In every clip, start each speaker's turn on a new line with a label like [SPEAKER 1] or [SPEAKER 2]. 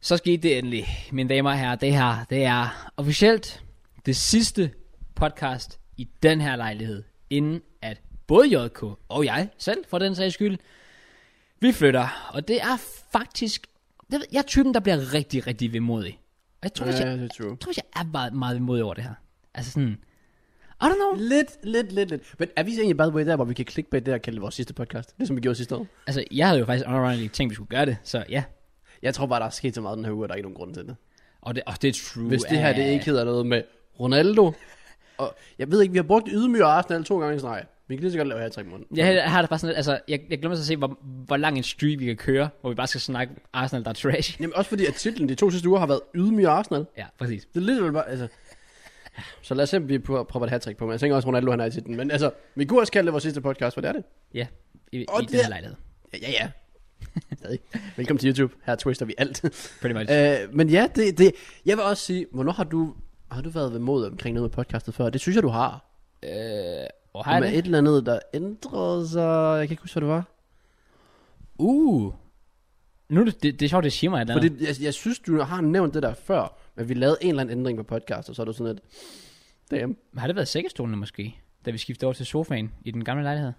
[SPEAKER 1] Så skete det endelig, mine damer og herrer. Det her, det er officielt det sidste podcast i den her lejlighed, inden at både JK og jeg selv, for den sags skyld, vi flytter. Og det er faktisk, det ved- jeg er typen, der bliver rigtig, rigtig vemodig. Og jeg tror, ja, jeg, jeg
[SPEAKER 2] det er true.
[SPEAKER 1] tror, faktisk, jeg er meget, meget vemodig over det her. Altså sådan, I don't know.
[SPEAKER 2] Lidt, lidt, lidt, lidt. Men er vi så egentlig, by the way, der, hvor vi kan klikke på det der og kalde det vores sidste podcast? Det som vi gjorde sidste år.
[SPEAKER 1] Altså, jeg havde jo faktisk honorarily tænkt, vi skulle gøre det, så ja.
[SPEAKER 2] Jeg tror bare, der er sket så meget den her uge, at der er ikke nogen grund til det.
[SPEAKER 1] Og det, og det er true.
[SPEAKER 2] Hvis det her, det
[SPEAKER 1] af-
[SPEAKER 2] ikke hedder noget med Ronaldo. Og jeg ved ikke, vi har brugt ydmyg og Arsenal to gange i streg. Vi kan lige så godt lave her i tre måneder.
[SPEAKER 1] Jeg har- har det bare sådan lidt, altså, jeg, jeg glemmer så at se, hvor, hvor lang en streak vi kan køre, hvor vi bare skal snakke Arsenal, der er trash.
[SPEAKER 2] Jamen også fordi, at titlen de to sidste uger har været ydmyg og Arsenal.
[SPEAKER 1] Ja, præcis.
[SPEAKER 2] Det er lidt bare, altså... Så lad os se, om vi prøver prøver et hat på, men jeg tænker også, Ronaldo han er i titlen. Men altså, vi kunne også kalde det vores sidste podcast, for det er det.
[SPEAKER 1] Ja, i,
[SPEAKER 2] Og
[SPEAKER 1] i den
[SPEAKER 2] det-
[SPEAKER 1] her lejlighed.
[SPEAKER 2] Ja, ja, ja. Stadig. Velkommen til YouTube. Her twister vi alt.
[SPEAKER 1] Pretty much.
[SPEAKER 2] øh, men ja, det, det, jeg vil også sige, hvornår har du, har du været ved mod omkring noget med podcastet før? Det synes jeg, du har.
[SPEAKER 1] Øh, og har
[SPEAKER 2] Har
[SPEAKER 1] jeg
[SPEAKER 2] med
[SPEAKER 1] det?
[SPEAKER 2] et eller andet, der ændrede sig. Jeg kan ikke huske, hvad det var.
[SPEAKER 1] Uh. Nu er det, det, det er sjovt, det siger mig et eller andet.
[SPEAKER 2] Fordi jeg, jeg synes, du har nævnt det der før, men vi lavede en eller anden ændring på podcast, og så er du sådan lidt, damn.
[SPEAKER 1] Har det været sækkestolene måske, da vi skiftede over til sofaen i den gamle lejlighed?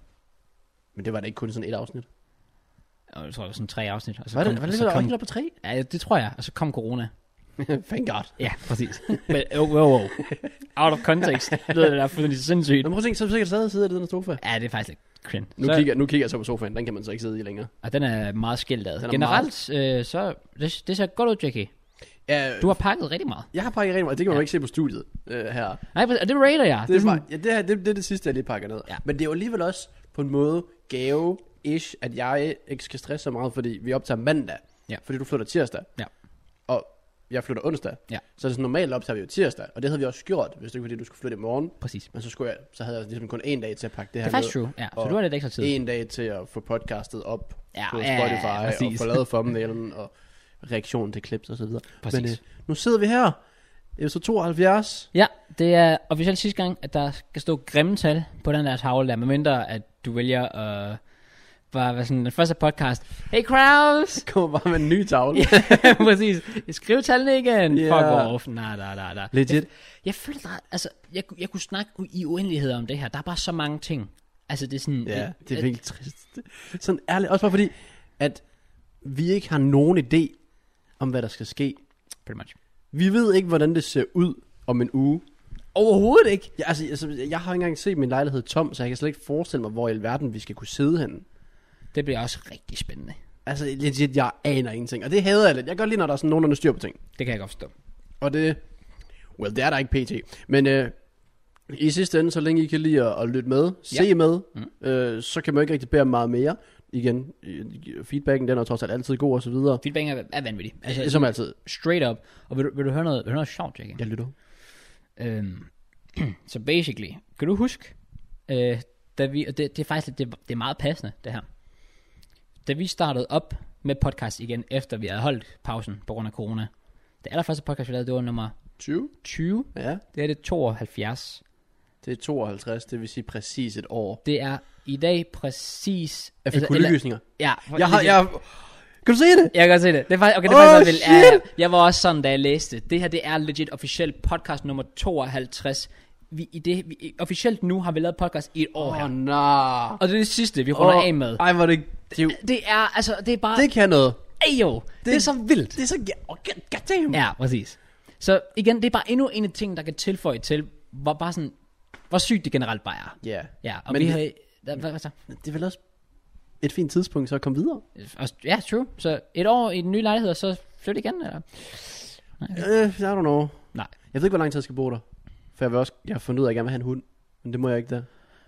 [SPEAKER 2] Men det var da ikke kun sådan et afsnit.
[SPEAKER 1] Og jeg tror, det var sådan tre afsnit. Og så
[SPEAKER 2] Var
[SPEAKER 1] kom,
[SPEAKER 2] det, var
[SPEAKER 1] og
[SPEAKER 2] det,
[SPEAKER 1] så
[SPEAKER 2] var
[SPEAKER 1] kom,
[SPEAKER 2] det, der på tre?
[SPEAKER 1] ja, det tror jeg. Og så kom corona.
[SPEAKER 2] Thank God.
[SPEAKER 1] Ja, præcis. Men, oh, oh, oh. Out of context. Det lyder det der fuldstændig sindssygt.
[SPEAKER 2] Men prøv at tænke, så er du sikkert stadig sidder i den her sofa.
[SPEAKER 1] Ja, det er faktisk lidt cringe.
[SPEAKER 2] Nu,
[SPEAKER 1] Så-
[SPEAKER 2] kigger, nu kigger jeg så på sofaen, den kan man så ikke sidde i længere.
[SPEAKER 1] Og den er meget skilt ad.
[SPEAKER 2] Den er
[SPEAKER 1] Generelt, øh, så det, det ser godt ud, Jackie.
[SPEAKER 2] Ja,
[SPEAKER 1] Du har pakket rigtig meget.
[SPEAKER 2] Jeg har pakket rent meget, det kan man
[SPEAKER 1] Ja.
[SPEAKER 2] jo ikke se på studiet øh, her.
[SPEAKER 1] Nej, og det rater jeg.
[SPEAKER 2] Det er,
[SPEAKER 1] sådan-
[SPEAKER 2] bare, ja, det, her, det, det er det sidste, jeg lige pakker ned.
[SPEAKER 1] Ja.
[SPEAKER 2] Ja. Men det er jo alligevel også på en måde gave-ish, at jeg ikke skal stresse så meget, fordi vi optager mandag.
[SPEAKER 1] Ja.
[SPEAKER 2] Fordi du flytter tirsdag.
[SPEAKER 1] Ja.
[SPEAKER 2] Og jeg flytter onsdag.
[SPEAKER 1] Ja.
[SPEAKER 2] Så det er sådan, normalt optager vi jo tirsdag, og det havde vi også gjort, hvis det ikke var fordi, du skulle flytte i morgen.
[SPEAKER 1] Præcis. Det
[SPEAKER 2] Men så, skulle jeg, så havde jeg ligesom kun en dag til at pakke det her
[SPEAKER 1] er faktisk
[SPEAKER 2] ned.
[SPEAKER 1] true. Ja, så
[SPEAKER 2] Og
[SPEAKER 1] du har lidt ekstra tid.
[SPEAKER 2] En dag til at få podcastet op
[SPEAKER 1] Ja,
[SPEAKER 2] ja, på
[SPEAKER 1] ja,
[SPEAKER 2] Spotify,
[SPEAKER 1] ja,
[SPEAKER 2] ja, og
[SPEAKER 1] præcis.
[SPEAKER 2] få lavet thumbnailen, og reaktionen til clips og så videre.
[SPEAKER 1] Præcis.
[SPEAKER 2] Men øh, nu sidder vi her, episode 72.
[SPEAKER 1] Ja, det er officielt sidste gang, at der skal stå grimme tal på den der tavle der, medmindre at du vælger at øh, bare være sådan den første podcast. Hey Kraus!
[SPEAKER 2] Kommer bare med en ny tavle.
[SPEAKER 1] Ja, præcis. Skriv tallene igen.
[SPEAKER 2] Ja.
[SPEAKER 1] Yeah. Fuck off. Nej, nej, nej, nej.
[SPEAKER 2] Legit.
[SPEAKER 1] Jeg føler, der, altså, jeg, kunne- jeg kunne snakke u- i uendelighed om det her. Der er bare så mange ting. Altså, det er sådan...
[SPEAKER 2] Ja, det er virkelig trist. Sådan ærligt. Også bare fordi, at vi ikke har nogen idé om, hvad der skal ske.
[SPEAKER 1] Pretty much.
[SPEAKER 2] Vi ved ikke, hvordan det ser ud om en uge.
[SPEAKER 1] Overhovedet ikke.
[SPEAKER 2] Jeg, altså, altså, jeg har ikke engang set min lejlighed tom, så jeg kan slet ikke forestille mig, hvor i alverden vi skal kunne sidde henne.
[SPEAKER 1] Det bliver også rigtig spændende.
[SPEAKER 2] Altså, legit, jeg aner ingenting. Og det hader jeg lidt. Jeg kan godt lide, når der er sådan nogenlunde styr på ting.
[SPEAKER 1] Det kan jeg godt forstå.
[SPEAKER 2] Og det... Well, det er der ikke pt. Men øh, i sidste ende, så længe I kan lide at, at lytte med, se
[SPEAKER 1] Ja.
[SPEAKER 2] med, øh, så kan man jo ikke rigtig bede om meget mere. Igen, øh, feedbacken den er trods alt altid god og så videre.
[SPEAKER 1] Feedback er, er vanvittigt. Altså,
[SPEAKER 2] Som altid.
[SPEAKER 1] straight up. Og vil du, vil du høre noget, vil du høre noget sjovt, Jackie?
[SPEAKER 2] Jeg lytter.
[SPEAKER 1] Øhm, så basically, kan du huske, øh, da vi, og det, det er faktisk lidt- det, det er meget passende, det her. Da vi startede op med podcast igen, efter vi havde holdt pausen på grund af corona. Det allerførste podcast, vi lavede, det var nummer
[SPEAKER 2] 20?
[SPEAKER 1] 20.
[SPEAKER 2] Ja,
[SPEAKER 1] Det er det 72.
[SPEAKER 2] det er 52, det vil sige præcis et år.
[SPEAKER 1] Det er i dag præcis... altså,
[SPEAKER 2] Jeg fik kuldegysninger.
[SPEAKER 1] ja,
[SPEAKER 2] Jeg har, jeg... Kan du se det?
[SPEAKER 1] Jeg kan godt se det. Det er faktisk, okay, det er
[SPEAKER 2] Åh,
[SPEAKER 1] faktisk også vildt. Ja,
[SPEAKER 2] shit!
[SPEAKER 1] ja. jeg var også sådan, da jeg læste det. Det her, det er legit officielt podcast nummer 52. Vi, i det, vi, i- officielt nu har vi lavet podcast i et år
[SPEAKER 2] Åh,
[SPEAKER 1] oh,
[SPEAKER 2] oh,
[SPEAKER 1] her.
[SPEAKER 2] nej.
[SPEAKER 1] Og det er det sidste, vi runder oh, af med.
[SPEAKER 2] Ej, hvor er det... Det, er jo-
[SPEAKER 1] Det er, altså, det er bare,
[SPEAKER 2] det
[SPEAKER 1] det,
[SPEAKER 2] kan noget.
[SPEAKER 1] ej jo, det, det er så vildt.
[SPEAKER 2] Det er så... Oh, god, goddamn.
[SPEAKER 1] Ja, præcis. Så igen, det er bare endnu en af ting, der kan tilføje til, hvor bare sådan, hvor sygt det generelt bare er.
[SPEAKER 2] Ja.
[SPEAKER 1] Ja, og
[SPEAKER 2] Men
[SPEAKER 1] vi
[SPEAKER 2] det-
[SPEAKER 1] har, der, hvad, hvad så?
[SPEAKER 2] Det er vel også et fint tidspunkt så at komme videre.
[SPEAKER 1] Og, ja, true. Så et år i den nye lejlighed, og så flytte igen, eller?
[SPEAKER 2] Øh, I don't know.
[SPEAKER 1] Nej.
[SPEAKER 2] Jeg ved ikke, hvor lang tid jeg skal bo der. For jeg, vil også, jeg har fundet ud af, at jeg gerne vil have en hund. Men det må jeg ikke der.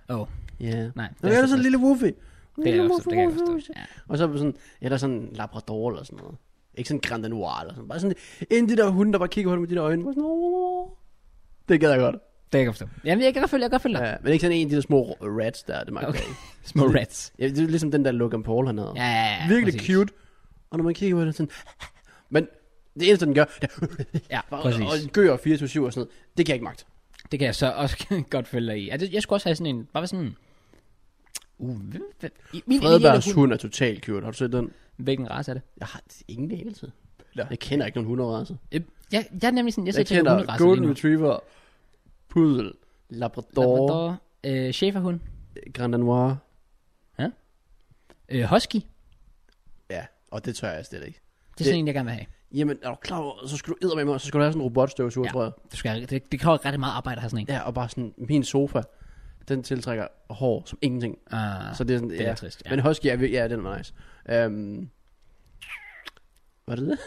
[SPEAKER 1] Åh, oh,
[SPEAKER 2] Ja. Yeah.
[SPEAKER 1] nej.
[SPEAKER 2] Og jeg er sådan en
[SPEAKER 1] lidt...
[SPEAKER 2] lille woofy.
[SPEAKER 1] Det kan jeg godt forstå, det kan jeg godt forstå. Ja.
[SPEAKER 2] Og så er det sådan, eller sådan en labrador eller sådan noget. Ikke sådan en Grand Noir eller sådan. Bare sådan en af de der hunde, der bare kigger på dig med de der øjne. Bare sådan, "Åh." det gad jeg godt.
[SPEAKER 1] Det kan jeg godt forstå. Jamen, jeg kan godt følge, jeg kan godt følge dig.
[SPEAKER 2] Ja, men ikke sådan en af de der små rats der, det magter okay. jeg ikke.
[SPEAKER 1] Små rats.
[SPEAKER 2] Ja, det er ligesom den der Logan Paul hernede.
[SPEAKER 1] Ja, ja, ja.
[SPEAKER 2] Virkelig
[SPEAKER 1] præcis.
[SPEAKER 2] cute. Og når man kigger på den sådan, men det eneste, den gør, det er,
[SPEAKER 1] Ja,
[SPEAKER 2] og,
[SPEAKER 1] præcis.
[SPEAKER 2] og en gør 24-7 og sådan noget. Det kan jeg ikke magte.
[SPEAKER 1] Det kan jeg så også godt følge dig i. Ja, det- Jeg skulle også have sådan en, bare sådan... Uh, hvem- hvem- i- min ideelle
[SPEAKER 2] Fredbergs
[SPEAKER 1] hund-
[SPEAKER 2] hund er totalt cute. Har du set den?
[SPEAKER 1] Hvilken race er det?
[SPEAKER 2] Jeg har ingen anelse.
[SPEAKER 1] Nå.
[SPEAKER 2] Jeg kender ikke nogen hunderaser.
[SPEAKER 1] Øh, Jeg, jeg er nemlig sådan, jeg
[SPEAKER 2] Jeg
[SPEAKER 1] sidder til
[SPEAKER 2] kender
[SPEAKER 1] hunderaser lige
[SPEAKER 2] Golden
[SPEAKER 1] nu.
[SPEAKER 2] Retriever, Pudel, Labrador, Labrador.
[SPEAKER 1] Labrador, øh, schæferhund,
[SPEAKER 2] Grand Danois.
[SPEAKER 1] øh, husky. Det
[SPEAKER 2] Ja, og det tør jeg slet ikke.
[SPEAKER 1] er sådan en, jeg gerne vil have.
[SPEAKER 2] Jamen, er du klar over, så skulle du eddermame, og så skulle du have sådan en robotstøvsuger,
[SPEAKER 1] Ja.
[SPEAKER 2] ja. tror jeg.
[SPEAKER 1] Det, skal, det, det kræver ret meget arbejde at have sådan en.
[SPEAKER 2] Ja, og bare sådan, min sofa, den tiltrækker hår som ingenting.
[SPEAKER 1] Uh,
[SPEAKER 2] Så det Ah, er sådan,
[SPEAKER 1] det er
[SPEAKER 2] ja.
[SPEAKER 1] trist. Ja.
[SPEAKER 2] Men Husky, er, vir- ja, den var nice. Um, var det det?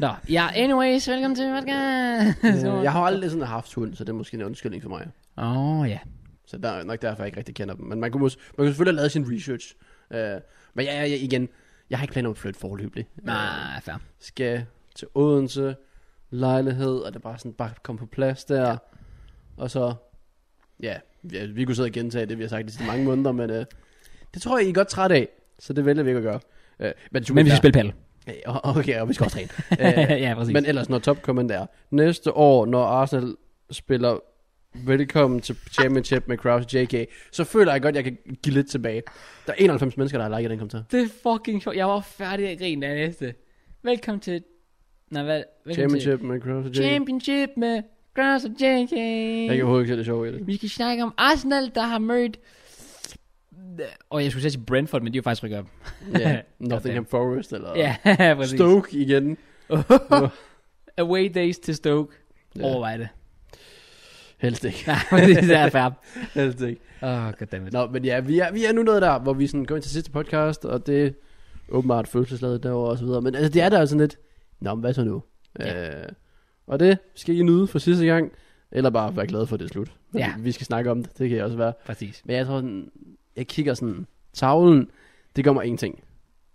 [SPEAKER 1] Nå, ja, anyways, velkommen til podcast.
[SPEAKER 2] Øh, jeg har jo aldrig sådan haft hund, så det er måske en undskyldning for mig.
[SPEAKER 1] Åh, oh, ja.
[SPEAKER 2] Så der er nok derfor, jeg ikke rigtig kender dem. Men man kunne, mås- man kunne selvfølgelig have lavet sin research. Øh, men ja, ja, ja, igen, jeg har ikke planer om at flytte forløbig.
[SPEAKER 1] Nej, Ah, fair.
[SPEAKER 2] skal til Odense, lejlighed, og det er bare sådan, bare komme på plads der. Ja. Og så, ja, ja, vi kunne sidde og gentage det, vi har sagt de sidste mange måneder, men øh, det tror jeg, I er godt træt af, så det vælger vi ikke at gøre. Øh, men,
[SPEAKER 1] Men vi skal spille paddle.
[SPEAKER 2] spille. Okay, og vi skal også træne. øh,
[SPEAKER 1] ja, præcis. Men,
[SPEAKER 2] men ellers, når topkommandet er, næste år, når Arsenal spiller velkommen til championship med Kraus og JK, så føler jeg godt, jeg kan give lidt tilbage. Der er 91 mennesker, der har liket den kommentar.
[SPEAKER 1] det er fucking sjovt. Jeg var færdig at grine der næste. Velkommen til... Nej, hvad? Velkommen
[SPEAKER 2] Championship med Kraus og
[SPEAKER 1] til...
[SPEAKER 2] JK.
[SPEAKER 1] Championship med Grounds og JK.
[SPEAKER 2] Jeg kan overhovedet ikke se det sjove i det.
[SPEAKER 1] Vi skal snakke om Arsenal, der har mødt... Og jeg skulle sige til Brentford, men de er jo faktisk rykket op.
[SPEAKER 2] Ja, Nottingham Forest eller
[SPEAKER 1] Ja, præcis.
[SPEAKER 2] Stoke igen.
[SPEAKER 1] Away days til Stoke.
[SPEAKER 2] Ja.
[SPEAKER 1] Overvej det.
[SPEAKER 2] Helst ikke.
[SPEAKER 1] Nej, men det er fair.
[SPEAKER 2] Helst ikke.
[SPEAKER 1] Åh, oh, goddammit.
[SPEAKER 2] Nå, men ja, vi er, vi er nu noget der, hvor vi sådan går ind til sidste podcast, og det er åbenbart følelsesladet derovre og så videre. Men altså, det er der sådan lidt, nå, men hvad så nu? Ja. Øh, og det skal I nyde for sidste gang, eller bare være glade for, at det er slut. Fordi
[SPEAKER 1] Ja.
[SPEAKER 2] Vi skal snakke om det, det kan jeg også være.
[SPEAKER 1] Præcis.
[SPEAKER 2] Men jeg tror sådan, jeg kigger sådan, tavlen, det gør mig ingenting.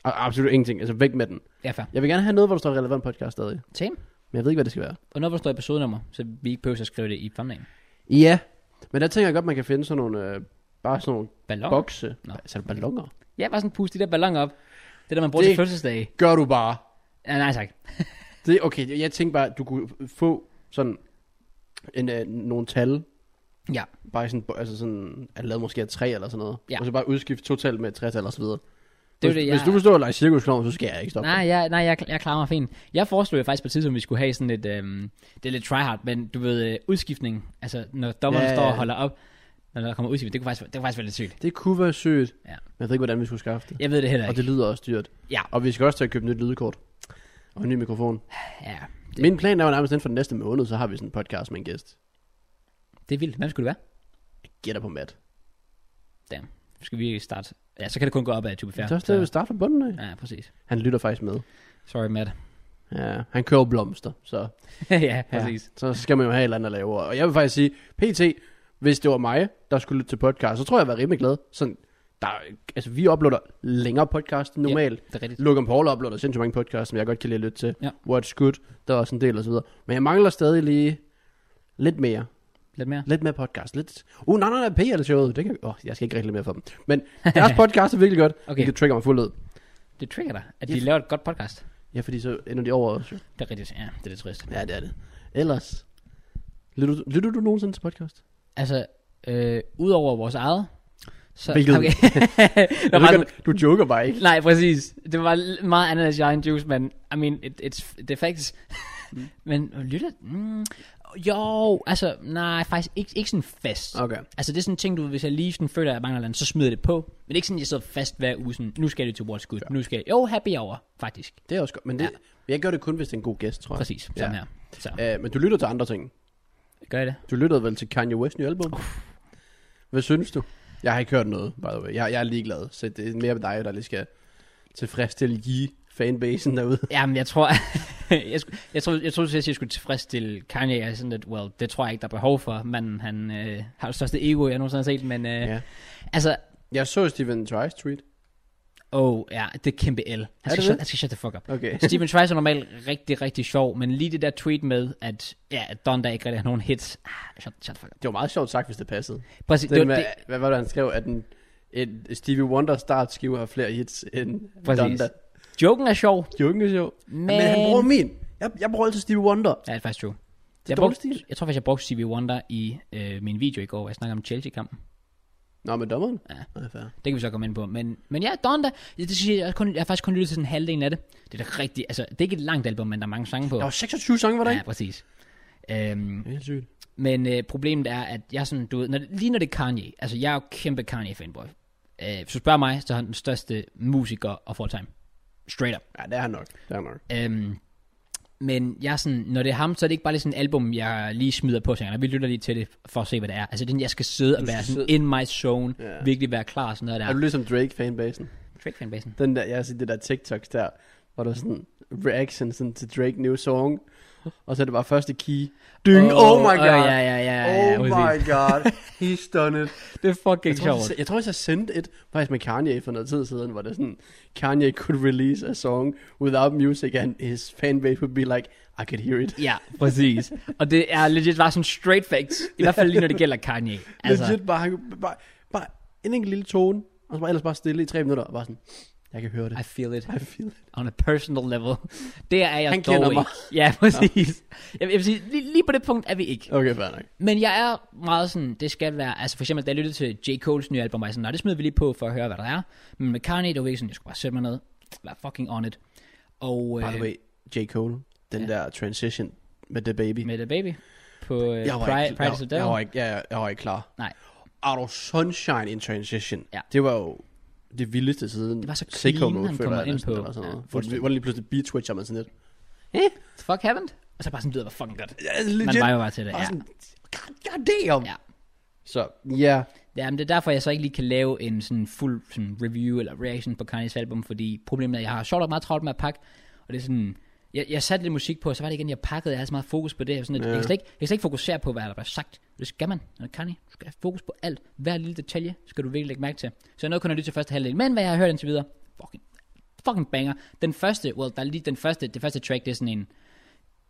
[SPEAKER 2] A- Absolut ingenting, altså væk med den.
[SPEAKER 1] Ja, fair.
[SPEAKER 2] Jeg vil gerne have noget, hvor der står relevant podcast stadig,
[SPEAKER 1] Same.
[SPEAKER 2] men jeg ved ikke, hvad det skal være.
[SPEAKER 1] Hvornår forstår jeg episodenummer, så vi ikke behøver at skrive det i thumbnail.
[SPEAKER 2] Ja, men der tænker jeg godt, man kan finde sådan nogle, øh, bare sådan nogle
[SPEAKER 1] Ballon.
[SPEAKER 2] bokse. Altså,
[SPEAKER 1] Nå.
[SPEAKER 2] No. Så er det ballonger.
[SPEAKER 1] Ja, bare sådan puste de der ballon op. Det der, man bruger det...
[SPEAKER 2] Det-
[SPEAKER 1] til fødselsdag.
[SPEAKER 2] Gør du bare.
[SPEAKER 1] Ja, nej tak.
[SPEAKER 2] Det, okay, jeg tænkte bare, at du kunne få sådan en, øh, nogle tal.
[SPEAKER 1] Ja.
[SPEAKER 2] Bare i sådan, bo- altså sådan, er lavet måske af tre eller sådan noget.
[SPEAKER 1] Ja.
[SPEAKER 2] Og så bare udskifte to tal med et tretal og så videre.
[SPEAKER 1] Det er
[SPEAKER 2] hvis,
[SPEAKER 1] jo det, jeg...
[SPEAKER 2] hvis du forstår at lege cirkusklovn, så skal jeg ikke stoppe.
[SPEAKER 1] Nej, jeg, nej jeg, jeg klarer mig fint. Jeg foreslog jo faktisk på et tidspunkt, at vi skulle have sådan et... Øhm, det er lidt tryhard, men du ved, øh, udskiftning. Altså, når dommeren
[SPEAKER 2] Ja,
[SPEAKER 1] ja,
[SPEAKER 2] ja,
[SPEAKER 1] står og
[SPEAKER 2] ja.
[SPEAKER 1] holder op, når der kommer udskiftning. Det kunne faktisk, det kunne faktisk være lidt sygt.
[SPEAKER 2] Det kunne være sødt,
[SPEAKER 1] Ja.
[SPEAKER 2] men jeg ved ikke, hvordan vi skulle skaffe det.
[SPEAKER 1] Jeg ved det heller
[SPEAKER 2] Og
[SPEAKER 1] ikke.
[SPEAKER 2] det lyder også dyrt.
[SPEAKER 1] Ja.
[SPEAKER 2] Og vi skal også til at købe nyt lydkort. Og en ny mikrofon.
[SPEAKER 1] Ja,
[SPEAKER 2] Det. Min plan er jo nærmest inden for den næste måned, så har vi sådan en podcast med en gæst.
[SPEAKER 1] det er vildt. Hvem skulle det være?
[SPEAKER 2] Gætter på Matt.
[SPEAKER 1] Damn. Skal vi starte? Ja, så kan det kun gå op ad type
[SPEAKER 2] Ja,
[SPEAKER 1] færre.
[SPEAKER 2] det er også det, vi starter fra bunden af.
[SPEAKER 1] Ja, præcis.
[SPEAKER 2] Han lytter faktisk med.
[SPEAKER 1] Sorry, Matt.
[SPEAKER 2] Ja, han kører jo blomster, så,
[SPEAKER 1] ja,
[SPEAKER 2] ja,
[SPEAKER 1] præcis.
[SPEAKER 2] så skal man jo have et eller andet at lave. Og jeg vil faktisk sige, pt, hvis det var mig, der skulle lytte til podcast, så tror jeg, jeg var rimelig glad. Sådan, der, er- altså, vi uploader længere podcast end normalt.
[SPEAKER 1] Det er rigtigt.
[SPEAKER 2] Logan Paul uploader sindssygt mange podcasts, som jeg godt kan lide at lytte til.
[SPEAKER 1] Ja.
[SPEAKER 2] What's Good, der er også en del og så videre. Men jeg mangler stadig lige lidt mere.
[SPEAKER 1] Lidt mere.
[SPEAKER 2] Lidt mere podcast. Lidt... Uh, nej, nej, nej, PL showet. Det kan... oh, jeg skal ikke rigtig mere for dem. Men deres podcast er virkelig godt.
[SPEAKER 1] Okay.
[SPEAKER 2] Okay. Det trigger mig fuldt ud.
[SPEAKER 1] Det trigger dig, at
[SPEAKER 2] Ja.
[SPEAKER 1] de laver et godt podcast.
[SPEAKER 2] Ja, fordi så ender de over os.
[SPEAKER 1] Det er rigtigt. Ja, det er lidt trist.
[SPEAKER 2] Ja, det er det. Ellers, lytter du, lytter du nogensinde til podcast?
[SPEAKER 1] Altså, øh, udover vores eget, så...
[SPEAKER 2] Hvilket?
[SPEAKER 1] Okay.
[SPEAKER 2] Jeg
[SPEAKER 1] der
[SPEAKER 2] ved
[SPEAKER 1] var sådan,
[SPEAKER 2] godt, du joker bare ikke.
[SPEAKER 1] nej, præcis. Det var l- meget andet end Giant Juice, men... I mean, it, it's, det er faktisk... men lytter... Mm, jo, altså, nej, faktisk ikke, ikke sådan fast.
[SPEAKER 2] Okay.
[SPEAKER 1] Altså, det er sådan en ting, du, ved, hvis jeg lige sådan føler, at jeg mangler noget, så smider jeg det på. Men det er ikke sådan, at jeg sidder fast hver uge, sådan, nu skal det til What's Good, ja. nu skal jeg... Jo, happy over, faktisk.
[SPEAKER 2] Det er også godt, men det,
[SPEAKER 1] Ja.
[SPEAKER 2] ja. jeg gør det kun, hvis det er en god gæst, tror jeg.
[SPEAKER 1] Præcis, sådan ja. her. Så,
[SPEAKER 2] her. Øh, men du lytter til andre ting.
[SPEAKER 1] gør jeg det?
[SPEAKER 2] Du lyttede vel til Kanye West' nye album? Hvad synes du? Jeg har ikke hørt noget, by the way. Jeg, jeg er ligeglad, så det er mere dig, der lige skal tilfredsstille i fanbasen derude.
[SPEAKER 1] Jamen, jeg tror, jeg, skulle, jeg, tror, jeg tror, at jeg skulle tilfredsstille Kanye. Jeg er sådan lidt, well, det tror jeg ikke, der er behov for. Manden, han øh, har det største ego, jeg nogensinde har set. Men øh, ja.
[SPEAKER 2] Ja.
[SPEAKER 1] altså,
[SPEAKER 2] Jeg så Steven Trice tweet.
[SPEAKER 1] oh, ja, det er kæmpe L. Han skal,
[SPEAKER 2] det
[SPEAKER 1] shut,
[SPEAKER 2] det?
[SPEAKER 1] han skal shut the fuck up.
[SPEAKER 2] Okay.
[SPEAKER 1] Steven Trice er normalt rigtig, rigtig sjov, men lige det der tweet med, at, ja, at Donda ikke rigtig har nogen hits. Ah, shut, shut the fuck up.
[SPEAKER 2] Det var meget sjovt sagt, hvis det passede.
[SPEAKER 1] Præcis,
[SPEAKER 2] Det,
[SPEAKER 1] det,
[SPEAKER 2] det,
[SPEAKER 1] var-
[SPEAKER 2] med,
[SPEAKER 1] det,
[SPEAKER 2] det, hvad var det, han skrev? At en, en Stevie Wonder startskive har flere hits end
[SPEAKER 1] Præcis.
[SPEAKER 2] Donda.
[SPEAKER 1] joken er sjov,
[SPEAKER 2] Joken er sjov.
[SPEAKER 1] men...
[SPEAKER 2] Men, men han bruger min. Jeg, jeg bruger altid Stevie Wonder.
[SPEAKER 1] Ja, det er faktisk true.
[SPEAKER 2] Det er
[SPEAKER 1] Jeg,
[SPEAKER 2] dårlig
[SPEAKER 1] brugte,
[SPEAKER 2] stil.
[SPEAKER 1] jeg tror faktisk, jeg brugte CV Wonder i øh, min video i går, hvor jeg snakkede om Chelsea-kampen.
[SPEAKER 2] Nå, med dommeren?
[SPEAKER 1] Ja.
[SPEAKER 2] Nej, fair.
[SPEAKER 1] Det kan vi så komme ind på. Men, men ja, Donda, det skal sige, jeg, har kun, jeg har faktisk kun lyttet til sådan halvdelen af det. Det er da rigtigt, altså det er ikke et langt album, men der er mange sange på.
[SPEAKER 2] Der var 26 sange, var der
[SPEAKER 1] ja,
[SPEAKER 2] ikke?
[SPEAKER 1] præcis. Øhm,
[SPEAKER 2] Det er Helt sygt.
[SPEAKER 1] men øh, problemet er, at jeg sådan, du ved, når, lige når det er Kanye, altså jeg er jo kæmpe Kanye-fanboy. Øh, så spørg mig, så er han den største musiker of all time. Straight up.
[SPEAKER 2] Ja, det er han nok. Det er han nok.
[SPEAKER 1] Øhm, men jeg er sådan, når det er ham, så er det ikke bare lige sådan et album, jeg lige smider på tænker, vi lytter lige til det, for at se, hvad det er. Altså, den, jeg skal sidde
[SPEAKER 2] Du
[SPEAKER 1] og være
[SPEAKER 2] skal
[SPEAKER 1] sådan in my zone,
[SPEAKER 2] Ja.
[SPEAKER 1] virkelig være klar og sådan noget
[SPEAKER 2] Er
[SPEAKER 1] der.
[SPEAKER 2] du ligesom Drake-fanbasen?
[SPEAKER 1] Drake-fanbasen.
[SPEAKER 2] Den der, jeg har set det der TikToks der, hvor der er sådan reaction sådan til Drake new song, og så er det bare første key. Dyng, oh, my god.
[SPEAKER 1] ja, ja, ja, ja, ja,
[SPEAKER 2] Oh my god, he's done it.
[SPEAKER 1] Det er fucking
[SPEAKER 2] Jeg tror,
[SPEAKER 1] sjovt.
[SPEAKER 2] jeg, jeg tror, jeg sendte et, faktisk med Kanye for noget tid siden, hvor det er sådan, Kanye could release a song without music, and his fanbase would be like, I could hear it.
[SPEAKER 1] Ja, præcis. og det er legit bare sådan straight facts. I hvert fald lige når det gælder Kanye.
[SPEAKER 2] Altså.
[SPEAKER 1] Altså,
[SPEAKER 2] Legit bare, han kunne- bare, bare en enkelt lille tone, og så bare, ellers bare stille i tre minutter, og bare sådan, jeg kan høre det.
[SPEAKER 1] I feel it
[SPEAKER 2] I feel it.
[SPEAKER 1] on a personal level. Det er jeg
[SPEAKER 2] Han
[SPEAKER 1] dog
[SPEAKER 2] kender
[SPEAKER 1] ikke.
[SPEAKER 2] mig.
[SPEAKER 1] Ja, præcis. Jeg, jeg vil sige, lige, lige på det punkt er vi ikke.
[SPEAKER 2] Okay, fair nok.
[SPEAKER 1] Men jeg er meget sådan, det skal være, altså for eksempel, da jeg lyttede til J. Cole's nye album, var jeg sådan, nej, det smider vi lige på for at høre, hvad der er. Men med Kanye, det var virkelig sådan, jeg skulle bare sætte mig ned, være fucking on it. Og
[SPEAKER 2] By the
[SPEAKER 1] øh,
[SPEAKER 2] way, J. Cole, den
[SPEAKER 1] ja.
[SPEAKER 2] der transition med The Baby.
[SPEAKER 1] med The Baby på øh,
[SPEAKER 2] jeg var
[SPEAKER 1] Pride,
[SPEAKER 2] ikke,
[SPEAKER 1] Pride
[SPEAKER 2] jeg,
[SPEAKER 1] is the
[SPEAKER 2] jeg,
[SPEAKER 1] Devil.
[SPEAKER 2] var ikke, jeg, jeg var ikke klar.
[SPEAKER 1] Nej.
[SPEAKER 2] Out of Sunshine in Transition.
[SPEAKER 1] Ja.
[SPEAKER 2] Det var jo det vildeste siden.
[SPEAKER 1] Det var så
[SPEAKER 2] Sicko
[SPEAKER 1] clean,
[SPEAKER 2] Mode,
[SPEAKER 1] han
[SPEAKER 2] føler
[SPEAKER 1] kommer
[SPEAKER 2] jeg
[SPEAKER 1] ind
[SPEAKER 2] næsten,
[SPEAKER 1] på.
[SPEAKER 2] Eller sådan
[SPEAKER 1] Ja,
[SPEAKER 2] noget. Hvor,
[SPEAKER 1] fuldstændig.
[SPEAKER 2] hvor det lige pludselig beatwitcher man sådan lidt.
[SPEAKER 1] The fuck happened? Og så bare sådan, det var fucking godt.
[SPEAKER 2] Ja, legit.
[SPEAKER 1] Man var jo bare til det,
[SPEAKER 2] Bare
[SPEAKER 1] ja.
[SPEAKER 2] sådan, God, God damn.
[SPEAKER 1] Ja.
[SPEAKER 2] Så, ja.
[SPEAKER 1] Ja, men det er derfor, jeg så ikke lige kan lave en sådan fuld sådan review eller reaction på Kanye's album, fordi problemet er, at jeg har sjovt nok meget travlt med at pakke, og det er sådan, jeg, jeg satte lidt musik på, og så var det igen, jeg pakkede, jeg havde så meget fokus på det, og sådan, at
[SPEAKER 2] Ja.
[SPEAKER 1] jeg, kan slet ikke, jeg kan slet ikke fokusere på, hvad der bliver sagt. Det skal man, når det er Kanye. Du skal have fokus på alt. Hver lille detalje skal du virkelig lægge mærke til. Så jeg nåede kun at lytte til første halvdel, men hvad jeg har hørt indtil videre, fucking, fucking banger. Den første, well, der er lige den første, det første track, det er sådan en,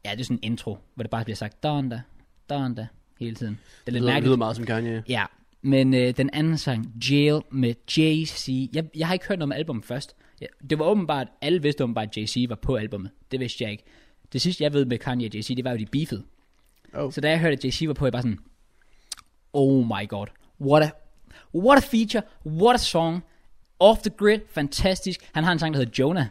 [SPEAKER 1] ja, det er sådan en intro, hvor det bare bliver sagt, donda, donda, hele tiden. Det er
[SPEAKER 2] Det
[SPEAKER 1] lidt
[SPEAKER 2] lyder,
[SPEAKER 1] mærkeligt.
[SPEAKER 2] lyder meget som Kanye.
[SPEAKER 1] Ja, men øh, den anden sang, Jail med Jay-Z. Jeg, jeg har ikke hørt noget om album først. Ja, det var åbenbart, alle vidste åbenbart, at Jay-Z var på albumet. Det vidste jeg ikke. Det sidste, jeg ved med Kanye og Jay-Z, det var jo, de beefede.
[SPEAKER 2] Oh.
[SPEAKER 1] Så da jeg hørte, at Jay-Z var på, jeg bare sådan, oh my god, what a, what a feature, what a song, off the grid, fantastisk. Han har en sang, der hedder Jonah.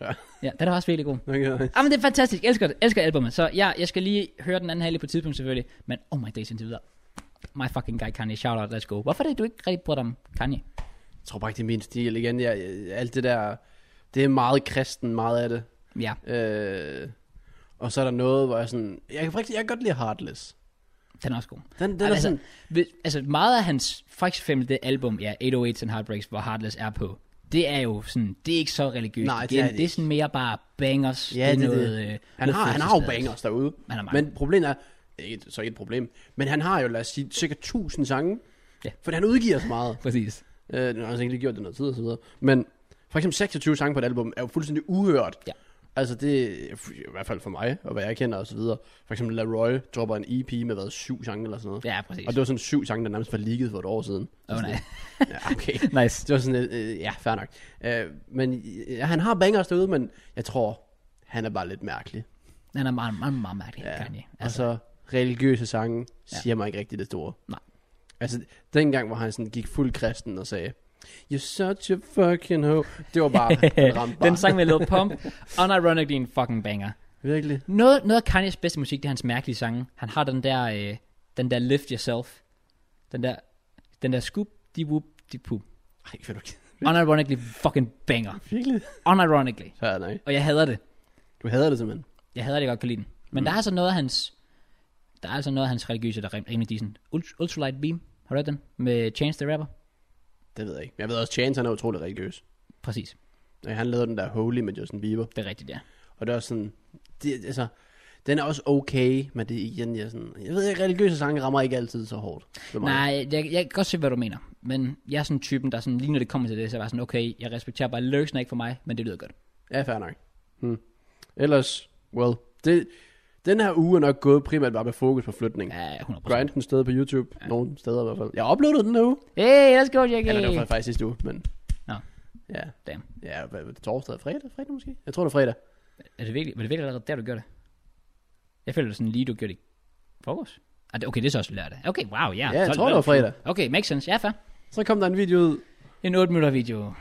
[SPEAKER 2] Ja.
[SPEAKER 1] Ja, den er også virkelig god.
[SPEAKER 2] Okay.
[SPEAKER 1] Ah, men det er fantastisk. Jeg elsker det. elsker albumet. Så ja, jeg skal lige høre den anden halvdel på et tidspunkt selvfølgelig. Men oh my days indtil videre. My fucking guy Kanye. Shout out, let's go. Hvorfor er det, du ikke rigtig bryder dig om Kanye?
[SPEAKER 2] Jeg tror bare ikke, det er min stil. Igen, jeg, jeg- alt det der, det er meget kristen, meget af det.
[SPEAKER 1] Ja,
[SPEAKER 2] Øh, og så er der noget, hvor jeg sådan... Jeg kan, faktisk- jeg kan godt lide Heartless.
[SPEAKER 1] den er også god.
[SPEAKER 2] Den, den er
[SPEAKER 1] altså,
[SPEAKER 2] sådan...
[SPEAKER 1] ved- altså, meget af hans, for eksempel det album, ja, 808s and Heartbreaks, hvor Heartless er på, det er jo sådan, det er ikke så religiøst.
[SPEAKER 2] Nej, det
[SPEAKER 1] Igen,
[SPEAKER 2] er det
[SPEAKER 1] det er
[SPEAKER 2] ikke.
[SPEAKER 1] sådan mere bare bangers.
[SPEAKER 2] Ja,
[SPEAKER 1] det er
[SPEAKER 2] det er
[SPEAKER 1] noget,
[SPEAKER 2] det.
[SPEAKER 1] øh,
[SPEAKER 2] Han
[SPEAKER 1] noget
[SPEAKER 2] har, han har jo
[SPEAKER 1] fødselsdags-
[SPEAKER 2] bangers derude.
[SPEAKER 1] Han har mange.
[SPEAKER 2] Men problemet er, ikke, så ikke et problem, men han har jo, lad os sige, cirka 1000 sange.
[SPEAKER 1] Ja.
[SPEAKER 2] Fordi han udgiver så meget.
[SPEAKER 1] Præcis.
[SPEAKER 2] øh, nu har han så ikke lige gjort det noget tid og så videre. Men for eksempel 26 sange på et album er jo fuldstændig uhørt.
[SPEAKER 1] Ja.
[SPEAKER 2] Altså det er f- i hvert fald for mig, og hvad jeg kender og så videre. For eksempel LaRoy dropper en EP med hvad, syv sange eller sådan noget.
[SPEAKER 1] Ja, præcis.
[SPEAKER 2] Og det var sådan syv sange, der nærmest var ligget for et år siden.
[SPEAKER 1] Åh,
[SPEAKER 2] Så
[SPEAKER 1] nej.
[SPEAKER 2] sådan- Ja, okay.
[SPEAKER 1] Nice.
[SPEAKER 2] Det var sådan, lidt, øh, ja, fair nok. Øh, men ja, han har bangers derude, men jeg tror, han er bare lidt mærkelig.
[SPEAKER 1] Han er meget, meget, meget mærkelig,
[SPEAKER 2] Ja.
[SPEAKER 1] Kanye. Altså,
[SPEAKER 2] Altså, og så religiøse sange siger mig ikke rigtig det store.
[SPEAKER 1] Nej.
[SPEAKER 2] Altså, dengang, hvor han sådan gik fuld kristen og sagde, You're such a fucking hoe. Det var bare, han ramte bare.
[SPEAKER 1] den sang med Lil Pump, unironically en fucking banger.
[SPEAKER 2] Virkelig.
[SPEAKER 1] Noget, noget af Kanye's bedste musik, det er hans mærkelige sange. Han har den der, øh, den der Lift Yourself. Den der, den der Scoop, de whoop, de poop.
[SPEAKER 2] Ej, kan du ikke?
[SPEAKER 1] Unironically fucking banger.
[SPEAKER 2] Virkelig?
[SPEAKER 1] Unironically.
[SPEAKER 2] Fair nej.
[SPEAKER 1] Og jeg hader det.
[SPEAKER 2] Du hader det simpelthen.
[SPEAKER 1] Jeg hader det jeg godt kan lide den. Men mm. der er altså noget af hans, der er altså noget af hans religiøse, der er rim- rimelig decent. Ult- Ultralight Beam, har du hørt den? Med Chance the Rapper.
[SPEAKER 2] Det ved jeg ikke. Men Jeg ved også, Chance, han er utrolig religiøs.
[SPEAKER 1] Præcis.
[SPEAKER 2] Og Han lavede den der Holy med Justin Bieber.
[SPEAKER 1] Det er rigtigt, ja.
[SPEAKER 2] Og det er også sådan, det, altså, den er også okay, men det er igen, jeg, er sådan, jeg ved ikke, religiøse sange rammer ikke altid så hårdt. for mig.
[SPEAKER 1] Nej, jeg, jeg kan godt se, hvad du mener. Men jeg er sådan typen, der sådan, lige når det kommer til det, så er jeg bare sådan, okay, jeg respekterer bare, lyricsene er ikke for mig, men det lyder godt.
[SPEAKER 2] Ja, fair nok. Hmm. Ellers, well, det, den her uge er nok gået primært bare med fokus på flytning. Ja.
[SPEAKER 1] Ja, 100%.
[SPEAKER 2] Grind den sted på YouTube, ja. nogle steder i hvert fald. Jeg uploadede den her uge.
[SPEAKER 1] Hey, let's go, Jackie.
[SPEAKER 2] Eller det var faktisk sidste uge, men...
[SPEAKER 1] Nå.
[SPEAKER 2] Ja,
[SPEAKER 1] Damn.
[SPEAKER 2] ja hvad, var det torsdag og fredag? Fredag måske? Jeg tror, det er fredag.
[SPEAKER 1] Er det virkelig, var det virkelig allerede der, du gjorde det? Jeg føler det sådan lige, du gjorde det i forgårs. Ah, det- okay, det er så også lørdag. Okay, wow, ja.
[SPEAKER 2] Ja, jeg
[SPEAKER 1] 12
[SPEAKER 2] tror, det var fredag.
[SPEAKER 1] Okay, makes sense. Ja, fair.
[SPEAKER 2] Så kom der en video ud.
[SPEAKER 1] En 8 minutter video.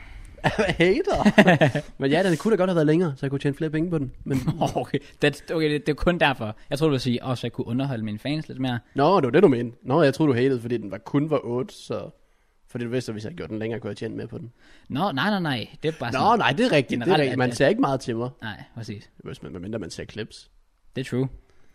[SPEAKER 2] Hater. men ja, den kunne da godt have været længere, så jeg kunne tjene flere penge på den. Men,
[SPEAKER 1] Okay, that, okay det, det er kun derfor. Jeg tror du vil sige, også så jeg kunne underholde mine fans lidt mere.
[SPEAKER 2] nå, det var det, du mente. Nå, jeg troede, du hatede, fordi den var, kun var 8, så... Fordi du vidste, at hvis jeg havde gjort den længere, kunne jeg tjene mere på den.
[SPEAKER 1] Nå, nej, nej, nej. Det er bare
[SPEAKER 2] Nå,
[SPEAKER 1] sådan.
[SPEAKER 2] nej, det er rigtigt. Det
[SPEAKER 1] Altså,
[SPEAKER 2] er
[SPEAKER 1] generelt er
[SPEAKER 2] rigtigt. Man
[SPEAKER 1] det-
[SPEAKER 2] ser ikke meget til mig.
[SPEAKER 1] Nej, præcis.
[SPEAKER 2] Hvis man, mindre man ser clips.
[SPEAKER 1] Det er true.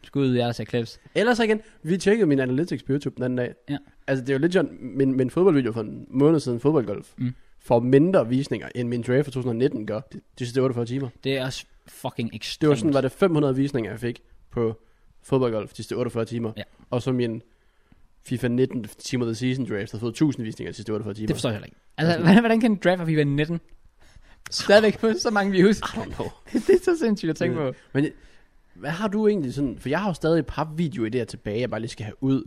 [SPEAKER 1] Skud ud, jeg også clips.
[SPEAKER 2] Ellers så igen, vi tjekkede min analytics på YouTube den anden dag.
[SPEAKER 1] Ja.
[SPEAKER 2] Altså, det er jo legit, min, min fodboldvideo for en måned siden, fodboldgolf,
[SPEAKER 1] Mm.
[SPEAKER 2] får mindre visninger, end min draft fra 2019 gør. De, de sidste 48 timer.
[SPEAKER 1] Det er også fucking ekstremt.
[SPEAKER 2] Det var sådan, var det 500 visninger, jeg fik på fodboldgolf de sidste 48 timer.
[SPEAKER 1] Ja.
[SPEAKER 2] Og så min FIFA 19 Team of the Season draft har fået 1000 visninger de sidste 48 timer.
[SPEAKER 1] Det forstår jeg heller ikke. Altså, hvordan, hvordan kan en draft af FIFA 19 stadigvæk få så mange views?
[SPEAKER 2] I don't know.
[SPEAKER 1] det er så sindssygt at tænke på.
[SPEAKER 2] Men hvad har du egentlig sådan... For jeg har jo stadig et par videoidéer tilbage, jeg bare lige skal have ud.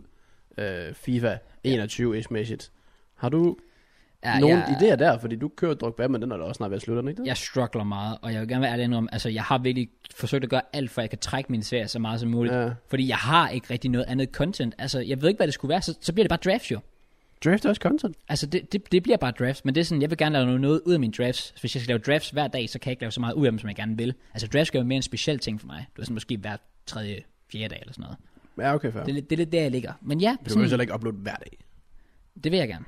[SPEAKER 2] Øh, FIFA 21 ja. mæssigt Har du ja, nogle
[SPEAKER 1] jeg,
[SPEAKER 2] idéer der? Fordi du kører Drogba, men den er da også snart ved at slutte, er den ikke det?
[SPEAKER 1] Jeg struggler meget, og jeg vil gerne være ærlig om, altså jeg har virkelig forsøgt at gøre alt, for at jeg kan trække min serie så meget som muligt.
[SPEAKER 2] Ja.
[SPEAKER 1] Fordi jeg har ikke rigtig noget andet content. Altså, jeg ved ikke, hvad det skulle være, så, så bliver det bare drafts jo.
[SPEAKER 2] Draft er også content.
[SPEAKER 1] Altså, det, det, det bliver bare drafts, men det er sådan, jeg vil gerne lave noget- noget ud af mine drafts. Hvis jeg skal lave drafts hver dag, så kan jeg ikke lave så meget ud af dem, som jeg gerne vil. Altså, drafts er jo mere en speciel ting for mig. Du er sådan måske hver tredje, fjerde dag eller sådan noget.
[SPEAKER 2] Ja, okay, fair.
[SPEAKER 1] Det, er
[SPEAKER 2] Det,
[SPEAKER 1] lidt- det er lidt der, jeg ligger. Men ja,
[SPEAKER 2] du kan jo heller ikke uploade hver dag.
[SPEAKER 1] det vil jeg gerne.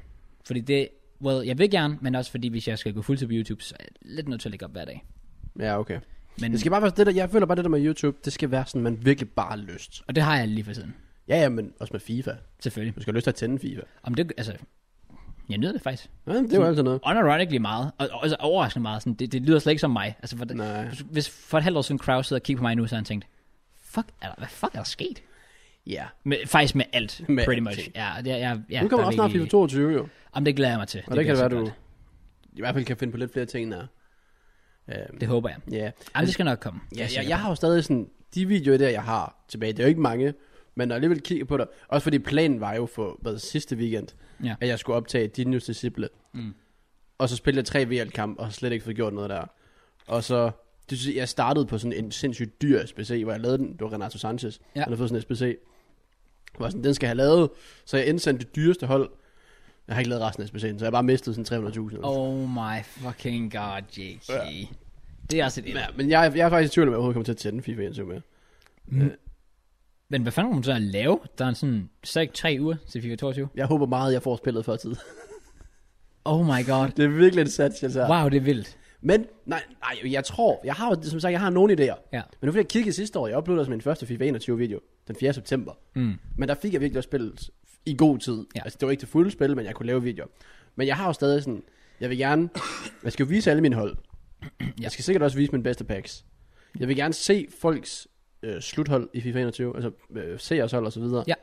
[SPEAKER 1] Fordi det, well, jeg vil gerne, men også fordi, hvis jeg skal gå fuldtid på YouTube, så er jeg lidt nødt til at lægge op hver dag.
[SPEAKER 2] Ja, okay.
[SPEAKER 1] Men,
[SPEAKER 2] Det skal bare være det der, jeg føler bare det der med YouTube, det skal være sådan, man virkelig bare har lyst.
[SPEAKER 1] Og det har jeg lige for siden,
[SPEAKER 2] Ja, ja, men også med FIFA.
[SPEAKER 1] selvfølgelig.
[SPEAKER 2] Du skal have lyst til at tænde FIFA.
[SPEAKER 1] Om det, altså, jeg nyder det faktisk.
[SPEAKER 2] Ja, det
[SPEAKER 1] Mm.
[SPEAKER 2] er jo altid noget.
[SPEAKER 1] Unironically meget, og og også overraskende meget. Sådan, det, det lyder slet ikke som mig. Altså, for,
[SPEAKER 2] Nej.
[SPEAKER 1] hvis for et halvt år siden Kraus sidder og kigger på mig nu, så har han tænkt, fuck, er der, hvad fuck er der sket?
[SPEAKER 2] Ja.
[SPEAKER 1] Med, faktisk med alt,
[SPEAKER 2] Med
[SPEAKER 1] med pretty
[SPEAKER 2] alt.
[SPEAKER 1] much. Ja, det, ja, ja,
[SPEAKER 2] Nu kommer
[SPEAKER 1] der er
[SPEAKER 2] også snart FIFA
[SPEAKER 1] virkelig-
[SPEAKER 2] 22, jo.
[SPEAKER 1] Jamen, det glæder jeg mig til.
[SPEAKER 2] Og det, det kan
[SPEAKER 1] bliver
[SPEAKER 2] det være,
[SPEAKER 1] så
[SPEAKER 2] du
[SPEAKER 1] godt.
[SPEAKER 2] i hvert fald kan finde på lidt flere ting, der. Øhm,
[SPEAKER 1] Det håber jeg.
[SPEAKER 2] ja.
[SPEAKER 1] Jamen, det skal nok komme. Det er
[SPEAKER 2] Ja, jeg,
[SPEAKER 1] sikkert.
[SPEAKER 2] jeg har jo stadig sådan, de videoer der, jeg har tilbage, det er jo ikke mange, men når jeg alligevel kigger på det, også fordi planen var jo for hvad, sidste weekend,
[SPEAKER 1] Ja.
[SPEAKER 2] at jeg skulle optage Dinos Disciple,
[SPEAKER 1] Mm.
[SPEAKER 2] og så spille jeg tre VL-kamp, og har slet ikke fået gjort noget der. Og så, det synes jeg, jeg startede på sådan en sindssygt dyr SPC, hvor jeg lavede den, det var Renato Sanchez,
[SPEAKER 1] Ja.
[SPEAKER 2] han har fået sådan en SPC, hvor jeg sådan, den skal jeg have lavet, så jeg indsendte det dyreste hold, jeg har ikke lavet resten af SPC'en, så jeg har bare mistet sådan 300.000. eller
[SPEAKER 1] Oh my fucking god, JK.
[SPEAKER 2] Ja.
[SPEAKER 1] Det er også et
[SPEAKER 2] Ja, men jeg, jeg er faktisk i tvivl om, at jeg overhovedet kommer til at tænde FIFA 21 med.
[SPEAKER 1] Men hvad fanden kommer du så at lave? Der er sådan, så ikke tre uger til FIFA 22.
[SPEAKER 2] Jeg håber meget, at jeg får spillet før tid.
[SPEAKER 1] Oh my god.
[SPEAKER 2] det er virkelig en sats, jeg tager.
[SPEAKER 1] Wow, det er vildt.
[SPEAKER 2] Men, nej, nej, jeg tror, jeg har jo, som sagt, jeg har nogle idéer.
[SPEAKER 1] Ja.
[SPEAKER 2] Men nu fordi jeg kiggede sidste år, jeg uploadede min første FIFA 21 video, den 4. september.
[SPEAKER 1] Mm.
[SPEAKER 2] Men der fik jeg virkelig også spillet i god tid.
[SPEAKER 1] Ja.
[SPEAKER 2] Altså, det var ikke til fulde spil, men jeg kunne lave videoer. Men jeg har jo stadig sådan, jeg vil gerne, jeg skal jo vise alle mine hold. ja. Jeg skal sikkert også vise mine bedste packs. Jeg vil gerne se folks øh, sluthold i FIFA 21, altså øh, seers hold og så videre.
[SPEAKER 1] Ja.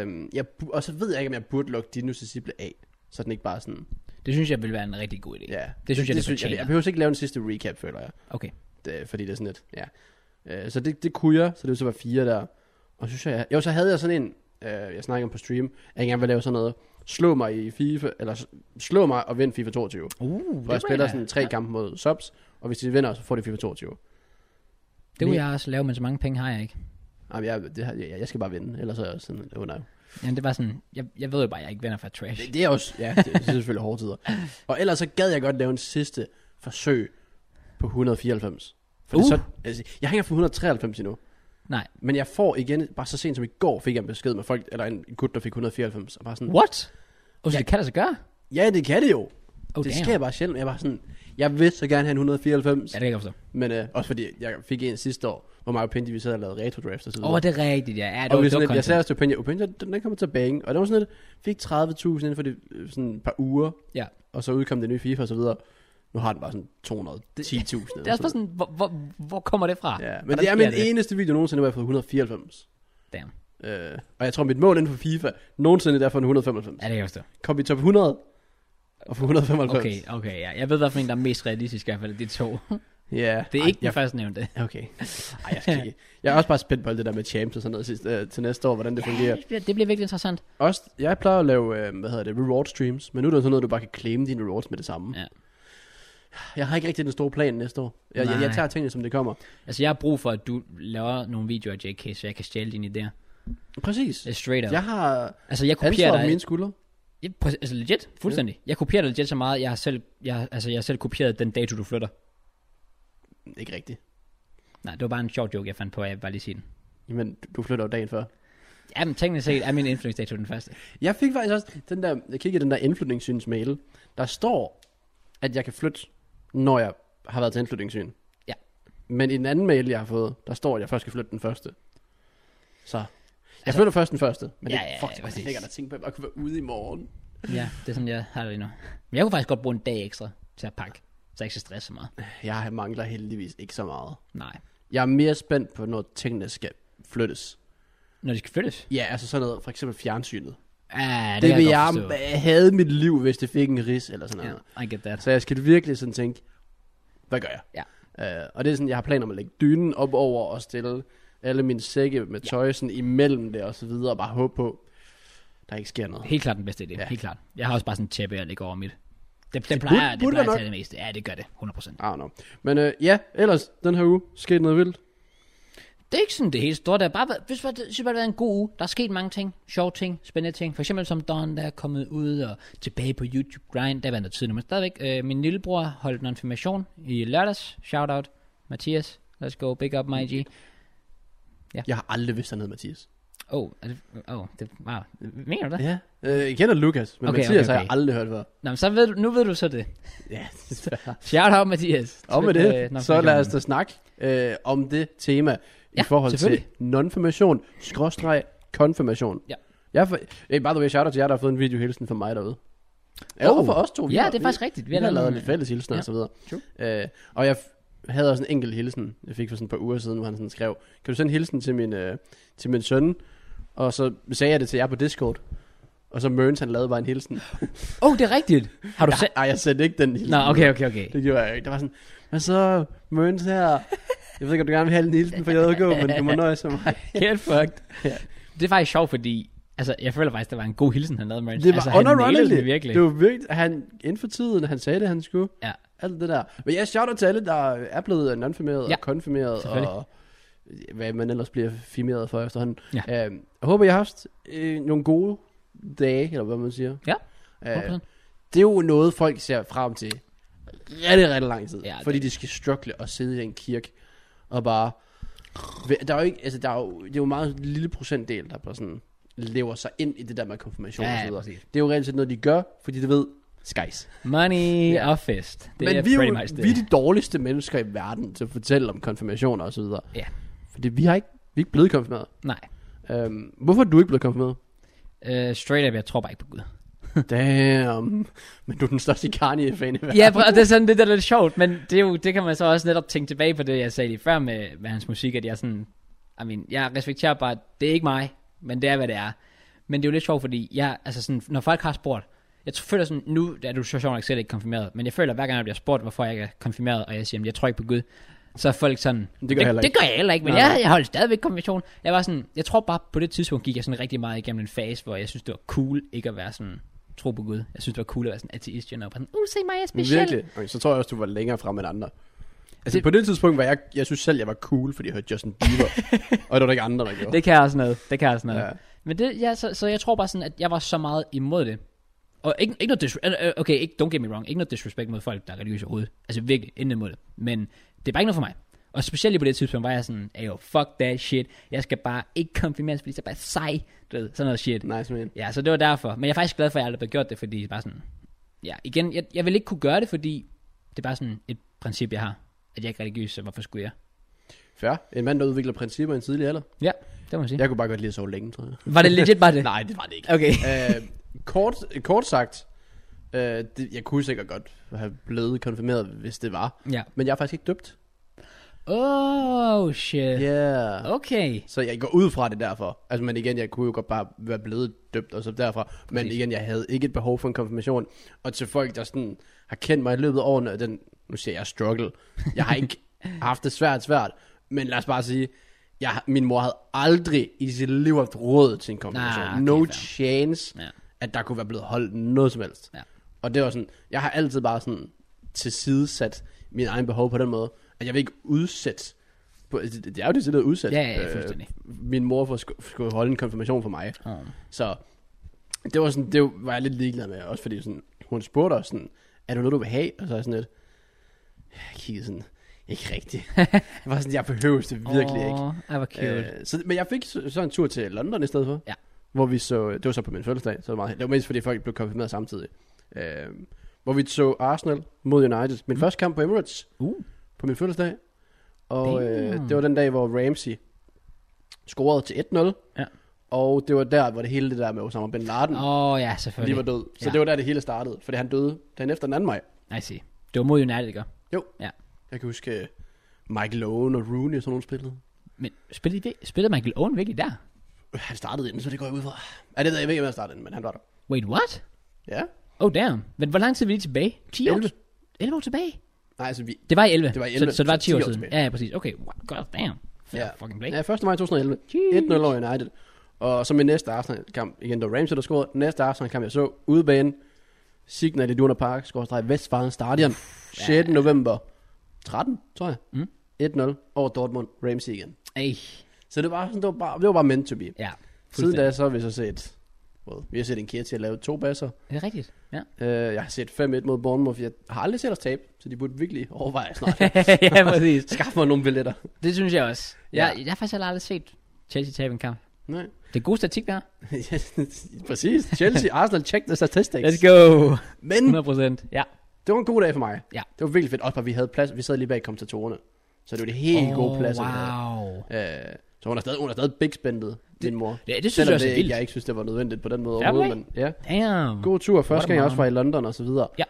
[SPEAKER 2] Øhm, jeg, bu- og så ved jeg ikke, om jeg burde lukke Dinos Disciple af, så den ikke bare sådan,
[SPEAKER 1] Det synes jeg vil være en rigtig god idé.
[SPEAKER 2] ja.
[SPEAKER 1] Det synes jeg, det
[SPEAKER 2] jeg,
[SPEAKER 1] fortjener.
[SPEAKER 2] jeg behøver ikke lave en sidste recap, føler jeg
[SPEAKER 1] Okay.
[SPEAKER 2] det, fordi det er sådan lidt, ja. Øh, så det, det kunne jeg, så det ville så være fire der. Og så synes jeg, jo, så havde jeg sådan en, øh, jeg snakker om på stream, at jeg gerne vil lave sådan noget, slå mig i FIFA, eller s- slå mig og vind FIFA 22.
[SPEAKER 1] Uh,
[SPEAKER 2] For jeg spiller sådan tre kampe mod subs, og hvis de vinder, så får de FIFA 22.
[SPEAKER 1] Det vil jeg også lave, men så mange penge har jeg ikke.
[SPEAKER 2] Jamen, jeg, det, har- jeg, jeg skal bare vinde, ellers er jeg sådan, åh oh, nej.
[SPEAKER 1] Jamen, det var sådan, jeg, jeg ved jo bare, at jeg ikke vinder for trash.
[SPEAKER 2] Det, det er også, ja, det, det er selvfølgelig hårde tider. Og ellers så gad jeg godt lave en sidste forsøg på 194. For
[SPEAKER 1] Uh.
[SPEAKER 2] så, altså, jeg hænger for 193 endnu.
[SPEAKER 1] Nej.
[SPEAKER 2] Men jeg får igen, bare så sent som i går, fik jeg en besked med folk, eller en gut, der fik 194, og bare sådan,
[SPEAKER 1] What? Og så det kan der så gøre?
[SPEAKER 2] ja, det kan det jo.
[SPEAKER 1] Oh,
[SPEAKER 2] det
[SPEAKER 1] damn.
[SPEAKER 2] sker bare sjældent. Jeg var sådan, jeg vil så gerne have en
[SPEAKER 1] Ja,
[SPEAKER 2] 194, ja.
[SPEAKER 1] det kan jeg forstå.
[SPEAKER 2] men øh, også fordi jeg fik en sidste år, hvor mig og Pindy, vi sad og lavede retro drafts og så
[SPEAKER 1] Åh,
[SPEAKER 2] videre.
[SPEAKER 1] oh, det er rigtigt, ja. ja det
[SPEAKER 2] og
[SPEAKER 1] var,
[SPEAKER 2] vi
[SPEAKER 1] det var
[SPEAKER 2] sådan, lidt- jeg
[SPEAKER 1] content.
[SPEAKER 2] sagde også til Pindy, og Pindy, den den kommer til at bange. Og der var sådan lidt, fik 30.000 inden for det, øh, sådan et par uger,
[SPEAKER 1] Ja.
[SPEAKER 2] og så udkom det nye FIFA og så videre. Nu har den bare sådan 210.000.
[SPEAKER 1] Det er også bare sådan, hvor, hvor, hvor kommer det fra?
[SPEAKER 2] Ja, men
[SPEAKER 1] Hvordan
[SPEAKER 2] det er
[SPEAKER 1] Ah, sker
[SPEAKER 2] min eneste video nogensinde, hvor jeg har fået 194.
[SPEAKER 1] Damn.
[SPEAKER 2] Øh, og jeg tror, mit mål inden for FIFA nogensinde det er for en 195.
[SPEAKER 1] Ja, det kan jeg forstå.
[SPEAKER 2] Kom i top 100 og for 195.
[SPEAKER 1] Okay, okay, ja. Jeg ved, hvad for en, der er mest realistisk i hvert fald, af de to.
[SPEAKER 2] Ja. Yeah.
[SPEAKER 1] Det er ikke
[SPEAKER 2] Ej,
[SPEAKER 1] den første nævnte.
[SPEAKER 2] jeg, okay. Ej, jeg skal ikke. Jeg er også bare spændt på alt det der med champs og sådan noget sidst, øh, til næste år, hvordan det fungerer.
[SPEAKER 1] Det bliver, det bliver virkelig interessant.
[SPEAKER 2] Også, jeg plejer at lave, øh, hvad hedder det, reward streams, men nu er det sådan noget, du bare kan claim dine rewards med det samme.
[SPEAKER 1] Ja.
[SPEAKER 2] Jeg har ikke rigtig den store plan næste år. Jeg, jeg,
[SPEAKER 1] Nej.
[SPEAKER 2] jeg tager tingene, som det kommer.
[SPEAKER 1] Altså, jeg har brug for, at du laver nogle videoer, JK, så jeg kan stjæle dine idéer.
[SPEAKER 2] Præcis.
[SPEAKER 1] Øh, Straight up.
[SPEAKER 2] Jeg har
[SPEAKER 1] altså, jeg kopierer
[SPEAKER 2] ansvar på
[SPEAKER 1] dig.
[SPEAKER 2] mine skuldre.
[SPEAKER 1] Ja, præcis, altså legit, fuldstændig. Jeg kopierer dig legit så meget, jeg har selv, jeg, altså, jeg har selv kopieret den dato, du flytter.
[SPEAKER 2] Ikke rigtigt.
[SPEAKER 1] Nej, det var bare en sjov joke, jeg fandt på, jeg vil bare lige sige den.
[SPEAKER 2] Jamen, du- du flytter jo dagen før.
[SPEAKER 1] Jamen, teknisk set er min indflytningsdato den første.
[SPEAKER 2] Jeg fik faktisk også den der, jeg kiggede i den der indflytningssyns mail, der står, at jeg kan flytte, når jeg har været til indflytningssyn.
[SPEAKER 1] Ja.
[SPEAKER 2] Men i den anden mail, jeg har fået, der står, at jeg først skal flytte den første. Så, jeg
[SPEAKER 1] Altså-
[SPEAKER 2] altså, flytter først den første, men
[SPEAKER 1] Ja,
[SPEAKER 2] det,
[SPEAKER 1] ja,
[SPEAKER 2] fuck,
[SPEAKER 1] ja,
[SPEAKER 2] det var
[SPEAKER 1] præcis.
[SPEAKER 2] lækkert at tænke på, at jeg bare kunne være ude i morgen.
[SPEAKER 1] Ja, det er sådan, jeg har det lige nu. Men jeg kunne faktisk godt bruge en dag ekstra til at pakke, så jeg ikke skal stresse så meget.
[SPEAKER 2] Jeg mangler heldigvis ikke så meget.
[SPEAKER 1] Nej.
[SPEAKER 2] Jeg er mere spændt på, når tingene skal flyttes.
[SPEAKER 1] Når de skal flyttes?
[SPEAKER 2] Ja, altså sådan noget, for eksempel fjernsynet.
[SPEAKER 1] Ja,
[SPEAKER 2] Ja,
[SPEAKER 1] det,
[SPEAKER 2] det
[SPEAKER 1] kan
[SPEAKER 2] vil
[SPEAKER 1] jeg,
[SPEAKER 2] jeg,
[SPEAKER 1] godt forstå.
[SPEAKER 2] jeg havde mit liv, hvis det fik en ris eller sådan noget.
[SPEAKER 1] Ja, I get that.
[SPEAKER 2] Så jeg skal virkelig sådan tænke, hvad gør jeg?
[SPEAKER 1] Ja.
[SPEAKER 2] Øh, og det er sådan, jeg har planer om at lægge dynen op over og stille alle mine sække med tøj sådan imellem det og så videre, og bare håbe på, der ikke sker noget.
[SPEAKER 1] Helt klart den bedste idé, ja.
[SPEAKER 2] Ja.
[SPEAKER 1] helt klart. Jeg har også bare sådan en tæppe, jeg ligger over mit. Det, den
[SPEAKER 2] burde-
[SPEAKER 1] plejer, det
[SPEAKER 2] burde
[SPEAKER 1] plejer
[SPEAKER 2] være
[SPEAKER 1] at
[SPEAKER 2] nok.
[SPEAKER 1] tage det meste. Ja, det gør det, 100%.
[SPEAKER 2] I don't know. Men øh, ja, ellers den her uge skete noget vildt.
[SPEAKER 1] Det er ikke sådan det hele store. Der har bare, været- hvis bare, det, synes bare, det har været en god uge. Der er sket mange ting. Sjove ting, spændende ting. For eksempel som Don, der er kommet ud og tilbage på YouTube Grind. Der var noget tid nu, men stadigvæk. Øh, min lillebror holdt en information i lørdags. Shout out. Mathias. Let's go. Big up, my G.
[SPEAKER 2] Jeg har aldrig vidst noget, Mathias.
[SPEAKER 1] Oh, er det, oh, det, wow. Mener du det?
[SPEAKER 2] Ja. Øh, jeg kender Lukas, men
[SPEAKER 1] Okay,
[SPEAKER 2] okay, Mathias
[SPEAKER 1] okay,
[SPEAKER 2] har
[SPEAKER 1] okay.
[SPEAKER 2] jeg aldrig hørt før.
[SPEAKER 1] Nå, men så ved du, nu ved du så det.
[SPEAKER 2] Ja, det er svært.
[SPEAKER 1] Shout out, Mathias.
[SPEAKER 2] Og med
[SPEAKER 1] Tillykke, øh,
[SPEAKER 2] det, så
[SPEAKER 1] non-formationen.
[SPEAKER 2] lad os da snakke øh, om det tema
[SPEAKER 1] Ja,
[SPEAKER 2] i forhold til
[SPEAKER 1] selvfølgelig.
[SPEAKER 2] non-formation, skråstreg, konfirmation.
[SPEAKER 1] Ja.
[SPEAKER 2] Jeg for, hey, by the way, shout out til jer, der har fået en videohilsen fra mig derude. Ja,
[SPEAKER 1] Oh.
[SPEAKER 2] oh, for os to.
[SPEAKER 1] Ja,
[SPEAKER 2] har-
[SPEAKER 1] det er faktisk rigtigt.
[SPEAKER 2] Vi, vi har lavet lidt fælles hilsen
[SPEAKER 1] Ja.
[SPEAKER 2] ja. og så videre. Øh, og jeg f- havde også en enkelt hilsen, jeg fik for sådan et par uger siden, hvor han sådan skrev, kan du sende en hilsen til min, øh, til min søn? Og så sagde jeg det til jer på Discord. Og så Mørns, han lavede bare en hilsen.
[SPEAKER 1] Åh, oh, det er rigtigt. Har du ja.
[SPEAKER 2] Ej, jeg sendte ikke den hilsen.
[SPEAKER 1] Nå, okay, okay, okay.
[SPEAKER 2] Det gjorde jeg ikke. Det var sådan, hvad så, Møns her? Jeg ved ikke, om du gerne vil have en hilsen fra JK, men du må nøjes med mig.
[SPEAKER 1] Helt fucked.
[SPEAKER 2] Ja.
[SPEAKER 1] Det er faktisk sjovt, fordi... Altså, jeg føler faktisk, det var en god hilsen, han lavede, Mørens.
[SPEAKER 2] Det var
[SPEAKER 1] altså,
[SPEAKER 2] altså,
[SPEAKER 1] han nailede det
[SPEAKER 2] underrunning.
[SPEAKER 1] virkelig.
[SPEAKER 2] Det var virkelig, han inden for tiden, han sagde det, han skulle.
[SPEAKER 1] Ja.
[SPEAKER 2] Alt det der. Men jeg shouter til alle, der er blevet nonfirmeret
[SPEAKER 1] Ja,
[SPEAKER 2] og konfirmeret
[SPEAKER 1] selvfølgelig.
[SPEAKER 2] og hvad man ellers bliver firmeret for efterhånden.
[SPEAKER 1] Ja.
[SPEAKER 2] Øhm, jeg håber, I har haft øh, nogle gode dage, eller hvad man siger.
[SPEAKER 1] Ja,
[SPEAKER 2] Øh,
[SPEAKER 1] 100%.
[SPEAKER 2] det er jo noget, folk ser frem til rigtig, rigtig lang tid.
[SPEAKER 1] Ja,
[SPEAKER 2] Ja,
[SPEAKER 1] det-
[SPEAKER 2] fordi de skal struggle og sidde i en kirke og bare... Der er jo ikke, altså der er jo, det er jo en meget lille procentdel, der bare sådan lever sig ind i det der med konfirmation
[SPEAKER 1] Ja,
[SPEAKER 2] og
[SPEAKER 1] ja,
[SPEAKER 2] så videre.
[SPEAKER 1] præcis.
[SPEAKER 2] Det er jo reelt set noget, de gør, fordi de ved, skies.
[SPEAKER 1] Money
[SPEAKER 2] Ja.
[SPEAKER 1] og fest. Det
[SPEAKER 2] Men
[SPEAKER 1] er
[SPEAKER 2] vi er
[SPEAKER 1] pretty
[SPEAKER 2] jo
[SPEAKER 1] much det.
[SPEAKER 2] vi er de dårligste mennesker i verden til at fortælle om konfirmationer og så videre.
[SPEAKER 1] Ja.
[SPEAKER 2] Fordi vi har ikke, vi er ikke blevet konfirmeret.
[SPEAKER 1] Nej.
[SPEAKER 2] Øhm, hvorfor er du ikke blevet konfirmeret?
[SPEAKER 1] Uh, straight up, jeg tror bare ikke på Gud.
[SPEAKER 2] Damn. Men du er den største Kanye-fan i verden.
[SPEAKER 1] ja, prøv, det er sådan det, der er lidt sjovt, men det, er jo, det kan man så også netop tænke tilbage på det, jeg sagde lige før med, med hans musik, at jeg sådan, I mean, jeg respekterer bare, at det er ikke mig, men det er, hvad det er. Men det er jo lidt sjovt, fordi jeg, altså sådan, når folk har spurgt, jeg føler sådan, nu er du så sjovt nok selv ikke konfirmeret, men jeg føler, hver gang jeg bliver spurgt, hvorfor jeg ikke er konfirmeret, og jeg siger, "Jamen, jeg tror ikke på Gud, så er folk sådan,
[SPEAKER 2] Det gør jeg heller
[SPEAKER 1] det,
[SPEAKER 2] ikke."
[SPEAKER 1] det gør jeg heller ikke, men
[SPEAKER 2] Nej.
[SPEAKER 1] jeg, jeg holder stadigvæk konfirmation. Jeg var sådan, jeg tror bare, på det tidspunkt gik jeg sådan rigtig meget igennem en fase, hvor jeg synes, det var cool ikke at være sådan, tro på Gud. Jeg synes, det var cool at være sådan ateist, you know, bare sådan, uh, se mig, jeg er speciel.
[SPEAKER 2] Virkelig? Okay, så tror jeg også, du var længere frem end andre. Altså,
[SPEAKER 1] Det-
[SPEAKER 2] det... på det tidspunkt var jeg, jeg synes selv, jeg var cool, fordi jeg hørte Justin Bieber. og det var der ikke andre, der gjorde.
[SPEAKER 1] Det kan også noget. Det kan også noget. Ja.
[SPEAKER 2] Ja.
[SPEAKER 1] Men det, ja, så, så jeg tror bare sådan, at jeg var så meget imod det. Og ikke, ikke noget disrespect, okay, ikke, don't get me wrong, ikke noget disrespect mod folk, der er religiøse overhovedet. Altså virkelig, inden imod det. Men det er bare ikke noget for mig. Og specielt lige på det tidspunkt var jeg sådan, ayo, fuck that shit, jeg skal bare ikke konfirmeres, fordi så er jeg bare sej, du ved, sådan noget shit.
[SPEAKER 2] Nice, man.
[SPEAKER 1] Ja, så det var derfor. Men jeg er faktisk glad for, at jeg aldrig har gjort det, fordi det er bare sådan... Ja, igen, jeg, jeg vil ikke kunne gøre det, fordi det er bare sådan et princip, jeg har. At jeg ikke er religiøs, så hvorfor skulle jeg?
[SPEAKER 2] Fair. En mand, der udvikler principper i en tidlig alder.
[SPEAKER 1] Ja, det må man sige.
[SPEAKER 2] Jeg kunne bare godt lide at sove længe, tror jeg.
[SPEAKER 1] Var det legit bare det?
[SPEAKER 2] Nej, det var det ikke.
[SPEAKER 1] Okay.
[SPEAKER 2] øh, kort, kort sagt, øh, det, jeg kunne sikkert godt have blevet konfirmeret, hvis det var.
[SPEAKER 1] Ja.
[SPEAKER 2] Men jeg er faktisk ikke døbt.
[SPEAKER 1] Oh, shit.
[SPEAKER 2] Ja. Yeah.
[SPEAKER 1] Okay.
[SPEAKER 2] Så jeg går ud fra det derfor. Altså, men igen, jeg kunne jo godt bare være blevet døbt og så derfra. Men
[SPEAKER 1] Præcis.
[SPEAKER 2] igen, jeg havde ikke et behov for en konfirmation. Og til folk, der sådan har kendt mig i løbet af årene, og den, nu siger jeg struggle. Jeg har ikke haft det svært svært. Men lad os bare sige, jeg, har- min mor havde aldrig i sit liv haft råd til en konfirmation.
[SPEAKER 1] Ah, okay,
[SPEAKER 2] no
[SPEAKER 1] fair.
[SPEAKER 2] chance,
[SPEAKER 1] Ja.
[SPEAKER 2] at der kunne være blevet holdt noget som helst.
[SPEAKER 1] Ja.
[SPEAKER 2] Og det var sådan, jeg har altid bare sådan tilsidesat min egen behov på den måde, at jeg vil ikke udsætte på, det, det er jo det, der udsat.
[SPEAKER 1] Ja, ja, ja, fuldstændig.
[SPEAKER 2] min mor for, skulle, skulle holde en konfirmation for mig.
[SPEAKER 1] Oh.
[SPEAKER 2] Så det var, sådan, det var jeg lidt ligeglad med, også fordi sådan, hun spurgte os sådan, er det noget, du vil have? Og så er jeg sådan lidt, jeg kiggede sådan, ikke rigtigt. jeg var sådan, jeg behøver det virkelig ikke.
[SPEAKER 1] Åh, ej, hvor cute. Øh,
[SPEAKER 2] Øh, så, men jeg fik så, så en tur til London i stedet for.
[SPEAKER 1] Ja.
[SPEAKER 2] Hvor vi så, det var så på min fødselsdag, så det var, meget, det var mest fordi folk blev konfirmeret samtidig. Øh, hvor vi så Arsenal mod United. Min mm. første kamp på Emirates
[SPEAKER 1] uh,
[SPEAKER 2] på min fødselsdag. Og øh,
[SPEAKER 1] Damn.
[SPEAKER 2] det var den dag, hvor Ramsey scorede til 1-0.
[SPEAKER 1] Ja.
[SPEAKER 2] Og det var der, hvor det hele det der med Osama Bin Laden oh,
[SPEAKER 1] Åh, oh, ja,
[SPEAKER 2] lige
[SPEAKER 1] selvfølgelig.
[SPEAKER 2] var død. Så
[SPEAKER 1] Ja.
[SPEAKER 2] ja. det var der, det hele startede. Fordi han døde dagen efter den anden maj.
[SPEAKER 1] I see. Det var mod United, ikke?
[SPEAKER 2] Jo.
[SPEAKER 1] Ja.
[SPEAKER 2] Jeg kan huske øh, Michael Owen og Rooney og sådan nogle spillede.
[SPEAKER 1] Men spillede, I- spillede Michael Owen virkelig der?
[SPEAKER 2] Øh, Han startede inden, så det går jeg ud fra. Ja, det ved jeg, jeg ved ikke, om han startede inden, men han var der.
[SPEAKER 1] Wait, what?
[SPEAKER 2] Ja.
[SPEAKER 1] Oh, damn. Men hvor lang tid er vi lige tilbage? 10 år?
[SPEAKER 2] 11.
[SPEAKER 1] 11 år tilbage?
[SPEAKER 2] Nej, altså vi...
[SPEAKER 1] Det var i 11.
[SPEAKER 2] Det var i 11,
[SPEAKER 1] Så, så det var
[SPEAKER 2] så
[SPEAKER 1] 10 år
[SPEAKER 2] 10 år
[SPEAKER 1] siden.
[SPEAKER 2] tilbage.
[SPEAKER 1] Ja, ja, præcis. Okay, wow, god damn. Fair
[SPEAKER 2] Ja.
[SPEAKER 1] fucking play.
[SPEAKER 2] Ja, 1. maj 2011. 1-0 over United. Og så min næste Arsenal-kamp, igen, der var Ramsey, der scorede. Den næste Arsenal-kamp, jeg så, udebane, Signal i Duna Park, skorstræk Vestfalen Stadion, 6. Ja. november 13, tror jeg.
[SPEAKER 1] Mm.
[SPEAKER 2] 1-0 over Dortmund, Ramsey igen.
[SPEAKER 1] Ej,
[SPEAKER 2] Så det var, sådan, det var, bare, det var bare meant to be.
[SPEAKER 1] ja.
[SPEAKER 2] Siden
[SPEAKER 1] fuldstændig.
[SPEAKER 2] da, så har vi så set, well, vi har set en kære til at lave to basser.
[SPEAKER 1] Er det rigtigt? Ja.
[SPEAKER 2] Uh, jeg har set 5-1 mod Bournemouth. Jeg har aldrig set os tabe, så de burde virkelig overveje snart.
[SPEAKER 1] ja, præcis.
[SPEAKER 2] Skaf mig nogle billetter.
[SPEAKER 1] Det synes jeg også. Jeg,
[SPEAKER 2] Ja.
[SPEAKER 1] jeg har faktisk heller aldrig set Chelsea tabe en kamp.
[SPEAKER 2] Nej.
[SPEAKER 1] Det er god statistik, der.
[SPEAKER 2] Præcis. Chelsea, Arsenal, check the statistics.
[SPEAKER 1] Let's go.
[SPEAKER 2] Men
[SPEAKER 1] 100%. Ja.
[SPEAKER 2] det var en god dag for mig.
[SPEAKER 1] Ja.
[SPEAKER 2] Det var virkelig fedt. Også bare, vi havde plads. Vi sad lige bag kommentatorerne. Så det var det helt oh, gode plads. vi havde.
[SPEAKER 1] Wow.
[SPEAKER 2] Øh, så hun er stadig, hun er stadig big spændet, din mor.
[SPEAKER 1] Ja, det synes
[SPEAKER 2] Selvom
[SPEAKER 1] jeg også er
[SPEAKER 2] det,
[SPEAKER 1] vildt.
[SPEAKER 2] Jeg ikke synes, det var nødvendigt på den måde
[SPEAKER 1] Fair
[SPEAKER 2] overhovedet. Men, ja.
[SPEAKER 1] Damn.
[SPEAKER 2] God tur. Første
[SPEAKER 1] a
[SPEAKER 2] gang jeg
[SPEAKER 1] mom.
[SPEAKER 2] også var i London og så videre.
[SPEAKER 1] Ja.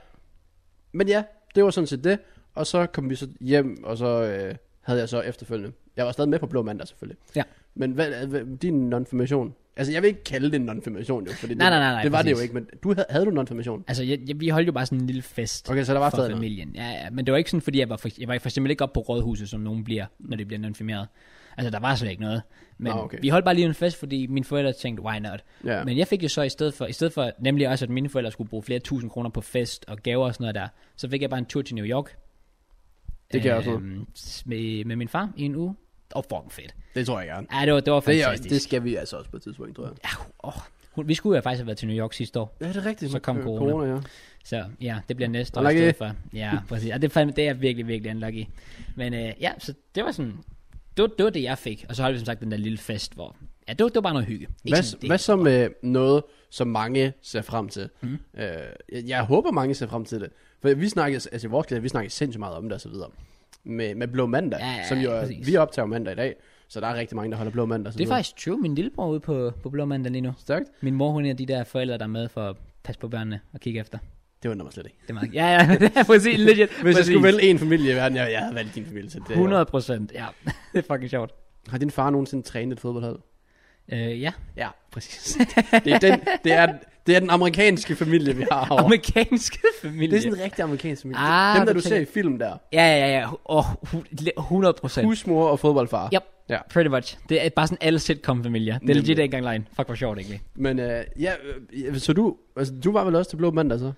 [SPEAKER 2] Men ja, det var sådan set det. Og så kom vi så hjem, og så øh, havde jeg så efterfølgende. Jeg var stadig med på Blå Mandag selvfølgelig.
[SPEAKER 1] Ja.
[SPEAKER 2] Men hvad, hvad, din non-formation? Altså, jeg vil ikke kalde det en non-formation jo, fordi
[SPEAKER 1] Nej,
[SPEAKER 2] det,
[SPEAKER 1] nej, nej, nej,
[SPEAKER 2] det var det jo
[SPEAKER 1] præcis.
[SPEAKER 2] ikke. Men du havde, havde du en non-formation?
[SPEAKER 1] Altså, jeg, jeg, vi holdt jo bare sådan en lille fest
[SPEAKER 2] Okay, så der var
[SPEAKER 1] for
[SPEAKER 2] stadig noget.
[SPEAKER 1] familien. Ja, ja, men det var ikke sådan, fordi jeg var for, jeg var for eksempel ikke op på rådhuset, som nogen bliver, når det bliver nonfirmeret. Altså, der var slet ikke noget. Men
[SPEAKER 2] Nå, Ah, okay.
[SPEAKER 1] vi holdt bare lige en fest, fordi mine forældre tænkte, why not?
[SPEAKER 2] Ja.
[SPEAKER 1] Men jeg fik jo så i stedet for, i stedet for nemlig også, at mine forældre skulle bruge flere tusind kroner på fest og gaver og sådan noget der, så fik jeg bare en tur til New York. Øhm,
[SPEAKER 2] Det kan jeg også
[SPEAKER 1] s- med, med min far i en uge. Åh, oh, fucking fedt.
[SPEAKER 2] Det tror jeg gerne.
[SPEAKER 1] Ja, det var, det var
[SPEAKER 2] Det, er,
[SPEAKER 1] fantastisk.
[SPEAKER 2] det skal vi altså også på et tidspunkt, tror jeg.
[SPEAKER 1] Ja, åh, hun- vi skulle jo faktisk have været til New York sidste år.
[SPEAKER 2] Ja, det er rigtigt.
[SPEAKER 1] Så kom
[SPEAKER 2] Øh,
[SPEAKER 1] corona.
[SPEAKER 2] ja.
[SPEAKER 1] Så ja, det bliver næste år i
[SPEAKER 2] Unlucky.
[SPEAKER 1] stedet for. Ja, præcis. Og det, er fandme, det er jeg virkelig, virkelig unlucky. Men øh, ja, så det var sådan... Det var, det var det, jeg fik. Og så holdt vi som sagt den der lille fest, hvor... Ja, det var, det var bare noget hygge. Ikke sådan,
[SPEAKER 2] Hvad,
[SPEAKER 1] det-
[SPEAKER 2] hvad så med noget, som mange ser frem til? Mm. Øh, jeg, jeg håber, mange ser frem til det. For vi snakkede, altså i vores klasse, vi snakkede sindssygt meget om det og så videre. Med, med Blå Mandag,
[SPEAKER 1] Ja, ja, ja,
[SPEAKER 2] som jo er,
[SPEAKER 1] præcis.
[SPEAKER 2] vi optager mandag i dag, så der er rigtig mange, der holder Blå Mandag. og så
[SPEAKER 1] Det er
[SPEAKER 2] videre.
[SPEAKER 1] faktisk true. Min lillebror ude på, på Blå Mandag lige nu.
[SPEAKER 2] Stærkt.
[SPEAKER 1] Min mor, hun er de der forældre, der er med for at passe på børnene og kigge efter.
[SPEAKER 2] Det undrer mig slet ikke.
[SPEAKER 1] Det er meget... Ja, ja, det er præcis legit.
[SPEAKER 2] Hvis jeg
[SPEAKER 1] præcis.
[SPEAKER 2] skulle vælge en familie i verden, jeg, jeg havde valgt din familie. Så det, er jo-
[SPEAKER 1] 100 procent, ja. det er fucking sjovt.
[SPEAKER 2] Har din far nogensinde trænet et fodboldhold?
[SPEAKER 1] Øh, ja.
[SPEAKER 2] Ja, præcis. det, er den, det, er, det er den amerikanske familie, vi har herovre.
[SPEAKER 1] Amerikanske familie.
[SPEAKER 2] Det er sådan en rigtig amerikansk familie.
[SPEAKER 1] Ah,
[SPEAKER 2] Dem, der
[SPEAKER 1] du
[SPEAKER 2] du ser i
[SPEAKER 1] tænker-
[SPEAKER 2] film der.
[SPEAKER 1] Ja, ja, ja. Åh, hu- 100 procent.
[SPEAKER 2] Husmor og fodboldfar.
[SPEAKER 1] Yep.
[SPEAKER 2] Ja.
[SPEAKER 1] Pretty much. Det er bare sådan alle sitcom-familier. Det er legit ikke engang løgn. Fuck, hvor sjovt egentlig.
[SPEAKER 2] Men øh, ja, øh, så du, altså, du var vel også til Blå Mandag så?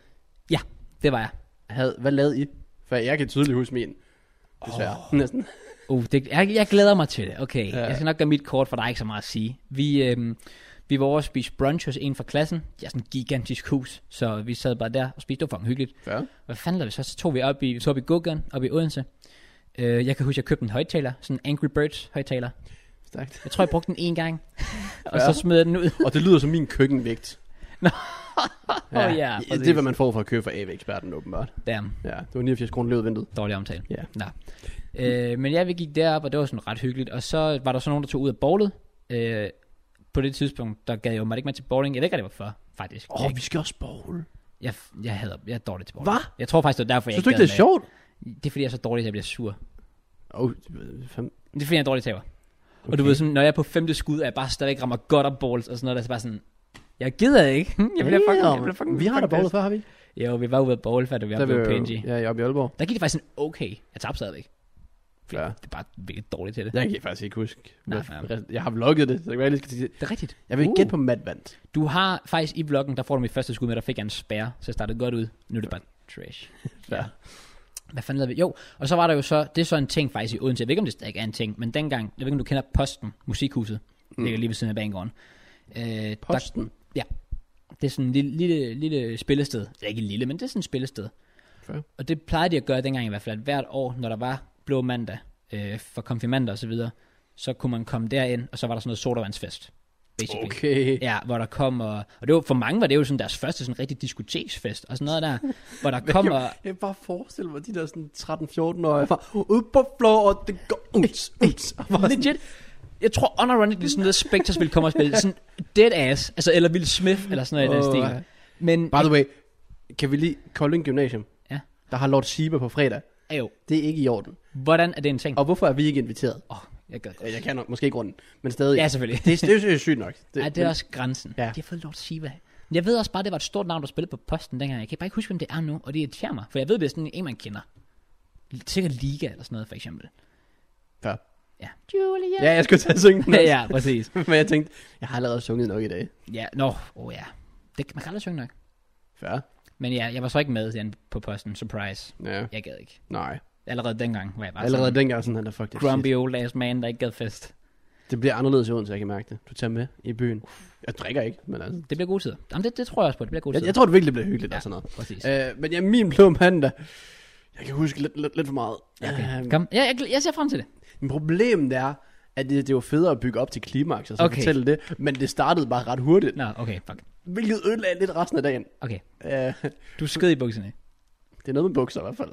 [SPEAKER 1] Ja, det var jeg.
[SPEAKER 2] Havde, hvad lavede I? For jeg kan tydeligt huske min. Desværre. Oh. Næsten.
[SPEAKER 1] Uh, det, jeg, jeg glæder mig til det. Okay, ja.
[SPEAKER 2] Ja.
[SPEAKER 1] jeg skal nok gøre mit kort, for der er ikke så meget at sige. Vi, øhm, vi var over at spise brunch hos en fra klassen. Det er sådan et gigantisk hus, så vi sad bare der og spiste. Det var fucking hyggeligt.
[SPEAKER 2] Ja.
[SPEAKER 1] Hvad fanden lavede vi så? Så tog vi op i, vi tog op i Guggen, op i Odense. Øh, jeg kan huske, jeg købte en højtaler, sådan en Angry Birds højtaler.
[SPEAKER 2] Stærkt.
[SPEAKER 1] Jeg tror, jeg brugte den en gang, og
[SPEAKER 2] Ja.
[SPEAKER 1] så smed jeg den ud.
[SPEAKER 2] Og det lyder som min køkkenvægt.
[SPEAKER 1] Nå. Åh, ja,
[SPEAKER 2] det
[SPEAKER 1] præcis.
[SPEAKER 2] er, hvad man får for at købe fra AV-eksperten, åbenbart.
[SPEAKER 1] Damn.
[SPEAKER 2] Ja, det var 89 kroner løbet vinduet.
[SPEAKER 1] Dårlig omtale.
[SPEAKER 2] Ja.
[SPEAKER 1] Nå. Øh, men ja, vi gik derop, og det var sådan ret hyggeligt. Og så var der så nogen, der tog ud af bowlet. Øh, på det tidspunkt, der gad jeg jo mig ikke med til bowling. Jeg ved ikke, hvad det var for, faktisk.
[SPEAKER 2] Åh,
[SPEAKER 1] Jeg,
[SPEAKER 2] oh, vi skal også bowl.
[SPEAKER 1] jeg, jeg, hader, jeg er dårlig til bowling.
[SPEAKER 2] Hva?
[SPEAKER 1] Jeg tror faktisk, det var derfor, jeg
[SPEAKER 2] Synes du ikke,
[SPEAKER 1] gad
[SPEAKER 2] det er sjovt?
[SPEAKER 1] med. Det er fordi, jeg er så dårlig, at jeg bliver sur.
[SPEAKER 2] Åh, oh, det- fem.
[SPEAKER 1] Det er fordi, jeg er en dårlig taber. Okay. Og du ved sådan, når jeg er på femte skud, er jeg bare stadig rammer godt op balls og sådan noget, der er så bare sådan, jeg gider ikke. jeg bliver fucking, jeg bliver fucking
[SPEAKER 2] Vi har da
[SPEAKER 1] fucking
[SPEAKER 2] bowlet før, har vi? ikke?
[SPEAKER 1] pissed. Jo, vi var ude at bowl, før det var
[SPEAKER 2] Der
[SPEAKER 1] på
[SPEAKER 2] vi jo-
[SPEAKER 1] Penji.
[SPEAKER 2] Ja, jeg er oppe i Aalborg.
[SPEAKER 1] Der gik det faktisk en okay. Jeg tabte stadigvæk. Fordi
[SPEAKER 2] Ja.
[SPEAKER 1] Det er bare virkelig dårligt til det.
[SPEAKER 2] Jeg kan faktisk ikke huske.
[SPEAKER 1] Nej,
[SPEAKER 2] Nej,
[SPEAKER 1] nej.
[SPEAKER 2] jeg har vlogget det, så jeg, lige skal sige.
[SPEAKER 1] Det er rigtigt.
[SPEAKER 2] jeg vil ikke
[SPEAKER 1] Uh.
[SPEAKER 2] gætte på Matt Vandt.
[SPEAKER 1] Du har faktisk i vloggen, der får du mit første skud med, der fik jeg en spærre, så jeg startede godt ud. Nu er det bare trash.
[SPEAKER 2] Ja.
[SPEAKER 1] Hvad fanden lavede vi? Jo, og så var der jo så, det er så en ting faktisk i Odense, jeg ved ikke om det stadig er en ting, men dengang, jeg ved ikke om du kender Posten, musikhuset, mm. ligger lige ved siden af banegården. Øh,
[SPEAKER 2] Posten?
[SPEAKER 1] Der, ja, det er sådan en lille, lille, lille spillested. Det er ikke et lille, men det er sådan et spillested.
[SPEAKER 2] Fair.
[SPEAKER 1] Og det plejede de at gøre dengang i hvert fald, at hvert år, når der var blå mandag øh, for konfirmander og så videre, så kunne man komme derind, og så var der sådan noget sodavandsfest. Basically.
[SPEAKER 2] Okay.
[SPEAKER 1] Ja, hvor der kom, og, og det var, for mange var det jo sådan deres første sådan rigtig diskoteksfest, og sådan noget der, hvor der kom, og,
[SPEAKER 2] Jeg kan bare forestille mig, de der sådan 13-14-årige, bare ud på floor, og det går uts, uts. Og bare sådan,
[SPEAKER 1] Legit. Jeg tror, unironically, sådan noget Spectres ville komme og spille. Sådan dead ass. Altså, eller Will Smith, eller sådan noget i
[SPEAKER 2] Åh,
[SPEAKER 1] den
[SPEAKER 2] ja.
[SPEAKER 1] stil. Men,
[SPEAKER 2] By the way, kan vi lige Kolding Gymnasium?
[SPEAKER 1] Ja.
[SPEAKER 2] Der har Lord Siba på fredag.
[SPEAKER 1] ja, jo,
[SPEAKER 2] Det er ikke i orden.
[SPEAKER 1] hvordan er det en ting?
[SPEAKER 2] Og hvorfor er vi ikke inviteret?
[SPEAKER 1] Åh, oh, jeg gør det.
[SPEAKER 2] Ja, Jeg kan nok, måske ikke grunden, men stadig.
[SPEAKER 1] Ja, selvfølgelig.
[SPEAKER 2] det, det, det er sygt nok.
[SPEAKER 1] Det, Ej, det er også grænsen.
[SPEAKER 2] Ja.
[SPEAKER 1] Ja. De har fået Lord Siva. Men Jeg ved også bare, det var et stort navn, der spillede på posten dengang. Jeg kan bare ikke huske, hvem det er nu, og det irriterer mig. For jeg ved, det er sådan en, man kender. Sikkert Liga eller sådan noget, for eksempel.
[SPEAKER 2] Ja.
[SPEAKER 1] Ja. Julia.
[SPEAKER 2] ja, jeg skulle tage at synge den
[SPEAKER 1] Ja,
[SPEAKER 2] også.
[SPEAKER 1] ja, præcis.
[SPEAKER 2] Men jeg tænkte, jeg har allerede sunget nok i dag.
[SPEAKER 1] Ja, nå, åh oh, ja. Det, man kan aldrig synge nok.
[SPEAKER 2] Før?
[SPEAKER 1] Men ja, jeg var så ikke med den på posten. Surprise.
[SPEAKER 2] Ja.
[SPEAKER 1] Jeg gad ikke.
[SPEAKER 2] Nej.
[SPEAKER 1] Allerede dengang var jeg bare
[SPEAKER 2] Allerede
[SPEAKER 1] sådan,
[SPEAKER 2] dengang sådan, han er fuck det. er
[SPEAKER 1] Altså, grumpy old ass man, der ikke gad fest.
[SPEAKER 2] shit. Det bliver anderledes i Odense, jeg kan mærke det. Du tager med i byen. Jeg drikker ikke, men altså.
[SPEAKER 1] Det bliver gode tider. Jamen, det, det tror jeg også på. Det bliver gode
[SPEAKER 2] Jeg,
[SPEAKER 1] tider.
[SPEAKER 2] jeg tror, det virkelig bliver hyggeligt ja.
[SPEAKER 1] Ja.
[SPEAKER 2] og sådan noget.
[SPEAKER 1] Præcis.
[SPEAKER 2] Øh, men ja, min blå mandag. Jeg kan huske lidt, lidt, lidt for meget.
[SPEAKER 1] Okay.
[SPEAKER 2] Øh,
[SPEAKER 1] Kom. Ja, jeg, glæ- jeg ser frem til det.
[SPEAKER 2] Men problemet er, at det, det var federe at bygge op til klimaks og så okay.
[SPEAKER 1] Okay.
[SPEAKER 2] fortælle det, men det startede bare ret hurtigt,
[SPEAKER 1] Nå, okay, fuck.
[SPEAKER 2] hvilket ødelagde lidt resten af dagen.
[SPEAKER 1] Okay.
[SPEAKER 2] Øh,
[SPEAKER 1] Du skød i bukserne.
[SPEAKER 2] det er noget med bukser i hvert fald,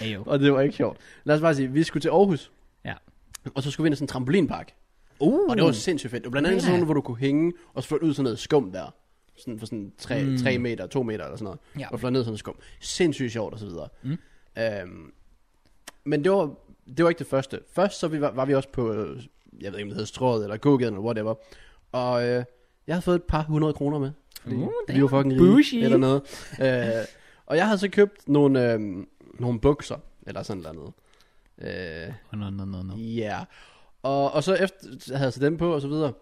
[SPEAKER 1] Ja, jo.
[SPEAKER 2] og det var ikke sjovt. Lad os bare sige, vi skulle til Aarhus,
[SPEAKER 1] Ja.
[SPEAKER 2] og så skulle vi ind i sådan en trampolinpark.
[SPEAKER 1] Uh.
[SPEAKER 2] Og det var sindssygt fedt. Det var blandt andet
[SPEAKER 1] Ja.
[SPEAKER 2] sådan nogle, hvor du kunne hænge og så fløjte ud i sådan noget skum der. Sådan for sådan 3, mm. 3 meter, 2 meter eller sådan noget.
[SPEAKER 1] Ja.
[SPEAKER 2] Og fløjte ned i sådan noget skum. Sindssygt sjovt og så videre. Mm. Øhm, men det var, det var ikke det første. Først så vi var, var vi også på, øh, jeg ved ikke om det hedder Strået eller gågaden eller whatever. Og øh, jeg havde fået et par hundrede kroner med. Fordi
[SPEAKER 1] Uh,
[SPEAKER 2] vi var fucking rige
[SPEAKER 1] Bougie.
[SPEAKER 2] eller noget. Øh, og jeg havde så købt nogle, øh, nogle bukser eller sådan noget. Øh,
[SPEAKER 1] Oh, no, no, no, no.
[SPEAKER 2] Ja. Yeah. Og, og så efter, så havde jeg så dem på, og så videre.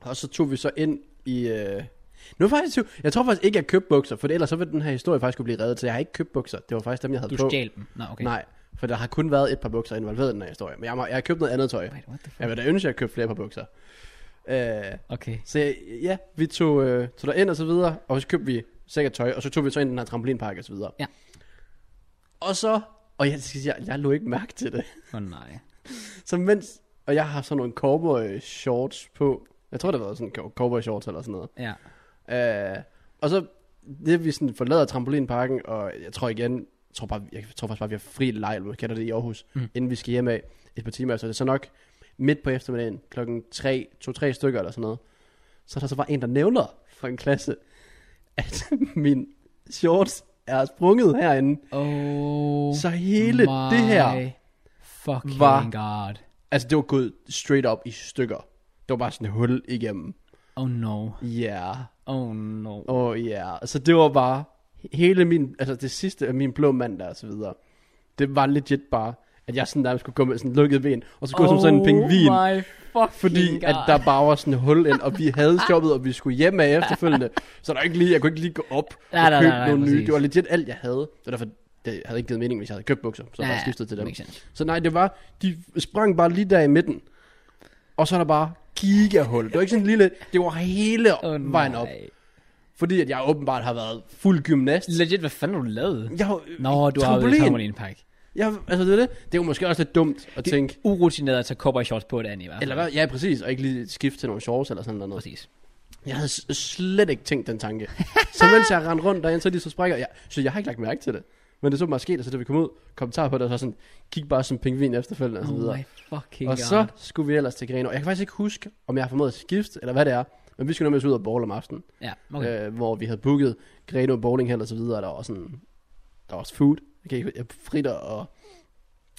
[SPEAKER 2] Og så tog vi så ind i... Øh... Nu er jeg faktisk, i tvivl. jeg tror faktisk ikke, jeg købte bukser, for ellers så ville den her historie faktisk kunne blive reddet, så jeg har ikke købt bukser. Det var faktisk dem, jeg havde
[SPEAKER 1] Du
[SPEAKER 2] på.
[SPEAKER 1] stjal dem. Nå, okay.
[SPEAKER 2] Nej, for der har kun været et par bukser involveret i den her historie. Men jeg, må, jeg har købt noget andet tøj.
[SPEAKER 1] Wait, what the fuck?
[SPEAKER 2] Jeg vil da ønske, at jeg købte flere par bukser. Øh,
[SPEAKER 1] Okay.
[SPEAKER 2] så jeg- ja, vi tog, øh, tog derind og så videre, og så købte vi sikkert tøj, og så tog vi så ind i den her trampolinpark og så videre.
[SPEAKER 1] Ja.
[SPEAKER 2] Og så, og jeg, jeg, jeg lå ikke mærke til det.
[SPEAKER 1] Åh, oh, nej.
[SPEAKER 2] Så mens, og jeg har sådan nogle cowboy shorts på. Jeg tror, det har været sådan cow- cowboy shorts eller sådan noget.
[SPEAKER 1] Ja.
[SPEAKER 2] Øh, og så, det vi sådan forlader trampolinparken, og jeg tror igen, jeg tror, bare, jeg tror faktisk bare, vi har fri leg, eller hvad man kalder det i Aarhus, mm. inden vi skal hjem af et par timer. Så det er så nok midt på eftermiddagen, klokken 3, 2-3 stykker eller sådan noget. Så er der så bare en, der nævner for en klasse, at min shorts er sprunget herinde.
[SPEAKER 1] Oh
[SPEAKER 2] Så hele
[SPEAKER 1] my
[SPEAKER 2] det her
[SPEAKER 1] fucking
[SPEAKER 2] var-
[SPEAKER 1] god.
[SPEAKER 2] Altså, det var gået straight up i stykker. Det var bare sådan et hul igennem.
[SPEAKER 1] Oh no.
[SPEAKER 2] Ja, yeah.
[SPEAKER 1] Oh no.
[SPEAKER 2] åh oh, ja. Yeah. Så det var bare hele min, altså det sidste af min blå mandag og så videre. Det var legit bare, at jeg sådan nærmest skulle gå med sådan lukket ben, og så gå oh som sådan en pingvin.
[SPEAKER 1] Oh my fucking
[SPEAKER 2] Fordi
[SPEAKER 1] god.
[SPEAKER 2] at der bare var sådan et hul ind, og vi havde shoppet, og vi skulle hjem af efterfølgende. Så der var ikke lige, jeg kunne ikke lige gå op
[SPEAKER 1] Nej,
[SPEAKER 2] og
[SPEAKER 1] nej,
[SPEAKER 2] købe
[SPEAKER 1] nej, nej,
[SPEAKER 2] nogle nye.
[SPEAKER 1] præcis.
[SPEAKER 2] Det var legit alt, jeg havde. Så derfor, det havde ikke givet mening, hvis jeg havde købt bukser. Så ja, bare skiftet til dem.
[SPEAKER 1] Makes sense.
[SPEAKER 2] Så nej, det var, de sprang bare lige der i midten. Og så er der bare gigahul. Det var ikke sådan en lille, det var hele
[SPEAKER 1] Oh,
[SPEAKER 2] oh, vejen op.
[SPEAKER 1] nej.
[SPEAKER 2] Fordi at jeg åbenbart har været fuld gymnast.
[SPEAKER 1] Legit, hvad fanden har du lavet?
[SPEAKER 2] Jeg, har-
[SPEAKER 1] Nå, du har jo
[SPEAKER 2] trampolin.
[SPEAKER 1] været i en pakke.
[SPEAKER 2] jeg, altså det er det. Det er jo måske også lidt dumt at det, tænke.
[SPEAKER 1] Urutineret at tage cowboy shorts på et andet i hvert fald.
[SPEAKER 2] Eller hvad? Ja, præcis. Og ikke lige skifte til nogle shorts eller sådan noget.
[SPEAKER 1] Præcis.
[SPEAKER 2] Jeg havde s- slet ikke tænkt den tanke. så mens jeg rendte rundt derinde, så de så sprækker. Jeg, så jeg har ikke lagt mærke til det. Men det så bare sket, og så da vi kom ud, kommentar på det, og så sådan, kig bare som pingvin efterfølgende og så
[SPEAKER 1] Oh
[SPEAKER 2] videre.
[SPEAKER 1] my fucking
[SPEAKER 2] Og
[SPEAKER 1] god.
[SPEAKER 2] så skulle vi ellers til Grenaa. Jeg kan faktisk ikke huske, om jeg har formået at skifte, eller hvad det er. Men vi skulle nemlig ud og bowle om aftenen.
[SPEAKER 1] Ja, okay.
[SPEAKER 2] okay. øh, hvor vi havde booket Greno Bowling Hall og så videre, og der var sådan, der var også food, jeg kan ikke, jeg fritter og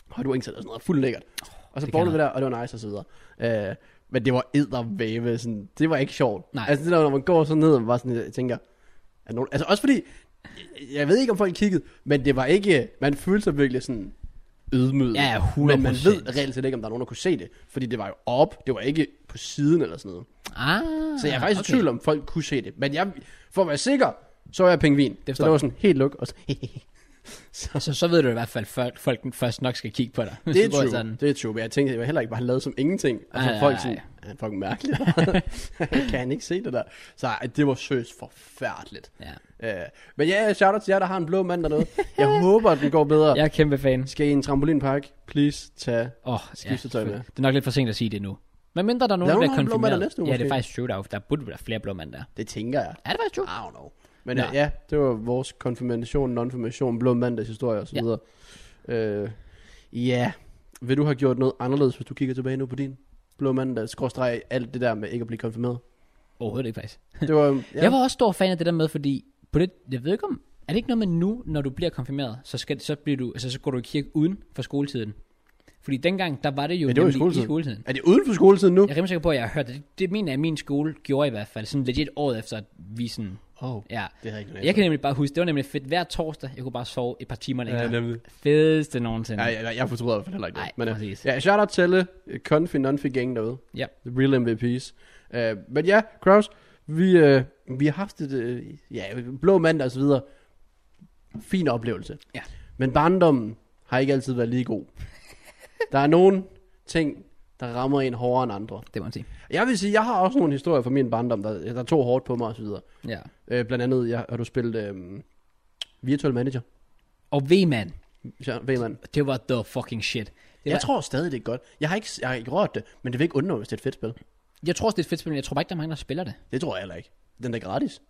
[SPEAKER 2] hotwings eller sådan noget, fuldt lækkert. Og så
[SPEAKER 1] det
[SPEAKER 2] bowlede vi
[SPEAKER 1] kender
[SPEAKER 2] der, og det var nice og så videre. Øh, men det var eddervæve, sådan, det var ikke sjovt.
[SPEAKER 1] Nej.
[SPEAKER 2] Altså det der, når man går sådan ned, og bare sådan, jeg tænker, er nogen, altså også fordi, jeg ved ikke om folk kiggede, men det var ikke, man følte sig virkelig sådan, ydmyget.
[SPEAKER 1] Ja, ja, 100%.
[SPEAKER 2] Men man ved reelt set ikke, om der er nogen, der kunne se det. Fordi det var jo op, det var ikke på siden eller sådan noget.
[SPEAKER 1] ah,
[SPEAKER 2] Så jeg er faktisk okay. i tvivl om, folk kunne se det. Men jeg, for at være sikker, Så var jeg pingvin. Det så
[SPEAKER 1] forstår
[SPEAKER 2] det var
[SPEAKER 1] jeg.
[SPEAKER 2] sådan helt luk. Og så,
[SPEAKER 1] Så, så ved du i hvert fald, folk, folk den først nok skal kigge på dig. hvis
[SPEAKER 2] det er
[SPEAKER 1] du bor
[SPEAKER 2] true.
[SPEAKER 1] sådan.
[SPEAKER 2] Det er true. Men jeg tænkte, jeg var heller ikke bare lavet som ingenting. Og så
[SPEAKER 1] Ej,
[SPEAKER 2] folk
[SPEAKER 1] ej,
[SPEAKER 2] sådan,
[SPEAKER 1] ej.
[SPEAKER 2] er han fucking mærkelig? kan han ikke se det der? Så ej, det var søs forfærdeligt.
[SPEAKER 1] Ja.
[SPEAKER 2] Øh, men ja, shout til jer, der har en blå mand dernede. Jeg håber, at den går bedre.
[SPEAKER 1] Jeg er kæmpe fan.
[SPEAKER 2] Skal I i en trampolinpark? Please tag
[SPEAKER 1] Åh, oh,
[SPEAKER 2] Skiftetøj med.
[SPEAKER 1] Det er nok lidt for sent at sige det nu. Men mindre der er nogen,
[SPEAKER 2] Der
[SPEAKER 1] der bliver
[SPEAKER 2] er nogen, der har en blå mand
[SPEAKER 1] konfirmeret.
[SPEAKER 2] næste uge
[SPEAKER 1] ja, det er
[SPEAKER 2] måske.
[SPEAKER 1] faktisk true, der, er- der burde være flere blå mand der.
[SPEAKER 2] Det tænker jeg.
[SPEAKER 1] Er det faktisk true?
[SPEAKER 2] I don't know. Men øh,
[SPEAKER 1] Nå.
[SPEAKER 2] ja, ja det var vores konfirmation, non-formation, blå mandags historie osv.
[SPEAKER 1] Ja.
[SPEAKER 2] Ja. Øh, ja. Vil du have gjort noget anderledes, hvis du kigger tilbage nu på din blå mandag, skråstreg alt det der med ikke at blive konfirmeret?
[SPEAKER 1] Overhovedet ikke faktisk.
[SPEAKER 2] Det var,
[SPEAKER 1] Ja. Jeg var også stor fan af det der med, fordi på det, jeg ved ikke om, er det ikke noget med nu, når du bliver konfirmeret, så, skal, så, bliver du, altså, så går du i kirke uden for skoletiden? Fordi dengang, der var det jo
[SPEAKER 2] Ja, det var i
[SPEAKER 1] nemlig
[SPEAKER 2] skoletiden.
[SPEAKER 1] i skoletiden.
[SPEAKER 2] Er det uden for skoletiden nu?
[SPEAKER 1] Jeg er rimelig sikker på, at jeg har hørt det. Det, det mener jeg, min skole gjorde i hvert fald. Sådan legit året efter, at vi sådan...
[SPEAKER 2] Oh,
[SPEAKER 1] Ja.
[SPEAKER 2] det har ikke noget.
[SPEAKER 1] Jeg kan nemlig bare huske, det var nemlig fedt. Hver torsdag, jeg kunne bare sove et par timer længere.
[SPEAKER 2] Ja, nemlig.
[SPEAKER 1] Fedeste nogensinde.
[SPEAKER 2] Ja, ja, ja, jeg fortryder i hvert fald heller ikke det.
[SPEAKER 1] Ej,
[SPEAKER 2] men, øh,
[SPEAKER 1] præcis.
[SPEAKER 2] ja, shout out til alle øh, Confi Nonfi Gang derude.
[SPEAKER 1] Ja.
[SPEAKER 2] The real MVP's. Uh, men ja, Kraus, vi, uh, vi har haft et, uh, ja, blå mandag og så videre. Fin oplevelse.
[SPEAKER 1] Ja.
[SPEAKER 2] Men barndommen har ikke altid været lige god. der er nogle ting, der rammer en hårdere end andre.
[SPEAKER 1] Det må man sige.
[SPEAKER 2] Jeg vil sige, jeg har også nogle historier fra min barndom, der, der tog hårdt på mig og så videre.
[SPEAKER 1] Ja.
[SPEAKER 2] Uh, blandt andet, jeg, har du spillet uh, Virtual Manager?
[SPEAKER 1] Og V-man,
[SPEAKER 2] Ja, ved man.
[SPEAKER 1] det var the fucking shit. Det var,
[SPEAKER 2] Jeg tror stadig, det er godt. Jeg har, ikke, jeg har ikke rørt det, men det vil ikke undre, mig, hvis det er et fedt spil.
[SPEAKER 1] jeg tror også, det er et fedt spil, men jeg tror bare ikke, der er mange, der spiller det.
[SPEAKER 2] Det tror jeg heller ikke. Den er gratis.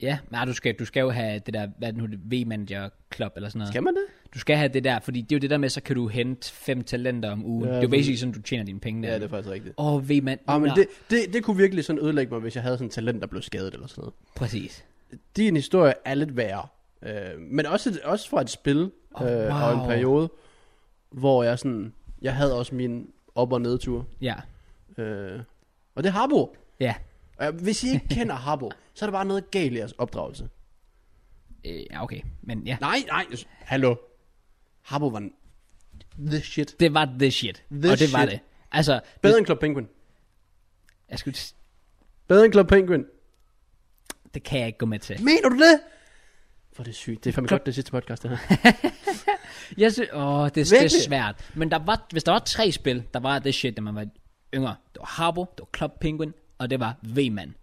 [SPEAKER 1] Ja, men ah, du skal, du skal jo have det der, hvad er det nu, det V-manager club eller sådan noget.
[SPEAKER 2] Kan man det?
[SPEAKER 1] Du skal have det der, fordi det er jo det der med, så kan du hente fem talenter om ugen.
[SPEAKER 2] Ja,
[SPEAKER 1] Ja, det er jo basically sådan, du tjener dine penge der.
[SPEAKER 2] Ja, det er faktisk rigtigt.
[SPEAKER 1] Åh, oh, V-man.
[SPEAKER 2] Ah, men
[SPEAKER 1] Nå,
[SPEAKER 2] det, det, det kunne virkelig sådan ødelægge mig, hvis jeg havde sådan et talent, der blev skadet eller sådan noget.
[SPEAKER 1] Præcis.
[SPEAKER 2] Din historie er lidt værre. Øh, men også, et- også fra et spil øh,
[SPEAKER 1] Oh, wow.
[SPEAKER 2] og en periode, hvor jeg sådan... Jeg havde også min op- og nedtur.
[SPEAKER 1] Ja.
[SPEAKER 2] Øh, og det er Harbo.
[SPEAKER 1] Ja.
[SPEAKER 2] Øh, hvis I ikke kender Harbo, så er der bare noget galt i jeres opdragelse.
[SPEAKER 1] Øh, ja, okay. Men ja.
[SPEAKER 2] Nej, nej. s- Hallo. Harbo var en... The shit.
[SPEAKER 1] Det var the shit.
[SPEAKER 2] The
[SPEAKER 1] og det var
[SPEAKER 2] shit.
[SPEAKER 1] det. Altså,
[SPEAKER 2] Bedre end Club Penguin.
[SPEAKER 1] jeg skulle, s-
[SPEAKER 2] Bedre end Club Penguin.
[SPEAKER 1] det kan jeg ikke gå med til.
[SPEAKER 2] Mener du det? For det er sygt. Det er fandme godt det sidste podcast, det her.
[SPEAKER 1] Jeg synes, åh, det, det er
[SPEAKER 2] Virkelig?
[SPEAKER 1] svært. Men der var, hvis der var tre spil, der var det shit, da man var yngre. Det var Harbo, det var Club Penguin, og det var V-man.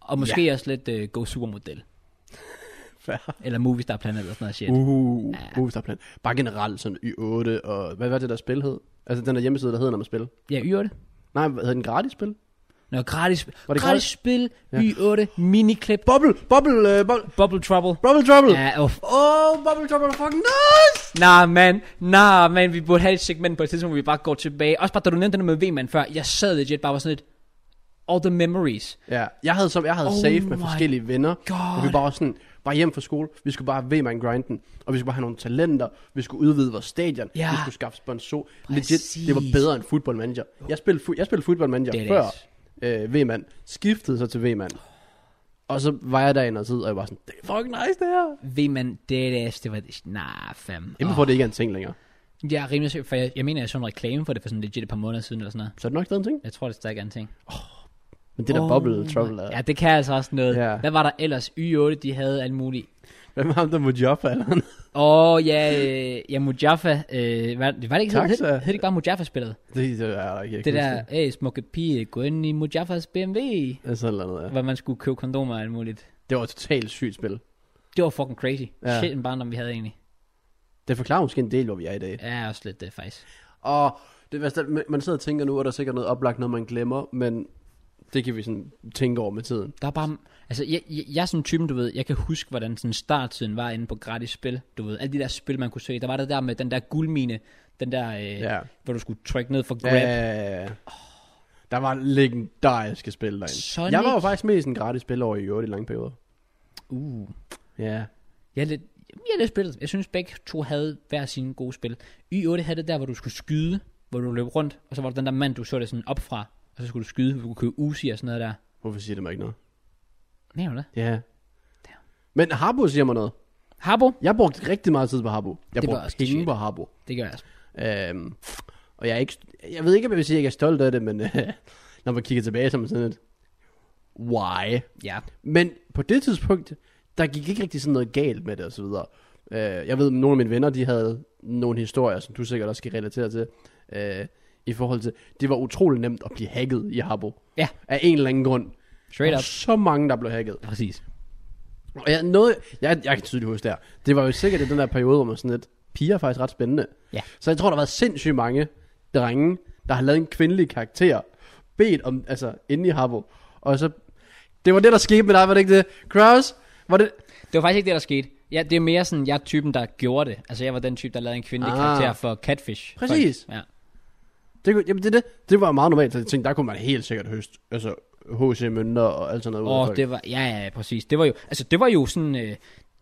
[SPEAKER 1] Og måske ja. også lidt uh, Go Supermodel.
[SPEAKER 2] Fair.
[SPEAKER 1] Eller Movistar Planet eller sådan noget shit. Uh.
[SPEAKER 2] Uh, ja. Movistar Plan. Bare generelt sådan Y8 og... Hvad var det der spil hed? Altså den der hjemmeside, der hedder, når man spiller.
[SPEAKER 1] Ja, Y8.
[SPEAKER 2] Nej, hvad hedder den gratis spil?
[SPEAKER 1] Nå, gratis, det
[SPEAKER 2] Var det
[SPEAKER 1] gratis, gratis spil, ja. Y8, miniklip,
[SPEAKER 2] Bubble! Bubble! Uh, bubble,
[SPEAKER 1] Bubble Trouble.
[SPEAKER 2] bubble Trouble! Ja.
[SPEAKER 1] Ja, oh.
[SPEAKER 2] Oh, Bubble Trouble er fucking nice!
[SPEAKER 1] Nah, man. Nah, man. Vi burde have et segment på et tidspunkt, hvor vi bare går tilbage. Også bare, da du nævnte den med V-man før. Jeg sad legit bare var sådan lidt... All the memories.
[SPEAKER 2] Ja, jeg havde, som, jeg havde
[SPEAKER 1] Oh
[SPEAKER 2] oh save med
[SPEAKER 1] my
[SPEAKER 2] forskellige venner.
[SPEAKER 1] God.
[SPEAKER 2] Og vi var også sådan, bare hjem fra skole. Vi skulle bare ved man grinden. Og vi skulle bare have nogle talenter. Vi skulle udvide vores stadion.
[SPEAKER 1] Ja.
[SPEAKER 2] Vi skulle skaffe sponsor.
[SPEAKER 1] Præcis.
[SPEAKER 2] Legit, det var bedre end Football Manager. Jeg spillede, fu- jeg spillede Football Manager
[SPEAKER 1] Det altså. er det
[SPEAKER 2] før øh, V-mand. Skiftede så til V-mand. Og så var jeg der i noget tid, og jeg var sådan, det er fucking nice det her.
[SPEAKER 1] V-man, det er det, var det. Nah, fam.
[SPEAKER 2] Inden for det ikke er en ting længere.
[SPEAKER 1] Åh, Jeg er rimelig sikker, for jeg, jeg mener, jeg så en reklame for det for sådan legit et par måneder siden eller sådan noget.
[SPEAKER 2] Så er det nok stadig en ting.
[SPEAKER 1] Jeg tror, det stadig er en ting.
[SPEAKER 2] Men det der
[SPEAKER 1] Oh
[SPEAKER 2] bubble
[SPEAKER 1] my-
[SPEAKER 2] trouble er...
[SPEAKER 1] Ja, det kan altså også noget.
[SPEAKER 2] Ja.
[SPEAKER 1] Hvad var der ellers? Y8, de havde alt muligt.
[SPEAKER 2] Hvad med ham, der må jobbe eller noget?
[SPEAKER 1] Åh, oh, ja, øh, ja, Mujaffa. Øh, var, var det ikke, hed, hed,
[SPEAKER 2] Taxa.
[SPEAKER 1] hed det ikke bare Mujaffa-spillet?
[SPEAKER 2] Det, det er jeg kan ikke
[SPEAKER 1] Det der,
[SPEAKER 2] huske
[SPEAKER 1] hey, smukke pige, gå ind i Mujaffas BMW.
[SPEAKER 2] Det er sådan noget, ja.
[SPEAKER 1] Hvor man skulle købe kondomer og alt muligt.
[SPEAKER 2] Det var et totalt sygt spil.
[SPEAKER 1] Det var fucking crazy.
[SPEAKER 2] Ja.
[SPEAKER 1] Shit en barndom, vi havde egentlig.
[SPEAKER 2] Det forklarer måske en del, hvor vi er i dag.
[SPEAKER 1] Ja, også lidt øh, det, faktisk.
[SPEAKER 2] Og det værste, er, man- man sidder og tænker nu, at der er sikkert noget oplagt, noget man glemmer, men det kan vi sådan tænke over med tiden.
[SPEAKER 1] Der er bare... Altså, jeg, jeg, jeg er sådan en type, du ved, jeg kan huske, hvordan sådan starttiden var inde på gratis spil. Du ved, alle de der spil, man kunne se. Der var det der med den der guldmine, den der, øh,
[SPEAKER 2] Ja.
[SPEAKER 1] hvor du skulle trykke ned for grab. Ja.
[SPEAKER 2] Ja. Der var legendariske spil derinde.
[SPEAKER 1] Sonic.
[SPEAKER 2] Jeg var jo faktisk mest en gratis spil over i øvrigt i lange perioder.
[SPEAKER 1] Uh.
[SPEAKER 2] Ja.
[SPEAKER 1] Jeg er lidt, jeg er lidt spillet. Jeg synes, begge to havde hver sine gode spil. Y8 havde det der, hvor du skulle skyde, hvor du løb rundt, og så var der den der mand, du så det sådan op fra, og så skulle du skyde, hvor du kunne købe Uzi og sådan noget der.
[SPEAKER 2] Hvorfor siger det mig ikke noget?
[SPEAKER 1] Mener du det?
[SPEAKER 2] Ja.
[SPEAKER 1] Damn.
[SPEAKER 2] Men Harbo siger mig noget.
[SPEAKER 1] Harbo?
[SPEAKER 2] Jeg brugte rigtig meget tid på Harbo. Jeg
[SPEAKER 1] Det var
[SPEAKER 2] brugte
[SPEAKER 1] også
[SPEAKER 2] penge
[SPEAKER 1] shit.
[SPEAKER 2] på Harbo.
[SPEAKER 1] Det gør jeg altså.
[SPEAKER 2] Øhm, og jeg, er ikke, jeg ved ikke, om jeg vil sige, at jeg er stolt af det, men øh, når man kigger tilbage, så er man sådan lidt, why?
[SPEAKER 1] Ja.
[SPEAKER 2] Men på det tidspunkt, der gik ikke rigtig sådan noget galt med det og så videre. Øh, jeg ved, nogle af mine venner, de havde nogle historier, som du sikkert også kan relatere til, øh, i forhold til, det var utrolig nemt at blive hacket i Habbo.
[SPEAKER 1] Ja.
[SPEAKER 2] Af en eller anden grund. Der
[SPEAKER 1] Straight
[SPEAKER 2] var
[SPEAKER 1] up.
[SPEAKER 2] så mange, der blev hacket.
[SPEAKER 1] Præcis.
[SPEAKER 2] Og jeg, noget, jeg, jeg kan tydeligt huske der. Det var jo sikkert i den der periode, hvor man sådan lidt, piger er faktisk ret spændende.
[SPEAKER 1] Ja.
[SPEAKER 2] Så jeg tror, der har været sindssygt mange drenge, der har lavet en kvindelig karakter, bedt om, altså, inde i Habbo. Og så, det var det, der skete med dig, var det ikke det? Kraus, var det,
[SPEAKER 1] Det var faktisk ikke det, der skete. Ja, det er mere sådan, jeg er typen, der gjorde det. Altså, jeg var den type, der lavede en kvindelig
[SPEAKER 2] Ah.
[SPEAKER 1] ah. karakter for Catfish.
[SPEAKER 2] Præcis.
[SPEAKER 1] Folk. Ja.
[SPEAKER 2] det, kunne- jamen det, er det, det var meget normalt, så jeg tænkte, der kunne man helt sikkert høste, altså, HC-mønter og alt sådan noget. ud af
[SPEAKER 1] Og
[SPEAKER 2] folk.
[SPEAKER 1] det var, ja, ja, ja, præcis. Det var jo, altså, det var jo sådan, øh,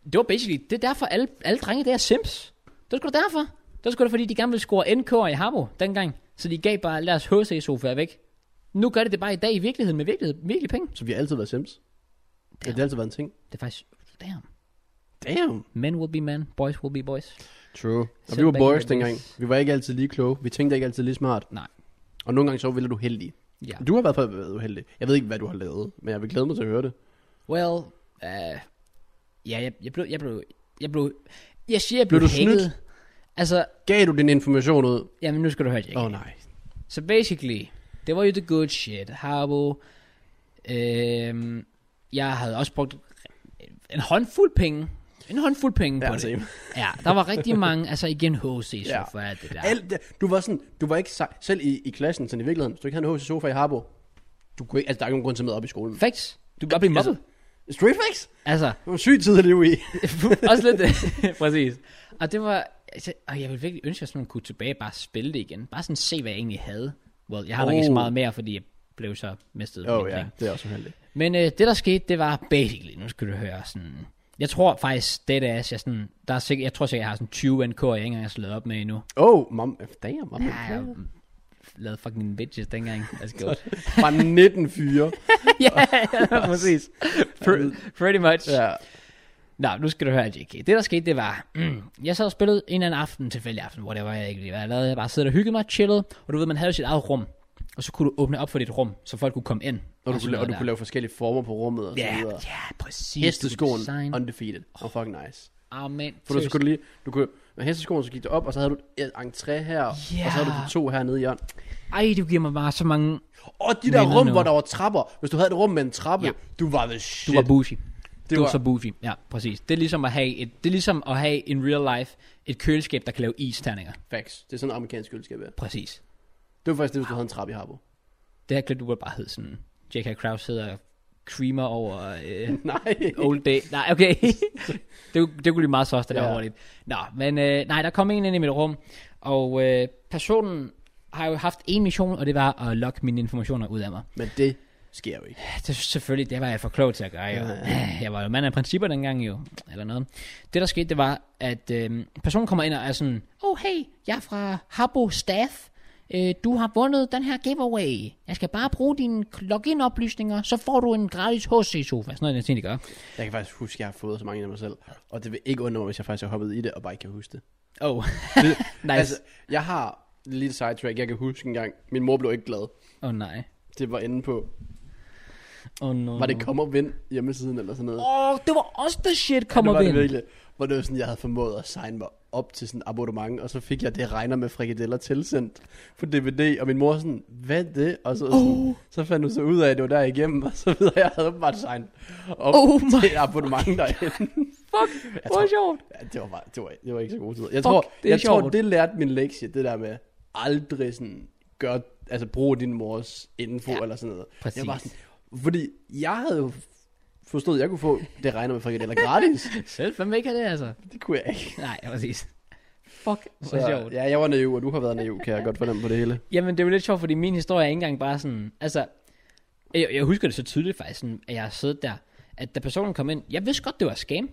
[SPEAKER 1] det var basically, det er derfor, alle, alle drenge der er Sims. Det var sgu da derfor. Det var sgu da, fordi de gerne ville score NK'er i Harbo dengang. Så de gav bare alle deres HC-sofaer væk. Nu gør de det bare i dag i virkeligheden med virkelighed, virkelig penge.
[SPEAKER 2] Så vi har altid været sims. Ja, det har altid været en ting.
[SPEAKER 1] Det er faktisk, damn.
[SPEAKER 2] Damn.
[SPEAKER 1] Men will be men, boys will be boys.
[SPEAKER 2] True. Og vi
[SPEAKER 1] Selv
[SPEAKER 2] var
[SPEAKER 1] back in
[SPEAKER 2] boys
[SPEAKER 1] the
[SPEAKER 2] dengang.
[SPEAKER 1] days.
[SPEAKER 2] Vi var ikke altid lige kloge. Vi tænkte ikke altid lige smart.
[SPEAKER 1] Nej.
[SPEAKER 2] Og nogle gange så var vi lidt uheldige.
[SPEAKER 1] Ja.
[SPEAKER 2] Du har i hvert fald været uheldig. Jeg ved ikke, hvad du har lavet, men jeg vil glæde mig til at høre det.
[SPEAKER 1] Well, uh, ja, jeg, jeg, blev, jeg blev, jeg blev, jeg siger, jeg
[SPEAKER 2] Blev
[SPEAKER 1] blev,
[SPEAKER 2] du
[SPEAKER 1] hacket.
[SPEAKER 2] snydt?
[SPEAKER 1] Altså,
[SPEAKER 2] Gav du din information ud?
[SPEAKER 1] jamen nu skal du høre, Jake.
[SPEAKER 2] Åh oh, nej.
[SPEAKER 1] Så basically, det var jo the good shit. Harbo, øhm, jeg havde også brugt en håndfuld penge. En håndfuld penge
[SPEAKER 2] Ja,
[SPEAKER 1] på
[SPEAKER 2] same.
[SPEAKER 1] det. Ja, der var rigtig mange, altså igen HC, så for alt det der.
[SPEAKER 2] Alt det, du var sådan, du var ikke sej, selv i, i klassen, sådan i virkeligheden, hvis du ikke havde en HC sofa i Harbo, du kunne ikke, altså der er ikke nogen grund til at møde op i skolen.
[SPEAKER 1] Facts. Du kan bare blive mobbet.
[SPEAKER 2] Straight facts?
[SPEAKER 1] Altså,
[SPEAKER 2] Det var en syg tid at leve i.
[SPEAKER 1] også lidt Præcis. Og det var, altså, og jeg ville virkelig ønske, at man kunne tilbage og bare spille det igen. Bare sådan se, hvad jeg egentlig havde. Well, jeg har nok ikke så
[SPEAKER 2] Oh.
[SPEAKER 1] meget mere, fordi jeg blev så mistet.
[SPEAKER 2] Åh oh,
[SPEAKER 1] min
[SPEAKER 2] ja,
[SPEAKER 1] penge.
[SPEAKER 2] det er også uheldigt.
[SPEAKER 1] Men øh, det der skete, det var basically, nu skal du høre sådan, jeg tror faktisk, det der er, jeg, sådan, der er sikkert, jeg tror sikkert, jeg har sådan 20 NK, jeg ikke engang har slået op med endnu.
[SPEAKER 2] Oh, mom, damn, mom.
[SPEAKER 1] Ja, jeg har lavet fucking bitches dengang. Let's go.
[SPEAKER 2] Fra 19 fyre.
[SPEAKER 1] ja, ja, præcis. Pre- pretty much.
[SPEAKER 2] ja.
[SPEAKER 1] Nå, nu skal du høre, JK. Det der skete, det var, mm, jeg sad og spillede en eller anden aften, tilfældig aften, hvor det var, jeg ikke lige hvad jeg lavede. Jeg bare sad og hyggede mig, chillede, og du ved, man havde jo sit eget rum. Og så kunne du åbne op for dit rum, så folk kunne komme ind.
[SPEAKER 2] Og du,
[SPEAKER 1] sådan
[SPEAKER 2] kunne, la- og
[SPEAKER 1] noget
[SPEAKER 2] du
[SPEAKER 1] der.
[SPEAKER 2] kunne lave forskellige former på rummet og så
[SPEAKER 1] Ja,
[SPEAKER 2] videre.
[SPEAKER 1] ja, præcis.
[SPEAKER 2] Hesteskoen,
[SPEAKER 1] Design.
[SPEAKER 2] undefeated. Og oh, fucking nice.
[SPEAKER 1] Amen.
[SPEAKER 2] For du så kunne du lige, du kunne, med hesteskoen så gik du op, og så havde du et entré her, og så havde du
[SPEAKER 1] Ja.
[SPEAKER 2] de to her nede i hjørnet.
[SPEAKER 1] Ej, du giver mig bare så mange...
[SPEAKER 2] Og de der
[SPEAKER 1] Minder
[SPEAKER 2] rum,
[SPEAKER 1] nu.
[SPEAKER 2] hvor der var trapper. Hvis du havde et rum med en trappe,
[SPEAKER 1] Ja.
[SPEAKER 2] ja. du var the shit.
[SPEAKER 1] Du var bougie.
[SPEAKER 2] Det
[SPEAKER 1] Det du var...
[SPEAKER 2] var-
[SPEAKER 1] så bougie. Ja, præcis. Det er ligesom at have et, det er ligesom at have in real life et køleskab, der kan lave isterninger.
[SPEAKER 2] Facts. Det er sådan en amerikansk køleskab, ja.
[SPEAKER 1] Præcis.
[SPEAKER 2] Det var faktisk det, hvis du havde en trappe i Harbo.
[SPEAKER 1] Det her klip, du burde bare hedde sådan... J.K. Kraus hedder creamer over øh,
[SPEAKER 2] Nej.
[SPEAKER 1] old day. Nej, okay. det, det kunne blive meget sås, det der
[SPEAKER 2] Ja.
[SPEAKER 1] ja. hurtigt. Nå, men øh, nej, der kom en ind i mit rum, og øh, personen har jo haft en mission, og det var at lokke mine informationer ud af mig.
[SPEAKER 2] Men det sker jo ikke.
[SPEAKER 1] Det, Altså, selvfølgelig, det var jeg for klog til at gøre, jo. Jeg var jo mand af principper dengang, jo. Eller noget. Det, der skete, det var, at øh, personen kommer ind og er sådan, oh hey, jeg er fra Habbo Staff. Øh, du har vundet den her giveaway. Jeg skal bare bruge dine login-oplysninger, så får du en gratis HC-sofa. Sådan noget, jeg tænkte, gør.
[SPEAKER 2] Jeg kan faktisk huske, at jeg har fået så mange af mig selv. Og det vil ikke undre mig, hvis jeg faktisk har hoppet i det, og bare ikke kan huske det.
[SPEAKER 1] Oh,
[SPEAKER 2] det
[SPEAKER 1] Nice.
[SPEAKER 2] Altså, jeg har en lille sidetrack. Jeg kan huske engang, min mor blev ikke glad.
[SPEAKER 1] oh nej.
[SPEAKER 2] Det var inde på,
[SPEAKER 1] Oh no.
[SPEAKER 2] var det kom og vind hjemmesiden eller sådan noget.
[SPEAKER 1] Åh, oh, det var også the shit,
[SPEAKER 2] Ja, det
[SPEAKER 1] kommer
[SPEAKER 2] var
[SPEAKER 1] ja,
[SPEAKER 2] det virkelig. Hvor det var sådan, jeg havde formået at signe mig op til sådan en abonnement, og så fik jeg det regner med frikadeller tilsendt på DVD, og min mor sådan, hvad er det? Og så,
[SPEAKER 1] Oh.
[SPEAKER 2] sådan, så fandt hun så ud af, at det var der igennem, og så videre. Jeg havde bare signet op
[SPEAKER 1] Oh my
[SPEAKER 2] til et abonnement derinde.
[SPEAKER 1] Fuck,
[SPEAKER 2] Jeg
[SPEAKER 1] hvor
[SPEAKER 2] tror-
[SPEAKER 1] sjovt.
[SPEAKER 2] Ja, det var, bare, det var, det var ikke så god tid.
[SPEAKER 1] Fuck,
[SPEAKER 2] Jeg tror,
[SPEAKER 1] det er
[SPEAKER 2] jeg tror,
[SPEAKER 1] sjovt.
[SPEAKER 2] det lærte min lektie, det der med aldrig sådan, gør, altså bruge din mors info
[SPEAKER 1] Ja,
[SPEAKER 2] ja, eller sådan noget.
[SPEAKER 1] præcis.
[SPEAKER 2] Jeg var sådan, fordi jeg havde jo forstået, at jeg kunne få det regner med frikadeller gratis.
[SPEAKER 1] Selv, hvem vil ikke have det, altså?
[SPEAKER 2] det kunne jeg ikke.
[SPEAKER 1] Nej, præcis. Fuck, hvor
[SPEAKER 2] Så,
[SPEAKER 1] sjovt.
[SPEAKER 2] ja, jeg var naiv, og du har været naiv, kan jeg godt fornemme på det hele.
[SPEAKER 1] Jamen, det er jo lidt sjovt, fordi min historie er ikke engang bare sådan... Altså, jeg, jeg husker det så tydeligt faktisk, sådan, at jeg har siddet der, at da personen kom ind, jeg vidste godt, det var scam.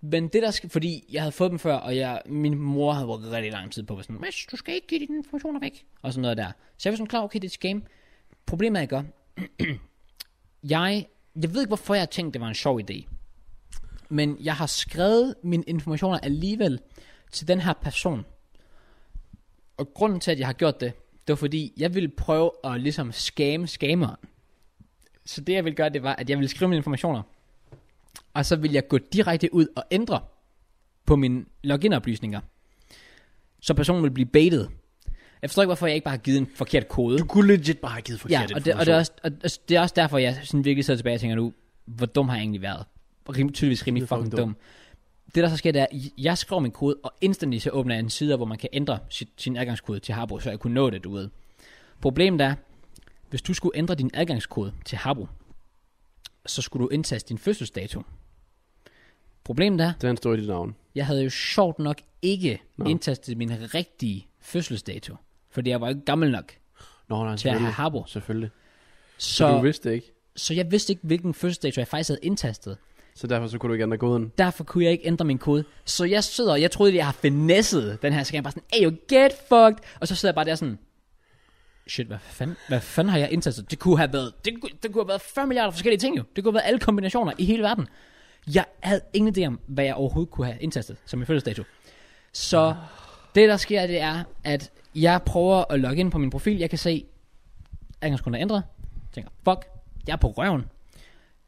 [SPEAKER 1] Men det der, sk- fordi jeg havde fået dem før, og jeg, min mor havde brugt rigtig lang tid på, at sådan, Mads, du skal ikke give dine informationer væk, og sådan noget der. Så jeg var sådan klar, okay, det er et scam. Problemet er, jeg gør, jeg, jeg ved ikke, hvorfor jeg tænkte, det var en sjov idé. Men jeg har skrevet mine informationer alligevel til den her person. Og grunden til, at jeg har gjort det, det var fordi, jeg ville prøve at ligesom skamme skameren. Så det, jeg ville gøre, det var, at jeg ville skrive mine informationer. og så vil jeg gå direkte ud og ændre på mine login-oplysninger. Så personen vil blive baitet. Jeg forstår ikke, hvorfor jeg ikke bare har givet en forkert kode.
[SPEAKER 2] Du kunne legit bare have givet forkert
[SPEAKER 1] Ja, og det, og, det er også, og og det er også derfor, jeg sådan virkelig sidder tilbage og tænker nu, hvor dum har jeg egentlig været? Rim, tydeligvis rimelig fucking dum. dum. Det der så sker, det er, at jeg skriver min kode, og instantly så åbner jeg en side, hvor man kan ændre sit, sin adgangskode til Harbo, så jeg kunne nå det, du ved. Problemet er, hvis du skulle ændre din adgangskode til Harbo, så skulle du indtaste din fødselsdato. Problemet er,
[SPEAKER 2] Den står i dit navn.
[SPEAKER 1] jeg havde jo sjovt nok ikke
[SPEAKER 2] Nå.
[SPEAKER 1] indtastet min rigtige fødselsdato, fordi jeg var ikke gammel nok
[SPEAKER 2] Nå, nej,
[SPEAKER 1] til at have
[SPEAKER 2] selvfølgelig.
[SPEAKER 1] Harbo.
[SPEAKER 2] Selvfølgelig. Så,
[SPEAKER 1] Så,
[SPEAKER 2] du vidste det ikke.
[SPEAKER 1] Så jeg vidste ikke, hvilken fødselsdato jeg faktisk havde indtastet.
[SPEAKER 2] Så derfor så kunne du ikke ændre koden.
[SPEAKER 1] Derfor kunne jeg ikke ændre min kode. Så jeg sidder, og jeg troede, jeg har finesset den her skam. Bare sådan, hey, you get fucked. Og så sidder jeg bare der sådan, shit, hvad fanden, hvad fanden har jeg indtastet? Det kunne have været, det kunne, det kunne have været 40 milliarder forskellige ting jo. Det kunne have været alle kombinationer i hele verden. Jeg havde ingen idé om, hvad jeg overhovedet kunne have indtastet som min fødselsdato. Så det, der sker, det er, at jeg prøver at logge ind på min profil. Jeg kan se, adgangskunder ændret. Jeg tænker, fuck, jeg er på røven.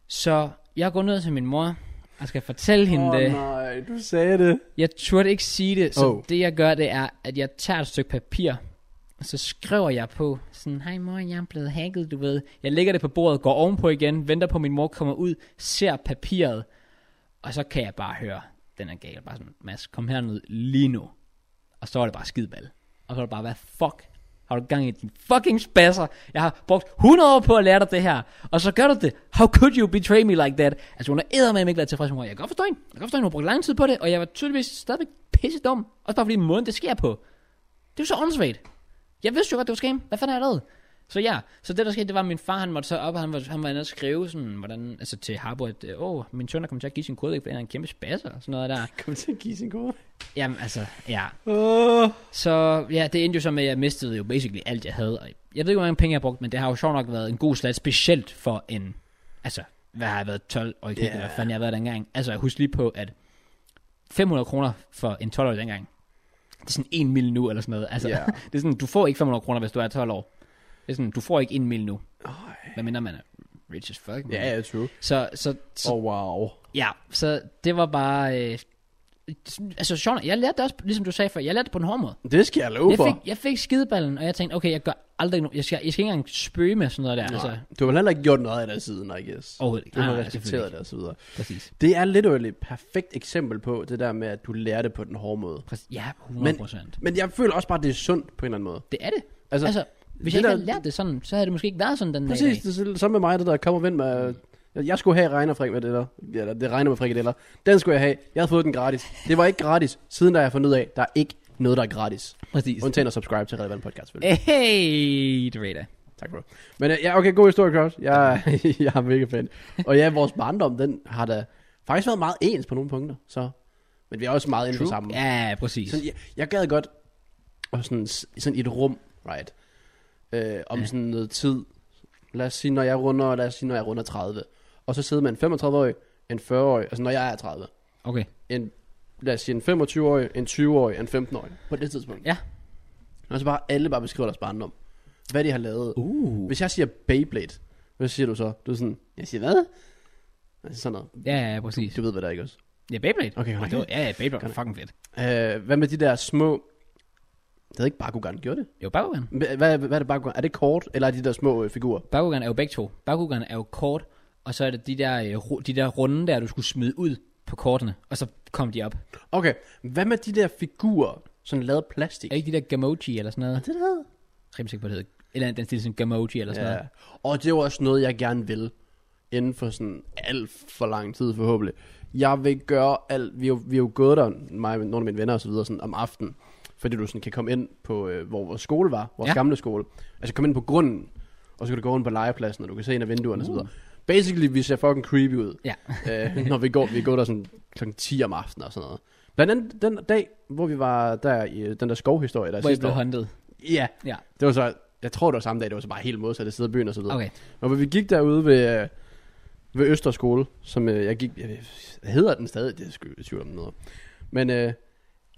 [SPEAKER 1] Så jeg går ned til min mor og skal fortælle hende det.
[SPEAKER 2] nej, du sagde det.
[SPEAKER 1] Jeg turde ikke sige det, så
[SPEAKER 2] Oh.
[SPEAKER 1] oh. det jeg gør, det er, at jeg tager et stykke papir, og så skriver jeg på, sådan, hej mor, jeg er blevet hacket, du ved. Jeg lægger det på bordet, går ovenpå igen, venter på, at min mor kommer ud, ser papiret, og så kan jeg bare høre, den er gal, bare sådan, Mads, kom herned lige nu. Og så er det bare skidball. Og så er det bare, hvad fuck har du gang i din fucking spasser? Jeg har brugt 100 år på at lære dig det her. Og så gør du det. How could you betray me like that? Altså hun er med ikke været tilfreds med mig. Jeg kan godt forstå hende. Jeg kan godt forstå hende. Hun har brugt lang tid på det. Og jeg var tydeligvis stadigvæk pisse dum. Også bare fordi måden det sker på. Det er jo så åndssvagt. Jeg vidste jo godt, det var scam. Hvad fanden har jeg lavet? Så ja, så det der skete, det var, at min far, han måtte så op, og han var, han var inde og skrive sådan, hvordan, altså til Harbo, at, øh, åh, min søn er kommet til at give sin kode, ikke, fordi han er en kæmpe spasser, og sådan noget der.
[SPEAKER 2] Kom til at give sin kode.
[SPEAKER 1] Jamen altså, ja.
[SPEAKER 2] Oh.
[SPEAKER 1] Så ja, det endte jo så med, at jeg mistede jo basically alt, jeg havde. Og Jeg ved ikke, hvor mange penge jeg har brugt, men det har jo sjovt nok været en god slat, specielt for en, altså, hvad har jeg været, 12 år i yeah.
[SPEAKER 2] Ja.
[SPEAKER 1] eller hvad fanden jeg har været dengang. Altså, jeg husker lige på, at 500 kroner for en 12-årig dengang, det er sådan en mil nu, eller sådan noget. Altså,
[SPEAKER 2] Ja.
[SPEAKER 1] yeah. det er sådan, du får ikke 500 kroner, hvis du er 12 år. Det er sådan, du får ikke en mil nu, hvad mindre man er rich as fuck. man.
[SPEAKER 2] Ja, ja, true.
[SPEAKER 1] Så, så, så
[SPEAKER 2] Oh, wow.
[SPEAKER 1] Ja, så det var bare... Øh, altså sjovt, jeg lærte det også, ligesom du sagde før, jeg lærte det på en hård måde.
[SPEAKER 2] Det skal jeg love
[SPEAKER 1] Jeg
[SPEAKER 2] for.
[SPEAKER 1] fik, jeg fik skideballen, og jeg tænkte, okay, jeg gør aldrig no- jeg, skal, jeg skal ikke engang spøge med sådan noget der.
[SPEAKER 2] Nej.
[SPEAKER 1] Altså,
[SPEAKER 2] Du har vel heller ikke gjort noget af det siden, I guess.
[SPEAKER 1] Overhovedet ikke.
[SPEAKER 2] Du
[SPEAKER 1] Nej,
[SPEAKER 2] har
[SPEAKER 1] nej,
[SPEAKER 2] respekteret det og så videre.
[SPEAKER 1] præcis.
[SPEAKER 2] Det er lidt et perfekt eksempel på det der med, at du lærer det på den hårde måde.
[SPEAKER 1] præcis. Ja, 100 procent.
[SPEAKER 2] Men jeg føler også bare, at det er sundt på en eller anden måde.
[SPEAKER 1] Det er det.
[SPEAKER 2] Altså,
[SPEAKER 1] Altså, hvis
[SPEAKER 2] det
[SPEAKER 1] jeg ikke
[SPEAKER 2] der-
[SPEAKER 1] havde lært det sådan, så havde det måske ikke været sådan den dag. i
[SPEAKER 2] Præcis,
[SPEAKER 1] dag.
[SPEAKER 2] det er samme med mig, det der kommer vind med... Jeg jeg skulle have regnerfrik med det der. Eller det regner med frikadeller. Den skulle jeg have. Jeg havde fået den gratis. Det var ikke gratis. Siden da jeg har fundet ud af, der er ikke noget, der er gratis.
[SPEAKER 1] Præcis.
[SPEAKER 2] Undtagen at subscribe til Relevant Podcast, selvfølgelig.
[SPEAKER 1] Hey, det ved jeg.
[SPEAKER 2] Tak bro. Men øh, ja, okay, god historie, Kraus. Jeg, jeg er mega fan. Og ja, vores barndom, den har da faktisk været meget ens på nogle punkter. Så. Men vi er også meget inde på sammen.
[SPEAKER 1] Ja, præcis.
[SPEAKER 2] Sådan, jeg, jeg gad godt og sådan, sådan i et rum, right? Øh, om sådan noget tid. Lad os sige, når jeg runder, lad os sige, når jeg runder 30. Og så sidder man en 35-årig, en 40-årig, altså når jeg er 30.
[SPEAKER 1] Okay.
[SPEAKER 2] En, lad os sige, en 25-årig, en 20-årig, en 15-årig. På det tidspunkt.
[SPEAKER 1] Ja.
[SPEAKER 2] Og så bare alle bare beskriver deres barndom. Hvad de har lavet.
[SPEAKER 1] Uh.
[SPEAKER 2] Hvis jeg siger Beyblade, hvad siger du så? Du er sådan, jeg siger hvad? Altså sådan noget.
[SPEAKER 1] Ja, ja, præcis.
[SPEAKER 2] Du ved, hvad der er, ikke også?
[SPEAKER 1] Ja, Beyblade.
[SPEAKER 2] Okay, godt.
[SPEAKER 1] Det var- Ja, ja, Beyblade var fucking fedt.
[SPEAKER 2] Øh, hvad med de der små... Det havde ikke Bakugan gjort det.
[SPEAKER 1] Jo, Bakugan.
[SPEAKER 2] Hvad, hvad, hvad er det Bakugan? Er det kort, eller er de der små øh, figurer?
[SPEAKER 1] Bakugan er jo begge to. Bakugan er jo kort, og så er det de der, øh, ru- de der runde der, du skulle smide ud på kortene, og så kom de op.
[SPEAKER 2] Okay, hvad med de der figurer, sådan lavet af plastik?
[SPEAKER 1] Er det ikke de der Gamoji eller sådan noget?
[SPEAKER 2] det der?
[SPEAKER 1] Rimelig sikker på, det hedder. Eller den stil som Gamoji eller sådan ja.
[SPEAKER 2] Ja.
[SPEAKER 1] noget.
[SPEAKER 2] Og det er jo også noget, jeg gerne vil. Inden for sådan alt for lang tid, forhåbentlig. Jeg vil gøre alt... Vi er jo, vi er jo gået der, mig, og nogle af mine venner og så videre, sådan om aftenen. Fordi du sådan kan komme ind på, øh, hvor vores skole var. Vores
[SPEAKER 1] Ja.
[SPEAKER 2] ja. gamle skole. Altså komme ind på grunden. Og så kan du gå rundt på legepladsen, og du kan se ind af vinduerne uh. og så videre. Basically, vi ser fucking creepy ud.
[SPEAKER 1] Ja.
[SPEAKER 2] øh, når vi går, vi går der sådan kl. 10 om aftenen og sådan noget. Blandt andet den dag, hvor vi var der i øh, den der skovhistorie, der
[SPEAKER 1] Hvor jeg
[SPEAKER 2] sidste
[SPEAKER 1] blev
[SPEAKER 2] år.
[SPEAKER 1] håndtet.
[SPEAKER 2] Ja,
[SPEAKER 1] Ja,
[SPEAKER 2] det var så, jeg tror det var samme dag, det var så bare helt modsatte side af byen og så videre.
[SPEAKER 1] okay.
[SPEAKER 2] Og hvor vi gik derude ved, øh, ved Østerskole, som øh, jeg gik, jeg, ved- hvad hedder den stadig, det er sgu i tvivl om noget. Men øh,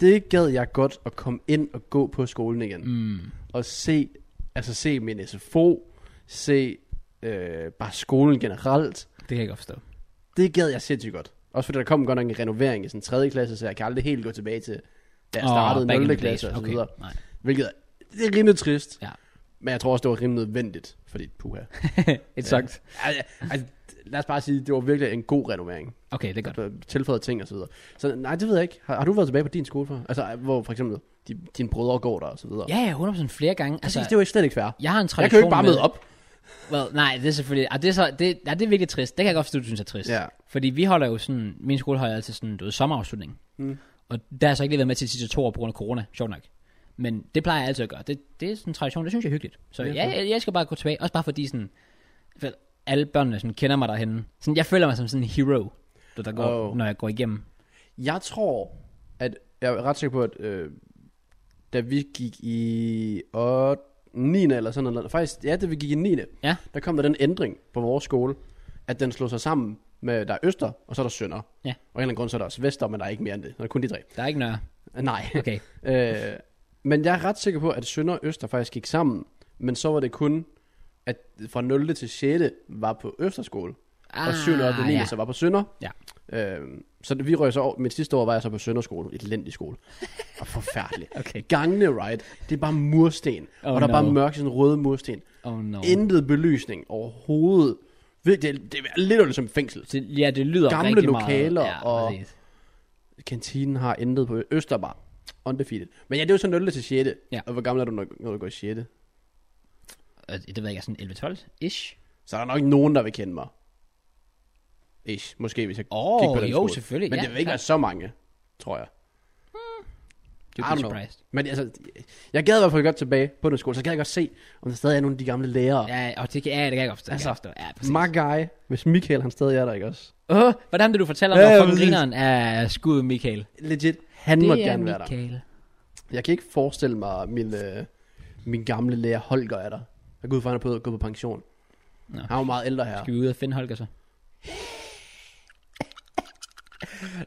[SPEAKER 2] det gad jeg godt at komme ind og gå på skolen igen. Mm.
[SPEAKER 1] Mm.
[SPEAKER 2] Og se, altså se min SFO, se øh, bare skolen generelt.
[SPEAKER 1] Det kan jeg godt forstå.
[SPEAKER 2] Det gad jeg sindssygt godt. Også fordi der kom godt nok en renovering i sådan 3. klasse, så jeg kan aldrig helt gå tilbage til, da jeg
[SPEAKER 1] Åh,
[SPEAKER 2] startede
[SPEAKER 1] back in
[SPEAKER 2] 0.
[SPEAKER 1] the days.
[SPEAKER 2] klasse og så
[SPEAKER 1] okay.
[SPEAKER 2] videre.
[SPEAKER 1] Nej.
[SPEAKER 2] Hvilket er, det er rimelig trist.
[SPEAKER 1] Ja.
[SPEAKER 2] Men jeg tror også, det var rimelig nødvendigt, fordi puha.
[SPEAKER 1] Et sagt.
[SPEAKER 2] Altså, altså, lad os bare sige, det var virkelig en god renovering.
[SPEAKER 1] Okay, det er godt.
[SPEAKER 2] Tilføjet ting og så videre. Så nej, det ved jeg ikke. Har, har du været tilbage på din skole før? Altså, hvor for eksempel de, dine brødre går der og så videre.
[SPEAKER 1] Ja, ja, 100% flere gange.
[SPEAKER 2] altså,
[SPEAKER 1] Altså,
[SPEAKER 2] det var slet ikke fair.
[SPEAKER 1] jeg har en tradition
[SPEAKER 2] Jeg kan jo ikke bare
[SPEAKER 1] med,
[SPEAKER 2] møde op.
[SPEAKER 1] Well, nej, det er selvfølgelig... Ah, det, er så, det, ja, det er virkelig trist. Det kan jeg godt forstå, du synes er trist.
[SPEAKER 2] Ja.
[SPEAKER 1] Fordi vi holder jo sådan... Min skole holder altid sådan, du ved, sommerafslutning.
[SPEAKER 2] Mm.
[SPEAKER 1] Og der har jeg så ikke lige været med til de sidste to år på grund af corona, sjovt nok. Men det plejer jeg altid at gøre. Det, det er sådan en tradition, det synes jeg er hyggeligt. Så
[SPEAKER 2] Det
[SPEAKER 1] ja,
[SPEAKER 2] er
[SPEAKER 1] jeg, jeg skal bare gå tilbage. Også bare fordi sådan... For alle børnene sådan, kender mig derhen. Sådan, jeg føler mig som sådan en hero, der, der går,
[SPEAKER 2] Oh.
[SPEAKER 1] når jeg går igennem.
[SPEAKER 2] Jeg tror, at jeg er ret sikker på, at øh, da vi gik i 8, 9. eller sådan noget, faktisk, ja, da vi gik i 9.
[SPEAKER 1] Ja.
[SPEAKER 2] der kom der den ændring på vores skole, at den slog sig sammen med, der er Øster, og så er der Sønder.
[SPEAKER 1] Ja.
[SPEAKER 2] Og af en eller anden grund, så er der også Vester, men der er ikke mere end det. Der er kun de tre.
[SPEAKER 1] Der er ikke noget...
[SPEAKER 2] Øh, Nej.
[SPEAKER 1] Okay,
[SPEAKER 2] øh, men jeg er ret sikker på, at Sønder og Øster faktisk gik sammen, men så var det kun, at fra 0. til 6. var på Østerskole og 7. og 8. og 9.
[SPEAKER 1] Ah, ja.
[SPEAKER 2] så var på Sønder.
[SPEAKER 1] Ja.
[SPEAKER 2] Øhm, så det- vi røg så over, mit sidste år var jeg så på Sønderskole, et elendig skole. Og forfærdeligt.
[SPEAKER 1] Okay.
[SPEAKER 2] Gangene, right? Det er bare mursten.
[SPEAKER 1] Oh,
[SPEAKER 2] Oh, og der er bare
[SPEAKER 1] no.
[SPEAKER 2] mørke sådan røde mursten.
[SPEAKER 1] Oh no.
[SPEAKER 2] Oh. Intet belysning overhovedet. Ved- Det, det er lidt som et fængsel.
[SPEAKER 1] Det, ja, det lyder
[SPEAKER 2] Gamle
[SPEAKER 1] rigtig
[SPEAKER 2] lokaler
[SPEAKER 1] meget. Ja,
[SPEAKER 2] og-
[SPEAKER 1] præcis.
[SPEAKER 2] Kantinen har intet på Østerbar. Undefeated. Men ja, det er jo så 0. til 6.
[SPEAKER 1] Ja.
[SPEAKER 2] Og hvor gammel er du, når, når du går i 6.
[SPEAKER 1] Øh, Det ved jeg ikke, sådan 11-12-ish?
[SPEAKER 2] Så er der nok nogen, der vil kende mig. Ish, måske hvis jeg
[SPEAKER 1] Åh,
[SPEAKER 2] gik på den
[SPEAKER 1] jo,
[SPEAKER 2] skole.
[SPEAKER 1] selvfølgelig,
[SPEAKER 2] Men
[SPEAKER 1] ja,
[SPEAKER 2] det vil ikke
[SPEAKER 1] klart.
[SPEAKER 2] være så mange, tror jeg.
[SPEAKER 1] Du
[SPEAKER 2] I don't
[SPEAKER 1] er
[SPEAKER 2] know.
[SPEAKER 1] surprised.
[SPEAKER 2] Men altså, jeg gad i hvert fald godt tilbage på den skole, så gad jeg godt se, om der stadig er nogle af de gamle lærere. Ja,
[SPEAKER 1] Ja, og det kan, ja, det kan jeg godt forstå. Altså, forstå. Ja, præcis.
[SPEAKER 2] My guy, hvis Michael han stadig er der, ikke også?
[SPEAKER 1] Åh, hvordan det du fortæller
[SPEAKER 2] Ja,
[SPEAKER 1] mig,
[SPEAKER 2] ja,
[SPEAKER 1] ja, fucking
[SPEAKER 2] præcis.
[SPEAKER 1] grineren af skud Michael.
[SPEAKER 2] Legit, han
[SPEAKER 1] det
[SPEAKER 2] måtte
[SPEAKER 1] er
[SPEAKER 2] gerne være der.
[SPEAKER 1] Michael.
[SPEAKER 2] Jeg kan ikke forestille mig, at min, øh, min gamle lærer Holger er der. Jeg går ud fra, at han er på, gået på pension.
[SPEAKER 1] Nå.
[SPEAKER 2] Han er jo meget ældre her.
[SPEAKER 1] Skal vi ud og finde Holger så?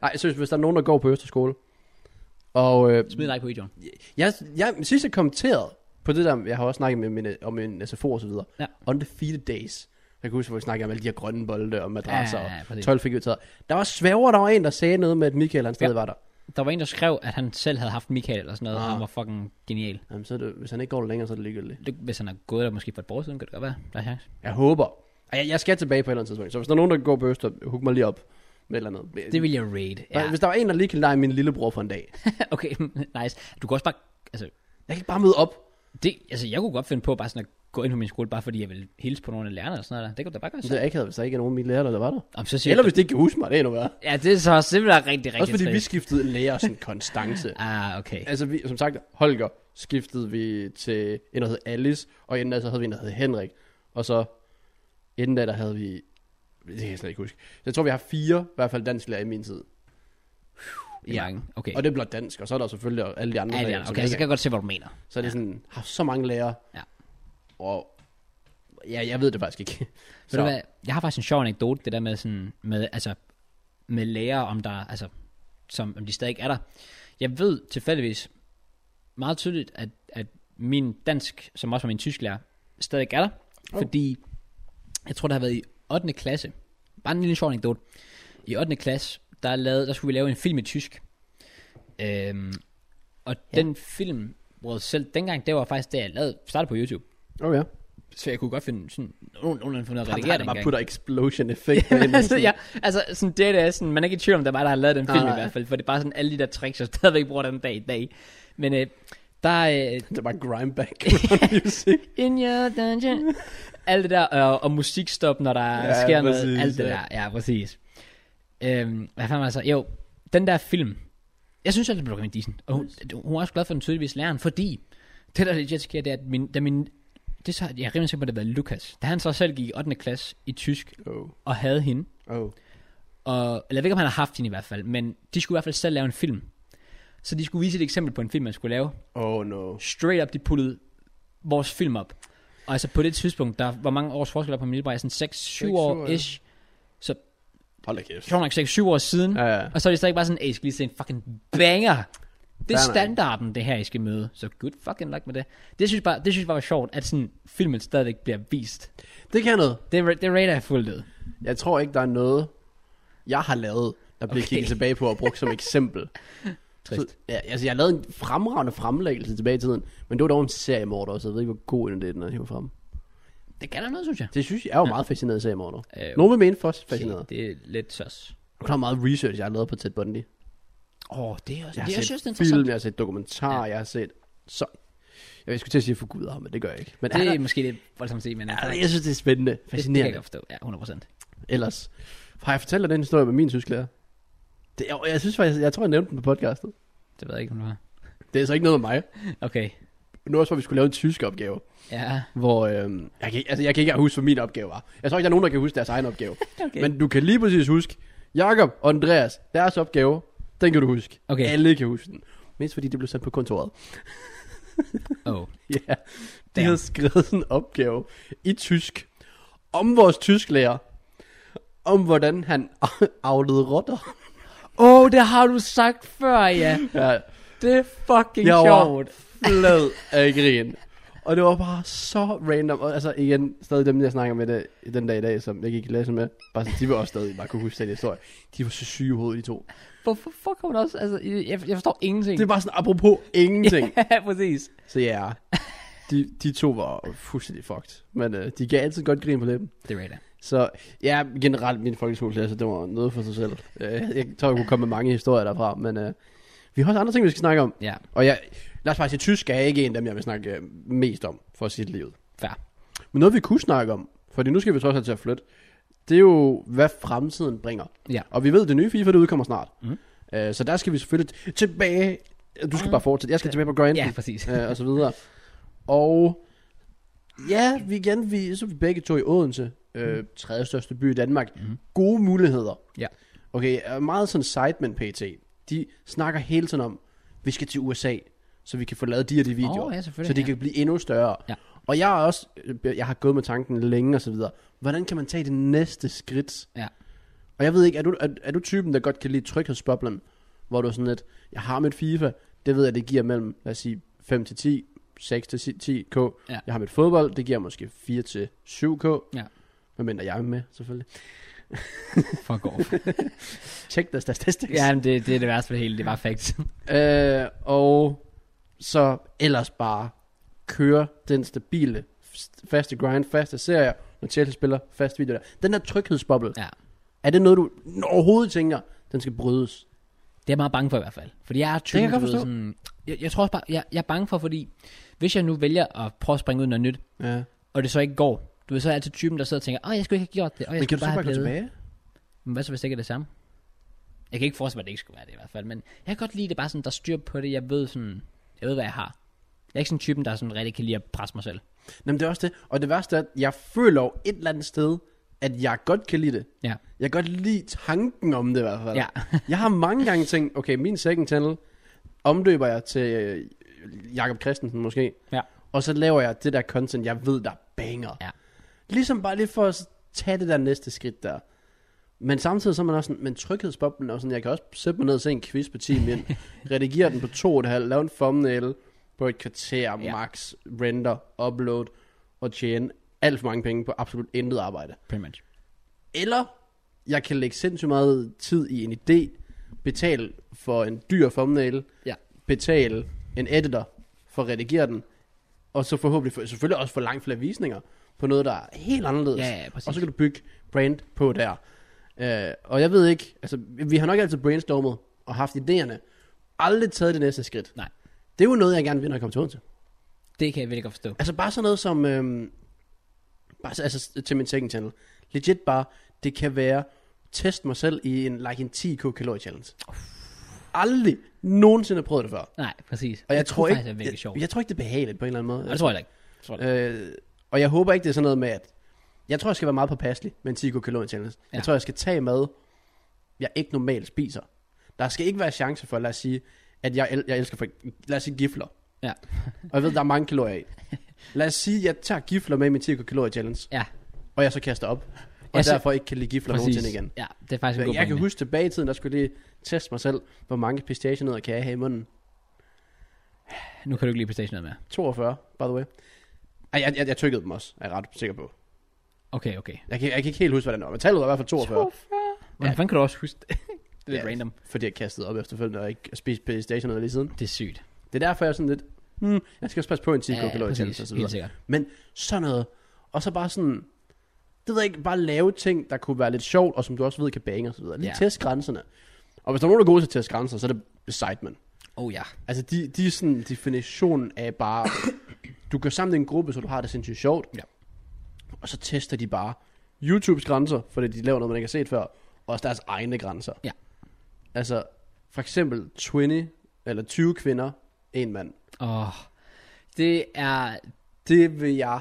[SPEAKER 2] Nej, seriøst, hvis der er nogen, der går på Østerskole. Og øh,
[SPEAKER 1] Smid en like på videoen.
[SPEAKER 2] jeg, jeg, sidst jeg kommenterede på det der, jeg har også snakket med mine, om min SFO og så videre.
[SPEAKER 1] Ja.
[SPEAKER 2] Undefeated Days. Jeg kan huske, hvor vi snakkede om alle de her grønne bolde og madrasser
[SPEAKER 1] Ja, ja, ja,
[SPEAKER 2] ja, og
[SPEAKER 1] præcis.
[SPEAKER 2] 12 fik taget. Der var svæver, der var en, der sagde noget med, at Michael han stadig
[SPEAKER 1] Ja.
[SPEAKER 2] ja. var der.
[SPEAKER 1] Der var en, der skrev, at han selv havde haft Michael eller sådan noget, og
[SPEAKER 2] Ah.
[SPEAKER 1] han var fucking genial.
[SPEAKER 2] Jamen, så er det, hvis han ikke går der længere, så er det ligegyldigt.
[SPEAKER 1] Det, hvis han har gået der måske for et par år siden, kan det godt være. Der er chance.
[SPEAKER 2] Jeg håber. Og Jeg, jeg skal tilbage på et eller andet tidspunkt. Så hvis der er nogen, der går på Øster, hug mig lige op med et eller andet.
[SPEAKER 1] Det vil jeg raid.
[SPEAKER 2] ja.
[SPEAKER 1] Ja.
[SPEAKER 2] Hvis der var en, der lige kan lege min lillebror for en dag.
[SPEAKER 1] okay, nice. Du kan også bare... Altså,
[SPEAKER 2] Jeg kan bare møde op.
[SPEAKER 1] det, altså, jeg kunne godt finde på bare sådan at gå ind på min skole, bare fordi jeg ville hilse på nogle af lærerne og sådan noget. der. Det kunne du da bare gøre
[SPEAKER 2] Det er
[SPEAKER 1] selv.
[SPEAKER 2] jeg ikke, hvis der ikke er nogen af mine lærere, der var der.
[SPEAKER 1] Om så siger
[SPEAKER 2] Eller hvis de ikke kan huske mig, det er endnu værre.
[SPEAKER 1] Ja, det er så også simpelthen rigtig, rigtig
[SPEAKER 2] Også fordi vi
[SPEAKER 1] trist.
[SPEAKER 2] skiftede lærer sådan konstance.
[SPEAKER 1] Ah, okay.
[SPEAKER 2] Altså, vi, som sagt, Holger skiftede vi til en, der hed Alice, og inden da, så havde vi en, der hed Henrik. Og så inden da, der havde vi... Det kan jeg slet ikke huske. Så jeg tror, vi har fire, i hvert fald dansklærer i min tid.
[SPEAKER 1] I
[SPEAKER 2] ja.
[SPEAKER 1] mange. Okay.
[SPEAKER 2] Okay. Og det er blot dansk, og så er der selvfølgelig også alle de andre.
[SPEAKER 1] Ja, det
[SPEAKER 2] fag,
[SPEAKER 1] er,
[SPEAKER 2] som
[SPEAKER 1] okay,
[SPEAKER 2] ikke
[SPEAKER 1] så kan jeg godt se, hvad du mener.
[SPEAKER 2] Så er det sådan, har så mange lærere.
[SPEAKER 1] Ja.
[SPEAKER 2] Og ja, jeg ved det faktisk ikke.
[SPEAKER 1] Ved du hvad, jeg har faktisk en sjov anekdote, det der med sådan, med, altså, med læger, om der, altså, som, om de stadig er der. Jeg ved tilfældigvis meget tydeligt, at, at min dansk, som også var min tysk lærer, stadig er der, oh.
[SPEAKER 2] Oh.
[SPEAKER 1] fordi jeg tror, det har været i 8. klasse. Bare en lille sjov anekdote. I 8. klasse, der, lavede, der skulle vi lave en film i tysk. Øhm, og ja.
[SPEAKER 2] Ja.
[SPEAKER 1] den film, hvor selv dengang, det var faktisk det, jeg lavede, startede på YouTube.
[SPEAKER 2] Oh, ja.
[SPEAKER 1] Så jeg kunne godt finde sådan, nogen, nogen fundet at
[SPEAKER 2] Han
[SPEAKER 1] redigere
[SPEAKER 2] har da
[SPEAKER 1] den
[SPEAKER 2] bare
[SPEAKER 1] gang.
[SPEAKER 2] putter explosion effekt på
[SPEAKER 1] Jamen,
[SPEAKER 2] ind.
[SPEAKER 1] altså, ja, altså sådan det der, sådan, man er ikke i tvivl om, der var der har lavet den
[SPEAKER 2] Nej,
[SPEAKER 1] film i
[SPEAKER 2] nej.
[SPEAKER 1] hvert fald, for det er bare sådan alle de der tricks, jeg stadigvæk bruger den dag i dag. Men øh, der øh,
[SPEAKER 2] Det er bare grime background music.
[SPEAKER 1] In your dungeon. Alt det der, øh, og, og musikstop, når der ja,
[SPEAKER 2] Ja,
[SPEAKER 1] sker præcis,
[SPEAKER 2] præcis,
[SPEAKER 1] noget. Alt det
[SPEAKER 2] ja.
[SPEAKER 1] der, ja, præcis. Øhm, hvad fanden var det så? Jo, den der film. Jeg synes, at det blev rigtig decent. Og hun, hun er også glad for den tydeligvis læreren, fordi det, der legit sker, det er, at min, da min, det er så, jeg er rimelig sikker på, at det var Lukas. Da han så selv gik i 8. klasse i tysk
[SPEAKER 2] Oh.
[SPEAKER 1] og havde hende,
[SPEAKER 2] Oh.
[SPEAKER 1] og, eller jeg ved ikke, om han har haft hende i hvert fald, men de skulle i hvert fald selv lave en film. Så de skulle vise et eksempel på en film, man skulle lave.
[SPEAKER 2] oh no.
[SPEAKER 1] Straight up, de puttede vores film op. Og altså på det tidspunkt, der var mange års forskel der på min lillebror, sådan 6-7
[SPEAKER 2] syv
[SPEAKER 1] år
[SPEAKER 2] år, ja.
[SPEAKER 1] ish.
[SPEAKER 2] Hold da kæft.
[SPEAKER 1] Sjovt nok 6-7 år siden.
[SPEAKER 2] Ja, ja.
[SPEAKER 1] Og så er det stadig bare sådan, hey, I skal lige se en fucking banger. Det er
[SPEAKER 2] Banger.
[SPEAKER 1] standarden, det her, I skal møde. Så good fucking luck med det. Det synes jeg bare, det synes jeg bare var sjovt, at sådan, filmen stadigvæk bliver vist.
[SPEAKER 2] Det kan noget.
[SPEAKER 1] Det, ra- det rater jeg fuldt ud.
[SPEAKER 2] Jeg tror ikke, der er noget, jeg har lavet, der blev
[SPEAKER 1] Okay.
[SPEAKER 2] okay. kigget tilbage på og brugt som eksempel.
[SPEAKER 1] Trist.
[SPEAKER 2] Så, ja, altså, jeg lavede en fremragende fremlæggelse tilbage i tiden, men det var dog en seriemorder, så jeg ved ikke, hvor god en det er, den er hiver frem.
[SPEAKER 1] Det kan der noget, synes jeg.
[SPEAKER 2] Det synes jeg, jeg er jo meget fascineret af seriemorder.
[SPEAKER 1] Øh,
[SPEAKER 2] Nogle vil mene for fascineret.
[SPEAKER 1] Det er lidt søs.
[SPEAKER 2] Du klar, hvor meget research, jeg har lavet på Ted Bundy.
[SPEAKER 1] Åh, oh, det er også...
[SPEAKER 2] Jeg
[SPEAKER 1] Jeg,
[SPEAKER 2] har
[SPEAKER 1] det, jeg
[SPEAKER 2] set
[SPEAKER 1] synes, det er interessant.
[SPEAKER 2] film, jeg har set dokumentarer, ja. jeg har set så. Jeg skulle til at sige for gud ham, men det gør jeg ikke. Men
[SPEAKER 1] Det
[SPEAKER 2] han
[SPEAKER 1] er måske lidt voldsomt at sige, men...
[SPEAKER 2] er, jeg synes, det er spændende.
[SPEAKER 1] det, det kan jeg
[SPEAKER 2] Fascinerende.
[SPEAKER 1] godt forstå. Ja, 100%.
[SPEAKER 2] Ellers, har jeg fortalt dig den historie med min tysklærer? Det, jeg, jeg synes faktisk, jeg tror, jeg nævnte den på podcastet.
[SPEAKER 1] Det ved jeg ikke, om det var.
[SPEAKER 2] Det er så ikke noget med mig.
[SPEAKER 1] Okay.
[SPEAKER 2] Nu også, hvor vi skulle lave en tysk opgave,
[SPEAKER 1] Ja,
[SPEAKER 2] hvor øhm, jeg, kan, ikke- altså, jeg kan ikke engang huske, hvad min opgave var. Jeg tror ikke, der er nogen, der kan huske deres egen opgave.
[SPEAKER 1] okay. Men,
[SPEAKER 2] Men du kan lige præcis huske, Jakob og Andreas, deres opgave, den kan du huske.
[SPEAKER 1] Okay.
[SPEAKER 2] Alle kan huske den. Mest fordi det blev sendt på kontoret.
[SPEAKER 1] oh.
[SPEAKER 2] Ja, de
[SPEAKER 1] Damn.
[SPEAKER 2] havde skrevet en opgave i tysk om vores tysklærer. Om hvordan han aflede rotter.
[SPEAKER 1] oh, det har du sagt før, ja.
[SPEAKER 2] Ja,
[SPEAKER 1] Det er fucking
[SPEAKER 2] Jeg var-
[SPEAKER 1] sjovt.
[SPEAKER 2] flad af grin. Og det var bare så random. Og altså igen, stadig dem, jeg snakker med det, den dag i dag, som jeg gik i læse med. Bare sådan, de var også stadig bare kunne huske den historie. De var så syge i hovedet, de to.
[SPEAKER 1] Hvorfor fuck har hun også... Altså, jeg, jeg forstår ingenting.
[SPEAKER 2] Det var sådan apropos ingenting.
[SPEAKER 1] ja, præcis.
[SPEAKER 2] Så ja, de, de to var fuldstændig fucked. Men øh, de gav altid godt grin på læben.
[SPEAKER 1] Det er rigtigt.
[SPEAKER 2] Så ja, generelt min folkeskoleklasse, det var noget for sig selv. Øh, Jeg tror, jeg kunne komme med mange historier derfra, men øh, vi har også andre ting, vi skal snakke om.
[SPEAKER 1] Ja,
[SPEAKER 2] Og jeg, lad os bare sige, tysk er ikke en af dem, jeg vil snakke øh, mest om for sit liv.
[SPEAKER 1] fair.
[SPEAKER 2] Men noget, vi kunne snakke om, fordi nu skal vi trods alt til at flytte, det er jo, hvad fremtiden bringer.
[SPEAKER 1] Ja.
[SPEAKER 2] Og vi ved, at det nye FIFA, det udkommer snart.
[SPEAKER 1] Mm.
[SPEAKER 2] Øh, Så der skal vi selvfølgelig t- tilbage. Du skal bare fortsætte. Jeg skal tilbage på Grand
[SPEAKER 1] Ah. Ja, præcis.
[SPEAKER 2] øh, og så videre. Og ja, vi igen, vi, så er vi begge to i Odense, øh, tredje største by i Danmark. Mm. Gode muligheder.
[SPEAKER 1] Mm. Mm-hmm. Ja.
[SPEAKER 2] Okay, og meget sådan sidemen PT. De snakker hele tiden om, vi skal til USA, så vi kan få lavet de her de videoer.
[SPEAKER 1] Åh, ja, selvfølgelig,
[SPEAKER 2] så de
[SPEAKER 1] ja.
[SPEAKER 2] kan blive endnu større.
[SPEAKER 1] Ja.
[SPEAKER 2] Og jeg er også, øh, jeg har gået med tanken længe og så videre. Hvordan kan man tage det næste skridt?
[SPEAKER 1] Ja.
[SPEAKER 2] Og jeg ved ikke, er du, er, er du typen, der godt kan lide tryghedsboblen? Hvor du er sådan lidt, jeg har mit FIFA, det ved jeg, det giver mellem, lad os sige, 5 til 10, 6 til 10 k.
[SPEAKER 1] Ja.
[SPEAKER 2] Jeg har mit fodbold, det giver måske 4 til 7 k.
[SPEAKER 1] Ja.
[SPEAKER 2] Hvad mindre jeg er med, selvfølgelig.
[SPEAKER 1] Fuck off.
[SPEAKER 2] Check the statistics.
[SPEAKER 1] ja, men det, det er det værste ved det hele. Det var facts.
[SPEAKER 2] Øh, og så ellers bare køre den stabile, f- faste grind, faste serier, når Chelsea spiller fast video der. Den der tryghedsboble,
[SPEAKER 1] ja.
[SPEAKER 2] er det noget, du overhovedet tænker, den skal brydes?
[SPEAKER 1] Det er jeg meget bange for i hvert fald. Fordi jeg er
[SPEAKER 2] kan
[SPEAKER 1] typen,
[SPEAKER 2] jeg godt
[SPEAKER 1] du ved,
[SPEAKER 2] forstå.
[SPEAKER 1] sådan, jeg, jeg tror også bare, jeg, jeg er bange for, fordi hvis jeg nu vælger at prøve at springe ud i noget nyt,
[SPEAKER 2] Ja.
[SPEAKER 1] og det så ikke går, du ved, så er jeg altid typen, der sidder og tænker, åh, jeg skulle ikke have gjort det, og jeg
[SPEAKER 2] Men kan
[SPEAKER 1] skulle
[SPEAKER 2] du så bare
[SPEAKER 1] have
[SPEAKER 2] gå
[SPEAKER 1] blevet."
[SPEAKER 2] tilbage?
[SPEAKER 1] Men hvad så, hvis det ikke er det samme? Jeg kan ikke forestille mig, at det ikke skulle være det i hvert fald, men jeg kan godt lide det bare sådan, der er styr på det, jeg ved sådan, jeg ved, hvad jeg har. Jeg er ikke sådan typen, der sådan rigtig kan lide at presse mig selv.
[SPEAKER 2] Jamen det er også det. Og det værste er, at jeg føler jo et eller andet sted, at jeg godt kan lide det.
[SPEAKER 1] Ja.
[SPEAKER 2] Jeg kan godt lide tanken om det i hvert fald.
[SPEAKER 1] Ja.
[SPEAKER 2] jeg har mange gange tænkt, okay, min second channel omdøber jeg til øh, Jakob Christensen måske.
[SPEAKER 1] Ja.
[SPEAKER 2] Og så laver jeg det der content, jeg ved, der banger.
[SPEAKER 1] Ja.
[SPEAKER 2] Ligesom bare lige for at tage det der næste skridt der. Men samtidig så er man også sådan, men tryghedsboblen er også sådan, jeg kan også sætte mig ned og se en quiz på 10 min, redigere den på to og et halvt, lave en thumbnail på et kvarter,
[SPEAKER 1] Ja.
[SPEAKER 2] max, render, upload og tjene alt for mange penge på absolut intet arbejde.
[SPEAKER 1] Pretty much.
[SPEAKER 2] Eller jeg kan lægge sindssygt meget tid i en idé, betale for en dyr thumbnail,
[SPEAKER 1] Ja.
[SPEAKER 2] betale en editor for at redigere den, og så forhåbentlig for, selvfølgelig også få langt flere visninger på noget, der er helt anderledes.
[SPEAKER 1] Ja, ja, præcis.
[SPEAKER 2] og så kan du bygge brand på der. Øh, og jeg ved ikke, altså vi har nok altid brainstormet og haft idéerne, aldrig taget det næste skridt.
[SPEAKER 1] Nej.
[SPEAKER 2] Det er jo noget, jeg gerne vil, når jeg kommer til Odense.
[SPEAKER 1] Det kan jeg virkelig godt forstå.
[SPEAKER 2] Altså bare sådan noget som, øhm, bare, så- altså til min second channel. Legit bare, det kan være, test mig selv i en, like en 10k kalorie challenge. Aldrig nogensinde prøvet det før.
[SPEAKER 1] Nej, præcis.
[SPEAKER 2] Og jeg,
[SPEAKER 1] Det
[SPEAKER 2] tror ikke,
[SPEAKER 1] faktisk er virkelig sjovt.
[SPEAKER 2] jeg, jeg tror ikke, det er behageligt på en eller anden måde.
[SPEAKER 1] Og det tror jeg da ikke. Det tror jeg da ikke.
[SPEAKER 2] Øh, og jeg håber ikke, det er sådan noget med, at... Jeg tror, jeg skal være meget påpasselig med en 10 kalorie challenge. Ja.
[SPEAKER 1] Ja.
[SPEAKER 2] Jeg tror, jeg skal tage mad, jeg ikke normalt spiser. Der skal ikke være chance for, lad os sige, at jeg, el- jeg elsker for... Lad os sige gifler.
[SPEAKER 1] Ja.
[SPEAKER 2] og jeg ved, der er mange kalorier i. Lad os sige, at jeg tager gifler med i min 10 kalorie challenge,
[SPEAKER 1] Ja,
[SPEAKER 2] og jeg så kaster op. Og
[SPEAKER 1] Ja, så-
[SPEAKER 2] derfor ikke kan lide gifler
[SPEAKER 1] præcis.
[SPEAKER 2] nogensinde igen.
[SPEAKER 1] Ja, det er faktisk en god
[SPEAKER 2] Jeg kan
[SPEAKER 1] pointe.
[SPEAKER 2] huske tilbage i tiden, der skulle jeg lige teste mig selv, hvor mange pistachienødder kan jeg have i munden.
[SPEAKER 1] Nu kan du ikke lide PlayStation noget mere.
[SPEAKER 2] 42, by the way. Ej, jeg, jeg, jeg tykkede dem også, er jeg ret sikker på.
[SPEAKER 1] Okay, okay.
[SPEAKER 2] Jeg kan, jeg kan ikke helt huske, hvad den var, men tallet var i hvert fald 42.
[SPEAKER 1] Hvordan fanden kan du også huske det? Det er lidt random.
[SPEAKER 2] Fordi jeg kastede op efterfølgende og ikke spiste Playstation noget lige siden.
[SPEAKER 1] Det er sygt.
[SPEAKER 2] Det er derfor, jeg er sådan lidt, hmm, jeg skal også passe på en 10 kalorier ja,
[SPEAKER 1] præcis.
[SPEAKER 2] og så videre.
[SPEAKER 1] Helt sikkert.
[SPEAKER 2] Men sådan noget. Og så bare sådan, det ved jeg ikke, bare lave ting, der kunne være lidt sjovt, og som du også ved, kan bange og så videre. Lige
[SPEAKER 1] Ja.
[SPEAKER 2] ja. test grænserne. Og hvis der er nogen, der er gode til at teste grænser, så er det Sidemen.
[SPEAKER 1] Oh ja.
[SPEAKER 2] Altså, de, de er sådan definitionen af bare, du gør sammen i en gruppe, så du har det sindssygt sjovt.
[SPEAKER 1] Ja.
[SPEAKER 2] Og så tester de bare YouTubes grænser, fordi de laver noget, man ikke har set før, og også deres egne grænser.
[SPEAKER 1] Ja.
[SPEAKER 2] Altså, for eksempel 20, eller 20 kvinder, en mand.
[SPEAKER 1] Åh. Det er
[SPEAKER 2] Det vil jeg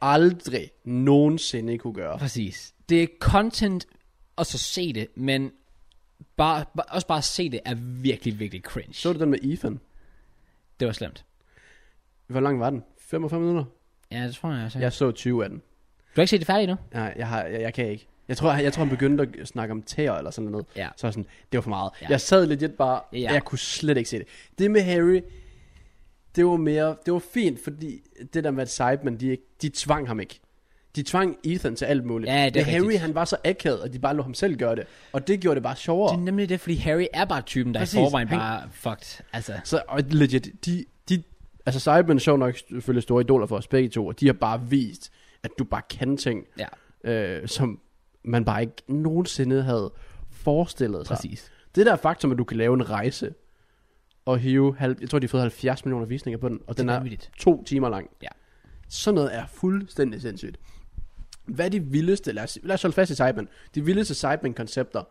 [SPEAKER 2] aldrig nogensinde kunne gøre.
[SPEAKER 1] præcis. Det er content, og så se det, men bare, bare, også bare se det er virkelig, virkelig cringe.
[SPEAKER 2] Så du den med Ethan?
[SPEAKER 1] Det var slemt.
[SPEAKER 2] Hvor lang var den? 45 minutter?
[SPEAKER 1] Ja, det tror jeg også.
[SPEAKER 2] Jeg så 20 af den.
[SPEAKER 1] Du har ikke set det færdigt endnu?
[SPEAKER 2] Nej, jeg, har, jeg, jeg kan ikke. Jeg tror, jeg, jeg tror, han begyndte at snakke om tæer eller sådan noget.
[SPEAKER 1] Ja.
[SPEAKER 2] Så var jeg sådan, det var for meget.
[SPEAKER 1] Ja.
[SPEAKER 2] Ja. Jeg sad legit bare,
[SPEAKER 1] Ja.
[SPEAKER 2] ja. jeg kunne slet ikke se det. Det med Harry, det var mere, det var fint, fordi det der med, at Sidemen, de, ikke- de tvang ham ikke. De tvang Ethan til alt muligt.
[SPEAKER 1] Ja, det er
[SPEAKER 2] Men Harry,
[SPEAKER 1] rigtigt.
[SPEAKER 2] han var så akavet, og de bare lå ham selv gøre det. Og det gjorde det bare sjovere.
[SPEAKER 1] Det er nemlig det, fordi Harry er bare typen, der Præcis. i
[SPEAKER 2] Præcis.
[SPEAKER 1] forvejen
[SPEAKER 2] Han-
[SPEAKER 1] bare er fucked. Altså,
[SPEAKER 2] Så og legit, de, de, altså Sidemen er sjov nok selvfølgelig store idoler for os begge to, og de har bare vist, at du bare kan ting,
[SPEAKER 1] ja,
[SPEAKER 2] øh, som man bare ikke nogensinde havde forestillet sig.
[SPEAKER 1] præcis.
[SPEAKER 2] Det der faktum, at du kan lave en rejse og hive, halv, jeg tror de har fået 70 millioner visninger på den, og den
[SPEAKER 1] er
[SPEAKER 2] er
[SPEAKER 1] vanvittigt.
[SPEAKER 2] to timer lang.
[SPEAKER 1] Ja.
[SPEAKER 2] Sådan noget er fuldstændig sindssygt. Hvad er de vildeste, lad os, lad os holde fast i Sidemen, de vildeste Sidemen-koncepter,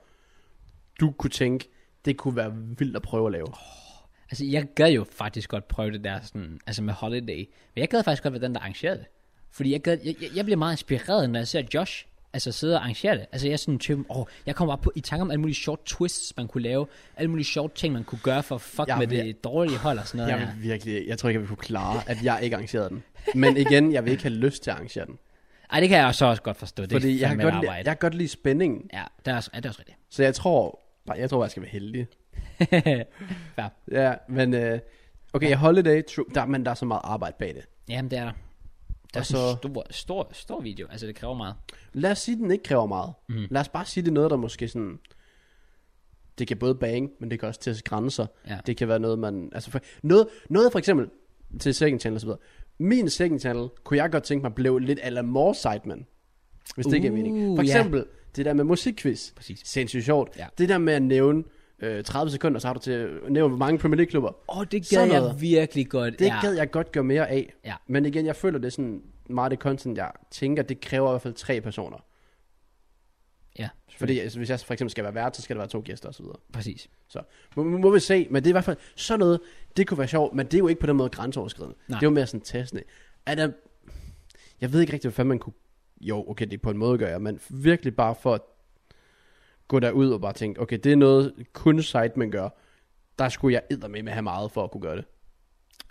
[SPEAKER 2] du kunne tænke, det kunne være vildt at prøve at lave.
[SPEAKER 1] Altså, jeg gad jo faktisk godt prøve det der sådan, altså med Holiday. Men jeg gad faktisk godt være den, der arrangerede det. Fordi jeg, gad, jeg, jeg- jeg bliver meget inspireret, når jeg ser Josh altså sidde og arrangere det. Altså jeg er sådan en type, åh, jeg kommer bare på, i tanke om alle mulige short twists, man kunne lave, alle mulige short ting, man kunne gøre for at fuck
[SPEAKER 2] Jeg
[SPEAKER 1] med
[SPEAKER 2] vil-
[SPEAKER 1] det dårlige hold og sådan noget.
[SPEAKER 2] Jeg
[SPEAKER 1] der.
[SPEAKER 2] vil virkelig, jeg tror ikke, jeg vil kunne klare, at jeg ikke arrangerede den. Men igen, jeg vil ikke have lyst til at arrangere den.
[SPEAKER 1] Ej, det kan jeg så også godt forstå. Det
[SPEAKER 2] Fordi
[SPEAKER 1] er
[SPEAKER 2] jeg kan,
[SPEAKER 1] fandme et
[SPEAKER 2] godt lide,
[SPEAKER 1] arbejde.
[SPEAKER 2] jeg kan godt lide spændingen.
[SPEAKER 1] Ja, det er, også, ja, det er også rigtigt.
[SPEAKER 2] Så jeg tror, bare, jeg tror, bare, jeg skal være heldig.
[SPEAKER 1] Fair.
[SPEAKER 2] Ja, men øh, okay, jeg holder det, true, der, men der er så meget arbejde bag det.
[SPEAKER 1] Jamen, det er der. Det er
[SPEAKER 2] Og
[SPEAKER 1] også en
[SPEAKER 2] så-
[SPEAKER 1] stor, stor, stor video. Altså, det kræver meget.
[SPEAKER 2] Lad os sige, den ikke kræver meget. Mm. Lad os bare sige, det er noget, der måske sådan... Det kan både bang, men det kan også teste grænser.
[SPEAKER 1] Ja.
[SPEAKER 2] Det kan være noget, man... Altså for, noget, noget for eksempel til second channel og så videre. Min second channel kunne jeg godt tænke mig blev lidt ala more sideman. Hvis det ikke giver
[SPEAKER 1] Uh,
[SPEAKER 2] mening. For
[SPEAKER 1] ja.
[SPEAKER 2] eksempel det der med musikquiz.
[SPEAKER 1] Præcis.
[SPEAKER 2] Sindssygt sjovt.
[SPEAKER 1] Ja.
[SPEAKER 2] Det der med at nævne øh, 30 sekunder, så har du til at nævne, hvor mange Premier League-klubber.
[SPEAKER 1] Åh, oh, det gad
[SPEAKER 2] Sådan
[SPEAKER 1] jeg
[SPEAKER 2] noget.
[SPEAKER 1] virkelig godt.
[SPEAKER 2] Det
[SPEAKER 1] ja.
[SPEAKER 2] ja. gad jeg godt gøre mere af.
[SPEAKER 1] Ja.
[SPEAKER 2] Men igen, jeg føler, det er sådan meget det content, jeg tænker, det kræver i hvert fald tre personer.
[SPEAKER 1] Ja,
[SPEAKER 2] Fordi altså, hvis jeg for eksempel skal være vært, så skal der være to gæster osv.
[SPEAKER 1] præcis.
[SPEAKER 2] Så må, må vi se, men det er i hvert fald sådan noget, det kunne være sjovt, men det er jo ikke på den måde grænseoverskridende.
[SPEAKER 1] Nej.
[SPEAKER 2] Det er jo mere sådan testende. Er der, jeg ved ikke rigtig, hvad fanden man kunne... Jo, okay, det er på en måde gør jeg, men virkelig bare for at gå derud og bare tænke, okay, det er noget kun site, man gør. Der skulle jeg eddermame med have meget for at kunne gøre det.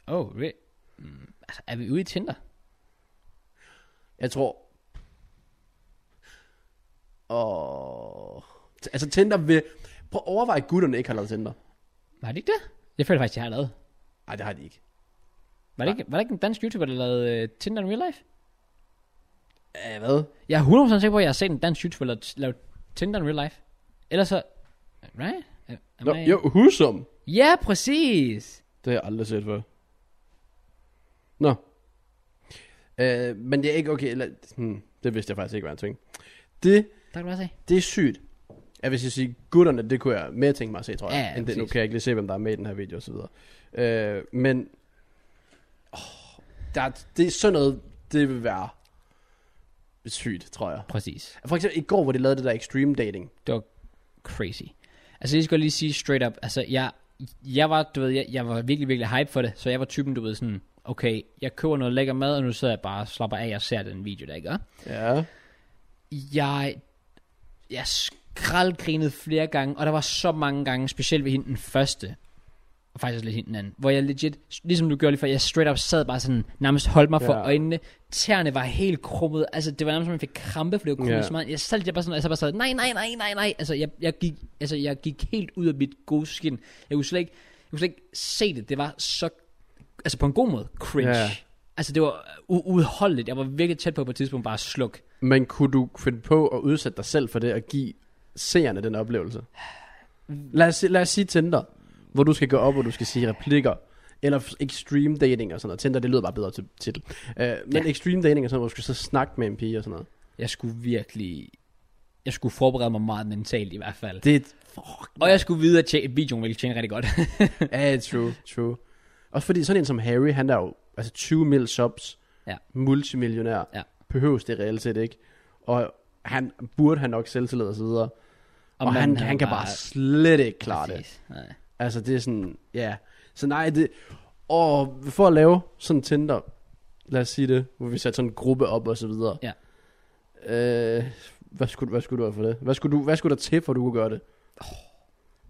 [SPEAKER 1] Åh, oh, really? mm, altså, er vi ude i Tinder?
[SPEAKER 2] Jeg tror... Og... Altså Tinder vil... Prøv at overveje, at gutterne ikke har lavet Tinder.
[SPEAKER 1] Var det ikke det? Jeg føler faktisk, jeg har lavet.
[SPEAKER 2] Nej, det har de ikke.
[SPEAKER 1] Var det, ikke, var der ikke en dansk YouTuber, der lavede uh, Tinder in real life?
[SPEAKER 2] Æh, hvad?
[SPEAKER 1] Jeg er 100% sikker på, at jeg har set en dansk YouTuber lave, lave Tinder in real life. Ellers så... Right? Øh, Am
[SPEAKER 2] Nå,
[SPEAKER 1] I-
[SPEAKER 2] jo, Husum.
[SPEAKER 1] Ja, præcis!
[SPEAKER 2] Det har jeg aldrig set før. Nå. Øh, men det er ikke okay. Eller, hmm, det vidste jeg faktisk ikke var en ting. Det,
[SPEAKER 1] Der kan du bare se.
[SPEAKER 2] det er sygt. Jeg vil sige, gutterne, det kunne jeg mere tænke mig at se, tror jeg.
[SPEAKER 1] Ja, ja,
[SPEAKER 2] end det, nu
[SPEAKER 1] præcis.
[SPEAKER 2] kan jeg ikke lige se, hvem der er med i den her video og så videre. Øh, men oh, der, er- det er sådan noget, det vil være sygt, tror jeg.
[SPEAKER 1] Præcis.
[SPEAKER 2] For eksempel i går, hvor de lavede det der extreme dating.
[SPEAKER 1] det var crazy. Altså jeg skal lige sige straight up, altså jeg, jeg var, du ved, jeg, jeg var virkelig, virkelig hype for det, så jeg var typen, du ved, sådan, okay, jeg køber noget lækker mad, og nu sidder jeg bare og slapper af og ser den video, der ikke er.
[SPEAKER 2] Ja.
[SPEAKER 1] Jeg, jeg skraldgrinede flere gange, og der var så mange gange, specielt ved hende den første, og faktisk også lidt hende den anden, hvor jeg legit, ligesom du gjorde lige før, jeg straight up sad bare sådan, nærmest holdt mig for
[SPEAKER 2] Ja.
[SPEAKER 1] øjnene, tæerne var helt krummet, altså det var nærmest, som om jeg fik krampe, fordi jeg kunne
[SPEAKER 2] Ja.
[SPEAKER 1] yeah. så meget, jeg sad jeg bare sådan, altså bare sad, nej, nej, nej, nej, nej, altså jeg, jeg, gik, altså jeg gik helt ud af mit gode skin, jeg kunne slet ikke, jeg kunne slet ikke se det, det var så, altså på en god måde, cringe,
[SPEAKER 2] Ja.
[SPEAKER 1] altså det var u- uudholdeligt, jeg var virkelig tæt på på et tidspunkt bare at slukke,
[SPEAKER 2] Men kunne du finde på at udsætte dig selv for det og give seerne den oplevelse? Lad os, lad os sige Tinder, hvor du skal gå op, og du skal sige replikker. Eller f- extreme dating og sådan noget. Tinder, det lyder bare bedre til titel. Uh, men
[SPEAKER 1] Ja.
[SPEAKER 2] extreme dating og sådan noget, hvor du skal så snakke med en pige og sådan noget.
[SPEAKER 1] Jeg skulle virkelig... Jeg skulle forberede mig meget mentalt i hvert fald.
[SPEAKER 2] Det er... Fuck.
[SPEAKER 1] Og jeg skulle vide, at tje- videoen ville tjene rigtig godt.
[SPEAKER 2] Ja, yeah, true, true. Også fordi sådan en som Harry, han er jo altså 20 mil subs,
[SPEAKER 1] Ja.
[SPEAKER 2] multimillionær,
[SPEAKER 1] Ja.
[SPEAKER 2] behøves det reelt set ikke. Og han burde han nok selvtillid og så videre. Og, og han,
[SPEAKER 1] manden,
[SPEAKER 2] han, han kan bare slet ikke klare det.
[SPEAKER 1] Præcis. Nej.
[SPEAKER 2] Altså det er sådan, ja. Yeah. Så nej, det... Og for at lave sådan Tinder, lad os sige det, hvor vi satte sådan en gruppe op og så videre.
[SPEAKER 1] Ja.
[SPEAKER 2] Øh, hvad, skulle, hvad skulle du have for det? Hvad skulle, du, hvad skulle der til, for at du kunne gøre det? Oh,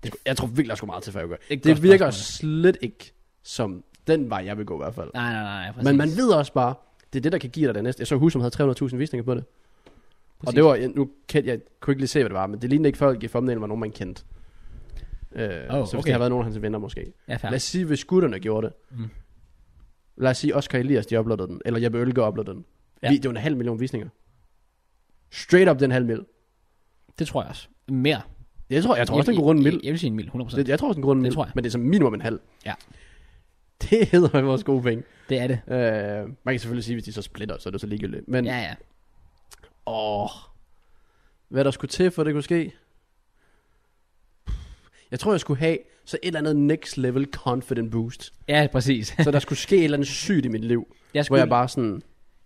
[SPEAKER 2] det jeg tror virkelig, der skulle meget til, for at gøre
[SPEAKER 1] Det er et
[SPEAKER 2] det.
[SPEAKER 1] godt
[SPEAKER 2] Det virker
[SPEAKER 1] spørgsmål.
[SPEAKER 2] slet ikke som den vej, jeg vil gå i hvert fald.
[SPEAKER 1] Nej, nej, nej, præcis.
[SPEAKER 2] Men man ved også bare, det er det, der kan give dig det næste. Jeg så hus, som havde 300.000 visninger på det. Præcis. Og
[SPEAKER 1] Præcis.
[SPEAKER 2] det var, jeg, nu kan, jeg kunne ikke lige se, hvad det var, men det lignede ikke folk i thumbnail, var nogen, man kendte. Øh, oh, så hvis
[SPEAKER 1] okay.
[SPEAKER 2] det har været nogen af hans venner måske.
[SPEAKER 1] Ja, fair.
[SPEAKER 2] Lad os sige, hvis gutterne gjorde det.
[SPEAKER 1] Mm.
[SPEAKER 2] Mm. Lad os sige, Oscar Elias, de uploadede den. Eller Jeppe Ølger uploadede den.
[SPEAKER 1] Ja.
[SPEAKER 2] Ja. Det var en halv million visninger. Straight up den halv mil.
[SPEAKER 1] Det tror jeg også. Mere.
[SPEAKER 2] Jeg tror, jeg tror også, den kunne runde en
[SPEAKER 1] Jeg-
[SPEAKER 2] mil.
[SPEAKER 1] Jeg, jeg vil sige en mil, 100%.
[SPEAKER 2] Det,
[SPEAKER 1] Det,
[SPEAKER 2] jeg tror også, den kunne runde en
[SPEAKER 1] Det
[SPEAKER 2] mil.
[SPEAKER 1] tror jeg.
[SPEAKER 2] Men det er som minimum en halv.
[SPEAKER 1] Ja.
[SPEAKER 2] Det hedder vores gode penge.
[SPEAKER 1] det er det.
[SPEAKER 2] Øh, man kan selvfølgelig sige, hvis de så splitter, så er det så ligegyldigt. Men
[SPEAKER 1] Ja, ja.
[SPEAKER 2] Åh. Hvad der skulle til, for det kunne ske? Jeg tror, jeg skulle have så et eller andet next level confident boost.
[SPEAKER 1] Ja, præcis.
[SPEAKER 2] Så der skulle ske et eller andet sygt i mit liv.
[SPEAKER 1] Jeg,
[SPEAKER 2] Hvor
[SPEAKER 1] skulle,
[SPEAKER 2] jeg bare sådan...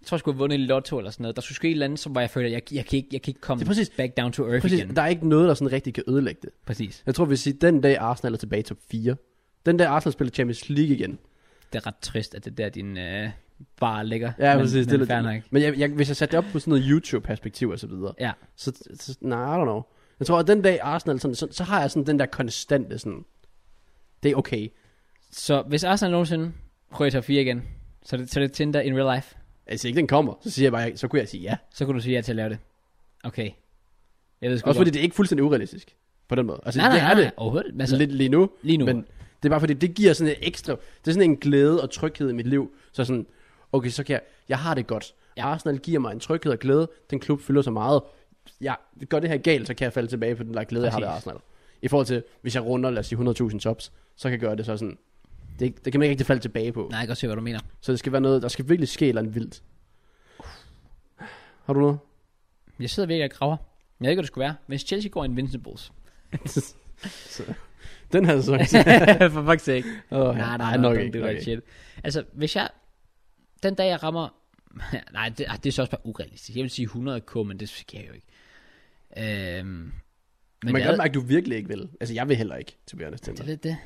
[SPEAKER 1] jeg tror, jeg skulle have vundet i lotto eller sådan noget. Der skulle ske et eller andet, som, hvor jeg føler, jeg, jeg, kan, ikke, jeg kan ikke komme
[SPEAKER 2] Det er præcis-
[SPEAKER 1] back down to earth
[SPEAKER 2] Præcis,
[SPEAKER 1] igen.
[SPEAKER 2] der er ikke noget, der sådan rigtig kan ødelægge det.
[SPEAKER 1] Præcis.
[SPEAKER 2] Jeg tror, vi siger, den dag Arsenal er tilbage i top 4. Den dag Arsenal spiller Champions League igen.
[SPEAKER 1] Det er ret trist, at det er der, din øh, bar ligger.
[SPEAKER 2] Ja, præcis.
[SPEAKER 1] Men,
[SPEAKER 2] det
[SPEAKER 1] men
[SPEAKER 2] er
[SPEAKER 1] fair
[SPEAKER 2] lidt,
[SPEAKER 1] nok.
[SPEAKER 2] men jeg, jeg, hvis jeg satte det op på sådan noget YouTube-perspektiv og så videre,
[SPEAKER 1] Ja,
[SPEAKER 2] så, så nej, I don't know. Jeg tror, at den dag Arsenal, sådan, så, så har jeg sådan den der konstante sådan, det er okay.
[SPEAKER 1] så hvis Arsenal nogensinde prøver til 4 igen, så er det, så er det Tinder in real life.
[SPEAKER 2] Altså ikke, den kommer. Så, siger jeg bare, så kunne jeg sige ja.
[SPEAKER 1] Så kunne du sige ja til at lave det. Okay. Jeg ved sgu
[SPEAKER 2] Også
[SPEAKER 1] godt.
[SPEAKER 2] fordi det er ikke fuldstændig urealistisk på den måde. Altså,
[SPEAKER 1] nej, nej,
[SPEAKER 2] det
[SPEAKER 1] nej,
[SPEAKER 2] er
[SPEAKER 1] nej,
[SPEAKER 2] det
[SPEAKER 1] overhovedet.
[SPEAKER 2] altså,
[SPEAKER 1] Altså,
[SPEAKER 2] lidt lige nu,
[SPEAKER 1] lige nu.
[SPEAKER 2] men det er bare fordi, det giver sådan et ekstra, det er sådan en glæde og tryghed i mit liv. Så sådan, okay, så kan jeg, jeg har det godt.
[SPEAKER 1] Ja.
[SPEAKER 2] Ja. Arsenal giver mig en tryghed og glæde. Den klub fylder så meget. Jeg gør det her galt, så kan jeg falde tilbage på den der glæde, jeg har ved
[SPEAKER 1] Præcis.
[SPEAKER 2] Arsenal. I forhold til, hvis jeg runder, lad os sige 100.000 tops, så kan jeg gøre det så sådan, det, det kan man ikke rigtig falde tilbage på.
[SPEAKER 1] nej, jeg kan godt se, hvad du mener.
[SPEAKER 2] Så det skal være noget, der skal virkelig ske et eller andet vildt. Har du noget?
[SPEAKER 1] Jeg sidder virkelig og graver. Jeg ved ikke, hvad det skulle være. Hvis Chelsea går Invincibles.
[SPEAKER 2] Den havde så
[SPEAKER 1] For fuck's sake.
[SPEAKER 2] Oh,
[SPEAKER 1] Nej, nej,
[SPEAKER 2] nok
[SPEAKER 1] nej,
[SPEAKER 2] ikke.
[SPEAKER 1] det er
[SPEAKER 2] nok
[SPEAKER 1] okay.
[SPEAKER 2] ikke.
[SPEAKER 1] shit. Altså, hvis jeg... Den dag, jeg rammer... nej, det, ah, det er så også bare urealistisk. Jeg vil sige 100k, men det sker jo ikke. Øhm, men
[SPEAKER 2] Men man
[SPEAKER 1] jeg-
[SPEAKER 2] kan godt mærke, at du virkelig ikke vil. Altså, jeg vil heller ikke, til Bjørnes
[SPEAKER 1] Det er
[SPEAKER 2] Tinder.
[SPEAKER 1] lidt det.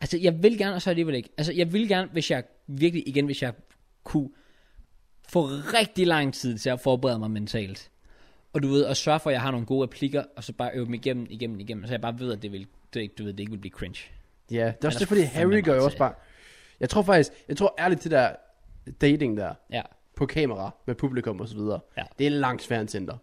[SPEAKER 1] Altså, jeg vil gerne, og så alligevel ikke. Altså, jeg vil gerne, hvis jeg virkelig igen, hvis jeg kunne få rigtig lang tid til at forberede mig mentalt. Og du ved, og sørge for, at jeg har nogle gode replikker, og så bare øve dem igennem, igennem, igennem, så jeg bare ved, at det vil, det, ikke- du ved, det ikke vil blive cringe.
[SPEAKER 2] Ja, det er
[SPEAKER 1] der
[SPEAKER 2] også det, fordi
[SPEAKER 1] fandme
[SPEAKER 2] Harry gør
[SPEAKER 1] meget
[SPEAKER 2] jo også
[SPEAKER 1] til.
[SPEAKER 2] bare... Jeg tror faktisk, jeg tror ærligt, det der dating der,
[SPEAKER 1] Ja,
[SPEAKER 2] på kamera, med publikum og så videre,
[SPEAKER 1] Ja.
[SPEAKER 2] det er langt sværere end Tinder.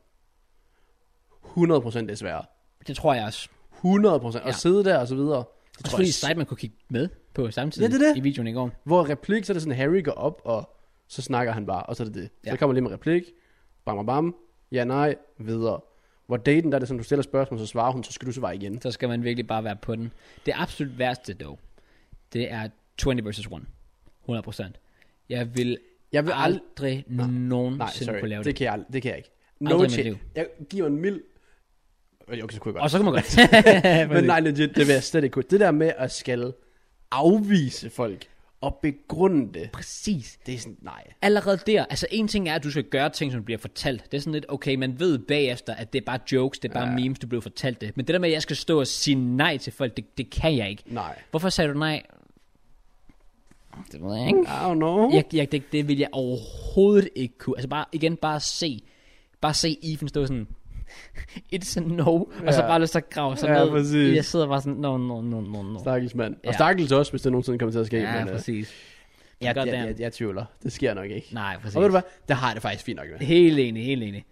[SPEAKER 2] 100% det er sværere.
[SPEAKER 1] det tror jeg også.
[SPEAKER 2] 100%. Ja.
[SPEAKER 1] Ja.
[SPEAKER 2] At sidde der og så videre. Det
[SPEAKER 1] Jeg
[SPEAKER 2] tror
[SPEAKER 1] tror, fordi
[SPEAKER 2] jeg,
[SPEAKER 1] site, man kunne kigge med på samtidig
[SPEAKER 2] Ja, det er det.
[SPEAKER 1] i videoen i går.
[SPEAKER 2] hvor replik, så er det sådan, Harry går op, og så snakker han bare, og så er det det. Ja.
[SPEAKER 1] Ja.
[SPEAKER 2] Så kommer lige med replik, bam, bam, bam, ja, nej, videre. Hvor daten, der er det sådan, du stiller spørgsmål, så svarer hun, så skal du svare igen.
[SPEAKER 1] Så skal man virkelig bare være på den. Det absolut værste, dog, det er 20 versus 1. 100%. Jeg vil
[SPEAKER 2] Jeg vil aldrig,
[SPEAKER 1] aldrig nogensinde
[SPEAKER 2] Nej, sorry.
[SPEAKER 1] Mm, kunne lave
[SPEAKER 2] det. Kan jeg, ald- det kan jeg ikke.
[SPEAKER 1] Aldrig i
[SPEAKER 2] No
[SPEAKER 1] mit
[SPEAKER 2] chance.
[SPEAKER 1] liv.
[SPEAKER 2] Jeg giver en mild... Okay, så kunne jeg
[SPEAKER 1] Og
[SPEAKER 2] godt.
[SPEAKER 1] så kan man godt.
[SPEAKER 2] Men nej, legit, det vil jeg slet ikke kunne. Det der med at skal afvise folk og begrunde det,
[SPEAKER 1] Præcis.
[SPEAKER 2] det er sådan, nej.
[SPEAKER 1] Allerede der, altså en ting er, at du skal gøre ting, som bliver fortalt. Det er sådan lidt, okay, man ved bagefter, at det er bare jokes, det er bare ja. memes, du blev fortalt det. Men det der med, at jeg skal stå og sige nej til folk, det, det kan jeg ikke.
[SPEAKER 2] Nej.
[SPEAKER 1] Hvorfor sagde du nej? Det ved jeg ikke.
[SPEAKER 2] I don't know.
[SPEAKER 1] Jeg, jeg, det, det vil jeg overhovedet ikke kunne. Altså bare, igen, bare se. Bare se Even stå sådan, it's a no. Ja. Og så
[SPEAKER 2] Ja.
[SPEAKER 1] bare lyst til at grave sig
[SPEAKER 2] Ja,
[SPEAKER 1] ned.
[SPEAKER 2] præcis.
[SPEAKER 1] Jeg sidder bare sådan, no, no, no, no, no.
[SPEAKER 2] Stakkels mand.
[SPEAKER 1] Ja.
[SPEAKER 2] Og stakkels også, hvis det nogensinde kommer til at ske.
[SPEAKER 1] Ja,
[SPEAKER 2] men, øh,
[SPEAKER 1] præcis.
[SPEAKER 2] jeg, jeg,
[SPEAKER 1] Goddamn.
[SPEAKER 2] jeg, jeg, tvivler. Det sker nok ikke.
[SPEAKER 1] Nej, præcis.
[SPEAKER 2] Og ved du hvad? Det har jeg det faktisk fint nok med.
[SPEAKER 1] Helt enig, helt enig.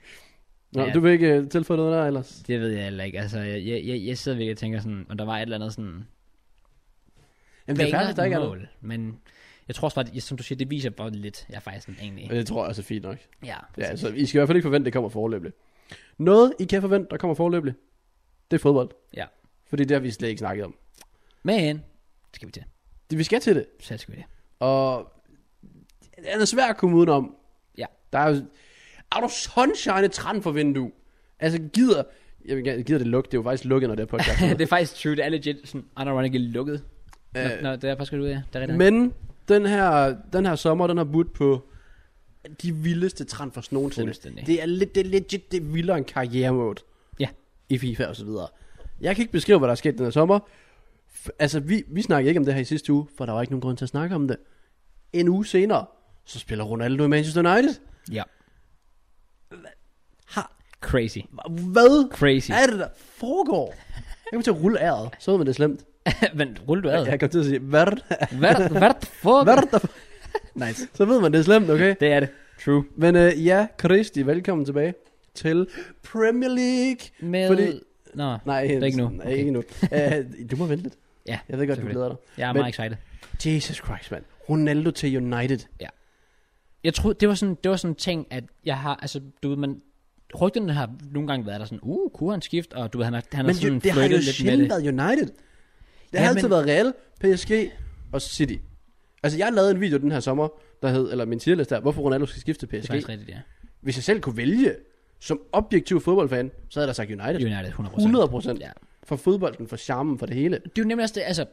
[SPEAKER 2] Nå,
[SPEAKER 1] Ja.
[SPEAKER 2] Du vil ikke uh, tilføje noget der ellers?
[SPEAKER 1] Det ved jeg heller ikke. Altså, jeg, jeg, jeg, jeg sidder virkelig og tænker sådan, om der var et eller andet sådan...
[SPEAKER 2] Jamen, det er færdigt, der ikke er noget.
[SPEAKER 1] mål, Men jeg tror også bare, at, som du siger, det viser bare lidt, jeg er faktisk sådan egentlig.
[SPEAKER 2] Men Det tror jeg også er fint nok.
[SPEAKER 1] Ja,
[SPEAKER 2] Øh, Ja,
[SPEAKER 1] præcis.
[SPEAKER 2] altså, I skal i hvert fald ikke forvente, at det kommer forløbende. Noget, I kan forvente, der kommer forløbende, det er fodbold.
[SPEAKER 1] Ja.
[SPEAKER 2] Fordi det har vi slet ikke snakket om.
[SPEAKER 1] Men, det skal vi til.
[SPEAKER 2] Det, vi skal til det.
[SPEAKER 1] Så skal vi det.
[SPEAKER 2] Og den er svær at komme udenom.
[SPEAKER 1] Ja.
[SPEAKER 2] Der er jo... Er du sunshine træn for vindue? Altså gider... Jeg vil gerne- gider det lukke. Det er jo faktisk lukket, når det er podcast.
[SPEAKER 1] det er faktisk true. Det er legit sådan unironically lukket. Øh,
[SPEAKER 2] Øh,
[SPEAKER 1] når, når det er faktisk godt ud, ja. Det er rigtigt.
[SPEAKER 2] Men den her, den her sommer, den har budt på de vildeste transfers nogensinde.
[SPEAKER 1] Fuldstændig.
[SPEAKER 2] Det er, lidt, det er legit det er vildere end karrieremode.
[SPEAKER 1] Ja.
[SPEAKER 2] I FIFA og så videre. Jeg kan ikke beskrive, hvad der er sket den her sommer. F- altså, vi, vi snakkede ikke om det her i sidste uge, for der var ikke nogen grund til at snakke om det. En uge senere, så spiller Ronaldo i Manchester United.
[SPEAKER 1] Ja.
[SPEAKER 2] Har,
[SPEAKER 1] Crazy.
[SPEAKER 2] hvad
[SPEAKER 1] Crazy.
[SPEAKER 2] er det, der foregår? Jeg kommer til at rulle æret. Så ved man det er slemt.
[SPEAKER 1] Men rulle du ad.
[SPEAKER 2] Jeg kommer til at sige, hvad er det,
[SPEAKER 1] Hvad, hvad the fuck?
[SPEAKER 2] hvad er det, der... Nice. Så ved man, det er slemt, okay?
[SPEAKER 1] Det er det. True.
[SPEAKER 2] Men øh, ja, Kristi, velkommen tilbage til Premier League.
[SPEAKER 1] Med... Fordi...
[SPEAKER 2] Fordi-
[SPEAKER 1] Nå,
[SPEAKER 2] Nej,
[SPEAKER 1] det er ikke nu.
[SPEAKER 2] Nej, ikke nu. Æh, du må vente lidt.
[SPEAKER 1] Ja,
[SPEAKER 2] Jeg ved godt, du
[SPEAKER 1] selvfølgelig.
[SPEAKER 2] glæder dig.
[SPEAKER 1] jeg er
[SPEAKER 2] Men-
[SPEAKER 1] meget excited.
[SPEAKER 2] Jesus Christ, mand. Ronaldo til United.
[SPEAKER 1] Jeg troede, det var sådan, det var sådan en ting, at jeg har, altså, du ved, man, rygterne har nogle gange været der sådan, uh, kunne han skifte, og du ved, han har, han har
[SPEAKER 2] Men
[SPEAKER 1] sådan
[SPEAKER 2] jo, det har jo
[SPEAKER 1] flirtet lidt med
[SPEAKER 2] sjældent
[SPEAKER 1] det.
[SPEAKER 2] været United. Det
[SPEAKER 1] Ja,
[SPEAKER 2] har altid
[SPEAKER 1] men-
[SPEAKER 2] været Real, PSG og City. Altså, jeg lavede en video den her sommer, der hed, eller min tierliste der, hvorfor Ronaldo skal skifte til
[SPEAKER 1] Det er
[SPEAKER 2] PSG.
[SPEAKER 1] faktisk rigtigt, ja.
[SPEAKER 2] Hvis jeg selv kunne vælge, som objektiv fodboldfan, så havde jeg da sagt United.
[SPEAKER 1] United, 100%.
[SPEAKER 2] 100 procent.
[SPEAKER 1] Ja.
[SPEAKER 2] For fodbolden, for charmen, for det hele.
[SPEAKER 1] Det er jo nemlig også det, altså,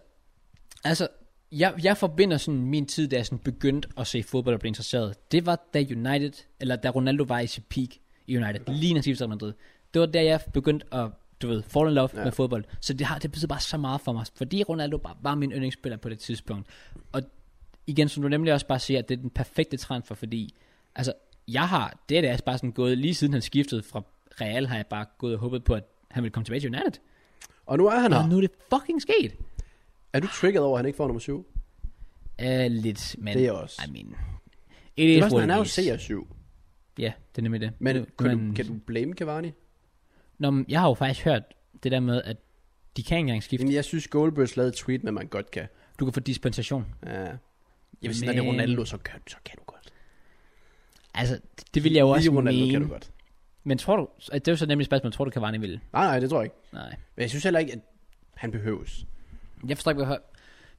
[SPEAKER 1] altså, jeg, jeg forbinder sådan min tid, da jeg sådan begyndte at se fodbold og blive interesseret. Det var da United, eller da Ronaldo var i sit peak i United, lige når Real Madrid. Det var der, jeg begyndte at, du ved, fall in love ja. med fodbold. Så det har, det betyder bare så meget for mig, fordi Ronaldo bare var min yndlingsspiller på det tidspunkt. Og igen, som du nemlig også bare siger, at det er den perfekte transfer, fordi, altså, jeg har, det er da bare sådan gået, lige siden han skiftede fra Real, har jeg bare gået og håbet på, at han ville komme tilbage til United.
[SPEAKER 2] Og nu er han
[SPEAKER 1] Og
[SPEAKER 2] her.
[SPEAKER 1] nu er det fucking sket.
[SPEAKER 2] Er du trigget over, at han ikke får nummer 7?
[SPEAKER 1] Uh, lidt, men...
[SPEAKER 2] Det er også.
[SPEAKER 1] I mean... It
[SPEAKER 2] Det
[SPEAKER 1] is
[SPEAKER 2] er også,
[SPEAKER 1] what
[SPEAKER 2] han er
[SPEAKER 1] it
[SPEAKER 2] jo
[SPEAKER 1] is.
[SPEAKER 2] CR7.
[SPEAKER 1] Ja, det er nemlig det.
[SPEAKER 2] Men
[SPEAKER 1] Nu-
[SPEAKER 2] kan,
[SPEAKER 1] men-
[SPEAKER 2] Du, kan du blame Cavani?
[SPEAKER 1] Nå, men jeg har jo faktisk hørt det der med, at de kan ikke engang skifte.
[SPEAKER 2] Jamen, jeg synes, Goldbergs lavede et tweet, men man godt kan.
[SPEAKER 1] Du kan få dispensation.
[SPEAKER 2] Ja. Jeg vil sige, når det er
[SPEAKER 1] Men-
[SPEAKER 2] Ronaldo, så kan, så kan du godt.
[SPEAKER 1] Altså, det, det vil jeg jo også
[SPEAKER 2] Lige Ronaldo
[SPEAKER 1] mene.
[SPEAKER 2] kan du godt.
[SPEAKER 1] Men tror du... at Det er jo så nemlig et spørgsmål. Tror du, Cavani vil?
[SPEAKER 2] Nej, nej, det tror jeg ikke.
[SPEAKER 1] Nej.
[SPEAKER 2] Men jeg synes heller ikke, at han behøves.
[SPEAKER 1] Jeg forstår ikke, hvad jeg hører.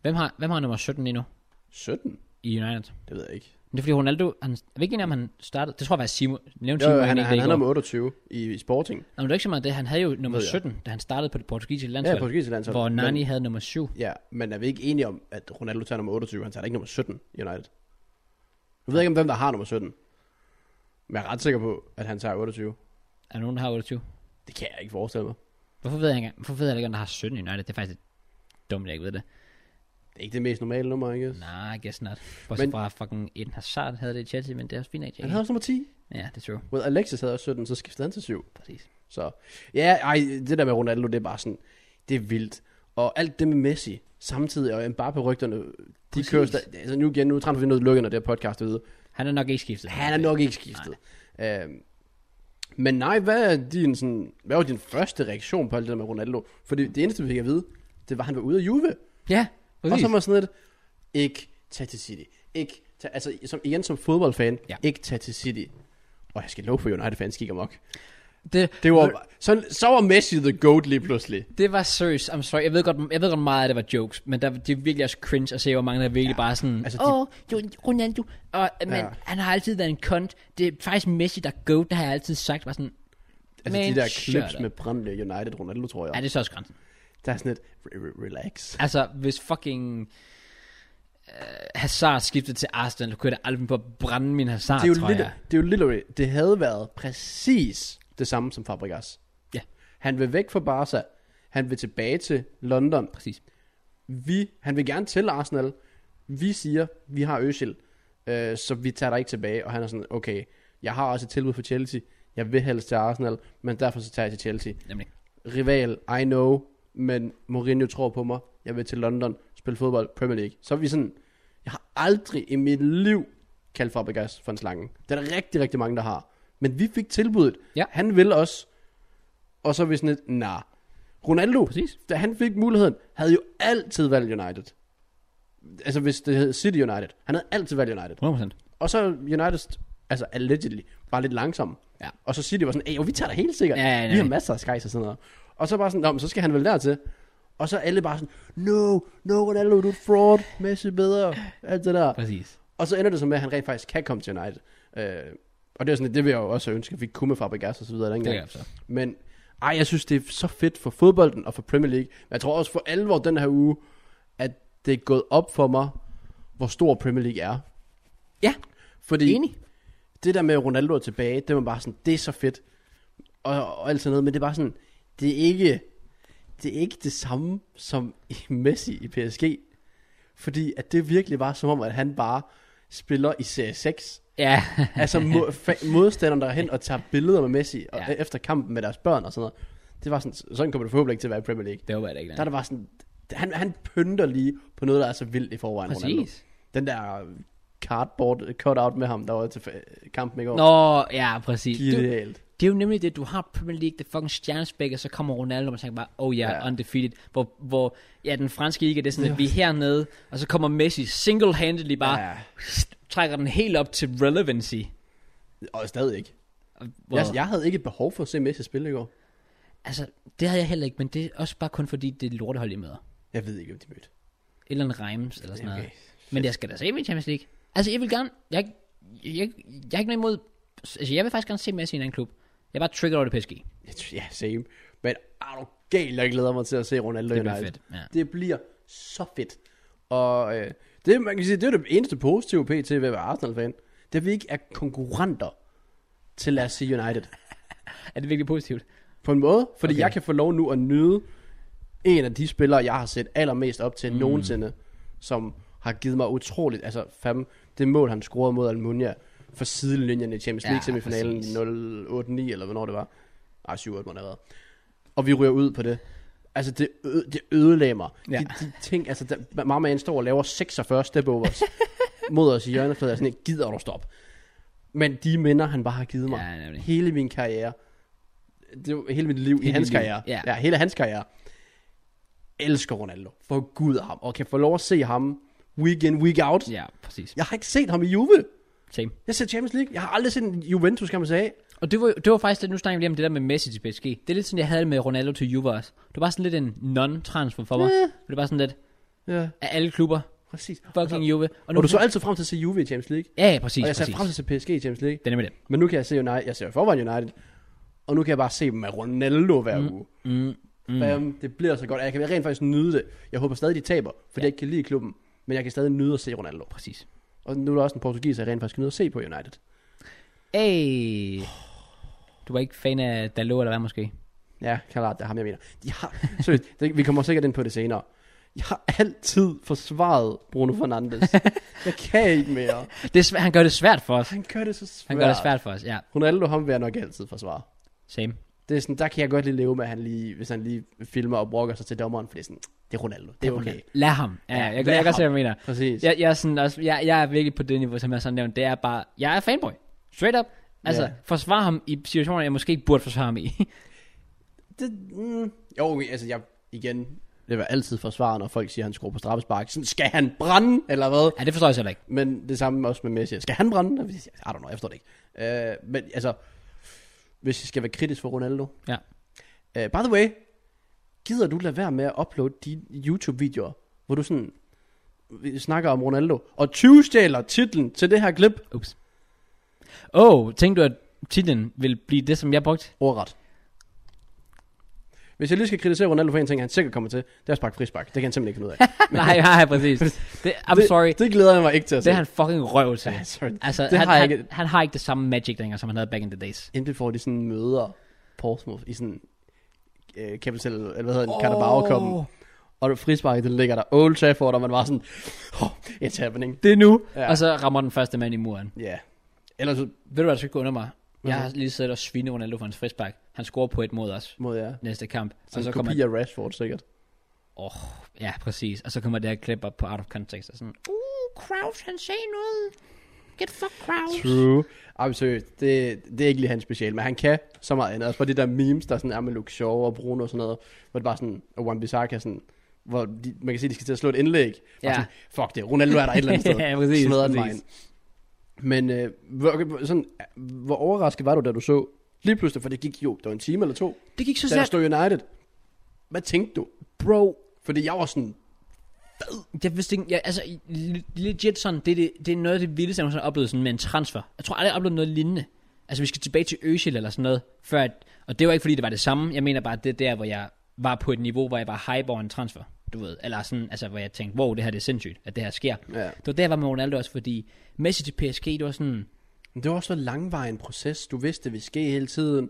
[SPEAKER 1] Hvem har, hvem har nummer 17 lige nu
[SPEAKER 2] 17?
[SPEAKER 1] i United?
[SPEAKER 2] Det ved jeg ikke.
[SPEAKER 1] Men det er fordi Ronaldo... Han, er vi ikke enige om, han startede... Det tror jeg faktisk, Simo... Nævnte
[SPEAKER 2] Jo,
[SPEAKER 1] Simo
[SPEAKER 2] jo, han,
[SPEAKER 1] egentlig det
[SPEAKER 2] er- han,
[SPEAKER 1] i
[SPEAKER 2] han
[SPEAKER 1] går.
[SPEAKER 2] er nummer 28 i, i Sporting.
[SPEAKER 1] Nå, men det er ikke så meget det. Han havde jo nummer
[SPEAKER 2] Ved jeg.
[SPEAKER 1] 17, da han startede på det portugisiske
[SPEAKER 2] Ja,
[SPEAKER 1] landshold.
[SPEAKER 2] på Skis landshold.
[SPEAKER 1] hvor Nani
[SPEAKER 2] Men,
[SPEAKER 1] havde nummer 7.
[SPEAKER 2] ja, men er vi ikke enige om, at Ronaldo tager nummer 28? Han tager da ikke nummer 17 i United. Jeg ved ikke, om hvem der har nummer 17. Men jeg er ret sikker på, at han tager 28.
[SPEAKER 1] Er der nogen, der har 28?
[SPEAKER 2] Det kan jeg ikke forestille mig.
[SPEAKER 1] Hvorfor ved jeg ikke, engang- hvorfor ved jeg ikke, om der har 17 i United? Det er faktisk lidt dumt, jeg ikke ved det.
[SPEAKER 2] Det er ikke det mest normale nummer, ikke?
[SPEAKER 1] Nej, I guess not. Bortset
[SPEAKER 2] Men-
[SPEAKER 1] fra fucking Eden Hazard havde det i Chelsea, men det er også fint, ikke?
[SPEAKER 2] Han havde også nummer 10.
[SPEAKER 1] Ja, det er true.
[SPEAKER 2] Well, Alexis havde også 17, så skiftede han til 7.
[SPEAKER 1] Præcis.
[SPEAKER 2] Så ja, ej, det der med Ronaldo, det er bare sådan, det er vildt. Og alt det med Messi samtidig, og Mbappé-rygterne, de
[SPEAKER 1] Præcis.
[SPEAKER 2] kører stadig, altså nu igen, nu træner vi noget lukket, når det her podcast er ude.
[SPEAKER 1] Han er nok ikke skiftet.
[SPEAKER 2] Han er nok ikke skiftet. Øhm, men nej, hvad, er din, sådan, hvad var din første reaktion på alt det der med Ronaldo? For det, det eneste, vi fik at vide, det var, at han var ude af Juve.
[SPEAKER 1] Ja,
[SPEAKER 2] Og
[SPEAKER 1] præcis.
[SPEAKER 2] så var sådan lidt, ikke tag til City. Ikke tag, altså som, igen som fodboldfan,
[SPEAKER 1] Ja.
[SPEAKER 2] ja. ikke tag til City. Og jeg skal love for United-fans gik amok.
[SPEAKER 1] det,
[SPEAKER 2] Det var, så, så var Messi the goat lige pludselig.
[SPEAKER 1] det var seriøst. I'm sorry. Jeg ved godt, jeg ved godt meget, at det var jokes, men der, det er virkelig også cringe at se, hvor mange der virkelig ja. bare sådan,
[SPEAKER 2] Altså,
[SPEAKER 1] altså,
[SPEAKER 2] de-
[SPEAKER 1] åh, de... Ronaldo, og, men
[SPEAKER 2] Ja.
[SPEAKER 1] ja. han har altid været en kont. Det er faktisk Messi, der er goat, det har jeg altid sagt. Bare sådan,
[SPEAKER 2] Altså
[SPEAKER 1] Men
[SPEAKER 2] de der
[SPEAKER 1] shut
[SPEAKER 2] clips
[SPEAKER 1] up.
[SPEAKER 2] med Brøndby United Ronaldo, tror jeg.
[SPEAKER 1] ja, det er så også grænsen.
[SPEAKER 2] Der er sådan et, re- re- relax.
[SPEAKER 1] Altså, hvis fucking øh, Hazard skiftede til Arsenal, kunne jeg da aldrig finde på at brænde min Hazard,
[SPEAKER 2] Det er,
[SPEAKER 1] tror
[SPEAKER 2] jo lidt,
[SPEAKER 1] jeg.
[SPEAKER 2] det er jo literally, det havde været præcis det samme som Fabregas.
[SPEAKER 1] Ja.
[SPEAKER 2] Han vil væk fra Barca. Han vil tilbage til London.
[SPEAKER 1] Præcis.
[SPEAKER 2] Vi, han vil gerne til Arsenal. Vi siger, vi har Özil, øh, så vi tager dig ikke tilbage. Og han er sådan, okay, jeg har også et tilbud for Chelsea. Jeg vil helst til Arsenal, men derfor så tager jeg til Chelsea.
[SPEAKER 1] Nemlig.
[SPEAKER 2] rival, I know, men Mourinho tror på mig, jeg vil til London, spille fodbold, Premier League. Så er vi sådan, jeg har aldrig i mit liv kaldt Fabregas for en slange. Det er der rigtig, rigtig mange, der har. Men vi fik tilbuddet.
[SPEAKER 1] Ja.
[SPEAKER 2] Han vil os. Og så er vi sådan et, nah. Ronaldo,
[SPEAKER 1] Præcis.
[SPEAKER 2] da han fik muligheden, havde jo altid valgt United. Altså hvis det hed City United. Han havde altid valgt United.
[SPEAKER 1] 100%.
[SPEAKER 2] Og så United, altså allegedly, bare lidt langsomme.
[SPEAKER 1] Ja.
[SPEAKER 2] Og så City var sådan, "Ey, jo, vi tager dig helt sikkert.
[SPEAKER 1] Ja, ja, ja.
[SPEAKER 2] vi har masser af skejs og sådan noget. Og så bare sådan, "Nå, men så skal han vel dertil. Og så er alle bare sådan, no, no Ronaldo, du er et fraud, Messi er bedre, alt det der.
[SPEAKER 1] Præcis.
[SPEAKER 2] Og så ender det så med, at han rent faktisk kan komme til United. Øh, og det er sådan, lidt- det vil jeg jo også ønske, at vi kunne med Fabregas og så videre
[SPEAKER 1] Det
[SPEAKER 2] dengang.
[SPEAKER 1] kan jeg så.
[SPEAKER 2] Men ej, jeg synes, det er så fedt for fodbolden og for Premier League. Men jeg tror også for alvor den her uge, at det er gået op for mig, hvor stor Premier League er.
[SPEAKER 1] Ja,
[SPEAKER 2] Fordi
[SPEAKER 1] enig.
[SPEAKER 2] det der med Ronaldo er tilbage, det var bare sådan, det er så fedt. Og, og alt sådan noget, men det er bare sådan, det er ikke det, er ikke det samme som i Messi i PSG. Fordi at det virkelig var som om, at han bare spiller i serie 6.
[SPEAKER 1] Ja,
[SPEAKER 2] Altså mo- fa- modstanderne derhen og tager billeder med Messi og,
[SPEAKER 1] Ja.
[SPEAKER 2] ja. efter kampen med deres børn og sådan noget. Det var sådan, sådan kommer det forhåbentlig ikke til at være i Premier League.
[SPEAKER 1] det håber jeg da ikke. nej.
[SPEAKER 2] Ja. Der er det bare sådan, han, han pynter lige på noget, der er så vildt i forvejen. Ronaldo.
[SPEAKER 1] Præcis.
[SPEAKER 2] Den der cardboard cutout med ham, der var til fa- kampen i går.
[SPEAKER 1] Nå, ja, præcis. Du,
[SPEAKER 2] Genialt.
[SPEAKER 1] det er jo nemlig det, du har Premier League, det er fucking stjernespæk, og så kommer Ronaldo, og man tænker bare, oh yeah, ja,
[SPEAKER 2] Ja.
[SPEAKER 1] undefeated. Hvor, hvor, ja, den franske liga, det er sådan, at vi er hernede, og så kommer Messi single-handedly bare, ja.
[SPEAKER 2] Ja,
[SPEAKER 1] trækker den helt op til relevancy.
[SPEAKER 2] og stadig ikke.
[SPEAKER 1] Og Hvor,
[SPEAKER 2] Jeg, jeg havde ikke et behov for at se Messi spille i går.
[SPEAKER 1] Altså, det havde jeg heller ikke, men det er også bare kun fordi, det er et lortehold, I møder.
[SPEAKER 2] Jeg ved ikke, om de mødte.
[SPEAKER 1] Et Eller en Reims, eller sådan noget.
[SPEAKER 2] Okay.
[SPEAKER 1] Men jeg skal da se min Champions League. Altså, jeg vil gerne... Jeg, jeg, jeg, jeg er ikke noget imod... Altså, jeg vil faktisk gerne se Messi i en anden klub. Jeg er bare trigger over det PSG.
[SPEAKER 2] Ja, same. Men er du gal, jeg glæder mig til at se Ronaldo
[SPEAKER 1] Det bliver
[SPEAKER 2] United.
[SPEAKER 1] fedt, ja.
[SPEAKER 2] Det bliver så fedt. Og øh, det, man kan sige, det er det eneste positive PT ved at være Arsenal-fan. Det er, at vi ikke er konkurrenter til, lad os sige, United.
[SPEAKER 1] Er det virkelig positivt?
[SPEAKER 2] På en måde, fordi
[SPEAKER 1] Okay.
[SPEAKER 2] okay. jeg kan få lov nu at nyde en af de spillere, jeg har set allermest op til mm. nogensinde, som har givet mig utroligt, altså fam, det mål, han scorede mod Almunia for sidelinjen i Champions
[SPEAKER 1] Ja,
[SPEAKER 2] League semifinalen
[SPEAKER 1] præcis.
[SPEAKER 2] i 0-8-9, eller hvornår det var. Ej, 7-8 må det have været. Og vi ryger ud på det. Altså, det, ø- det ødelagde mig.
[SPEAKER 1] Ja.
[SPEAKER 2] Ja. De, de, ting, altså, der, mammaen står og laver 46 step-overs mod os i hjørnefladet, og sådan, "Ikke gider du stoppe? Men de minder, han bare har givet mig
[SPEAKER 1] Ja, nemlig.
[SPEAKER 2] hele min karriere, det var hele mit liv hele i
[SPEAKER 1] Hele
[SPEAKER 2] hans
[SPEAKER 1] dit liv,
[SPEAKER 2] karriere,
[SPEAKER 1] ja.
[SPEAKER 2] ja. ja, hele hans karriere, elsker Ronaldo, for gud ham, og kan få lov at se ham week in, week out.
[SPEAKER 1] Ja, præcis.
[SPEAKER 2] Jeg har ikke set ham i Juve.
[SPEAKER 1] Same.
[SPEAKER 2] Jeg ser Champions League. Jeg har aldrig set en Juventus, kan man sige.
[SPEAKER 1] Og det var, det var faktisk lidt, nu snakker vi lige om det der med Messi til PSG. Det er lidt sådan, jeg havde det med Ronaldo til Juve også. Det var bare sådan lidt en non-transfer for mig.
[SPEAKER 2] Ja.
[SPEAKER 1] Det var bare sådan lidt,
[SPEAKER 2] Ja,
[SPEAKER 1] af alle klubber,
[SPEAKER 2] præcis.
[SPEAKER 1] fucking Juve. Og
[SPEAKER 2] Altså, Og, og du så altid frem til at se Juve i Champions League.
[SPEAKER 1] Ja, ja, præcis,
[SPEAKER 2] og jeg ser
[SPEAKER 1] præcis.
[SPEAKER 2] frem til at se PSG i Champions League.
[SPEAKER 1] Det er nemlig det.
[SPEAKER 2] Men nu kan jeg se United. Jeg ser i forvejen United. Og nu kan jeg bare se dem med Ronaldo hver mm. uge.
[SPEAKER 1] Mm.
[SPEAKER 2] Bam, det bliver så godt. Og Jeg kan rent faktisk nyde det. Jeg håber stadig, de taber, fordi ja. jeg ikke kan lide klubben. Men jeg kan stadig nyde at se Ronaldo.
[SPEAKER 1] Præcis.
[SPEAKER 2] Og nu er der også en portugiser, jeg rent faktisk kan nyde at se på United.
[SPEAKER 1] Hey. Du var ikke fan af Dalot eller hvad måske?
[SPEAKER 2] Ja, klart, det er ham, jeg mener. De har, seriøst, det, vi kommer sikkert ind på det senere. Jeg har altid forsvaret Bruno Fernandes. jeg kan ikke mere.
[SPEAKER 1] Det er svæ- han gør det svært for os.
[SPEAKER 2] Han gør det så svært.
[SPEAKER 1] Han gør det svært for os, ja.
[SPEAKER 2] Ronaldo, ham vil jeg nok altid forsvare.
[SPEAKER 1] Same.
[SPEAKER 2] Det er sådan, der kan jeg godt lige leve med, at han lige, hvis han lige filmer og brokker sig til dommeren, for det er sådan, det er Ronaldo, det er okay.
[SPEAKER 1] Ronaldo. Lad ham. Ja, ja, jeg,
[SPEAKER 2] lad
[SPEAKER 1] jeg, jeg kan
[SPEAKER 2] ham.
[SPEAKER 1] se, hvad jeg mener.
[SPEAKER 2] Præcis.
[SPEAKER 1] Jeg, jeg, er sådan også, jeg, jeg er virkelig på det niveau, som jeg sådan nævnt. Det er bare, jeg er fanboy. Straight up. Altså,
[SPEAKER 2] Ja.
[SPEAKER 1] yeah. forsvar ham i situationer, jeg måske ikke burde forsvare ham i.
[SPEAKER 2] Det, mm, jo, altså jeg, igen, det var altid forsvare, når folk siger, at han skruer på straffespark. Sådan, skal han brænde, eller hvad?
[SPEAKER 1] ja, det forstår jeg selv ikke.
[SPEAKER 2] Men det samme også med Messi. Skal han brænde? I don't know, jeg forstår det ikke. Øh, men altså, hvis jeg skal være kritisk for Ronaldo.
[SPEAKER 1] Ja.
[SPEAKER 2] Øh, by the way, gider du lade være med at uploade de YouTube-videoer, hvor du sådan vi snakker om Ronaldo, og tyvstjæler titlen til det her klip?
[SPEAKER 1] Ups. Åh, oh, tænkte du, at titlen ville blive det, som jeg brugte?
[SPEAKER 2] Ordret. Hvis jeg lige skal kritisere Ronaldo for en ting, han sikkert kommer til, det er at sparke frispark. Det kan han simpelthen ikke finde ud af.
[SPEAKER 1] nej, nej, præcis. Det, I'm
[SPEAKER 2] det,
[SPEAKER 1] sorry.
[SPEAKER 2] Det glæder jeg mig ikke til at
[SPEAKER 1] Det
[SPEAKER 2] se.
[SPEAKER 1] er han fucking røv til.
[SPEAKER 2] Ja, sorry.
[SPEAKER 1] Altså,
[SPEAKER 2] Det
[SPEAKER 1] han,
[SPEAKER 2] har jeg
[SPEAKER 1] han,
[SPEAKER 2] ikke-
[SPEAKER 1] han, har ikke det samme magic længere, som han havde back in the days.
[SPEAKER 2] Inden får de sådan møder Portsmouth i sådan øh, Capital, eller hvad hedder den, oh. Carabao Cup'en. Og det frispark, den ligger der Old Trafford, og man var sådan, oh, it's happening.
[SPEAKER 1] Det er nu. Ja.
[SPEAKER 2] Ja.
[SPEAKER 1] Og så rammer den første mand i muren.
[SPEAKER 2] Ja. Yeah. Ellers
[SPEAKER 1] Ved du hvad, der skal gå under mig? Jeg har lige siddet og svinet Ronaldo for hans frispark. Han scorer på et mod os
[SPEAKER 2] mod jer.
[SPEAKER 1] næste kamp.
[SPEAKER 2] Sådan
[SPEAKER 1] og så
[SPEAKER 2] en
[SPEAKER 1] kommer...
[SPEAKER 2] kopi af Rashford sikkert.
[SPEAKER 1] Åh, oh, ja, præcis. Og så kommer det her klip op på Out of Context. Og sådan, uh, Kraus, han sagde noget. Get fuck Kraus.
[SPEAKER 2] True. Ej, men seriøst, det, det er ikke lige hans special, men han kan så meget andet. Også for de der memes, der sådan er med Luke Shaw og Bruno og sådan noget, hvor det bare sådan, og Wan Bissaka sådan, hvor de, man kan se, at de skal til at slå et indlæg. Bare
[SPEAKER 1] Ja.
[SPEAKER 2] Sådan, Fuck det, Ronaldo er der et eller andet sted.
[SPEAKER 1] Ja, præcis,
[SPEAKER 2] Smadrer den
[SPEAKER 1] præcis.
[SPEAKER 2] vejen. Men øh, hvor, hvor- sådan, hvor overrasket var du, da du så lige pludselig, for det gik jo, det var en time eller to,
[SPEAKER 1] Det gik så
[SPEAKER 2] da der
[SPEAKER 1] stærkt.
[SPEAKER 2] stod United. Hvad tænkte du?
[SPEAKER 1] Bro,
[SPEAKER 2] Fordi jeg var sådan,
[SPEAKER 1] Jeg vidste ikke, jeg, altså le- legit sådan, det, er det, det er noget af det vildeste, jeg nogensinde har oplevet sådan med en transfer. Jeg tror aldrig, jeg har oplevet noget lignende. Altså vi skal tilbage til Øsil eller sådan noget, før at, og det var ikke fordi, det var det samme. Jeg mener bare, det er der, hvor jeg var på et niveau, hvor jeg var hype over en transfer, du ved. Eller sådan, altså hvor jeg tænkte, wow, det her det er sindssygt, at det her sker.
[SPEAKER 2] Ja.
[SPEAKER 1] Det var der, jeg var med Ronaldo også, fordi Messi til PSG, det var sådan,
[SPEAKER 2] Men det var også så langvarig en proces. Du vidste, det ville ske hele tiden.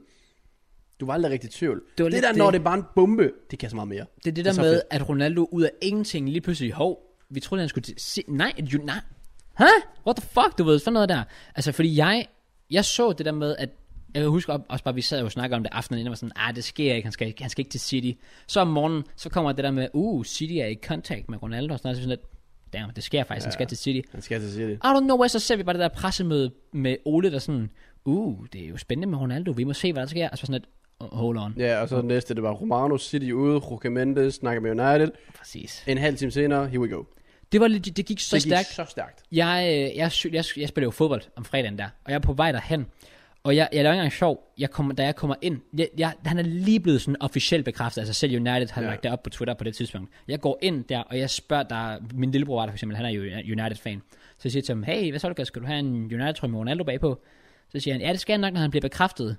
[SPEAKER 2] Du var aldrig rigtig i tvivl.
[SPEAKER 1] Det var
[SPEAKER 2] Det, det
[SPEAKER 1] lidt
[SPEAKER 2] der,
[SPEAKER 1] det.
[SPEAKER 2] når det er bare en bombe, det kan så meget mere.
[SPEAKER 1] det er det
[SPEAKER 2] Det er
[SPEAKER 1] der
[SPEAKER 2] så
[SPEAKER 1] med,
[SPEAKER 2] fedt.
[SPEAKER 1] at Ronaldo ud af ingenting lige pludselig, hov, vi troede, han skulle til... Se, nej, et ju- nej. Hæ? What the fuck, du ved, sådan noget der. Altså, fordi jeg, jeg så det der med, at jeg husker også bare, vi sad jo og snakkede om det aftenen, inden og var sådan, ah, det sker ikke, han skal, ikke- han skal ikke til City. Så om morgenen, så kommer det der med, uh, City er i kontakt med Ronaldo, og sådan noget, så sådan lidt, damn, det sker faktisk, ja. han skal til City.
[SPEAKER 2] Han skal til sige det.
[SPEAKER 1] I don't know, where, så ser vi bare det der pressemøde med Ole, der sådan, uh, det er jo spændende med Ronaldo, vi må se, hvad der sker. Og så sådan lidt, "Oh, hold on. Ja.
[SPEAKER 2] Ja, og så det næste, det var Romano City ude, Roque Mendes, snakker med United.
[SPEAKER 1] Præcis.
[SPEAKER 2] En halv time senere, here we go.
[SPEAKER 1] Det, var, legit- det gik så
[SPEAKER 2] det gik
[SPEAKER 1] stærkt.
[SPEAKER 2] så stærkt.
[SPEAKER 1] Jeg, øh, jeg, sy- jeg, jeg spiller jo fodbold om fredagen der, og jeg er på vej derhen. Og jeg, jeg laver ikke engang sjov, jeg kommer, da jeg kommer ind. Jeg, jeg, han er lige blevet sådan officielt bekræftet, altså selv United har
[SPEAKER 2] Ja.
[SPEAKER 1] ja. lagt det op på Twitter på det tidspunkt. Jeg går ind der, og jeg spørger, der, min lillebror var der for eksempel, han er jo United-fan. Så jeg siger til ham, hey, hvad så du gøre? skal du have en United-trøje med Ronaldo bagpå? Så siger han, ja, det skal han nok, når han bliver bekræftet.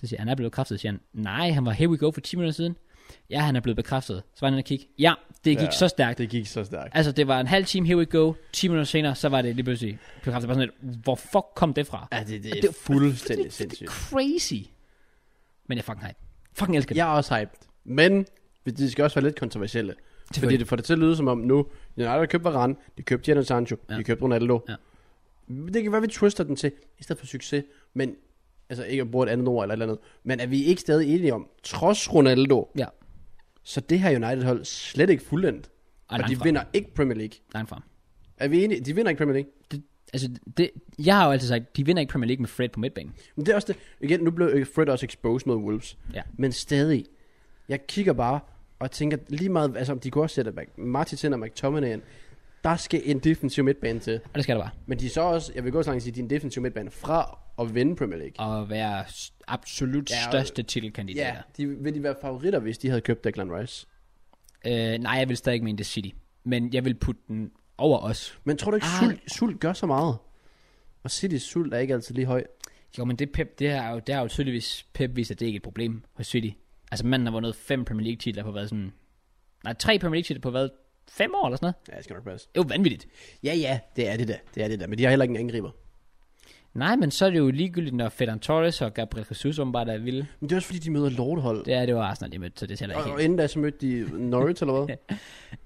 [SPEAKER 1] Så siger han, han er blevet bekræftet. Så siger han, nej, han var here we go for 10 minutter siden. Ja, han er blevet bekræftet. Så var han inde og kigge. Ja, det gik
[SPEAKER 2] Ja.
[SPEAKER 1] ja. så stærkt.
[SPEAKER 2] Det gik så stærkt.
[SPEAKER 1] Altså, det var en halv time, here we go. 10 minutter senere, så var det lige pludselig bekræftet. Bare sådan lidt, hvor fuck kom det fra?
[SPEAKER 2] Ja, det, det,
[SPEAKER 1] det
[SPEAKER 2] er
[SPEAKER 1] er
[SPEAKER 2] fuldstændig
[SPEAKER 1] Det er
[SPEAKER 2] sindssygt.
[SPEAKER 1] crazy. Men jeg er fucking hype. Fucking elsker det.
[SPEAKER 2] Jeg er også hyped. Men de skal også være lidt kontroversielle. Fordi
[SPEAKER 1] Selvfølgelig.
[SPEAKER 2] det får det til at lyde som om nu, United har købt Varane, de købte Jadon Sancho, ja.
[SPEAKER 1] Ja.
[SPEAKER 2] de købte Ronaldo.
[SPEAKER 1] Ja.
[SPEAKER 2] Det kan være, vi twister den til, i stedet for succes, men altså ikke at bruge et andet ord eller et eller andet, men er vi ikke stadig enige om, trods Ronaldo,
[SPEAKER 1] Ja,
[SPEAKER 2] så det her United-hold slet ikke fuldendt.
[SPEAKER 1] Ej,
[SPEAKER 2] og
[SPEAKER 1] langt
[SPEAKER 2] de
[SPEAKER 1] fra.
[SPEAKER 2] vinder ikke Premier League.
[SPEAKER 1] langt frem.
[SPEAKER 2] Er vi enige? De vinder ikke Premier League.
[SPEAKER 1] Det, altså, det, jeg har jo altid sagt, de vinder ikke Premier League med Fred på midtbanen.
[SPEAKER 2] Men det er også det. Igen, nu blev Fred også exposed mod Wolves.
[SPEAKER 1] Ja.
[SPEAKER 2] Men stadig, jeg kigger bare og tænker lige meget, altså om de kunne også sætte Mc- Martins ind og McTominay ind. Der skal en defensiv midtbane til.
[SPEAKER 1] Og det skal der bare.
[SPEAKER 2] Men de er så også, jeg vil gå så langt at sige, de er en defensiv midtbane fra at vinde Premier League.
[SPEAKER 1] Og være s- absolut
[SPEAKER 2] Ja,
[SPEAKER 1] ja,
[SPEAKER 2] og-
[SPEAKER 1] største titelkandidater.
[SPEAKER 2] Ja, de vil de være favoritter, hvis de havde købt Declan Rice.
[SPEAKER 1] Øh, nej, jeg vil stadig ikke mene det er City. Men jeg vil putte den over os.
[SPEAKER 2] Men tror du ikke,
[SPEAKER 1] Ah.
[SPEAKER 2] sult, sult gør så meget? Og City's sult er ikke altid lige høj.
[SPEAKER 1] Jo, men det, Pep, det, er jo, det er jo tydeligvis Pep vist, at det ikke er et problem hos City. Altså manden har vundet fem Premier League titler på hvad sådan... Nej, tre Premier League titler på hvad? Fem år eller sådan noget?
[SPEAKER 2] Ja, det skal nok passe.
[SPEAKER 1] Det er jo vanvittigt.
[SPEAKER 2] Ja, ja, det er det da. Det er det da. Men de har heller ikke en angriber.
[SPEAKER 1] Nej, men så er det jo ligegyldigt, når Ferdinand Torres og Gabriel Jesus åbenbart er vilde.
[SPEAKER 2] Men det er også fordi, de møder lortehold.
[SPEAKER 1] Det er det jo Arsenal, de mødte, så det tæller ikke
[SPEAKER 2] Og, og
[SPEAKER 1] helt.
[SPEAKER 2] inden da, så mødte de Norwich, eller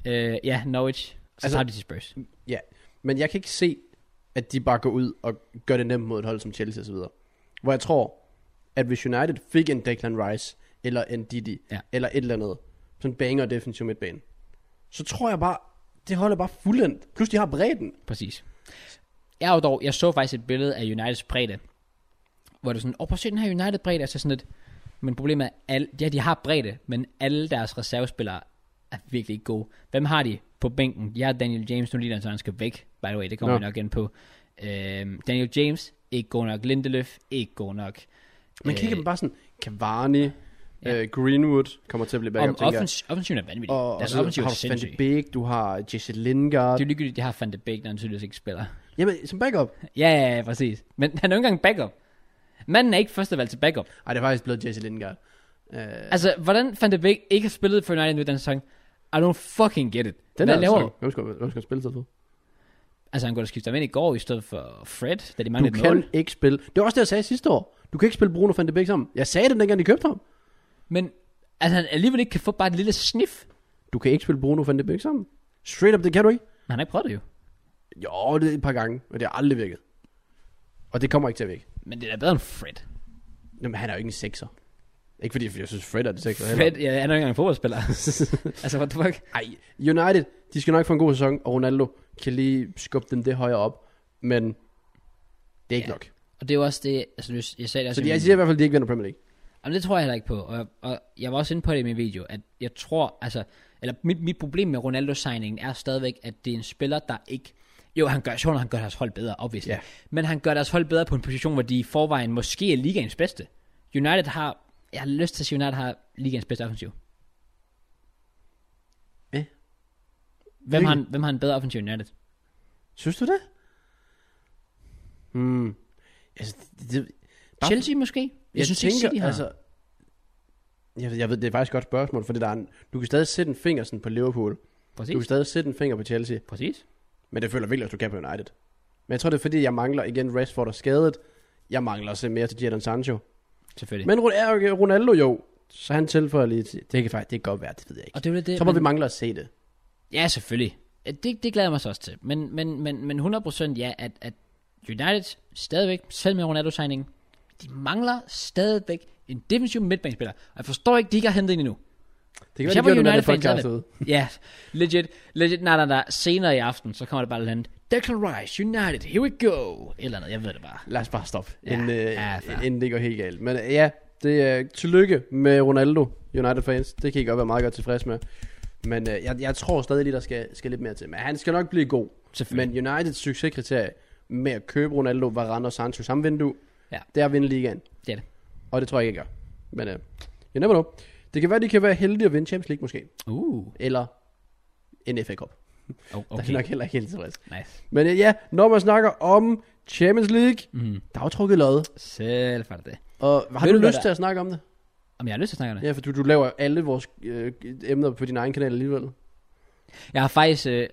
[SPEAKER 2] hvad?
[SPEAKER 1] Øh, ja, Norwich. Så
[SPEAKER 2] Altså-
[SPEAKER 1] altså, tager de til Spurs.
[SPEAKER 2] Ja. Men jeg kan ikke se, at de bare går ud og gør det nemt mod et hold som Chelsea osv. Hvor jeg tror, at hvis United fik en Declan Rice, eller en Didi,
[SPEAKER 1] Ja.
[SPEAKER 2] eller et eller andet, sådan banger defensiv midtbane, så tror jeg bare, det holder bare fuldendt. Plus de har bredden.
[SPEAKER 1] Præcis. Jeg, er jo dog, jeg så faktisk et billede af Uniteds bredde, hvor det er sådan, åh, prøv at se den her United bredde, altså sådan et, men problemet er, alle, ja, de har bredde, men alle deres reservespillere er virkelig ikke gode. Hvem har de på bænken? Ja, Daniel James, nu ligner han, så han skal væk, by the way, det kommer
[SPEAKER 2] Nå.
[SPEAKER 1] vi nok ind på. Øhm, Daniel James, ikke god nok. Lindeløf, ikke god nok.
[SPEAKER 2] Man
[SPEAKER 1] Øh,
[SPEAKER 2] kigger øh, bare sådan, Cavani, ja.
[SPEAKER 1] Ja.
[SPEAKER 2] øh, Greenwood kommer til at blive backup,
[SPEAKER 1] Om
[SPEAKER 2] tænker jeg.
[SPEAKER 1] offens, offensiven er vanvittig.
[SPEAKER 2] Og, og
[SPEAKER 1] deres
[SPEAKER 2] så har
[SPEAKER 1] offensiv er
[SPEAKER 2] du Van
[SPEAKER 1] sindssyg.
[SPEAKER 2] de
[SPEAKER 1] Det
[SPEAKER 2] Beek, du har Jesse Lingard.
[SPEAKER 1] er jo ligegyldigt, de har Van de Beek, når han tydeligvis ikke spiller.
[SPEAKER 2] Jamen, som backup.
[SPEAKER 1] Ja, ja, ja, præcis. Men han er jo ikke engang backup. Manden er ikke førstevalg til backup.
[SPEAKER 2] Ej, det er faktisk blevet Jesse Lingard. Øh,
[SPEAKER 1] Altså, hvordan Van de Beek ikke har spillet for United nu i den sæson? I don't fucking get it. Hvad
[SPEAKER 2] den er altså-
[SPEAKER 1] laver
[SPEAKER 2] laver. Hvem skal, hvem skal spille sig på?
[SPEAKER 1] Altså, han kunne da skifte ham ind i går i stedet for Fred, da de
[SPEAKER 2] Du
[SPEAKER 1] manglede et
[SPEAKER 2] kan
[SPEAKER 1] mål.
[SPEAKER 2] ikke spille. Det var også det, jeg sagde sidste år. Du kan ikke spille Bruno van de Beek sammen. Jeg sagde det, dengang de købte ham.
[SPEAKER 1] Men altså, han alligevel ikke kan få bare et lille snif.
[SPEAKER 2] Du kan ikke spille Bruno van de Beek sammen. Straight up, det kan du ikke.
[SPEAKER 1] Men han har ikke prøvet det jo.
[SPEAKER 2] Jo, det er et par gange, men det har aldrig virket. Og det kommer ikke til at virke.
[SPEAKER 1] Men det er da bedre end Fred.
[SPEAKER 2] Jamen, han er jo ikke en sekser. Ikke fordi, jeg synes, Fred er det sekser heller.
[SPEAKER 1] Fred, ja, han er jo ikke engang en fodboldspiller. altså, what the fuck?
[SPEAKER 2] Ej, United, de skal nok få en god sæson, og Ronaldo kan lige skubbe dem det højere op. Men det er ikke
[SPEAKER 1] Ja.
[SPEAKER 2] ja. nok.
[SPEAKER 1] Og det er jo også det, altså, du- jeg sagde det også
[SPEAKER 2] Så
[SPEAKER 1] i
[SPEAKER 2] de,
[SPEAKER 1] min-
[SPEAKER 2] jeg siger i hvert fald, at de ikke vinder Premier League.
[SPEAKER 1] Jamen, det tror jeg heller ikke på. Og, og jeg var også inde på det i min video, at jeg tror, altså, eller mit, mit problem med Ronaldo-signingen er stadigvæk, at det er en spiller, der ikke... Jo, han gør, sjovt, nok, han gør deres hold bedre, obviously.
[SPEAKER 2] Ja.
[SPEAKER 1] Yeah. Men han gør deres hold bedre på en position, hvor de i forvejen måske er ligaens bedste. United har... Jeg har lyst til at sige, at United har ligaens bedste offensiv.
[SPEAKER 2] Eh.
[SPEAKER 1] Hvem, har, en- hvem har en bedre offensiv end United?
[SPEAKER 2] Synes du det? Hmm. Altså, det, det, Bare-
[SPEAKER 1] Chelsea måske? Jeg, jeg synes ikke, City har. Altså,
[SPEAKER 2] jeg, ved- jeg ved, det er faktisk et godt spørgsmål, fordi der er en, du kan stadig sætte en finger sådan på Liverpool. Du kan
[SPEAKER 1] Præcis.
[SPEAKER 2] stadig sætte en finger på Chelsea.
[SPEAKER 1] Præcis.
[SPEAKER 2] Men det føler jeg virkelig, at du kan på United. Men jeg tror, det er fordi, jeg mangler igen Rashford er skadet. Jeg mangler at se mere til Jadon Sancho.
[SPEAKER 1] Selvfølgelig. Men,
[SPEAKER 2] Men Ron- er jo ikke- Ronaldo jo, så han tilføjer lige til. Det kan faktisk det kan godt være, det ved jeg ikke.
[SPEAKER 1] og det er jo lidt det,
[SPEAKER 2] Så må
[SPEAKER 1] men-
[SPEAKER 2] vi mangler at se det.
[SPEAKER 1] Ja, selvfølgelig. Ja, Det, det glæder jeg mig så også til. Men, men, men, men 100% ja, at, at United stadigvæk, selv med Ronaldo-signingen, de mangler stadigvæk en defensiv midtbanespiller. Og jeg forstår ikke, de ikke har hentet en endnu.
[SPEAKER 2] Det kan
[SPEAKER 1] Hvis jeg
[SPEAKER 2] være, de
[SPEAKER 1] var
[SPEAKER 2] gjorde det, når det
[SPEAKER 1] United-fan, så er
[SPEAKER 2] podcast ud.
[SPEAKER 1] Ja, legit, legit, nej, nej, nej, senere i aften, så kommer det bare et eller andet. Declan Rice, United, here we go. Et Eller andet, jeg ved det bare.
[SPEAKER 2] Lad os bare stoppe,
[SPEAKER 1] Ja,
[SPEAKER 2] inden, øh,
[SPEAKER 1] ja, fair.
[SPEAKER 2] inden det går helt galt. Men øh, ja, det er tillykke med Ronaldo, United-fans. Det kan I godt være meget godt tilfreds med. Men øh, jeg, jeg tror stadig lige, der skal, skal lidt mere til. Men han skal nok blive god.
[SPEAKER 1] Selvfølgelig.
[SPEAKER 2] Men Uniteds succeskriterie med at købe Ronaldo, Varane og Sancho samme vindue,
[SPEAKER 1] Ja.
[SPEAKER 2] det er at vinde ligaen.
[SPEAKER 1] Det er det.
[SPEAKER 2] Og det tror jeg ikke, jeg gør. Men øh, you never know. Det kan være, de kan være heldige at vinde Champions League måske.
[SPEAKER 1] Uh,
[SPEAKER 2] Eller en FA Cup. Okay.
[SPEAKER 1] oh,
[SPEAKER 2] Der er vi
[SPEAKER 1] okay,
[SPEAKER 2] nok heller ikke helt tilfreds.
[SPEAKER 1] nice.
[SPEAKER 2] Men øh, ja, når man snakker om Champions League,
[SPEAKER 1] Mm,
[SPEAKER 2] der er jo trukket lod.
[SPEAKER 1] selv for det.
[SPEAKER 2] Og har
[SPEAKER 1] Ved
[SPEAKER 2] du,
[SPEAKER 1] du, hvad
[SPEAKER 2] lyst
[SPEAKER 1] der-
[SPEAKER 2] til at snakke om det?
[SPEAKER 1] Om jeg har lyst til at snakke om det?
[SPEAKER 2] Ja, for du, du laver alle vores øh, emner på din egen kanal alligevel.
[SPEAKER 1] Jeg har faktisk, øh,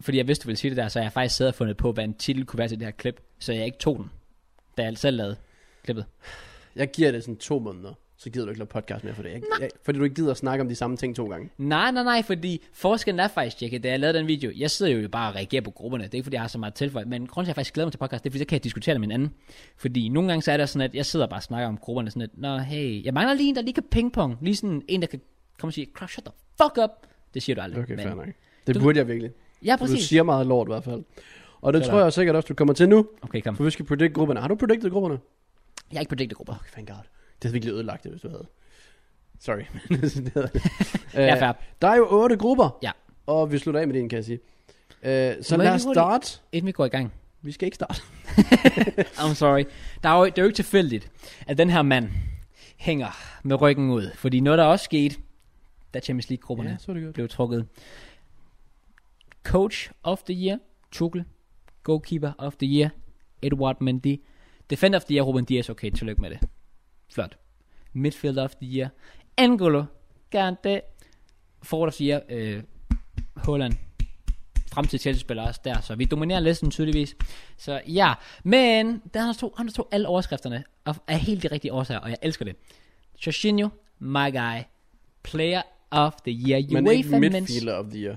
[SPEAKER 1] fordi jeg vidste, du ville sige det der, så jeg har faktisk siddet og fundet på, hvad en titel kunne være til det her klip, så jeg ikke tog den, da jeg selv lavede klippet.
[SPEAKER 2] Jeg giver det sådan to måneder, så gider du ikke lave podcast mere for det. Jeg, jeg, fordi du ikke gider at snakke om de samme ting to gange.
[SPEAKER 1] Nej, nej, nej, fordi forskellen er faktisk, Jekke, da jeg lavede den video, jeg sidder jo bare og reagerer på grupperne, det er ikke fordi, jeg har så meget tilføjet, men grunden til, at jeg faktisk glæder mig til podcast, det er fordi, så kan jeg diskutere det med en anden. Fordi nogle gange så er det sådan, at jeg sidder og bare og snakker om grupperne sådan lidt, nå hey, jeg mangler lige en, der lige kan pingpong, lige sådan en, der kan komme og sige, crush, shut the fuck up. Det siger du aldrig.
[SPEAKER 2] Okay,
[SPEAKER 1] men-
[SPEAKER 2] fair nok. Det
[SPEAKER 1] Du-
[SPEAKER 2] burde jeg virkelig.
[SPEAKER 1] Ja,
[SPEAKER 2] Du
[SPEAKER 1] præcis.
[SPEAKER 2] siger meget lort i hvert fald. Og det
[SPEAKER 1] Sådan.
[SPEAKER 2] tror jeg sikkert også, du kommer til nu,
[SPEAKER 1] Okay, kom.
[SPEAKER 2] for vi skal predict grupperne. Har du predicted grupperne?
[SPEAKER 1] Jeg er ikke predicted grupper.
[SPEAKER 2] Okay, thank god. Det havde virkelig ødelagt det, hvis du havde. Sorry. men sådan, det havde det.
[SPEAKER 1] Jeg
[SPEAKER 2] Øh,
[SPEAKER 1] er færdig.
[SPEAKER 2] der er jo otte grupper.
[SPEAKER 1] Ja.
[SPEAKER 2] Og vi slutter af med din, kan jeg sige. Øh, så
[SPEAKER 1] Må jeg
[SPEAKER 2] lad
[SPEAKER 1] lige
[SPEAKER 2] os
[SPEAKER 1] hurtigt-
[SPEAKER 2] starte.
[SPEAKER 1] Inden vi går i gang,
[SPEAKER 2] Vi skal ikke starte.
[SPEAKER 1] I'm sorry. Der er jo, det er jo ikke tilfældigt, at den her mand hænger med ryggen ud. Fordi noget, der også skete, da Champions League-grupperne
[SPEAKER 2] Ja, så er det godt.
[SPEAKER 1] blev trukket. Coach of the Year, Tuchel. Goalkeeper of the Year, Edward Mendy. Defender of the Year, Ruben Dias. Okay, tillykke med det. Flot. Midfielder of the Year, Angolo. Kante. Forward of the Year, øh, Holland. Fremtidig Chelsea-spiller også der, så vi dominerer listen tydeligvis. Så ja, men der han tog, han tog alle overskrifterne af, af helt de rigtige årsager, og jeg elsker det. Jorginho, my guy, player of the year,
[SPEAKER 2] Men
[SPEAKER 1] UEFA
[SPEAKER 2] ikke
[SPEAKER 1] Men's
[SPEAKER 2] midfielder of the year.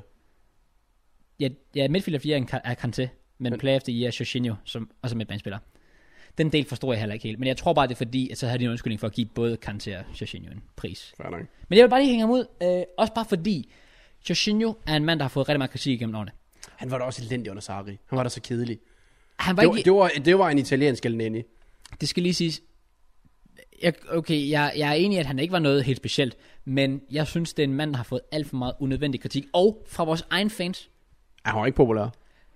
[SPEAKER 1] Ja, ja midtfielder 4 er, en, Ka- er Kanté, men,
[SPEAKER 2] Men-
[SPEAKER 1] men play of the year er Jorginho, som også er midtbanespiller. Den del forstår jeg heller ikke helt, men jeg tror bare, det er fordi, at så havde de en undskyldning for at give både Kanté og Jorginho en pris.
[SPEAKER 2] Fair nok.
[SPEAKER 1] Men jeg vil bare lige hænge ham ud, øh, også bare fordi, Jorginho er en mand, der har fået rigtig meget kritik igennem årene.
[SPEAKER 2] Han var da også elendig under Sarri. Han var da så kedelig.
[SPEAKER 1] Han var
[SPEAKER 2] Det var,
[SPEAKER 1] ikke,
[SPEAKER 2] det var, det var en italiensk Elneni.
[SPEAKER 1] det skal lige siges, jeg, okay, jeg, jeg er enig i, at han ikke var noget helt specielt, men jeg synes, det er en mand, der har fået alt for meget unødvendig kritik, og fra vores egen fans.
[SPEAKER 2] Ah, Han var ikke populær.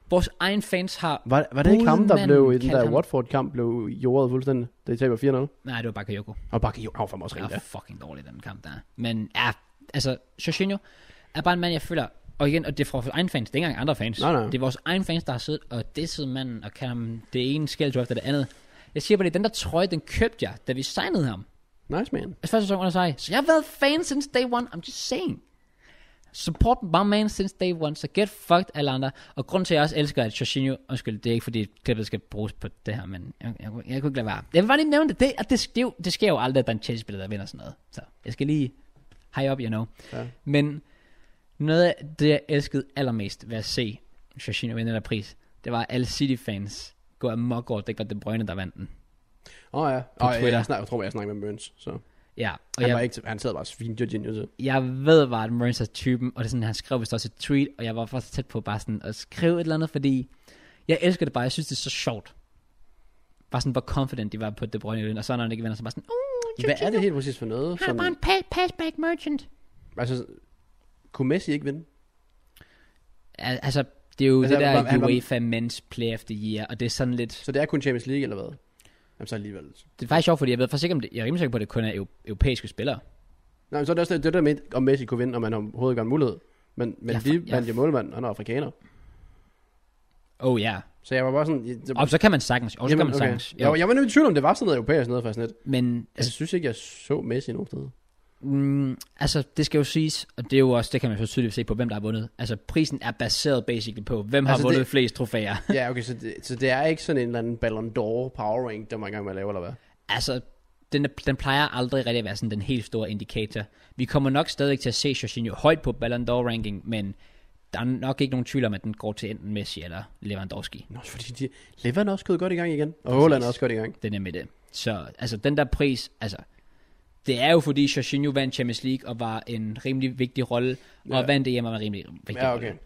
[SPEAKER 1] Vores egen fans har...
[SPEAKER 2] Var, var det ikke ham, der
[SPEAKER 1] Bullmanden
[SPEAKER 2] blev i den
[SPEAKER 1] kaldte
[SPEAKER 2] der
[SPEAKER 1] ham-
[SPEAKER 2] Watford-kamp, blev jordet fuldstændig, da I taber 4-0?
[SPEAKER 1] Nej, det var bare Kajoko.
[SPEAKER 2] Og Bakke Jordan var fandme også
[SPEAKER 1] Det
[SPEAKER 2] rigtig
[SPEAKER 1] var fucking dårlig den kamp der. Men ja, altså, Jorginho er bare en mand, jeg føler, og igen, og det er fra vores egen fans, det er ikke engang andre fans.
[SPEAKER 2] Nej, nej.
[SPEAKER 1] Det er vores egen fans, der har siddet og disset manden, og kan ham det ene skæld efter det andet. Jeg siger bare, det er den der trøje, den købte jeg, da vi signede ham.
[SPEAKER 2] der. Nice, man.
[SPEAKER 1] Hans første sæson under sig. Så jeg har været fan since day one. I'm just saying. Support my man since day one. Så get fucked alle andre. Og grund til, at jeg også elsker, at Jorginho... Undskyld, det er ikke fordi, klippet skal bruges på det her, men jeg, jeg, jeg, jeg kunne ikke lade være. Jeg vil bare lige nævne det. Det, og det, det, er jo- det sker jo aldrig, at der er en Chelsea-spiller, der vinder sådan noget. Så jeg skal lige high up, you know.
[SPEAKER 2] Ja.
[SPEAKER 1] Men noget af det, jeg elskede allermest ved at se Jorginho vinde den der pris, det var at alle City-fans gå amok over, at det ikke var De Bruyne, der vandt den.
[SPEAKER 2] Åh oh, ja. Og jeg,
[SPEAKER 1] Twitter.
[SPEAKER 2] jeg, snak, jeg tror, jeg snakkede med Møns, så
[SPEAKER 1] Ja, og
[SPEAKER 2] han,
[SPEAKER 1] jeg,
[SPEAKER 2] var ikke, til- han sad bare og svinede Jorginho til.
[SPEAKER 1] jeg ved bare, at Marines er typen, og det er sådan, han skrev vist også et tweet, og jeg var faktisk tæt på bare sådan at skrive et eller andet, fordi jeg elsker det bare, jeg synes, det er så sjovt. Bare sådan, hvor confident de var på De Bruyne, i den, og så når han ikke vinder, så bare sådan, uh,
[SPEAKER 2] Hvad er det helt præcis for noget?
[SPEAKER 1] Han er
[SPEAKER 2] Som,
[SPEAKER 1] bare en pa- passback merchant.
[SPEAKER 2] altså, kunne Messi ikke vinde?
[SPEAKER 1] Al- Altså, det er jo
[SPEAKER 2] Altså,
[SPEAKER 1] altså, det
[SPEAKER 2] han var-
[SPEAKER 1] der
[SPEAKER 2] han var-
[SPEAKER 1] UEFA Men's Play of the Year, og det er sådan lidt,
[SPEAKER 2] Så det er kun Champions League, eller hvad? Jamen så alligevel.
[SPEAKER 1] det er faktisk sjovt, fordi jeg ved faktisk ikke, om det, jeg er rimelig sikker på, at det kun er eu- europæiske spillere.
[SPEAKER 2] Nej, men så er det også det, det der med, om Messi kunne vinde, om man overhovedet ikke har en mulighed. Men, men
[SPEAKER 1] Jeg
[SPEAKER 2] ja,
[SPEAKER 1] fa-
[SPEAKER 2] vi
[SPEAKER 1] jeg-
[SPEAKER 2] vandt jo målmanden, han er afrikaner.
[SPEAKER 1] Oh ja. Yeah.
[SPEAKER 2] Så jeg var bare sådan... Jeg,
[SPEAKER 1] Og så kan man sagtens. Og så kan man sagtens.
[SPEAKER 2] Jeg, var- jeg var nemlig i tvivl om, det var sådan noget europæisk noget, faktisk lidt.
[SPEAKER 1] Men
[SPEAKER 2] Jeg
[SPEAKER 1] altså,
[SPEAKER 2] synes ikke, jeg så Messi nogen steder.
[SPEAKER 1] Mm, altså, det skal jo siges, og det er jo også, det kan man så tydeligt se på, hvem der har vundet. Altså, prisen er baseret basically på, hvem har
[SPEAKER 2] Altså,
[SPEAKER 1] vundet det...
[SPEAKER 2] det-
[SPEAKER 1] flest trofæer.
[SPEAKER 2] Ja, okay, så det, så det er ikke sådan en eller anden Ballon d'Or power rank, der man er i gang med at lave, eller hvad?
[SPEAKER 1] altså, den, er- den plejer aldrig rigtig at være sådan den helt store indikator. Vi kommer nok stadig til at se Jorginho højt på Ballon d'Or ranking, men der er nok ikke nogen tvivl om, at den går til enten Messi eller Lewandowski.
[SPEAKER 2] Nå, fordi de, Levan er også gået godt i gang igen, og Haaland er også godt i gang.
[SPEAKER 1] Det er nemlig det. Så altså, den der pris, altså, det er jo fordi Jorginho vandt Champions League og var en rimelig vigtig rolle, og
[SPEAKER 2] Ja.
[SPEAKER 1] vandt EM og var en rimelig vigtig
[SPEAKER 2] Ja,
[SPEAKER 1] rolle.
[SPEAKER 2] okay.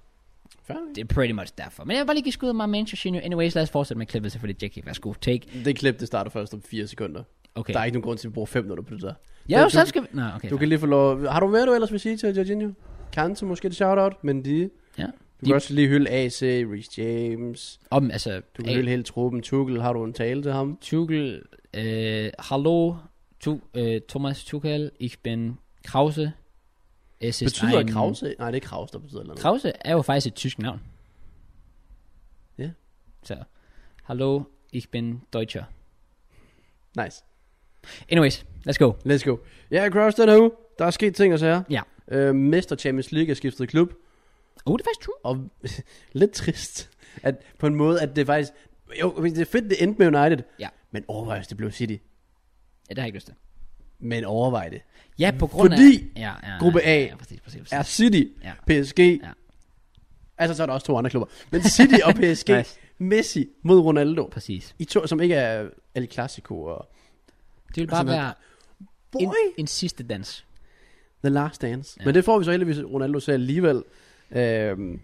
[SPEAKER 2] Fair.
[SPEAKER 1] Det er pretty much derfor. Men jeg vil bare lige give skud af mig med Jorginho. Anyways, lad os fortsætte med klippet, selvfølgelig. Jackie, værsgo, take.
[SPEAKER 2] Det klip, det starter først om 4 sekunder.
[SPEAKER 1] Okay.
[SPEAKER 2] Der er ikke nogen grund til, at vi bruger 5 minutter på det der.
[SPEAKER 1] Ja, jo,
[SPEAKER 2] du-
[SPEAKER 1] så skal vi... Nå, okay.
[SPEAKER 2] Du
[SPEAKER 1] fair.
[SPEAKER 2] kan lige få lov... Har du hvad du ellers vil sige til Jorginho? Kante måske et shout-out, men de...
[SPEAKER 1] Ja.
[SPEAKER 2] Du
[SPEAKER 1] De-
[SPEAKER 2] kan også lige hylde AC, Reece James.
[SPEAKER 1] Om, altså...
[SPEAKER 2] Du kan
[SPEAKER 1] hey,
[SPEAKER 2] hylde hele truppen. Tuchel, har du en tale til ham?
[SPEAKER 1] Tuchel, øh, hallo, tu, øh, Thomas Tuchel, ich bin Krause. Es ist
[SPEAKER 2] Betyder
[SPEAKER 1] ein-
[SPEAKER 2] Krause? Nej, det er Krause, der betyder noget.
[SPEAKER 1] Krause er jo faktisk et tysk navn.
[SPEAKER 2] Ja.
[SPEAKER 1] Så, hallo, ich bin Deutscher.
[SPEAKER 2] Nice.
[SPEAKER 1] Anyways, let's go.
[SPEAKER 2] Let's go. Ja, Kraus, den her uge. Der er sket ting og sager.
[SPEAKER 1] Ja.
[SPEAKER 2] Øh, Mester Champions League er skiftet klub.
[SPEAKER 1] Oh, det er faktisk true.
[SPEAKER 2] Og lidt trist, at på en måde, at det faktisk... Jo, det er fedt, det endte med United.
[SPEAKER 1] Ja.
[SPEAKER 2] Men overvej, hvis det blev City.
[SPEAKER 1] Ja, det har jeg ikke lyst til.
[SPEAKER 2] Men overvej det.
[SPEAKER 1] Ja, på grund
[SPEAKER 2] Fordi
[SPEAKER 1] af... Ja, ja, ja,
[SPEAKER 2] gruppe
[SPEAKER 1] ja,
[SPEAKER 2] A
[SPEAKER 1] ja, præcis, præcis, præcis.
[SPEAKER 2] Er City,
[SPEAKER 1] Ja.
[SPEAKER 2] PSG...
[SPEAKER 1] Ja.
[SPEAKER 2] Altså, så er der også to andre klubber. Men City og PSG.
[SPEAKER 1] Nice.
[SPEAKER 2] Messi mod Ronaldo.
[SPEAKER 1] Præcis.
[SPEAKER 2] I to, som ikke er El Clasico og...
[SPEAKER 1] Det vil bare
[SPEAKER 2] sådan noget.
[SPEAKER 1] være
[SPEAKER 2] Boy!
[SPEAKER 1] en, en sidste dans.
[SPEAKER 2] The Last Dance.
[SPEAKER 1] Ja.
[SPEAKER 2] Ja. Men det får vi så heldigvis Ronaldo til alligevel. Øhm,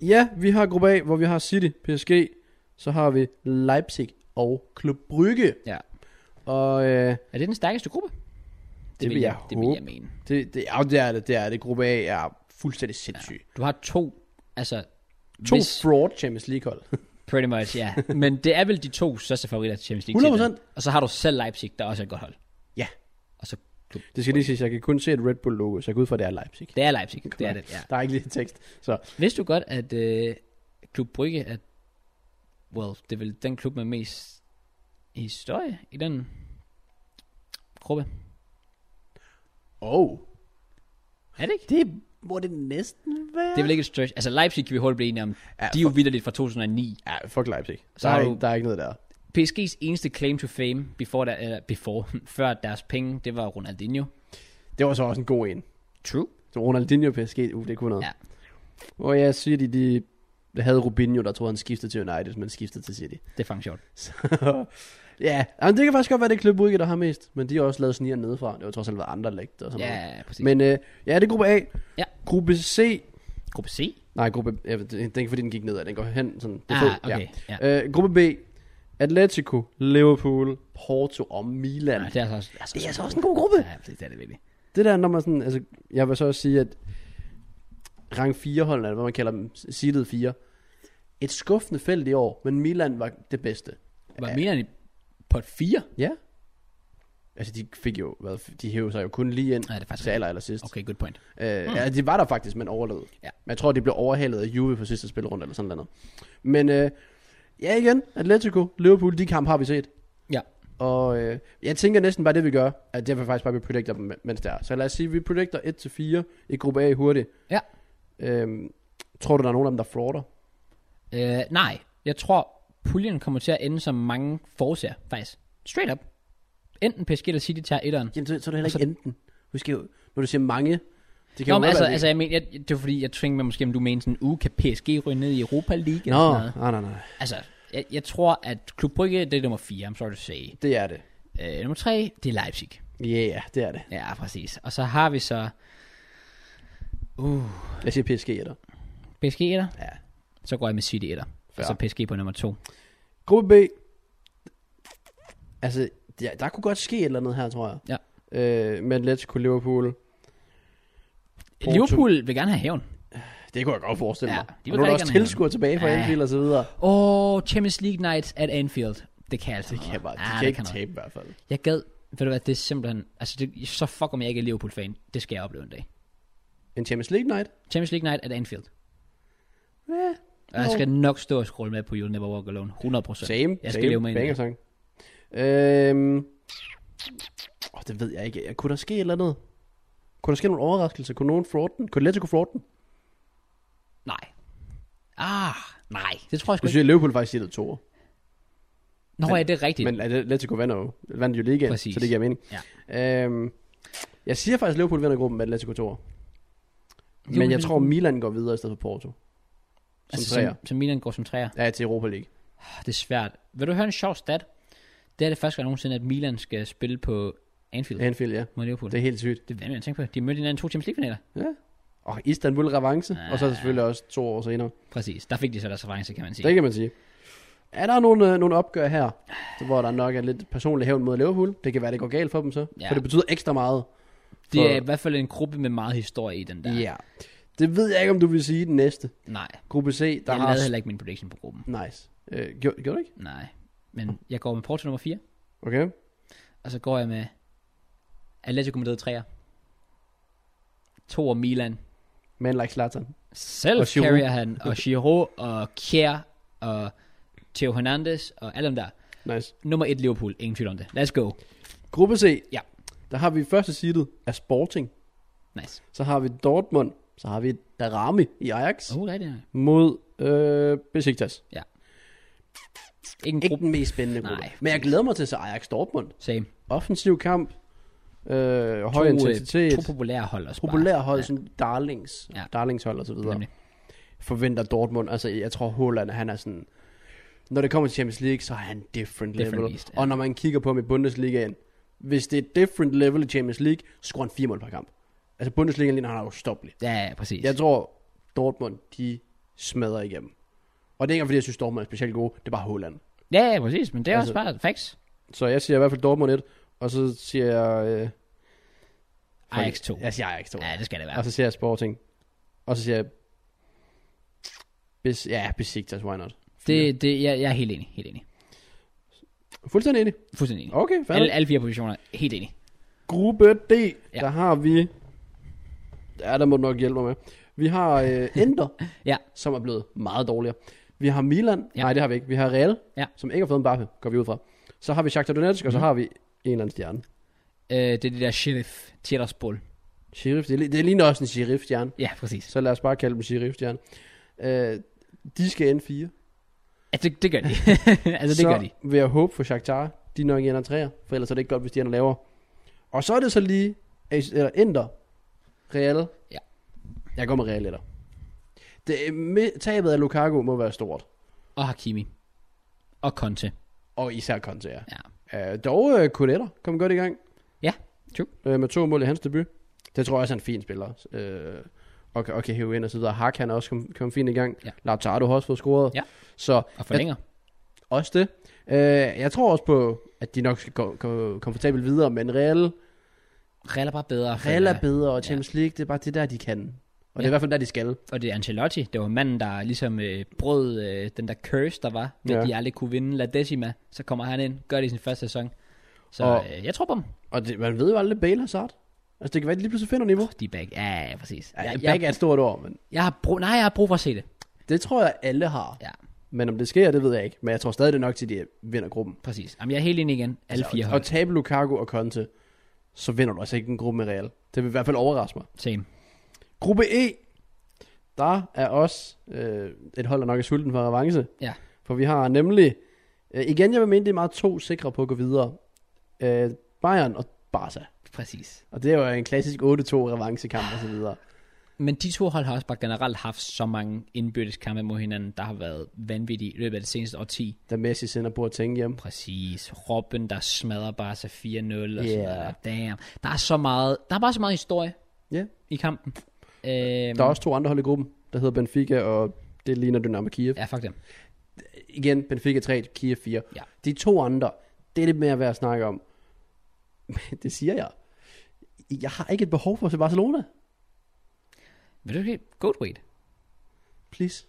[SPEAKER 2] ja, vi har gruppe A, hvor vi har City, PSG, så har vi Leipzig og Klub Brygge.
[SPEAKER 1] Ja.
[SPEAKER 2] Og øh,
[SPEAKER 1] Er det den stærkeste gruppe? Det,
[SPEAKER 2] vil jeg
[SPEAKER 1] Det vil
[SPEAKER 2] håbe.
[SPEAKER 1] jeg mene.
[SPEAKER 2] det, det, ja, det er det, det er det. Gruppe A er fuldstændig sindssyg. Ja.
[SPEAKER 1] Du har to, altså...
[SPEAKER 2] To
[SPEAKER 1] hvis-
[SPEAKER 2] Hvis... fraud Champions League-hold.
[SPEAKER 1] Pretty much, ja. Yeah. Men det er vel de to største favoritter til Champions League.
[SPEAKER 2] 100%.
[SPEAKER 1] titlen. Og så har du selv Leipzig, der også er et godt hold.
[SPEAKER 2] ja,
[SPEAKER 1] Og så klub.
[SPEAKER 2] det skal lige siges, jeg kan kun se et Red Bull-logo, så jeg går ud fra, at det er Leipzig.
[SPEAKER 1] Det er Leipzig, det er det, ja.
[SPEAKER 2] Der er ikke lige tekst. Så
[SPEAKER 1] Vidste du godt, at øh, Klub Brygge er... Well, det er vel den klub med mest historie i den gruppe.
[SPEAKER 2] Oh.
[SPEAKER 1] Er det ikke?
[SPEAKER 2] Det må det næsten være.
[SPEAKER 1] Det er vel ikke et stretch. Altså Leipzig kan vi hurtigt blive enige om.
[SPEAKER 2] Ja,
[SPEAKER 1] De er jo vidderligt fra 2009.
[SPEAKER 2] Ja, fuck Leipzig.
[SPEAKER 1] Så
[SPEAKER 2] Så der,
[SPEAKER 1] har
[SPEAKER 2] er
[SPEAKER 1] du-
[SPEAKER 2] ikke, der er ikke noget der.
[SPEAKER 1] PSG's eneste claim to fame, before der, eller before, før deres penge, det var Ronaldinho.
[SPEAKER 2] Det var så også en god en.
[SPEAKER 1] True.
[SPEAKER 2] Så Ronaldinho og PSG, uh, det kunne noget.
[SPEAKER 1] Ja.
[SPEAKER 2] Ja. Og jeg siger, de, de de havde Rubinho, der troede, han skiftede til United, men skiftede til City.
[SPEAKER 1] Det er faktisk sjovt.
[SPEAKER 2] Så, ja, Jamen, det kan faktisk godt være, det er Klub Brygge, der har mest, men de har også lavet snigeren nedefra. Det var trods alt været andre lægt og sådan noget.
[SPEAKER 1] Ja, præcis. Men,
[SPEAKER 2] Men øh, ja, det er gruppe A.
[SPEAKER 1] Ja.
[SPEAKER 2] Gruppe C.
[SPEAKER 1] gruppe C?
[SPEAKER 2] Nej, gruppe ja, det, det er ikke fordi, den gik nedad, den går hen. Sådan, det er
[SPEAKER 1] Ah,
[SPEAKER 2] fedt,
[SPEAKER 1] okay. Ja.
[SPEAKER 2] Ja. Øh, gruppe B. Atletico, Liverpool, Porto og Milan.
[SPEAKER 1] Ja, det er altså også, altså,
[SPEAKER 2] Det er altså også en god gruppe.
[SPEAKER 1] Ja, præcis, det er det virkelig.
[SPEAKER 2] Det der, når man sådan, altså, jeg vil så også sige, at rang 4 holdene, eller hvad man kalder dem, seedet 4, et skuffende felt i år, men Milan var det bedste.
[SPEAKER 1] Var
[SPEAKER 2] Ja.
[SPEAKER 1] Milan i på et 4?
[SPEAKER 2] Ja. Altså, de fik jo, hvad, de hævde sig jo kun lige ind
[SPEAKER 1] Nej, det er faktisk
[SPEAKER 2] til aller, aller sidst.
[SPEAKER 1] Okay, good point.
[SPEAKER 2] Øh, ja, de var der faktisk, men overlevede.
[SPEAKER 1] Ja.
[SPEAKER 2] Men jeg tror, de blev overhalet af Juve på sidste spilrunde, eller sådan noget. Men øh, ja, igen, Atletico, Liverpool, de kamp har vi set.
[SPEAKER 1] Ja.
[SPEAKER 2] Og øh, jeg tænker næsten bare det, vi gør, at det er faktisk bare, at vi predicter dem, mens det er. Så lad os sige, at vi predicter 1-4 i gruppe A hurtigt.
[SPEAKER 1] Ja.
[SPEAKER 2] Øhm, tror du, der er nogen af dem, der frauder?
[SPEAKER 1] Øh, nej, jeg tror, puljen kommer til at ende, som mange forudser, faktisk. Straight up. Enten PSG eller City tager etteren.
[SPEAKER 2] Jamen, så, så er det heller
[SPEAKER 1] Altså-
[SPEAKER 2] ikke enten. Husk jo, når du siger mange, det kan
[SPEAKER 1] Nå,
[SPEAKER 2] jo
[SPEAKER 1] men
[SPEAKER 2] godt
[SPEAKER 1] altså,
[SPEAKER 2] være, det
[SPEAKER 1] altså, jeg mener, jeg, det var fordi, jeg tænkte mig måske, om du mente sådan en uge, kan PSG ryge ned i Europa League eller sådan
[SPEAKER 2] Nå,
[SPEAKER 1] noget.
[SPEAKER 2] nej, nej, nej.
[SPEAKER 1] Altså, jeg, jeg tror, at Klub Brygge, det er nummer 4, I'm sorry to say.
[SPEAKER 2] Det er det.
[SPEAKER 1] Øh, nummer 3, det er Leipzig.
[SPEAKER 2] Ja, yeah, det er det.
[SPEAKER 1] Ja, præcis. Og så har vi så
[SPEAKER 2] Jeg siger PSG er der.
[SPEAKER 1] PSG etter,
[SPEAKER 2] Ja.
[SPEAKER 1] så går jeg med City etter. Og
[SPEAKER 2] Fair.
[SPEAKER 1] så PSG på nummer 2.
[SPEAKER 2] Gruppe B. Altså, der, der kunne godt ske et eller andet her, tror jeg.
[SPEAKER 1] Ja.
[SPEAKER 2] Øh, med Atletico Liverpool. Porto.
[SPEAKER 1] Liverpool vil gerne have hævn.
[SPEAKER 2] Det kunne jeg godt forestille
[SPEAKER 1] Ja,
[SPEAKER 2] mig.
[SPEAKER 1] de
[SPEAKER 2] Ja,
[SPEAKER 1] vil
[SPEAKER 2] og nu er der
[SPEAKER 1] rigtig
[SPEAKER 2] også
[SPEAKER 1] gerne have
[SPEAKER 2] tilskuer tilbage fra
[SPEAKER 1] Ja.
[SPEAKER 2] ja. Anfield og så videre.
[SPEAKER 1] Åh, oh, Champions League Night at Anfield. Det kan altså
[SPEAKER 2] Det kan jeg bare,
[SPEAKER 1] noget.
[SPEAKER 2] de
[SPEAKER 1] Ah,
[SPEAKER 2] kan
[SPEAKER 1] det
[SPEAKER 2] ikke
[SPEAKER 1] noget.
[SPEAKER 2] tabe i hvert fald.
[SPEAKER 1] Jeg gad, ved du hvad, det er simpelthen, altså det, så fuck om jeg ikke er Liverpool-fan, det skal jeg opleve en dag.
[SPEAKER 2] En Champions League night?
[SPEAKER 1] Champions League Night at Anfield.
[SPEAKER 2] Ja,
[SPEAKER 1] Og jeg
[SPEAKER 2] Jo.
[SPEAKER 1] skal nok stå og scrolle med på You'll Never Walk Alone. 100%.
[SPEAKER 2] same.
[SPEAKER 1] jeg skal
[SPEAKER 2] same.
[SPEAKER 1] leve med en
[SPEAKER 2] Banger sang. Øhm, åh, det ved jeg ikke. Kunne der ske et eller andet? Kunne der ske nogle overraskelser? Kunne nogen fraud den? Kunne Atletico fraud den?
[SPEAKER 1] Nej. Ah, nej. Det tror jeg sgu ikke.
[SPEAKER 2] Jeg synes, at Liverpool faktisk siger det to år.
[SPEAKER 1] Nå, ja, det er rigtigt.
[SPEAKER 2] Men Atletico vinder jo, vandt jo ligaen,
[SPEAKER 1] Præcis.
[SPEAKER 2] så det giver mening. Ja. Øhm, jeg siger faktisk, at Liverpool vinder gruppen med Atletico 2 Men jeg
[SPEAKER 1] Liverpool-
[SPEAKER 2] tror, Milan går videre i stedet for Porto. Som
[SPEAKER 1] altså,
[SPEAKER 2] altså,
[SPEAKER 1] som, som Milan går som træer.
[SPEAKER 2] Ja, til Europa League.
[SPEAKER 1] Ah, Det er svært. Vil du høre en sjov stat? Det er det første gang nogensinde, at Milan skal spille på Anfield ja.
[SPEAKER 2] Anfield, ja.
[SPEAKER 1] mod Liverpool.
[SPEAKER 2] Det
[SPEAKER 1] Det,
[SPEAKER 2] er helt sygt.
[SPEAKER 1] det er vanvittigt at tænke på. De mødte hinanden i to Champions League-finaler.
[SPEAKER 2] Ja. Og Istanbul revanche, og så
[SPEAKER 1] Ah.
[SPEAKER 2] selvfølgelig også to år senere.
[SPEAKER 1] Præcis. Der fik de så deres reference, kan man sige.
[SPEAKER 2] Det kan man sige. Er der nogle, øh, nogle opgør her, så hvor der nok er lidt personlig hævn mod Liverpool? Det kan være, det går galt for dem så.
[SPEAKER 1] Ja.
[SPEAKER 2] Ja. For det betyder ekstra meget.
[SPEAKER 1] Det
[SPEAKER 2] for-
[SPEAKER 1] er i hvert fald en gruppe med meget historie i den der.
[SPEAKER 2] Ja. Det ved jeg ikke, om du vil sige den næste.
[SPEAKER 1] Nej.
[SPEAKER 2] Gruppe C, der
[SPEAKER 1] Der jeg
[SPEAKER 2] har...
[SPEAKER 1] lavede heller ikke min prediction på gruppen.
[SPEAKER 2] Nice. Øh, gjorde, gjorde du ikke?
[SPEAKER 1] Nej. Men jeg går med Porto nummer 4,
[SPEAKER 2] Okay.
[SPEAKER 1] og så går jeg med Atletico Madrid 3'er. To og Milan.
[SPEAKER 2] Man like Zlatan.
[SPEAKER 1] Selv
[SPEAKER 2] Og Giroud.
[SPEAKER 1] carrier han, og Giroud, og Kjær, og Theo Hernandez, og alle dem der.
[SPEAKER 2] Nice.
[SPEAKER 1] Nummer 1 Liverpool, ingen tvivl om det. Let's go.
[SPEAKER 2] Gruppe C.
[SPEAKER 1] Ja.
[SPEAKER 2] Der har vi første seedet af Sporting.
[SPEAKER 1] Nice.
[SPEAKER 2] Så har vi Dortmund. Så har vi Darami i Ajax. Oh.
[SPEAKER 1] Oh, rigtigt. ja.
[SPEAKER 2] Mod øh, Besiktas.
[SPEAKER 1] Ikke en
[SPEAKER 2] Ikke
[SPEAKER 1] gruppe.
[SPEAKER 2] den mest spændende gruppe.
[SPEAKER 1] Nej.
[SPEAKER 2] Men jeg glæder mig til at se Ajax Dortmund.
[SPEAKER 1] Same.
[SPEAKER 2] Offensiv kamp. Øh, høj
[SPEAKER 1] øh,
[SPEAKER 2] intensitet.
[SPEAKER 1] To populære hold også
[SPEAKER 2] Populær hold, ja. sådan darlings,
[SPEAKER 1] Ja.
[SPEAKER 2] ja. darlingshold og så
[SPEAKER 1] bare.
[SPEAKER 2] videre.
[SPEAKER 1] Nemlig.
[SPEAKER 2] Forventer Dortmund, altså jeg tror Haaland, han er sådan, når det kommer til Champions League, så er han different,
[SPEAKER 1] Different
[SPEAKER 2] level.
[SPEAKER 1] beast, ja.
[SPEAKER 2] ja. Og når man kigger på ham i Bundesligaen, hvis det er different level i Champions League, så scorer han fire mål per kamp. Altså Bundesligaen ligner han er ustoppelig.
[SPEAKER 1] Ja, ja, præcis.
[SPEAKER 2] Jeg tror, Dortmund, de smadrer igennem. Og det er ikke engang, fordi, jeg synes, Dortmund er specielt gode, det er bare Haaland.
[SPEAKER 1] Ja, ja, præcis. Men det er
[SPEAKER 2] Altså-
[SPEAKER 1] også bare facts.
[SPEAKER 2] Så jeg siger i hvert fald Dortmund 1, og så siger jeg... Øh,
[SPEAKER 1] Ajax 2.
[SPEAKER 2] Jeg siger Ajax 2.
[SPEAKER 1] Ja, det skal det være.
[SPEAKER 2] Og så siger jeg Sporting. Og så siger jeg... Bes, ja, Besiktas, why not?
[SPEAKER 1] Det, det, jeg, jeg er helt enig. Helt enig.
[SPEAKER 2] Fuldstændig enig.
[SPEAKER 1] Fuldstændig enig.
[SPEAKER 2] Okay, færdig.
[SPEAKER 1] Alle, alle fire positioner, helt enig.
[SPEAKER 2] Gruppe D,
[SPEAKER 1] Ja.
[SPEAKER 2] ja. der har vi... Ja, der må du nok hjælpe mig med. Vi har øh, Ender,
[SPEAKER 1] Ja.
[SPEAKER 2] som er blevet meget dårligere. Vi har Milan.
[SPEAKER 1] Ja.
[SPEAKER 2] Ja. Nej, det har vi ikke. Vi har Real,
[SPEAKER 1] Ja. Mhm.
[SPEAKER 2] som ikke har fået en bappe, går vi ud fra. Så har vi Shakhtar Donetsk, og så har vi en eller anden stjerne.
[SPEAKER 1] Øh, det er det der sheriff, Tjettersbol.
[SPEAKER 2] Sheriff, det, er li- det ligner også en sheriff-stjerne.
[SPEAKER 1] Ja, præcis.
[SPEAKER 2] Så lad os bare kalde dem sheriff-stjerne. Øh, de skal ende 4.
[SPEAKER 1] Altså, det, det gør de. altså, det
[SPEAKER 2] så
[SPEAKER 1] gør de.
[SPEAKER 2] vil jeg håbe for Shakhtar, de nok ender træer, for ellers er det ikke godt, hvis de ender lavere. Og så er det så lige, AS eller Inter, Real.
[SPEAKER 1] Ja.
[SPEAKER 2] Jeg går med Real etter. Det, er med, tabet af Lukaku må være stort,
[SPEAKER 1] Og Hakimi. Og Conte.
[SPEAKER 2] og især Conte, ja.
[SPEAKER 1] Ja.
[SPEAKER 2] Øh, dog øh, Kuletter kom godt i gang.
[SPEAKER 1] Ja, true.
[SPEAKER 2] Øh, med to mål i hans debut. Det tror jeg også er en fin spiller. Øh, og, kan- og kan hæve ind og så videre. Hak, han er også kom, kom fint i gang.
[SPEAKER 1] Ja.
[SPEAKER 2] Lautaro har også fået scoret.
[SPEAKER 1] Ja.
[SPEAKER 2] Så
[SPEAKER 1] Og forlænger.
[SPEAKER 2] Også det. Øh, jeg tror også på, at de nok skal gå, gå komfortabelt videre, men Real,
[SPEAKER 1] Real er bare bedre.
[SPEAKER 2] Real er
[SPEAKER 1] føler jeg.
[SPEAKER 2] bedre, og Champions League, det er bare det der, de kan. Og det
[SPEAKER 1] Ja.
[SPEAKER 2] er i hvert fald der, de skal.
[SPEAKER 1] Og det er Ancelotti. Det var manden, der ligesom øh, brød øh, den der curse, der var. Med,
[SPEAKER 2] Ja.
[SPEAKER 1] at de aldrig kunne vinde La Decima. Så kommer han ind, gør det i sin første sæson. Så
[SPEAKER 2] Og-
[SPEAKER 1] øh, jeg tror på dem.
[SPEAKER 2] Og det, man ved jo aldrig Bale Hazard. Altså, det kan være, at de lige pludselig finder niveau.
[SPEAKER 1] De er back. Ja, ja, præcis.
[SPEAKER 2] Ja,
[SPEAKER 1] jeg,
[SPEAKER 2] jeg,
[SPEAKER 1] jeg,
[SPEAKER 2] er et stort ord, men
[SPEAKER 1] jeg, har brug, nej, jeg har brug for at se det.
[SPEAKER 2] det tror jeg, alle har.
[SPEAKER 1] Ja,
[SPEAKER 2] Men om det sker, det ved jeg ikke. Men jeg tror stadig, det er nok til, at de vinder gruppen.
[SPEAKER 1] præcis. Jamen, jeg er helt enig igen. Alle fire
[SPEAKER 2] Altså, Og
[SPEAKER 1] hold.
[SPEAKER 2] tabe Lukaku og Conte, så vinder du altså ikke en gruppe med Real. Det vil i hvert fald overraske mig.
[SPEAKER 1] Same.
[SPEAKER 2] Gruppe E, der er også øh, et hold, der nok er sulten for revanche.
[SPEAKER 1] Ja.
[SPEAKER 2] For vi har nemlig, øh, igen jeg vil mene, det er meget to sikre på at gå videre. Øh, Bayern og Barca.
[SPEAKER 1] Præcis.
[SPEAKER 2] Og det er jo en klassisk 8-2 revanchekamp og så videre.
[SPEAKER 1] Men de to hold har også bare generelt haft så mange indbyrdes kampe mod hinanden, der har været vanvittige i løbet af det seneste årti.
[SPEAKER 2] Da Messi sender Boateng hjem.
[SPEAKER 1] Præcis. Robben, der smadrer bare sig 4-0 og yeah. sådan
[SPEAKER 2] Ja.
[SPEAKER 1] noget. der. Damn. Der er så meget, der er bare så meget historie
[SPEAKER 2] Ja. Yeah.
[SPEAKER 1] i kampen. Øhm,
[SPEAKER 2] Der er også to andre hold i gruppen, der hedder Benfica, og det ligner Dynamo Kiev.
[SPEAKER 1] Ja, fuck dem.
[SPEAKER 2] igen, Benfica 3, Kiev 4.
[SPEAKER 1] Ja.
[SPEAKER 2] De to andre, det er lidt mere værd at snakke om. Men det siger jeg. Jeg har ikke et behov for at se Barcelona.
[SPEAKER 1] Vil du ikke Goat weight?
[SPEAKER 2] Please.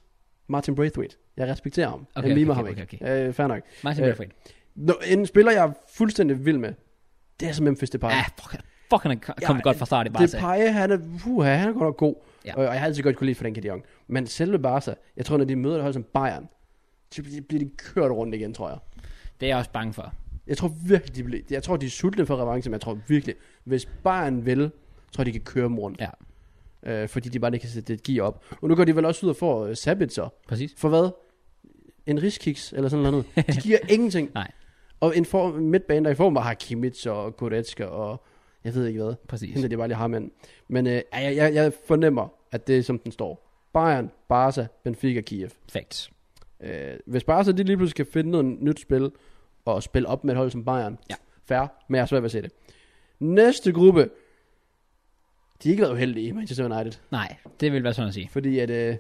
[SPEAKER 2] Martin Braithwaite. Jeg respekterer ham.
[SPEAKER 1] Okay,
[SPEAKER 2] Okay, jeg mimer
[SPEAKER 1] okay,
[SPEAKER 2] ham
[SPEAKER 1] okay,
[SPEAKER 2] ikke. Okay, Øh, fair nok.
[SPEAKER 1] Martin
[SPEAKER 2] Øh,
[SPEAKER 1] Braithwaite.
[SPEAKER 2] Nå, en spiller, jeg er fuldstændig vild med, det er som Memphis Depay.
[SPEAKER 1] Ja,
[SPEAKER 2] Ja.
[SPEAKER 1] Ah, fuck, fuck, han er kommet
[SPEAKER 2] Ja,
[SPEAKER 1] godt fra start i
[SPEAKER 2] Det
[SPEAKER 1] Barca.
[SPEAKER 2] Paje, han er, puha, han er godt nok god.
[SPEAKER 1] Ja.
[SPEAKER 2] Ja. Og, og, jeg har altid godt kunne lide Frankie de Jong. Men selve Barca, jeg tror, når de møder et hold som Bayern, så bliver de- bliver de kørt rundt igen, tror jeg.
[SPEAKER 1] det er jeg også bange for.
[SPEAKER 2] Jeg tror virkelig, de, bliver, jeg tror, de er sultne for revanche, men jeg tror virkelig, hvis Bayern vil, tror jeg, de kan køre dem rundt.
[SPEAKER 1] Ja,
[SPEAKER 2] Øh, fordi de bare ikke kan sætte et gear op. Og nu går de vel også ud og får øh, Sabitzer.
[SPEAKER 1] præcis.
[SPEAKER 2] For hvad? En riskiks eller sådan noget. De giver ingenting.
[SPEAKER 1] Nej.
[SPEAKER 2] Og en form, midtbane, der i form har Kimmich og Goretzka og jeg ved ikke hvad.
[SPEAKER 1] Præcis.
[SPEAKER 2] Henter de bare lige ham ind. Men øh, jeg, jeg, jeg fornemmer, at det er som den står. Bayern, Barca, Benfica, Kiev.
[SPEAKER 1] Facts.
[SPEAKER 2] Øh, hvis Barca de lige pludselig skal finde noget nyt spil, og spille op med et hold som Bayern,
[SPEAKER 1] Ja.
[SPEAKER 2] fair, men jeg har svært ved at se det. Næste gruppe, de har ikke været uheldige i Manchester United,
[SPEAKER 1] Nej, det vil være sådan at sige.
[SPEAKER 2] fordi at, øh,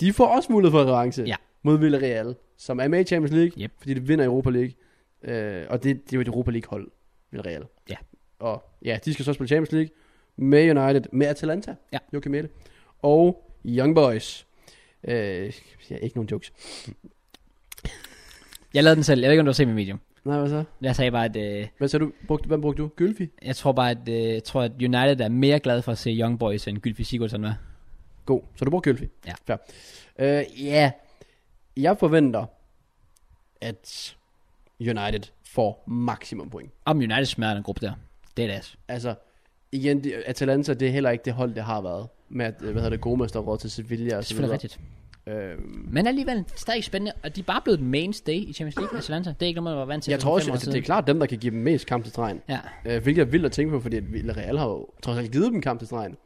[SPEAKER 2] de får også mulighed for revanche
[SPEAKER 1] Ja.
[SPEAKER 2] mod Villarreal, som er med i Champions League,
[SPEAKER 1] Yep.
[SPEAKER 2] fordi de vinder Europa League, øh, og det, det er jo et Europa League-hold, Villarreal.
[SPEAKER 1] Ja.
[SPEAKER 2] Og ja, de skal så spille Champions League med United, med Atalanta,
[SPEAKER 1] Ja.
[SPEAKER 2] Joachim Mette, og Young Boys. Øh, ja, ikke nogen jokes.
[SPEAKER 1] Jeg lavede den selv. Jeg ved ikke, om du har set mit medium.
[SPEAKER 2] Nej, hvad så?
[SPEAKER 1] Jeg sagde bare, at øh,
[SPEAKER 2] Hvad sagde du? Brugte, hvad brugte du? Gylfi?
[SPEAKER 1] jeg tror bare, at, øh, jeg tror, at United er mere glad for at se Young Boys end Gylfi Sigurdsson var.
[SPEAKER 2] God. Så du brugte Gylfi?
[SPEAKER 1] Ja.
[SPEAKER 2] Fair. Øh, ja. Jeg forventer, at United får maksimum point.
[SPEAKER 1] Om United smadrer den gruppe der. Det er deres.
[SPEAKER 2] Altså, igen, de, Atalanta, det er heller ikke det hold, det har været. Med at, øh, hvad hedder det, Gomes, der råd til Sevilla
[SPEAKER 1] Det
[SPEAKER 2] og
[SPEAKER 1] er
[SPEAKER 2] så
[SPEAKER 1] selvfølgelig
[SPEAKER 2] videre.
[SPEAKER 1] rigtigt.
[SPEAKER 2] Øh,
[SPEAKER 1] Men alligevel stadig spændende, og de er bare blevet den mainstay i Champions League Atalanta. Det er ikke noget, man var vant til.
[SPEAKER 2] jeg
[SPEAKER 1] for
[SPEAKER 2] tror
[SPEAKER 1] fem
[SPEAKER 2] også,
[SPEAKER 1] år
[SPEAKER 2] altså, det er
[SPEAKER 1] siden.
[SPEAKER 2] klart dem, der kan give dem mest kamp til stregen.
[SPEAKER 1] Ja,
[SPEAKER 2] Øh, hvilket er vildt at tænke på, fordi at Villarreal har jo trods alt givet dem kamp til stregen.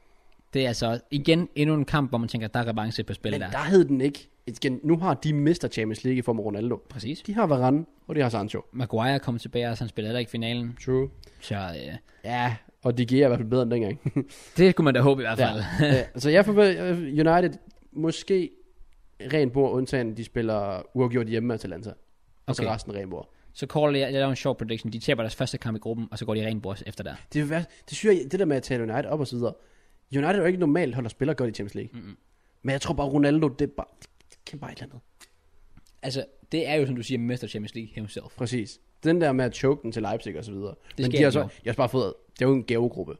[SPEAKER 1] det er altså igen endnu en kamp, hvor man tænker, at der er revanche på spil
[SPEAKER 2] Men
[SPEAKER 1] der.
[SPEAKER 2] der hed den ikke. Igen, nu har de mister Champions League i form af Ronaldo.
[SPEAKER 1] Præcis.
[SPEAKER 2] De har Varane, og de har Sancho.
[SPEAKER 1] Maguire kom tilbage, og så han spillede heller ikke finalen.
[SPEAKER 2] True.
[SPEAKER 1] Så øh,
[SPEAKER 2] Ja, og de giver i hvert fald bedre end dengang.
[SPEAKER 1] det kunne man da håbe i hvert
[SPEAKER 2] Ja.
[SPEAKER 1] fald. Ja.
[SPEAKER 2] Øh, så jeg forventer øh, United måske rent bord, undtagen de spiller uafgjort hjemme med Atalanta. Og så
[SPEAKER 1] Okay.
[SPEAKER 2] resten rent bord.
[SPEAKER 1] Så Call, jeg, jeg laver en sjov prediction. De taber deres første kamp i gruppen, og så går de rent bords efter der.
[SPEAKER 2] Det, er jo værst- det synes jeg, det der med at tale United op og så videre. United er jo ikke normalt hold, der spiller godt i Champions League. Mm-hmm. Men jeg tror bare, Ronaldo, det er bare, det kan bare et eller andet.
[SPEAKER 1] Altså, det er jo, som du siger, Mester Champions League himself.
[SPEAKER 2] Præcis. Den der med at choke den til Leipzig og så videre. Det Men
[SPEAKER 1] sker
[SPEAKER 2] de har
[SPEAKER 1] ikke
[SPEAKER 2] så,
[SPEAKER 1] nu.
[SPEAKER 2] jeg har også bare fået, det er jo en gavegruppe.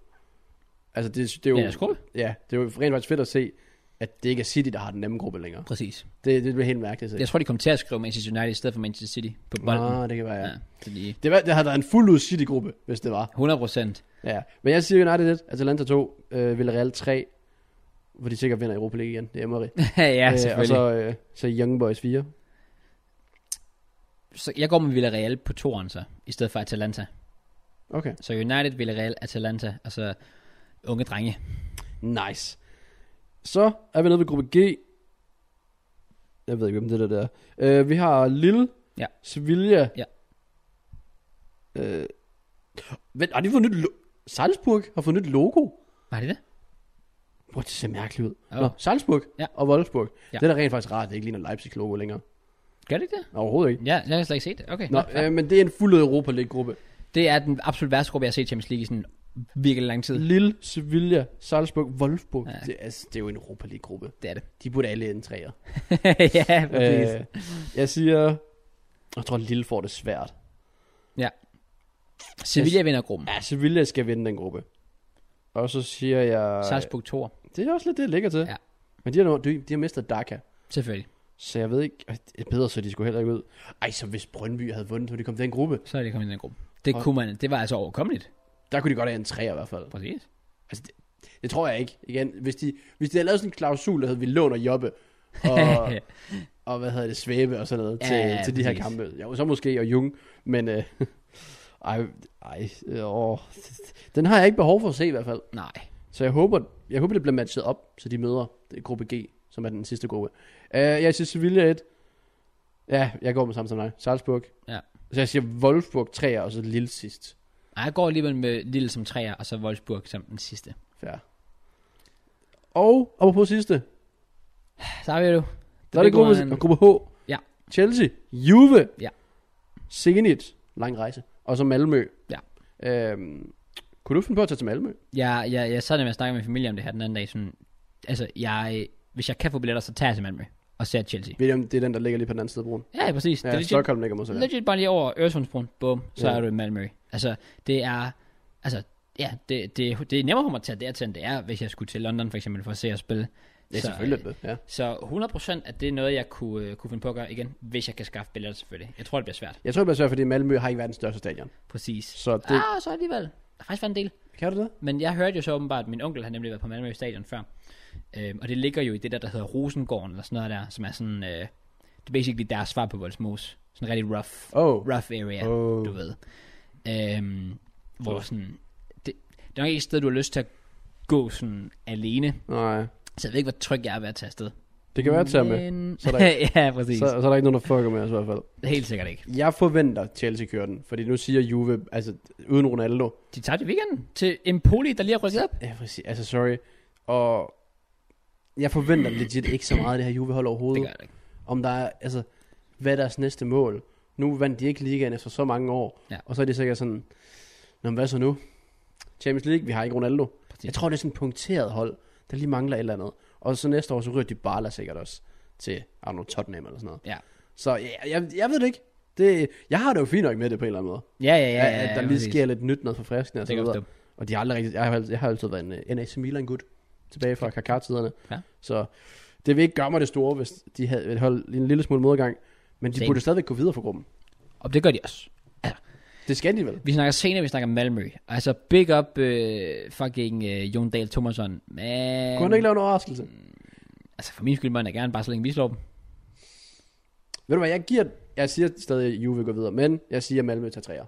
[SPEAKER 2] Altså det, det er jo,
[SPEAKER 1] Det er deres gruppe.
[SPEAKER 2] Ja, det er jo rent faktisk fedt at se, at det ikke er City, der har den nemme gruppe længere.
[SPEAKER 1] Præcis.
[SPEAKER 2] Det, det bliver helt mærkeligt at se.
[SPEAKER 1] Jeg tror, de kom til at skrive Manchester United i stedet for Manchester City på bolden.
[SPEAKER 2] ah, det kan være, ja.
[SPEAKER 1] ja. så de,
[SPEAKER 2] Det, var, det havde været en fuld ud City-gruppe, hvis det var.
[SPEAKER 1] 100 procent.
[SPEAKER 2] Ja. Men jeg siger United 1, Atalanta 2, øh, Villarreal 3, hvor de sikkert vinder Europa League igen. Det er Emery.
[SPEAKER 1] ja,
[SPEAKER 2] og
[SPEAKER 1] selvfølgelig.
[SPEAKER 2] så, øh, så Young Boys 4.
[SPEAKER 1] så... så... jeg går med Villarreal på toeren så, i stedet for Atalanta.
[SPEAKER 2] Okay.
[SPEAKER 1] Så United, Villarreal, Atalanta, og så unge drenge.
[SPEAKER 2] Nice. Så er vi nede ved gruppe G. Jeg ved ikke, hvem det der, der er. Øh, vi har Lille,
[SPEAKER 1] Ja.
[SPEAKER 2] Sevilla.
[SPEAKER 1] Ja.
[SPEAKER 2] Øh, vent, har de fået nyt lo- Salzburg har fået nyt logo.
[SPEAKER 1] Var det det?
[SPEAKER 2] Hvor det ser mærkeligt ud.
[SPEAKER 1] Åh.
[SPEAKER 2] Nå, Salzburg
[SPEAKER 1] Ja.
[SPEAKER 2] og Wolfsburg.
[SPEAKER 1] Ja.
[SPEAKER 2] Det er da rent faktisk rart, at det ikke ligner Leipzig logo længere.
[SPEAKER 1] Gør det ikke det?
[SPEAKER 2] Overhovedet ikke.
[SPEAKER 1] Ja, jeg har slet ikke set det. Okay.
[SPEAKER 2] Nå, øh, men det er en fuld Europa League gruppe.
[SPEAKER 1] Det er den absolut værste gruppe, jeg har set i Champions League i sådan virkelig lang tid.
[SPEAKER 2] Lille, Sevilla, Salzburg, Wolfsburg.
[SPEAKER 1] Ja.
[SPEAKER 2] Ja. Det, er- altså, det er jo en Europa League gruppe.
[SPEAKER 1] Det er det.
[SPEAKER 2] De burde alle ende træer.
[SPEAKER 1] ja, præcis.
[SPEAKER 2] Øh, jeg siger... Jeg tror, Lille får det svært.
[SPEAKER 1] Sevilla vinder gruppen.
[SPEAKER 2] Ja, Sevilla skal vinde den gruppe. Og så siger jeg...
[SPEAKER 1] Salzburg 2.
[SPEAKER 2] Det er også lidt det, jeg ligger til.
[SPEAKER 1] Ja.
[SPEAKER 2] Men de har, nu- de, de har mistet Dhaka.
[SPEAKER 1] Selvfølgelig.
[SPEAKER 2] Så jeg ved ikke... Ej, det er Bedre så de skulle heller ikke ud. Ej, så hvis Brøndby havde vundet, så ville de kom til den gruppe.
[SPEAKER 1] Så er det kommet i den gruppe. Det
[SPEAKER 2] Og-
[SPEAKER 1] kunne man, det var altså overkommeligt.
[SPEAKER 2] Der kunne de godt have en træer i hvert fald.
[SPEAKER 1] Præcis.
[SPEAKER 2] Altså, det, det tror jeg ikke. Igen, hvis de, hvis de havde lavet sådan en klausul, der hed, vi låner Jobbe, og, og hvad hedder det, Svæbe og sådan noget,
[SPEAKER 1] Ja,
[SPEAKER 2] ja, til,
[SPEAKER 1] ja,
[SPEAKER 2] til de her
[SPEAKER 1] præcis.
[SPEAKER 2] kampe. Jo, så måske, og Jung, men øh, ej, ej, øh, åh, den har jeg ikke behov for at se i hvert fald.
[SPEAKER 1] Nej.
[SPEAKER 2] Så jeg håber, jeg håber det bliver matchet op, så de møder det gruppe G, som er den sidste gruppe. Øh, jeg siger Sevilla 1. Ja, jeg går med samme som dig. Salzburg.
[SPEAKER 1] Ja.
[SPEAKER 2] Så jeg siger Wolfsburg 3 og så Lille sidst.
[SPEAKER 1] Nej, jeg går alligevel med Lille som træer, og så Wolfsburg som den sidste.
[SPEAKER 2] Fair. Og, og på sidste,
[SPEAKER 1] Så har vi jo.
[SPEAKER 2] Der er det gruppe,
[SPEAKER 1] grupperne.
[SPEAKER 2] gruppe H.
[SPEAKER 1] Ja.
[SPEAKER 2] Chelsea, Juve,
[SPEAKER 1] Ja.
[SPEAKER 2] Zenit, lang rejse, og så Malmø.
[SPEAKER 1] Ja.
[SPEAKER 2] Øhm, kunne du finde på at tage til Malmø?
[SPEAKER 1] Jeg, jeg, jeg sad nemlig og snakkede med min familie om det her den anden dag. Sådan, altså, jeg, hvis jeg kan få billetter, så tager jeg til Malmø og ser Chelsea.
[SPEAKER 2] Ved du, om det er den, der ligger lige på den anden side af broen?
[SPEAKER 1] Ja, præcis.
[SPEAKER 2] Ja,
[SPEAKER 1] legit-
[SPEAKER 2] Stockholm ligger mod sådan
[SPEAKER 1] Legit bare lige over Øresundsbroen, bum, så
[SPEAKER 2] Ja.
[SPEAKER 1] er du i Malmø. Altså, det er, altså, ja, det, det, det er nemmere for mig at tage dertil, end det er, hvis jeg skulle til London for eksempel for at se og spille.
[SPEAKER 2] Det er
[SPEAKER 1] Så, øh,
[SPEAKER 2] selvfølgelig det. Ja.
[SPEAKER 1] Så 100% at det er noget, jeg kunne, øh, kunne finde på at gøre igen, hvis jeg kan skaffe billetter selvfølgelig. Jeg tror, det bliver svært.
[SPEAKER 2] Jeg tror, det bliver svært, fordi Malmø har ikke verdens største stadion.
[SPEAKER 1] Præcis.
[SPEAKER 2] Så det...
[SPEAKER 1] Det... Ah, så alligevel. Der er faktisk været en del.
[SPEAKER 2] Kan du det?
[SPEAKER 1] Men jeg hørte jo så åbenbart, at min onkel har nemlig været på Malmø Stadion før. Øhm, og det ligger jo i det der, der hedder Rosengården, eller sådan noget der, som er sådan, øh, det er basically deres svar på Voldsmos. Sådan en rigtig rough,
[SPEAKER 2] Oh.
[SPEAKER 1] rough area,
[SPEAKER 2] Oh.
[SPEAKER 1] du ved. Øhm, hvor sådan, det, det er nok ikke et sted, du har lyst til at gå sådan alene.
[SPEAKER 2] Nej.
[SPEAKER 1] Så jeg ved ikke, hvor tryg jeg er ved at tage afsted.
[SPEAKER 2] Det kan være til med.
[SPEAKER 1] Men...
[SPEAKER 2] Så er
[SPEAKER 1] ja, præcis.
[SPEAKER 2] Så, så er der ikke nogen, der fucker med os i hvert fald.
[SPEAKER 1] Helt sikkert ikke.
[SPEAKER 2] Jeg forventer Chelsea kører den, fordi nu siger Juve, altså uden Ronaldo.
[SPEAKER 1] De tager det i weekenden til Empoli, der lige har rykket op.
[SPEAKER 2] Ja, præcis. Altså, sorry. Og jeg forventer legit ikke så meget af det her Juve-hold
[SPEAKER 1] Det
[SPEAKER 2] overhovedet.
[SPEAKER 1] gør det ikke.
[SPEAKER 2] om der er, altså, hvad er deres næste mål? Nu vandt de ikke ligaen efter så mange år,
[SPEAKER 1] Ja.
[SPEAKER 2] og så er de sikkert sådan, Nå, men hvad så nu? Champions League, vi har ikke Ronaldo.
[SPEAKER 1] Præcis.
[SPEAKER 2] Jeg tror, det er sådan et punkteret hold, der lige mangler et eller andet. Og så næste år, så ryger de bare sikkert også til, I don't know, Tottenham eller sådan noget.
[SPEAKER 1] Ja.
[SPEAKER 2] Så jeg, jeg, jeg ved det ikke. Det, jeg har det jo fint nok med det på en eller anden måde.
[SPEAKER 1] Ja, ja, ja.
[SPEAKER 2] Ja,
[SPEAKER 1] ja,
[SPEAKER 2] at der
[SPEAKER 1] ja,
[SPEAKER 2] lige
[SPEAKER 1] præcis.
[SPEAKER 2] sker lidt nyt, noget forfriskende og så
[SPEAKER 1] Det kan
[SPEAKER 2] videre.
[SPEAKER 1] jeg
[SPEAKER 2] Og de har aldrig rigtig, jeg, har, altid- jeg har altid været en, øh, en AC Milan gut tilbage fra Kaká-tiderne.
[SPEAKER 1] Ja.
[SPEAKER 2] Så det vil ikke gøre mig det store, hvis de havde holdt en lille smule modgang. Men de
[SPEAKER 1] Same.
[SPEAKER 2] Same. burde stadigvæk gå videre for gruppen.
[SPEAKER 1] Og det gør de også.
[SPEAKER 2] Det skal de vel?
[SPEAKER 1] Vi snakker senere, vi snakker Malmø. Altså, big up øh, fucking øh, Jon Dahl Thomasson. Men...
[SPEAKER 2] Kunne han ikke lave en overraskelse?
[SPEAKER 1] mm. Altså, for min skyld, man er gerne bare så længe vi slår dem.
[SPEAKER 2] Ved du hvad, jeg giver... Jeg siger stadig, at Juve går videre, men jeg siger, at Malmø tager træer.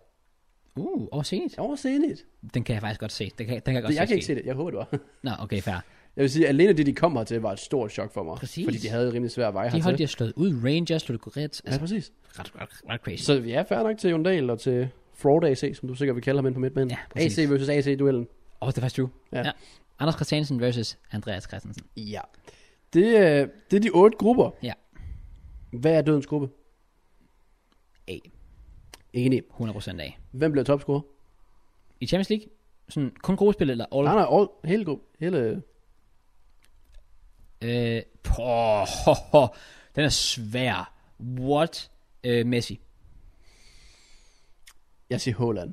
[SPEAKER 1] Uh, og senigt.
[SPEAKER 2] Jeg overser enigt.
[SPEAKER 1] Den kan jeg faktisk godt se. Den kan, den kan jeg godt
[SPEAKER 2] Det, jeg kan ikke
[SPEAKER 1] ske.
[SPEAKER 2] se det. Jeg håber, det var.
[SPEAKER 1] Nå, okay, fair.
[SPEAKER 2] Jeg vil sige, at alene det, de kom hertil, var et stort chok for mig.
[SPEAKER 1] Præcis.
[SPEAKER 2] Fordi de havde et rimelig svær vej
[SPEAKER 1] De
[SPEAKER 2] hertil.
[SPEAKER 1] hold, de har slået ud. Rangers, Ludogorets.
[SPEAKER 2] Ja,
[SPEAKER 1] Altså,
[SPEAKER 2] præcis.
[SPEAKER 1] ret, ret, ret crazy.
[SPEAKER 2] Så vi er fair nok til Jondal og til Fraud AC, som du sikkert vil kalde ham ind på midtbanen.
[SPEAKER 1] Ja, præcis.
[SPEAKER 2] AC versus AC-duellen.
[SPEAKER 1] Åh, oh, det er faktisk true.
[SPEAKER 2] Ja.
[SPEAKER 1] Anders Christiansen versus Andreas Christensen.
[SPEAKER 2] Ja. Det, øh, det er de otte grupper.
[SPEAKER 1] Ja.
[SPEAKER 2] Hvad er dødens gruppe?
[SPEAKER 1] A.
[SPEAKER 2] Enig.
[SPEAKER 1] 100% A.
[SPEAKER 2] Hvem bliver topscorer?
[SPEAKER 1] I Champions League, sådan kun gruppespil eller all?
[SPEAKER 2] Nej, nej, all, hele gruppen. Hele,
[SPEAKER 1] Øh, poh, ho, ho, den er svær. What? Øh, Messi.
[SPEAKER 2] jeg siger Holland.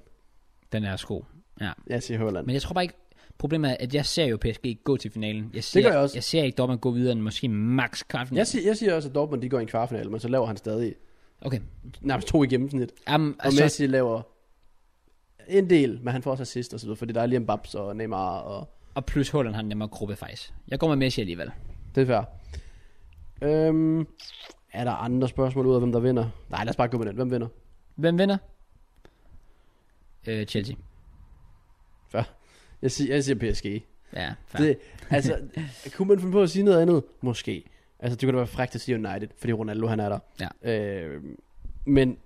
[SPEAKER 1] Den er sko. Ja.
[SPEAKER 2] Jeg siger Holland.
[SPEAKER 1] Men jeg tror bare ikke, problemet er, at jeg ser jo PSG gå til finalen. Jeg ser,
[SPEAKER 2] gør jeg også.
[SPEAKER 1] Jeg ser ikke Dortmund gå videre end måske max kraften.
[SPEAKER 2] Jeg siger, jeg siger også, at Dortmund de går i en kvartfinale, men så laver han stadig
[SPEAKER 1] Okay.
[SPEAKER 2] nærmest to i gennemsnit.
[SPEAKER 1] Um,
[SPEAKER 2] Og altså, Messi laver en del, men han får også assist og så videre, fordi der er lige Mbappé og Neymar og...
[SPEAKER 1] og plus Holland har en nemmere gruppe faktisk. Jeg går med Messi alligevel.
[SPEAKER 2] Det er fair. Øhm, er der andre spørgsmål ud af, hvem der vinder? Nej, lad os bare gå med den. Hvem vinder?
[SPEAKER 1] Hvem vinder? Øh, Chelsea.
[SPEAKER 2] Fair. Jeg siger, jeg siger PSG.
[SPEAKER 1] Ja, fair. Det...
[SPEAKER 2] Det, altså, kunne man finde på at sige noget andet? Måske. Altså, det kunne da være frækt at sige United, fordi Ronaldo han er der. Øh, men,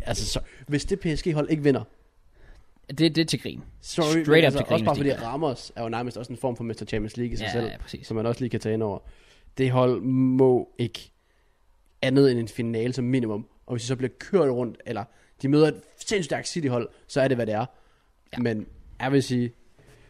[SPEAKER 2] altså, så, hvis det PSG-hold ikke vinder,
[SPEAKER 1] Det, det er til grin.
[SPEAKER 2] sorry,
[SPEAKER 1] Straight
[SPEAKER 2] men
[SPEAKER 1] up
[SPEAKER 2] altså,
[SPEAKER 1] til grin,
[SPEAKER 2] også bare
[SPEAKER 1] hvis de
[SPEAKER 2] fordi
[SPEAKER 1] ikke gør
[SPEAKER 2] Ramos er jo nærmest også en form for Mr. Champions League i sig
[SPEAKER 1] Ja,
[SPEAKER 2] selv,
[SPEAKER 1] ja, præcis.
[SPEAKER 2] som man også lige kan tage ind over. Det hold må ikke andet end en finale som minimum, og hvis de så bliver kørt rundt, eller de møder et sindssygt stærkt City-hold, så er det, hvad det er.
[SPEAKER 1] Ja.
[SPEAKER 2] Ja. Men jeg vil sige,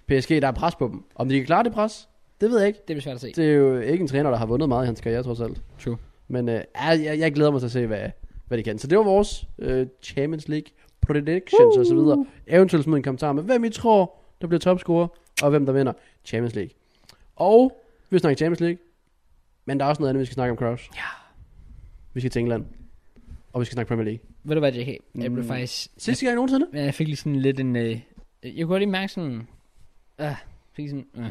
[SPEAKER 2] PSG, der er pres på dem. Om de kan klare det pres, det ved jeg ikke.
[SPEAKER 1] Det bliver svært at se.
[SPEAKER 2] Det er jo ikke en træner, der har vundet meget i hans karriere, trods alt.
[SPEAKER 1] True.
[SPEAKER 2] Men øh, ja, jeg, jeg glæder mig til at se, hvad, hvad de kan. Så det var vores øh, Champions League predictions og så videre. Eventuelt smid en kommentar med, hvem I tror, der bliver topscorer, og hvem der vinder Champions League. Og vi snakker Champions League, men der er også noget andet, vi skal snakke om, Kraus.
[SPEAKER 1] Ja.
[SPEAKER 2] Vi skal til England, og vi skal snakke Premier League.
[SPEAKER 1] Ved du hvad, JK? Jeg blev
[SPEAKER 2] Mm.
[SPEAKER 1] faktisk...
[SPEAKER 2] Sidste gang nogensinde?
[SPEAKER 1] Men jeg fik lige sådan lidt en... Øh, jeg kunne lige mærke sådan... Øh, fik sådan... Øh.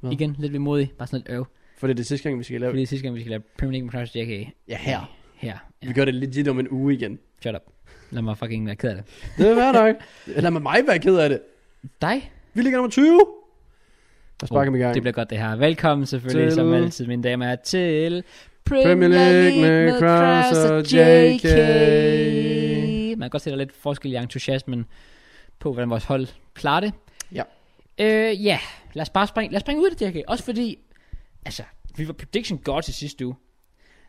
[SPEAKER 2] Hvad?
[SPEAKER 1] Igen, lidt ved modig. Bare sådan lidt øv.
[SPEAKER 2] For det er det sidste gang, vi skal lave.
[SPEAKER 1] Fordi sidste gang, vi skal lave Premier League med Claus JK.
[SPEAKER 2] Ja, her.
[SPEAKER 1] Her. Ja.
[SPEAKER 2] Vi gør det legit om en uge igen.
[SPEAKER 1] Shut up. Lad mig fucking være ked af det.
[SPEAKER 2] Det er fair nok. Lad mig, mig være ked af det.
[SPEAKER 1] Dig?
[SPEAKER 2] Vi ligger nummer 20. Der sparker vi i gang.
[SPEAKER 1] Det bliver godt det her. Velkommen selvfølgelig, til...
[SPEAKER 2] Til-
[SPEAKER 1] som altid, mine damer og herrer, til...
[SPEAKER 2] Premier League med Kraus og JK.
[SPEAKER 1] Man kan godt se, der er lidt forskel i entusiasmen på, hvordan vores hold klarer det.
[SPEAKER 2] Ja.
[SPEAKER 1] Øh, ja, lad os bare springe, lad os springe ud af det, JK. Også fordi, altså, vi var prediction godt til sidste uge.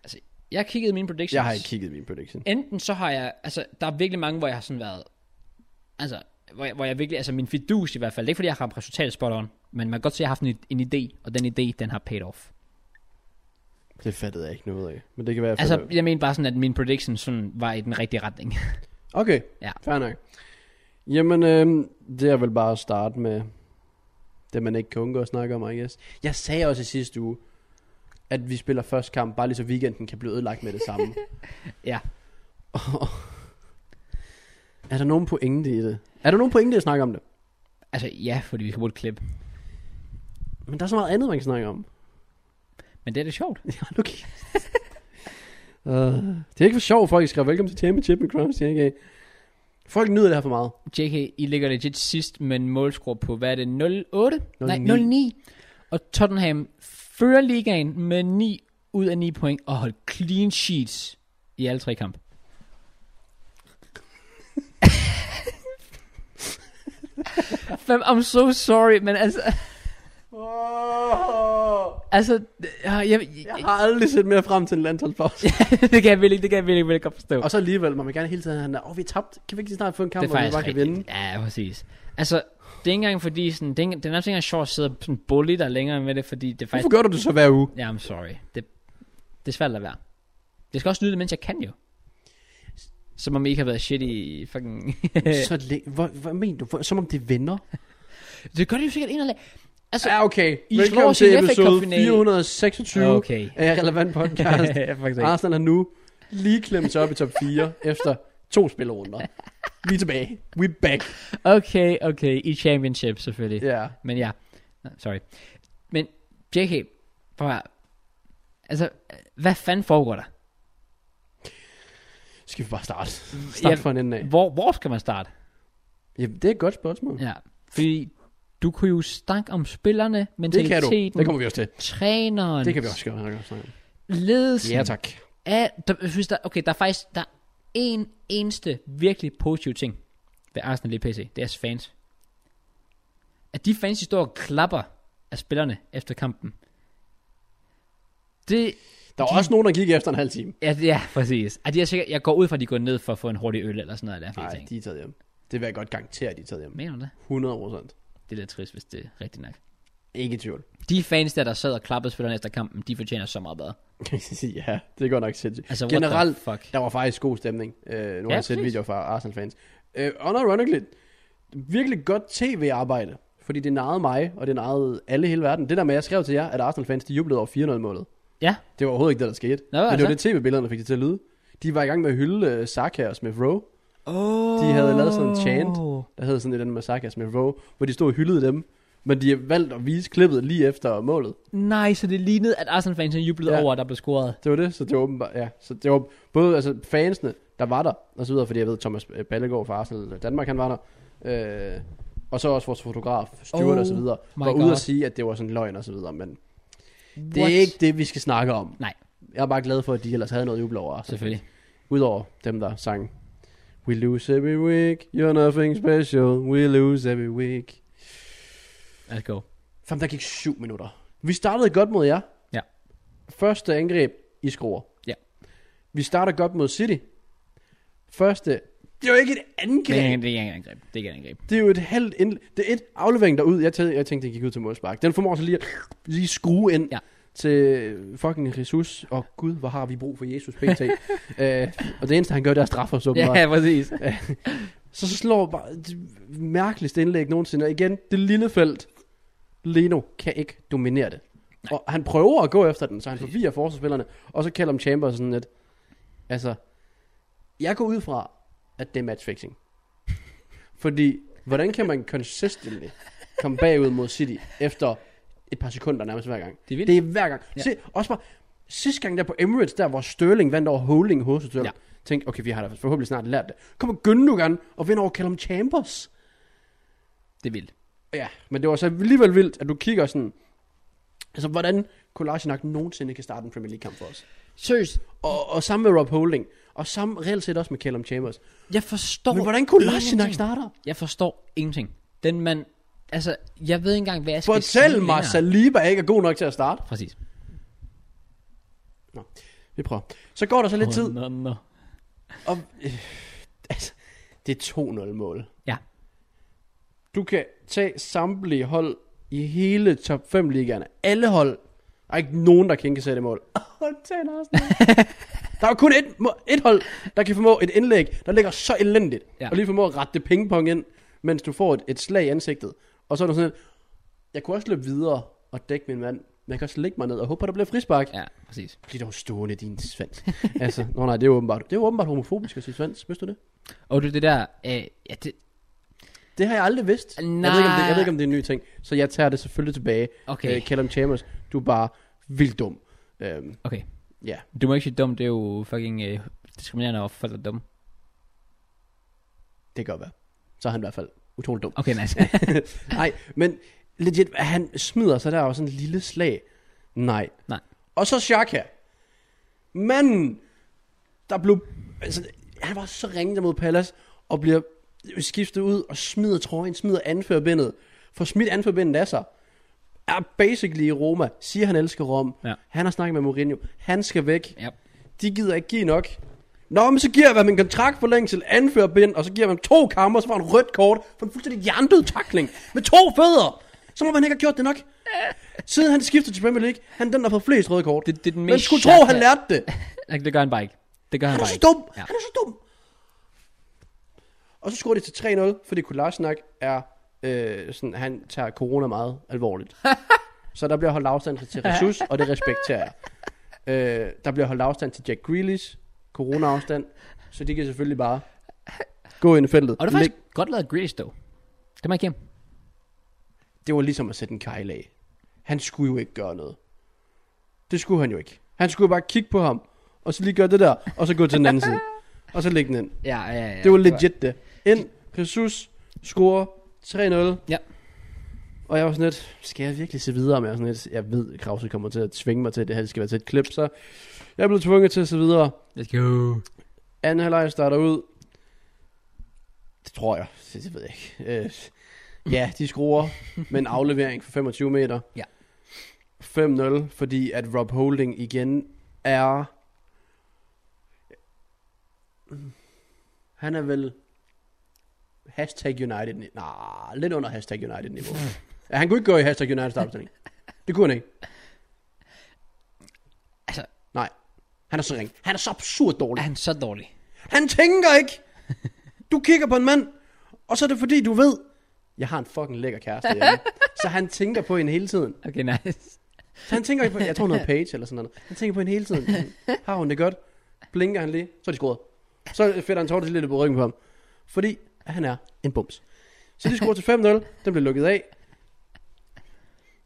[SPEAKER 1] Altså, jeg kiggede mine predictions.
[SPEAKER 2] Jeg har ikke kigget min prediction.
[SPEAKER 1] enten så har jeg, altså der er virkelig mange, hvor jeg har sådan været, altså hvor jeg, hvor jeg virkelig, altså min fidus i hvert fald, det er ikke fordi jeg har ramt resultatet spot on, men man kan godt se, at jeg har haft en, en idé, og den idé, den har paid off.
[SPEAKER 2] Det fattede jeg ikke noget af. Men det kan være, jeg
[SPEAKER 1] Altså
[SPEAKER 2] finder-
[SPEAKER 1] jeg mener bare sådan, at min prediction sådan var i den rigtige retning.
[SPEAKER 2] Okay,
[SPEAKER 1] Ja.
[SPEAKER 2] ja. fair nok. Jamen, øh, det er vel bare at starte med det, man ikke kan undgå at snakke om, I guess. Jeg sagde også i sidste uge, at vi spiller første kamp, bare lige så weekenden kan blive ødelagt med det samme.
[SPEAKER 1] Ja.
[SPEAKER 2] Og- er der nogen pointe i det? Er der nogen pointe i at snakke om det?
[SPEAKER 1] Altså ja, fordi vi skal bruge et klip.
[SPEAKER 2] Men der er så meget andet, man kan snakke om.
[SPEAKER 1] Men det er da sjovt.
[SPEAKER 2] Ja, nu kig- Øh, det er ikke for sjovt, folk skriver velkommen til Championship med Crumbs, JK. Folk nyder det her for meget.
[SPEAKER 1] JK, I ligger legit sidst med en målscore på, hvad er det, 08? 09. Nej,
[SPEAKER 2] 09.
[SPEAKER 1] 09. Og Tottenham fører ligaen med 9 ud af 9 point og holdt clean sheets i alle tre kampe. Fam, I'm so sorry, men altså, altså, jeg, jeg,
[SPEAKER 2] Jeg har aldrig set mere frem til en landsholdspause.
[SPEAKER 1] det kan jeg virkelig, det kan jeg virkelig, virkelig godt forstå.
[SPEAKER 2] Og så alligevel, man vil gerne hele tiden have, åh, oh, vi er tabt. Kan vi ikke lige snart få en kamp,
[SPEAKER 1] det er
[SPEAKER 2] hvor vi
[SPEAKER 1] faktisk
[SPEAKER 2] bare kan
[SPEAKER 1] rigtigt.
[SPEAKER 2] vinde?
[SPEAKER 1] Ja, præcis. Altså, det er ikke engang fordi, sådan, det er, ikke- det er nærmest ikke engang sjovt at sidde og sådan bully dig længere med det, fordi det er faktisk...
[SPEAKER 2] Hvorfor gør du det så hver uge?
[SPEAKER 1] Ja, I'm sorry. Det, det er svært at lade være. Jeg skal også nyde det, mens jeg kan jo. Som om I ikke har været shit i fucking...
[SPEAKER 2] så længe, hvor, hvad mener du? Hvor, som om det vender?
[SPEAKER 1] det gør det jo sikkert ind og lag. Altså,
[SPEAKER 2] Ja, okay.
[SPEAKER 1] I slår
[SPEAKER 2] Velkommen
[SPEAKER 1] os i
[SPEAKER 2] til
[SPEAKER 1] FA
[SPEAKER 2] episode
[SPEAKER 1] Cup-finalen.
[SPEAKER 2] 426 okay. Ah.
[SPEAKER 1] okay.
[SPEAKER 2] af Relevant Podcast.
[SPEAKER 1] Jeg er faktisk ikke.
[SPEAKER 2] Arsenal har nu lige klemt sig op i top 4 efter to spillerunder. Vi er tilbage. We back.
[SPEAKER 1] okay, okay. I championship, selvfølgelig.
[SPEAKER 2] Ja. Yeah.
[SPEAKER 1] Men ja, Nå, sorry. Men JK, prøv at høre. Altså, hvad fanden foregår der?
[SPEAKER 2] Skal vi bare starte? Start fra en ende af.
[SPEAKER 1] Hvor, hvor skal man starte?
[SPEAKER 2] Ja, det er et godt spørgsmål.
[SPEAKER 1] Ja, fordi du kunne jo snakke om spillerne,
[SPEAKER 2] Det kan du.
[SPEAKER 1] mentaliteten,
[SPEAKER 2] Det kommer vi også til.
[SPEAKER 1] træneren,
[SPEAKER 2] Det kan vi også gøre. snakke om.
[SPEAKER 1] ledelsen.
[SPEAKER 2] Ja, tak.
[SPEAKER 1] Af, der, jeg synes, der, okay, der er faktisk der er en eneste virkelig positiv ting ved Arsenal lige PC. Det er deres fans. At de fans, de står og klapper af spillerne efter kampen. Det,
[SPEAKER 2] Der var også nogen, der gik efter en halv time.
[SPEAKER 1] ja, ja præcis. At de er sikkert, jeg går ud fra, at de går ned for at få en hurtig øl eller sådan noget. Der,
[SPEAKER 2] Nej,
[SPEAKER 1] Nej, de...
[SPEAKER 2] de er taget hjem. Det vil jeg godt garantere, at de er taget hjem.
[SPEAKER 1] Mener du det?
[SPEAKER 2] 100 procent.
[SPEAKER 1] Det er lidt trist, hvis det er rigtigt nok.
[SPEAKER 2] Ikke i tvivl.
[SPEAKER 1] De fans der, der sad og klappede spillerne efter kampen, de fortjener så meget bedre.
[SPEAKER 2] ja, det er godt nok sindssygt.
[SPEAKER 1] Altså,
[SPEAKER 2] Generelt,
[SPEAKER 1] what the fuck?
[SPEAKER 2] der var faktisk god stemning. Øh, nu har jeg set
[SPEAKER 1] præcis.
[SPEAKER 2] videoer fra Arsenal-fans. Øh, unironically, virkelig godt tv-arbejde. Fordi det nagede mig, og det nagede alle i hele verden. Det der med, at jeg skrev til jer, at Arsenal-fans, de jublede over 4-0-målet.
[SPEAKER 1] Ja,
[SPEAKER 2] Det var overhovedet ikke det, der skete.
[SPEAKER 1] Nå,
[SPEAKER 2] Men det var det
[SPEAKER 1] altså.
[SPEAKER 2] tv-billederne, der fik det til at lyde. De var i gang med at hylde uh, Saka og Smith Rowe.
[SPEAKER 1] Oh.
[SPEAKER 2] De havde lavet sådan en chant. der hed sådan et eller andet med Saka og Smith Rowe, hvor de stod og hyldede dem. Men de har valgt at vise klippet lige efter målet.
[SPEAKER 1] Nej, så det lignede, at Arsenal-fansen jublede ja.
[SPEAKER 2] Ja.
[SPEAKER 1] over, at der blev scoret.
[SPEAKER 2] Det var det, så det var åbenbart, ja. Så det var både altså, fansene, der var der, og så videre, fordi jeg ved, Thomas øh, Ballegaard fra Arsenal Danmark, han var der. Øh, og så også vores fotograf, Stuart
[SPEAKER 1] Oh
[SPEAKER 2] oh, og så videre,
[SPEAKER 1] my
[SPEAKER 2] var
[SPEAKER 1] God.
[SPEAKER 2] ude at sige, at det var sådan løgn og så videre, men What? det
[SPEAKER 1] What?
[SPEAKER 2] er ikke det, vi skal snakke om.
[SPEAKER 1] Nej.
[SPEAKER 2] Jeg er bare glad for, at de ellers havde noget jubel over. Arsenal.
[SPEAKER 1] Selvfølgelig.
[SPEAKER 2] Udover dem, der sang, We lose every week, you're nothing special, we lose every week.
[SPEAKER 1] Let's go.
[SPEAKER 2] Fem, der gik syv minutter. Vi startede godt mod jer.
[SPEAKER 1] Ja.
[SPEAKER 2] Første angreb, I skruer.
[SPEAKER 1] Ja.
[SPEAKER 2] Vi starter godt mod City. Første, det er jo ikke et
[SPEAKER 1] Det er ikke-
[SPEAKER 2] angreb.
[SPEAKER 1] det er ikke et angreb. Det er ikke et angreb.
[SPEAKER 2] Det er jo et halvt ind... Det er et aflevering derud. Jeg tænkte, jeg tænkte det gik ud til målspark. Den formår så lige at lige skrue ind
[SPEAKER 1] Ja.
[SPEAKER 2] til fucking Jesus. Og gud, hvor har vi brug for Jesus pt. øh, og det eneste, han gør, det er at straffe os åbenbart.
[SPEAKER 1] Ja, præcis.
[SPEAKER 2] Så slår bare det mærkeligste indlæg nogensinde. Og igen, det lille felt. Leno kan ikke dominere det. Nej. Og han prøver at gå efter den, så han forvirrer forsvarsspillerne. Og så kalder han Chambers sådan lidt. Altså, jeg går ud fra, at det er matchfixing. Fordi, hvordan kan man consistently komme bagud mod City efter et par sekunder nærmest hver gang?
[SPEAKER 1] Det er vildt.
[SPEAKER 2] Det er hver gang.
[SPEAKER 1] Ja.
[SPEAKER 2] Ja. Se, også bare, sidste gang der på Emirates, der hvor Sterling vandt over Holding hos Hotel,
[SPEAKER 1] Ja.
[SPEAKER 2] ja. tænkte, okay, vi har da forhåbentlig snart lært det. Kom og Gündogan og vinde over Callum Chambers.
[SPEAKER 1] Det er vildt.
[SPEAKER 2] Ja, men det var så alligevel vildt, at du kigger sådan, altså hvordan Kolasinac nogensinde kan starte en Premier League kamp for os.
[SPEAKER 1] Seriøst,
[SPEAKER 2] Og, og sammen med Rob Holding, og sammen reelt set også med Callum Chambers.
[SPEAKER 1] jeg forstår...
[SPEAKER 2] Men hvordan Kolasinac
[SPEAKER 1] ingenting.
[SPEAKER 2] starter?
[SPEAKER 1] Jeg forstår ingenting. Den mand... Altså, jeg ved ikke engang, hvad jeg skal
[SPEAKER 2] Fortæl
[SPEAKER 1] sige
[SPEAKER 2] mig,
[SPEAKER 1] længere.
[SPEAKER 2] Saliba ikke er god nok til at starte.
[SPEAKER 1] Præcis.
[SPEAKER 2] Vi prøver. Så går der så lidt tid,
[SPEAKER 1] Nå, nå.
[SPEAKER 2] og øh, altså, det er 2-0-mål.
[SPEAKER 1] Ja.
[SPEAKER 2] Du kan tage samtlige hold i hele top 5 ligaerne. Alle hold. Der er ikke nogen, der kan ikke sætte mål. Hold til Der er jo kun et, må- et hold, der kan formå et indlæg, der ligger så elendigt.
[SPEAKER 1] Ja.
[SPEAKER 2] Ja. Og lige formå at rette det pingpong ind, mens du får et, et slag i ansigtet. Og så er du sådan, lidt, jeg kunne også løbe videre og dække min mand. Men jeg kan også lægge mig ned og håbe, at der bliver frispark. Ja.
[SPEAKER 1] Ja, præcis.
[SPEAKER 2] Bliv dog stående, din svans. altså, nå nej, det er jo åbenbart, det er jo åbenbart homofobisk at sige svans. Vidste du det?
[SPEAKER 1] Og du, det der, øh, ja, det,
[SPEAKER 2] Det har jeg aldrig vidst. Jeg, ved ikke, om det, jeg ved ikke, om det er en ny ting. Så jeg tager det selvfølgelig tilbage.
[SPEAKER 1] Okay.
[SPEAKER 2] Øh, Callum Chambers, du er bare vildt dum. Øhm,
[SPEAKER 1] okay.
[SPEAKER 2] ja.
[SPEAKER 1] Du må ikke sige dum, det er jo fucking øh, diskriminerende over for folk, der er dumme.
[SPEAKER 2] Det kan godt være. Så er han i hvert fald utrolig dum.
[SPEAKER 1] Okay, altså, nice.
[SPEAKER 2] Nej, men legit, han smider sig der og sådan en lille slag. Nej.
[SPEAKER 1] Nej.
[SPEAKER 2] Og så Shaka. Manden, der blev... Altså, han var så ringet mod Pallas og bliver skiftet ud og smider trøjen, smider anførbindet. For smidt anførbindet af sig. Er basically i Roma. Siger, han elsker Rom.
[SPEAKER 1] Ja.
[SPEAKER 2] Han har snakket med Mourinho. Han skal væk.
[SPEAKER 1] ja.
[SPEAKER 2] De gider ikke give nok. Nå, men så giver jeg ham en kontraktforlængelse, anfører bind, og så giver jeg ham to kampe, og så får han rødt kort for en fuldstændig jerndød takling med to fødder. Så må man ikke have gjort det nok. Siden han skiftede til Premier League, han er den, der har fået flest røde kort.
[SPEAKER 1] Det- det er den
[SPEAKER 2] Men
[SPEAKER 1] mest
[SPEAKER 2] skulle tro, han
[SPEAKER 1] sjaka-
[SPEAKER 2] lærte det.
[SPEAKER 1] Nej, Det gør han bare ikke. Det gør han,
[SPEAKER 2] Han er
[SPEAKER 1] bare
[SPEAKER 2] så
[SPEAKER 1] ikke.
[SPEAKER 2] dum.
[SPEAKER 1] Ja.
[SPEAKER 2] Han er så dum. Og så scorer de til 3-0, fordi Kolasnak er... Øh, sådan, han tager corona meget alvorligt. så der bliver holdt afstand til Jesus, og det respekterer jeg. Øh, der bliver holdt afstand til Jack Grealish, corona-afstand, så de kan selvfølgelig bare gå ind i feltet.
[SPEAKER 1] Og det er faktisk godt lavet Grealish, dog. Det må jeg igennem.
[SPEAKER 2] det var ligesom at sætte en kejl af. Han skulle jo ikke gøre noget. Det skulle han jo ikke. Han skulle bare kigge på ham, og så lige gøre det der, og så gå til den anden side. Og så lægge den ind.
[SPEAKER 1] Ja, ja, ja.
[SPEAKER 2] Det var legit det. Ind, Jesus scorer 3-0.
[SPEAKER 1] Ja.
[SPEAKER 2] Og jeg var sådan lidt, skal jeg virkelig se videre med? Jeg var sådan lidt, jeg ved, Krause kommer til at tvinge mig til, at det her det skal være til et klip, så jeg blev tvunget til at se videre.
[SPEAKER 1] Let's go.
[SPEAKER 2] Anden halvleg starter ud. Det tror jeg. Det, det ved jeg ikke. Øh, ja, de skruer med en aflevering for 25 meter.
[SPEAKER 1] Ja.
[SPEAKER 2] 5-0, fordi at Rob Holding igen er... Han er vel... Hashtag United... ni- Nej, lidt under hashtag United niveau. ja, han kunne ikke gå i hashtag United startopstilling. Det kunne han ikke.
[SPEAKER 1] Altså-
[SPEAKER 2] Nej. Han er så ring. Han er så absurd dårlig.
[SPEAKER 1] Er han så dårlig?
[SPEAKER 2] Han tænker ikke. Du kigger på en mand, og så er det fordi, du ved, jeg har en fucking lækker kæreste hjemme. så han tænker på hende hele tiden.
[SPEAKER 1] Okay, nice.
[SPEAKER 2] Så han tænker ikke på, jeg tror hun hedder Page eller sådan noget. Han tænker på hende hele tiden. Sådan, Har hun det godt? Blinker han lige, så er de skruet. Så fætter han tårtet lidt på ryggen på ham. Fordi han er en bums. Så de scorer til 5-0, den blev lukket af.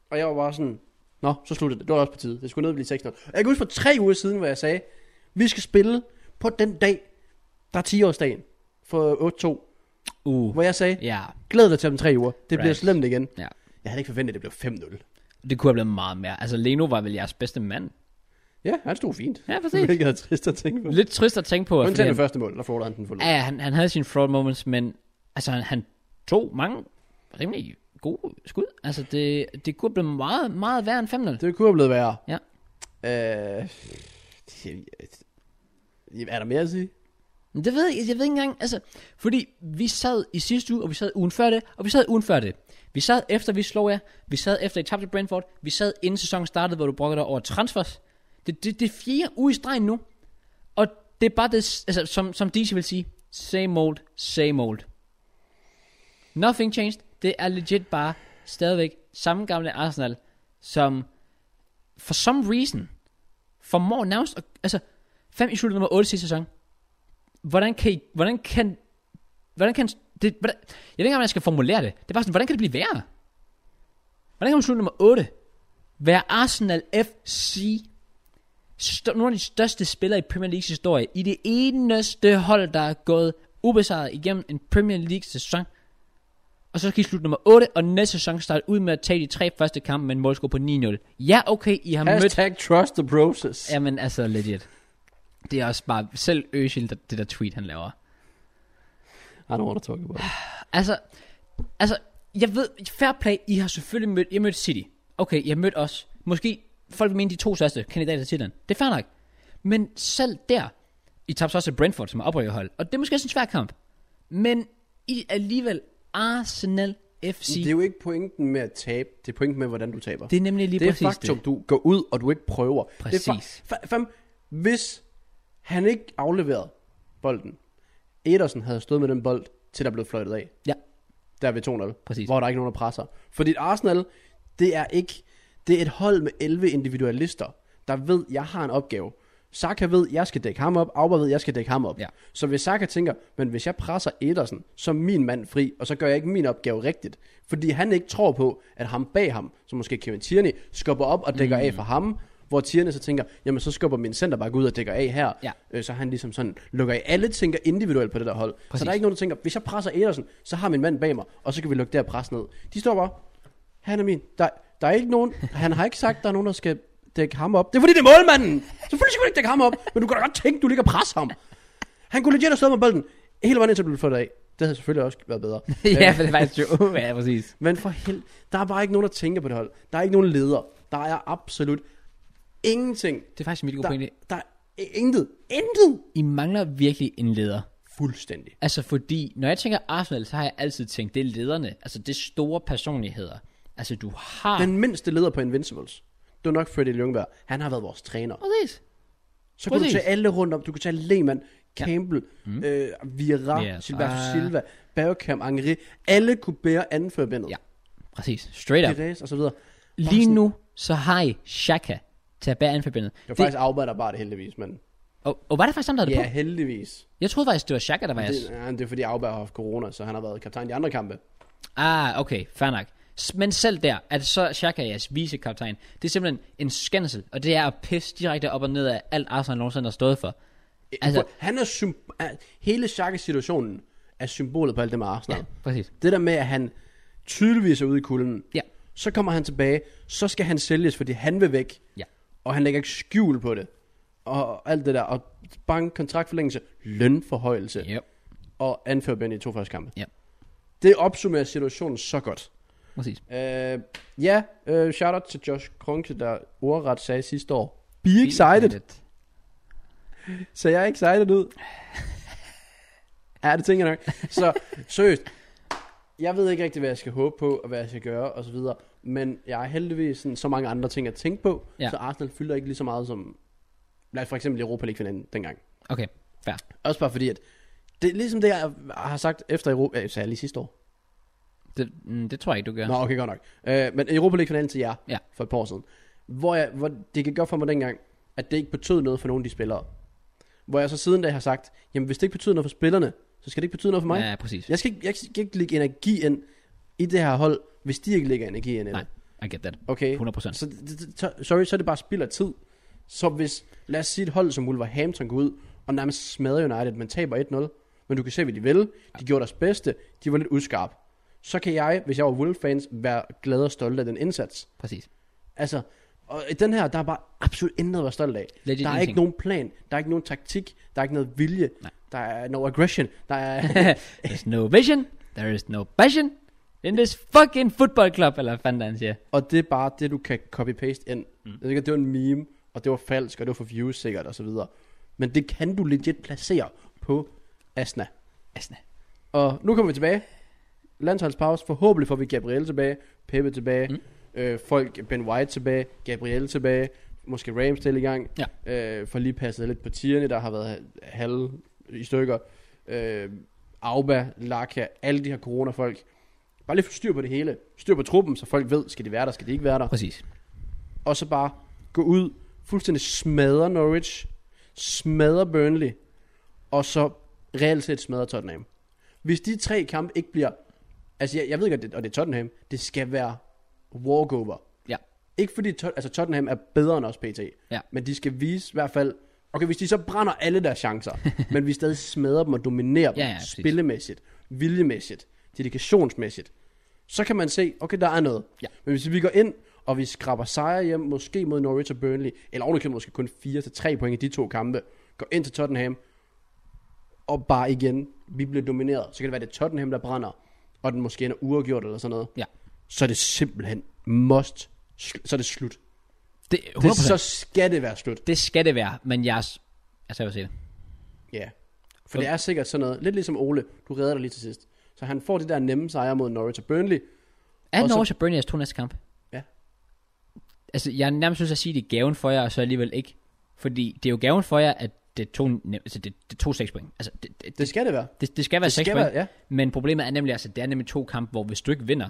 [SPEAKER 2] Og jeg var bare sådan, nå, så sluttede det. Det var også på tide. Det skulle ned og blive 6-0. Og Jeg kan huske for tre uger siden, hvor jeg sagde, vi skal spille på den dag, der er 10-årsdagen for 8-2.
[SPEAKER 1] Uh.
[SPEAKER 2] Hvor jeg sagde,
[SPEAKER 1] Ja.
[SPEAKER 2] glæd dig til om tre uger. Det bliver
[SPEAKER 1] Right.
[SPEAKER 2] slemt igen.
[SPEAKER 1] Ja.
[SPEAKER 2] Jeg havde ikke forventet, at det blev 5-0.
[SPEAKER 1] Det kunne have blevet meget mere. Altså, Leno var vel jeres bedste mand.
[SPEAKER 2] Ja, han stod fint.
[SPEAKER 1] Ja, præcis.
[SPEAKER 2] Hvilket er trist at tænke på.
[SPEAKER 1] Lidt trist at tænke på. at-
[SPEAKER 2] Undtagen
[SPEAKER 1] fordi
[SPEAKER 2] det første mål, der flåter han den for
[SPEAKER 1] Ja, ja, han, han havde sine fraud moments, men altså, han, han tog mange rimelig gode skud. Altså, det, det kunne blive meget, meget værre end 5-0.
[SPEAKER 2] Det kunne have blevet værre.
[SPEAKER 1] Ja.
[SPEAKER 2] Øh, det- er der mere at sige?
[SPEAKER 1] Men det ved jeg, ikke- jeg ved ikke engang, altså, fordi vi sad i sidste uge, og vi sad ugen før det, og vi sad ugen før det. Vi sad efter, vi slog jer, vi sad efter, I tabte til Brentford, vi sad inden sæsonen startede, hvor du brokkede dig over transfers. Det, det, det er fjerde uge i streg nu, og det er bare det, s- altså, som, som DC vil sige, same old, same old. Nothing changed, det er legit bare stadigvæk samme gamle Arsenal, som for some reason formår nærmest, at- altså, fem i slutet nummer 8 sidste sæson, hvordan kan, I, hvordan kan, hvordan kan, det, hvordan, jeg ved ikke engang, hvordan jeg skal formulere det. Det er bare sådan, hvordan kan det blive værre? Hvordan kan man slutte nummer 8? Være Arsenal FC, stør, nogle af de største spillere i Premier Leagues historie, i det eneste hold, der er gået ubesejret igennem en Premier League sæson, og så skal I slutte nummer 8, og næste sæson starte ud med at tage de tre første kampe med en målscore på 9-0. Ja, okay, I har mødt
[SPEAKER 2] Hashtag trust the process.
[SPEAKER 1] Jamen altså legit. Det er også bare selv Øsil, der- det der tweet han laver.
[SPEAKER 2] I don't want to talk about it.
[SPEAKER 1] Altså, altså jeg ved, fair play, I har selvfølgelig mødt, jeg mødte City. Okay, jeg mødte os. Måske folk vil mene de to største kandidater til titlen. Det er fair nok. Men selv der, I tabte så også til Brentford, som er oprykkerhold. Og det er måske også en svær kamp. Men I er alligevel Arsenal FC.
[SPEAKER 2] Det er
[SPEAKER 1] Det,
[SPEAKER 2] jo ikke pointen med at tabe, det er pointen med, hvordan du taber.
[SPEAKER 1] det er nemlig lige
[SPEAKER 2] det er
[SPEAKER 1] præcis
[SPEAKER 2] faktum,
[SPEAKER 1] det.
[SPEAKER 2] du går ud, og du ikke prøver. Det er fa-
[SPEAKER 1] Præcis.
[SPEAKER 2] fa- fam, hvis Han ikke afleveret bolden. Ederson havde stået med den bold, til der blev fløjtet af.
[SPEAKER 1] Ja.
[SPEAKER 2] Der ved 2-0.
[SPEAKER 1] Præcis.
[SPEAKER 2] Hvor der er ikke nogen, der presser. Fordi Arsenal, det er ikke... Det er et hold med 11 individualister, der ved, jeg har en opgave. Saka ved, jeg skal dække ham op. Auba ved, jeg skal dække ham op.
[SPEAKER 1] Ja.
[SPEAKER 2] Så hvis Saka tænker, men hvis jeg presser Ederson, så er min mand fri, og så gør jeg ikke min opgave rigtigt. Fordi han ikke tror på, at ham bag ham, som måske Kevin Tierney, skubber op og dækker mm. af for ham. Hvor Tierney så tænker, jamen så skubber min centerback ud og dækker af her.
[SPEAKER 1] Ja.
[SPEAKER 2] Øh, så han ligesom sådan lukker af. Alle tænker individuelt på det der hold. Præcis. Så
[SPEAKER 1] Præcis.
[SPEAKER 2] der er ikke nogen, der tænker, hvis jeg presser Ederson, så har min mand bag mig, og så kan vi lukke der pres ned. De står bare, han er min. Der, der er ikke nogen, han har ikke sagt, der er nogen, der skal dække ham op. Det er fordi, det er målmanden. Selvfølgelig skal du ikke dække ham op, men du kan da godt tænke, du ligger og presser ham. Han kunne legit have stået med bolden hele vejen indtil du blev fået af. Det havde selvfølgelig også været bedre. Øh,
[SPEAKER 1] ja, for det var faktisk jo. ja, præcis.
[SPEAKER 2] Men for hel... Der er bare ikke nogen, der tænker på det hold. Der er ikke nogen leder. Der er absolut ingenting.
[SPEAKER 1] Det er faktisk en virkelig god
[SPEAKER 2] Der,
[SPEAKER 1] pointe.
[SPEAKER 2] der er intet. Intet.
[SPEAKER 1] I mangler virkelig en leder.
[SPEAKER 2] Fuldstændig.
[SPEAKER 1] Altså fordi, når jeg tænker Arsenal, så har jeg altid tænkt, det er lederne. Altså det er store personligheder. Altså du har...
[SPEAKER 2] Den mindste leder på Invincibles, det var nok Freddy Ljungberg. Han har været vores træner.
[SPEAKER 1] Præcis.
[SPEAKER 2] Så kan du
[SPEAKER 1] Præcis.
[SPEAKER 2] tage alle rundt om. Du kan tage Lehmann, Campbell, ja. mm. øh, Vieira,
[SPEAKER 1] Yes.
[SPEAKER 2] yes. Silberto
[SPEAKER 1] Ah.
[SPEAKER 2] Silva, Bergkamp, Angeri. Alle kunne bære anførbindet.
[SPEAKER 1] Ja, præcis. Straight up.
[SPEAKER 2] Pires og så videre.
[SPEAKER 1] Lige nu, så har I Shaka til at bære anforbindet.
[SPEAKER 2] Det var faktisk arbejder bare det heldigvis, men...
[SPEAKER 1] Og, og var det faktisk ham, der havde
[SPEAKER 2] Ja,
[SPEAKER 1] det på?
[SPEAKER 2] heldigvis.
[SPEAKER 1] Jeg troede faktisk, det var Shaka, der var jeres.
[SPEAKER 2] Det, ja, det er fordi Auberg har haft corona, så han har været kaptajn i de andre kampe.
[SPEAKER 1] Ah, okay, fair nok. S- Men selv der, at så Shaka er jeres vicekaptajn, det er simpelthen en skændsel, og det er at pisse direkte op og ned af alt Arsenal nogensinde har stået for. Altså-
[SPEAKER 2] Altså, han er symb- er- hele Xhaka-situationen er symbolet på alt det med Arsenal.
[SPEAKER 1] Ja, præcis.
[SPEAKER 2] Det der med, at han tydeligvis er ude i kulden.
[SPEAKER 1] Ja.
[SPEAKER 2] Så kommer han tilbage, så skal han sælges, fordi han vil væk.
[SPEAKER 1] Ja.
[SPEAKER 2] Og han lægger ikke skjul på det. Og alt det der. Og bank, kontraktforlængelse, lønforhøjelse.
[SPEAKER 1] Yep.
[SPEAKER 2] Og anfører Ben i de to første kampe.
[SPEAKER 1] Ja.
[SPEAKER 2] Det opsummerer situationen så godt.
[SPEAKER 1] Præcis.
[SPEAKER 2] Øh, ja, øh, shout-out til Josh Kronke, der ordret sagde sidste år. Be excited. Så jeg er excited ud. Ja, det tænker jeg nok. Så seriøst, jeg ved ikke rigtig, hvad jeg skal håbe på, og hvad jeg skal gøre, og så videre. Men jeg har heldigvis sådan, så mange andre ting at tænke på,
[SPEAKER 1] Ja.
[SPEAKER 2] ja. så Arsenal fylder ikke lige så meget som, lad os for eksempel Europa League-finalen dengang.
[SPEAKER 1] Okay, fair.
[SPEAKER 2] Også bare fordi, at det er ligesom det, jeg har sagt efter Europa... Øh, sagde jeg lige sidste år?
[SPEAKER 1] Det, mm, det tror jeg ikke, du gør.
[SPEAKER 2] Ja. Nå, okay, godt nok. Øh, men Europa League-finalen til jer
[SPEAKER 1] Ja.
[SPEAKER 2] ja. for et par år siden. Hvor, jeg, hvor det gik godt for mig dengang, at det ikke betød noget for nogen af de spillere. Hvor jeg så siden da har sagt, jamen hvis det ikke betyder noget for spillerne, så skal det ikke betyde noget for mig.
[SPEAKER 1] Ja, præcis.
[SPEAKER 2] Jeg skal, ikke, jeg skal ikke lægge energi ind i det her hold, hvis de ikke lægger energi ind i
[SPEAKER 1] Nej,
[SPEAKER 2] det.
[SPEAKER 1] I get that.
[SPEAKER 2] Okay?
[SPEAKER 1] 100%.
[SPEAKER 2] Så, det- det- det- så- sorry, så er det bare spild af tid. Så hvis, lad os sige et hold som Wolverhampton går ud, og nærmest smadrer United, man taber 1-0, men du kan se, hvad de ville. De gjorde deres bedste. De var lidt uskarpe. Så kan jeg, hvis jeg var Wolves-fans, være glad og stolt af den indsats.
[SPEAKER 1] Præcis.
[SPEAKER 2] Altså, og i den her, der er bare absolut intet at være stolt af.
[SPEAKER 1] Legit
[SPEAKER 2] der er
[SPEAKER 1] ingenting.
[SPEAKER 2] ikke nogen plan, der er ikke nogen taktik, der er ikke noget vilje,
[SPEAKER 1] Nej.
[SPEAKER 2] der er no aggression, der er...
[SPEAKER 1] There's no vision. There is no passion. In this fucking football club, eller hvad fanden han siger.
[SPEAKER 2] Og det er bare det, du kan copy-paste ind. Mm. Jeg tænker, det var en meme, og det var falsk, og det var for views sikkert, og så videre. Men det kan du legit placere på Asna.
[SPEAKER 1] Asna.
[SPEAKER 2] Og nu kommer vi tilbage. Landsholdspause. Forhåbentlig får vi Gabriel tilbage, Peppe tilbage, mm. øh, folk Ben White tilbage, Gabriel tilbage, måske Ramsdale i gang. Øh, for lige passet lidt på tierne, der har været halve i stykker. Øh, Auba, Laka, alle de her corona-folk. Bare lige få styr på det hele. Styr på truppen, så folk ved, skal de være der, skal de ikke være der
[SPEAKER 1] Præcis.
[SPEAKER 2] og så bare gå ud, fuldstændig smadre Norwich, smadre Burnley, og så reelt set smadre Tottenham. Hvis de tre kampe ikke bliver, altså jeg, jeg ved godt, det, og det er Tottenham, det skal være walkover.
[SPEAKER 1] Ja.
[SPEAKER 2] Ikke fordi Tot, altså Tottenham er bedre end os PT,
[SPEAKER 1] Ja.
[SPEAKER 2] men de skal vise i hvert fald, okay, hvis de så brænder alle deres chancer, men vi stadig smadrer dem og dominerer dem,
[SPEAKER 1] Ja, ja, præcis.
[SPEAKER 2] spillemæssigt, viljemæssigt, dedikationsmæssigt, så kan man se, okay, der er noget.
[SPEAKER 1] Ja.
[SPEAKER 2] Men hvis vi går ind, og vi skraber sejre hjem, måske mod Norwich og Burnley, eller ovenikøbet måske kun 4-3 point i de to kampe, går ind til Tottenham, og bare igen, vi bliver domineret, så kan det være, det er Tottenham, der brænder, og den måske ender uafgjort eller sådan noget,
[SPEAKER 1] Ja.
[SPEAKER 2] så er det simpelthen must, sl- så er det slut.
[SPEAKER 1] Det, 100%.
[SPEAKER 2] Det, så skal det være slut.
[SPEAKER 1] det skal det være, men jeg... er s- Altså, jeg vil sige det.
[SPEAKER 2] Ja. For det er sikkert sådan noget, lidt ligesom Ole, du redder dig lige til sidst. Så han får de der nemme sejre mod Norwich og Burnley.
[SPEAKER 1] Er
[SPEAKER 2] Og så-
[SPEAKER 1] Norwich og Burnley jeres to næste kamp?
[SPEAKER 2] Ja.
[SPEAKER 1] Altså, jeg er nærmest synes at sige, det er gaven for jer, og så alligevel ikke. Fordi det er jo gaven for jer, at det tog, nem- altså det, det tog 6 point. Altså, det, det,
[SPEAKER 2] Det skal det være.
[SPEAKER 1] det, det skal være
[SPEAKER 2] Det
[SPEAKER 1] 6
[SPEAKER 2] skal
[SPEAKER 1] point.
[SPEAKER 2] være, ja.
[SPEAKER 1] Men problemet er nemlig, altså, det er nemlig to kampe, hvor hvis du ikke vinder,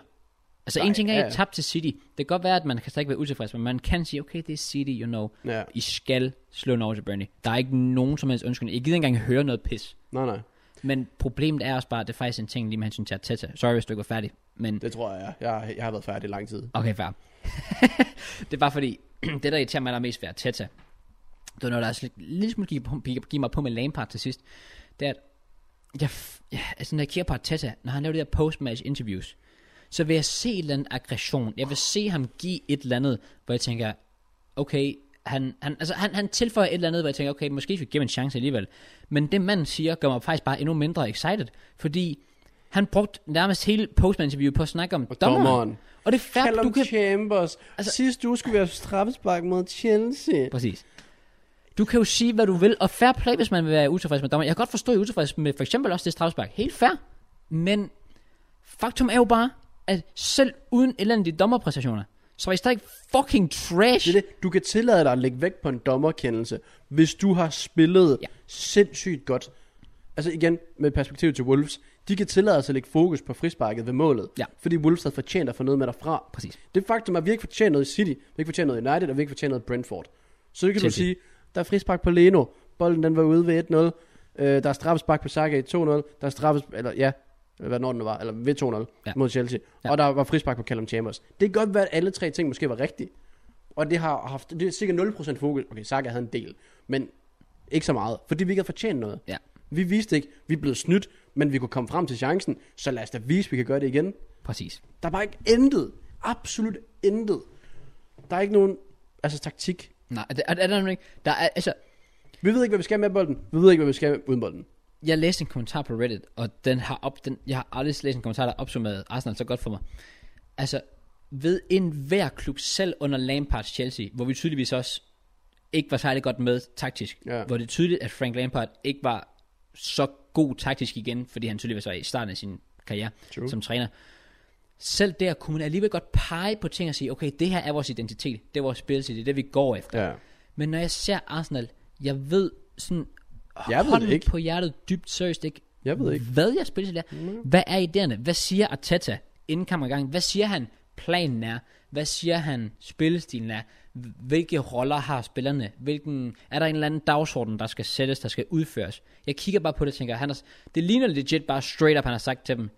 [SPEAKER 1] altså
[SPEAKER 2] Nej,
[SPEAKER 1] en ting er,
[SPEAKER 2] ja,
[SPEAKER 1] at I
[SPEAKER 2] ja.
[SPEAKER 1] tabte til City. Det kan godt være, at man kan stadig være utilfreds, men man kan sige, okay, det er City, you know.
[SPEAKER 2] Ja.
[SPEAKER 1] I skal slå Norwich til Burnley. Der er ikke nogen som helst undskyldning. Jeg gider ikke engang høre noget pis.
[SPEAKER 2] Nej, nej.
[SPEAKER 1] Men problemet er også bare, at det er faktisk en ting lige med hensyn til Arteta. Sorry, hvis du ikke var færdig. Men
[SPEAKER 2] Det tror jeg, jeg, jeg, jeg har været færdig i lang tid.
[SPEAKER 1] Okay, fair. det er bare fordi, det der irriterer mig allermest ved Arteta, det var noget, der også lidt, lidt smule gik, på- gik, gik mig på med Lampard til sidst, det er, at jeg, f- ja, altså, når jeg kigger på Arteta, når han laver de der post-match interviews, så vil jeg se et eller andet aggression. Jeg vil se ham give et eller andet, hvor jeg tænker, okay, han, han, altså, han, han tilføjer et eller andet, hvor jeg tænker, okay, måske skal vi give ham en chance alligevel. Men det manden siger, gør mig faktisk bare endnu mindre excited, fordi han brugte nærmest hele postman-interviewet på at snakke om
[SPEAKER 2] Og
[SPEAKER 1] dommeren.
[SPEAKER 2] dommeren.
[SPEAKER 1] Og det er fair,
[SPEAKER 2] Callum
[SPEAKER 1] du kan...
[SPEAKER 2] Chambers.
[SPEAKER 1] Altså-
[SPEAKER 2] Altså, Sidste uge skulle vi have straffespark mod Chelsea.
[SPEAKER 1] Præcis. Du kan jo sige, hvad du vil, og fair play, hvis man vil være utilfreds med dommeren. Jeg kan godt forstå, at I er utilfreds med for eksempel også det straffespark. Helt fair. Men faktum er jo bare, at selv uden elendige dommerpræstationer, så er I stadig fucking trash.
[SPEAKER 2] Det er det. Du kan tillade dig at lægge vægt på en dommerkendelse, hvis du har spillet
[SPEAKER 1] Ja.
[SPEAKER 2] ja. sindssygt godt. Altså igen, med perspektiv til Wolves, de kan tillade sig at lægge fokus på frisparket ved målet.
[SPEAKER 1] Ja.
[SPEAKER 2] Fordi Wolves havde fortjent at få noget med derfra.
[SPEAKER 1] Præcis.
[SPEAKER 2] Det faktum er, at vi ikke fortjener noget i City, vi ikke fortjener noget i United, og vi ikke fortjener noget i Brentford. Så kan
[SPEAKER 1] Chelsea.
[SPEAKER 2] du sige, der er frispark på Leno, bolden den var ude ved 1-0, øh, der er straffespark på Saka i 2-0, der er straffes, eller ja, hvad når den nu var, eller ved 2-0
[SPEAKER 1] Ja.
[SPEAKER 2] ja. mod Chelsea,
[SPEAKER 1] Ja.
[SPEAKER 2] ja. og der var frispark på Callum Chambers. Det kan godt være, at alle tre ting måske var rigtige, og det har haft, det er sikkert 0% fokus, okay, Saka havde en del, men ikke så meget, fordi vi ikke havde fortjent noget.
[SPEAKER 1] Ja,
[SPEAKER 2] Vi viste ikke, vi blev snydt, men vi kunne komme frem til chancen, så lad os da vise, at vi kan gøre det igen.
[SPEAKER 1] præcis.
[SPEAKER 2] Der er bare ikke intet. Absolut intet. Der er ikke nogen altså, taktik.
[SPEAKER 1] Nej, er, er, er der nogen ikke? Der er, altså,
[SPEAKER 2] Vi ved ikke, hvad vi skal med bolden. Vi ved ikke, hvad vi skal uden bolden.
[SPEAKER 1] jeg læste en kommentar på Reddit, og den har op, den, jeg har aldrig læst en kommentar, der opsummerede Arsenal så godt for mig. Altså, ved enhver klub, selv under Lampard's Chelsea, hvor vi tydeligvis også ikke var særlig godt med taktisk,
[SPEAKER 2] Ja.
[SPEAKER 1] hvor det er tydeligt, at Frank Lampard ikke var så god taktisk igen, fordi han tydeligvis var i starten af sin karriere True.
[SPEAKER 2] True.
[SPEAKER 1] som træner. Selv der kunne man alligevel godt pege på ting og sige, okay, det her er vores identitet, det er vores spilstil, det er det, vi går efter.
[SPEAKER 2] Ja.
[SPEAKER 1] Men når jeg ser Arsenal, jeg ved sådan,
[SPEAKER 2] Jeg ved det
[SPEAKER 1] hånden
[SPEAKER 2] ikke.
[SPEAKER 1] på hjertet dybt seriøst ikke,
[SPEAKER 2] Jeg ved ikke.
[SPEAKER 1] hvad jeg spiller til der. Hvad er idéerne? Hvad siger Arteta inden kampen er i gang? Hvad siger han planen er? Hvad siger han spillestilen er? Hvilke roller har spillerne? Hvilken, er der en eller anden dagsorden, der skal sættes, der skal udføres? Jeg kigger bare på det og tænker, han har, det ligner legit bare straight up, han har sagt til dem,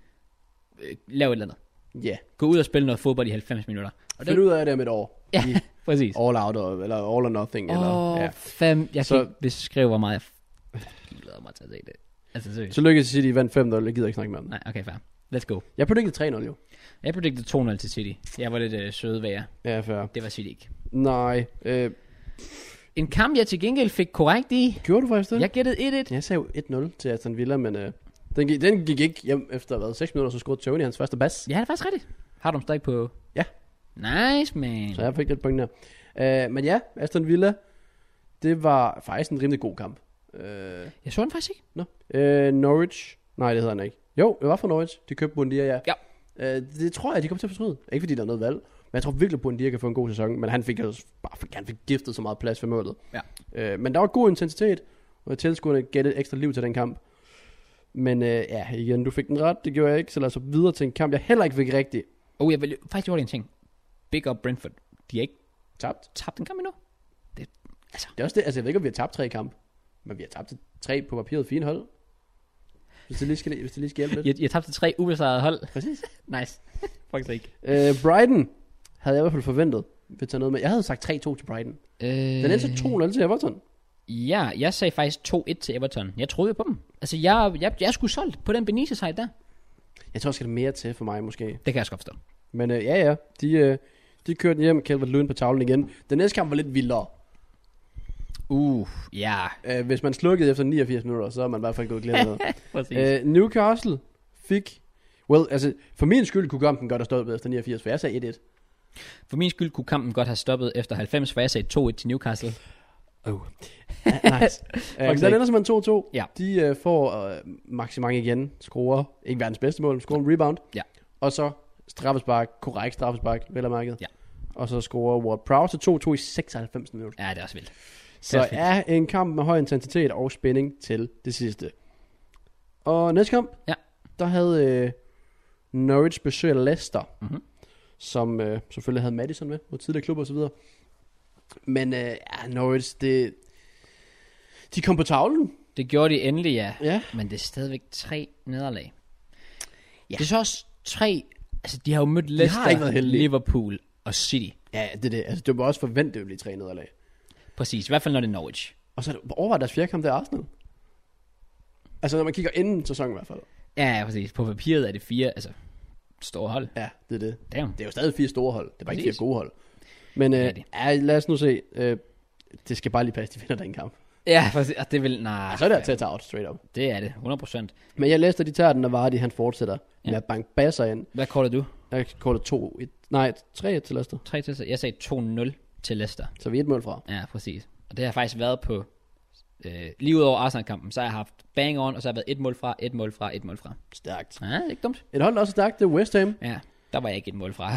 [SPEAKER 1] øh, lav et eller andet.
[SPEAKER 2] Ja.
[SPEAKER 1] Gå ud og spille noget fodbold i 90 minutter. Og
[SPEAKER 2] Find ud af det om et år.
[SPEAKER 1] ja,
[SPEAKER 2] I
[SPEAKER 1] præcis.
[SPEAKER 2] all out, og- eller all or nothing. Oh.
[SPEAKER 1] Åh,
[SPEAKER 2] Eller,
[SPEAKER 1] oh,
[SPEAKER 2] ja.
[SPEAKER 1] fem. Jeg så,
[SPEAKER 2] Så-
[SPEAKER 1] kan ikke beskrive, hvor meget jeg jeg glæder mig til at se det. Altså, seriøst.
[SPEAKER 2] Så lykkedes City vandt 5-0. Jeg gider ikke snakke mere om det.
[SPEAKER 1] Nej, okay, fair. Let's go.
[SPEAKER 2] Jeg predicted 3-0 jo.
[SPEAKER 1] Jeg predicted 2-0 til City. Jeg var lidt øh, søde ved jer.
[SPEAKER 2] Ja, fair.
[SPEAKER 1] Det var City ikke.
[SPEAKER 2] Nej. Øh,
[SPEAKER 1] En kamp, jeg til gengæld fik korrekt i.
[SPEAKER 2] gjorde du faktisk det?
[SPEAKER 1] Jeg gættede 1-1.
[SPEAKER 2] Jeg sagde jo 1-0 til Aston Villa, men øh, den, gik, den gik ikke hjem efter, hvad, 6 minutter, så scorede Tony hans første bas.
[SPEAKER 1] Ja, det er faktisk rigtigt. Har du dem stadig på?
[SPEAKER 2] Ja.
[SPEAKER 1] Nice, man.
[SPEAKER 2] Så jeg fik lidt point der. Øh, men ja, Aston Villa, det var faktisk en rimelig god kamp. Øh,
[SPEAKER 1] Jeg så den faktisk ikke.
[SPEAKER 2] no. øh, Norwich, nej det hedder han ikke. Jo, det var for Norwich, de købte Bundia, ja.
[SPEAKER 1] Ja.
[SPEAKER 2] Øh, det tror jeg, de kommer til at fortryde. Ikke fordi der er noget valg, men jeg tror virkelig, Bundia kan få en god sæson, men han fik altså bare han fik giftet så meget plads ved målet.
[SPEAKER 1] Ja.
[SPEAKER 2] Øh, men der var god intensitet, og tilskuerne gav lidt ekstra liv til den kamp. Men øh, ja, igen, du fik den ret, det gjorde jeg ikke, så lad os hoppe videre til en kamp, jeg heller ikke fik rigtigt
[SPEAKER 1] Oh, jeg vil faktisk gjorde en ting. Big up Brentford. De har ikke
[SPEAKER 2] tabt.
[SPEAKER 1] tabt en kamp endnu.
[SPEAKER 2] Det er også det, altså jeg ved ikke, om vi har tabt tre i kamp, men vi har tabt til tre på papiret fine hold. Hvis det lige skal, hvis det lige skal hjælpe lidt.
[SPEAKER 1] Jeg, jeg tabte til tre ubesejrede hold.
[SPEAKER 2] Præcis.
[SPEAKER 1] Nice. Faktisk ikke.
[SPEAKER 2] Øh, Brighton havde jeg i hvert fald forventet, vil tage noget med. Jeg havde sagt 3-2 til Brighton.
[SPEAKER 1] Øh...
[SPEAKER 2] Den endte så 2-0 til Everton.
[SPEAKER 1] Ja, jeg sagde faktisk 2-1 til Everton. Jeg troede jo på dem. Altså, jeg, jeg, jeg skulle solgt på den Benitez-side der.
[SPEAKER 2] Jeg tror, der skal mere til for mig måske.
[SPEAKER 1] Det kan jeg også godt forstå.
[SPEAKER 2] Men øh, ja, ja, de, øh, de kørte den hjem, Calvert Lewin på tavlen igen. Den næste kamp var lidt vildere.
[SPEAKER 1] Uh, ja.
[SPEAKER 2] Øh, hvis man slukkede efter 89 minutter, så er man i hvert fald gået glemt af noget.
[SPEAKER 1] Præcis. Øh,
[SPEAKER 2] øh, Newcastle fik... Well, altså, for min skyld kunne kampen godt have stoppet efter 89, for jeg sagde 1-1.
[SPEAKER 1] For min skyld kunne kampen godt have stoppet efter 90, for jeg sagde 2-1 til Newcastle.
[SPEAKER 2] Oh. nice. uh, men den ender simpelthen 2-2.
[SPEAKER 1] Ja.
[SPEAKER 2] De uh, får uh, maksimang igen, skruer, ikke verdens bedste mål, skruer en rebound.
[SPEAKER 1] Ja.
[SPEAKER 2] Og så straffespark, korrekt straffespark, vel og mærket.
[SPEAKER 1] Ja.
[SPEAKER 2] Og så scorer Ward Prowse til 2-2 i 96 minutter.
[SPEAKER 1] Ja, det er også vildt.
[SPEAKER 2] Så er en kamp med høj intensitet og spænding til det sidste. Og næste kamp,
[SPEAKER 1] Ja.
[SPEAKER 2] der havde øh, Norwich besøg af Leicester,
[SPEAKER 1] Mhm.
[SPEAKER 2] som øh, selvfølgelig havde Madison med, mod tidligere klub og så videre. Men øh, ja, Norwich, det, de kom på tavlen.
[SPEAKER 1] Det gjorde de endelig, ja.
[SPEAKER 2] Ja.
[SPEAKER 1] Men det er stadigvæk tre nederlag.
[SPEAKER 2] Ja.
[SPEAKER 1] Ja. Det er så også tre... Altså, de har jo mødt
[SPEAKER 2] har ikke
[SPEAKER 1] Leicester,
[SPEAKER 2] været heldige.
[SPEAKER 1] Liverpool og City.
[SPEAKER 2] Ja, det er det. Altså, det var også forventet, at det ville blive tre nederlag.
[SPEAKER 1] Præcis, i hvert fald når det er Norwich.
[SPEAKER 2] Og så er det- overvej deres fjerde kamp, det er Arsenal. Altså, når man kigger inden sæsonen i hvert fald.
[SPEAKER 1] Ja, ja, præcis. På papiret er det fire, altså, store hold.
[SPEAKER 2] Ja, det er det.
[SPEAKER 1] Damn.
[SPEAKER 2] Det er jo stadig fire store hold. Det er bare ikke
[SPEAKER 1] Præcis.
[SPEAKER 2] fire gode hold. Men
[SPEAKER 1] Det er
[SPEAKER 2] øh,
[SPEAKER 1] det.
[SPEAKER 2] ja, lad os nu se. Øh, det skal bare lige passe, de vinder den kamp.
[SPEAKER 1] Ja, præcis. Og det vil... Nej,
[SPEAKER 2] Ah, så er det at tage til out, straight up.
[SPEAKER 1] det er det, 100%.
[SPEAKER 2] Men jeg læste, at de tager den, og Vardy, han fortsætter ja.
[SPEAKER 1] Ja.
[SPEAKER 2] med at banke basser ind.
[SPEAKER 1] Hvad kalder du?
[SPEAKER 2] Jeg kalder 2 1, nej, 3 til Leicester.
[SPEAKER 1] 3 til Jeg sagde 2-0 til Leicester.
[SPEAKER 2] Så vi er et mål fra.
[SPEAKER 1] Ja, præcis. Og det har faktisk været på... Øh, lige ud over Arsenal-kampen, så har jeg haft bang on, og så har jeg været et mål fra, et mål fra, et mål fra.
[SPEAKER 2] Stærkt.
[SPEAKER 1] Ja, det er ikke dumt.
[SPEAKER 2] Et hold, der også er stærkt, det er West Ham.
[SPEAKER 1] Ja, der var jeg ikke et mål fra.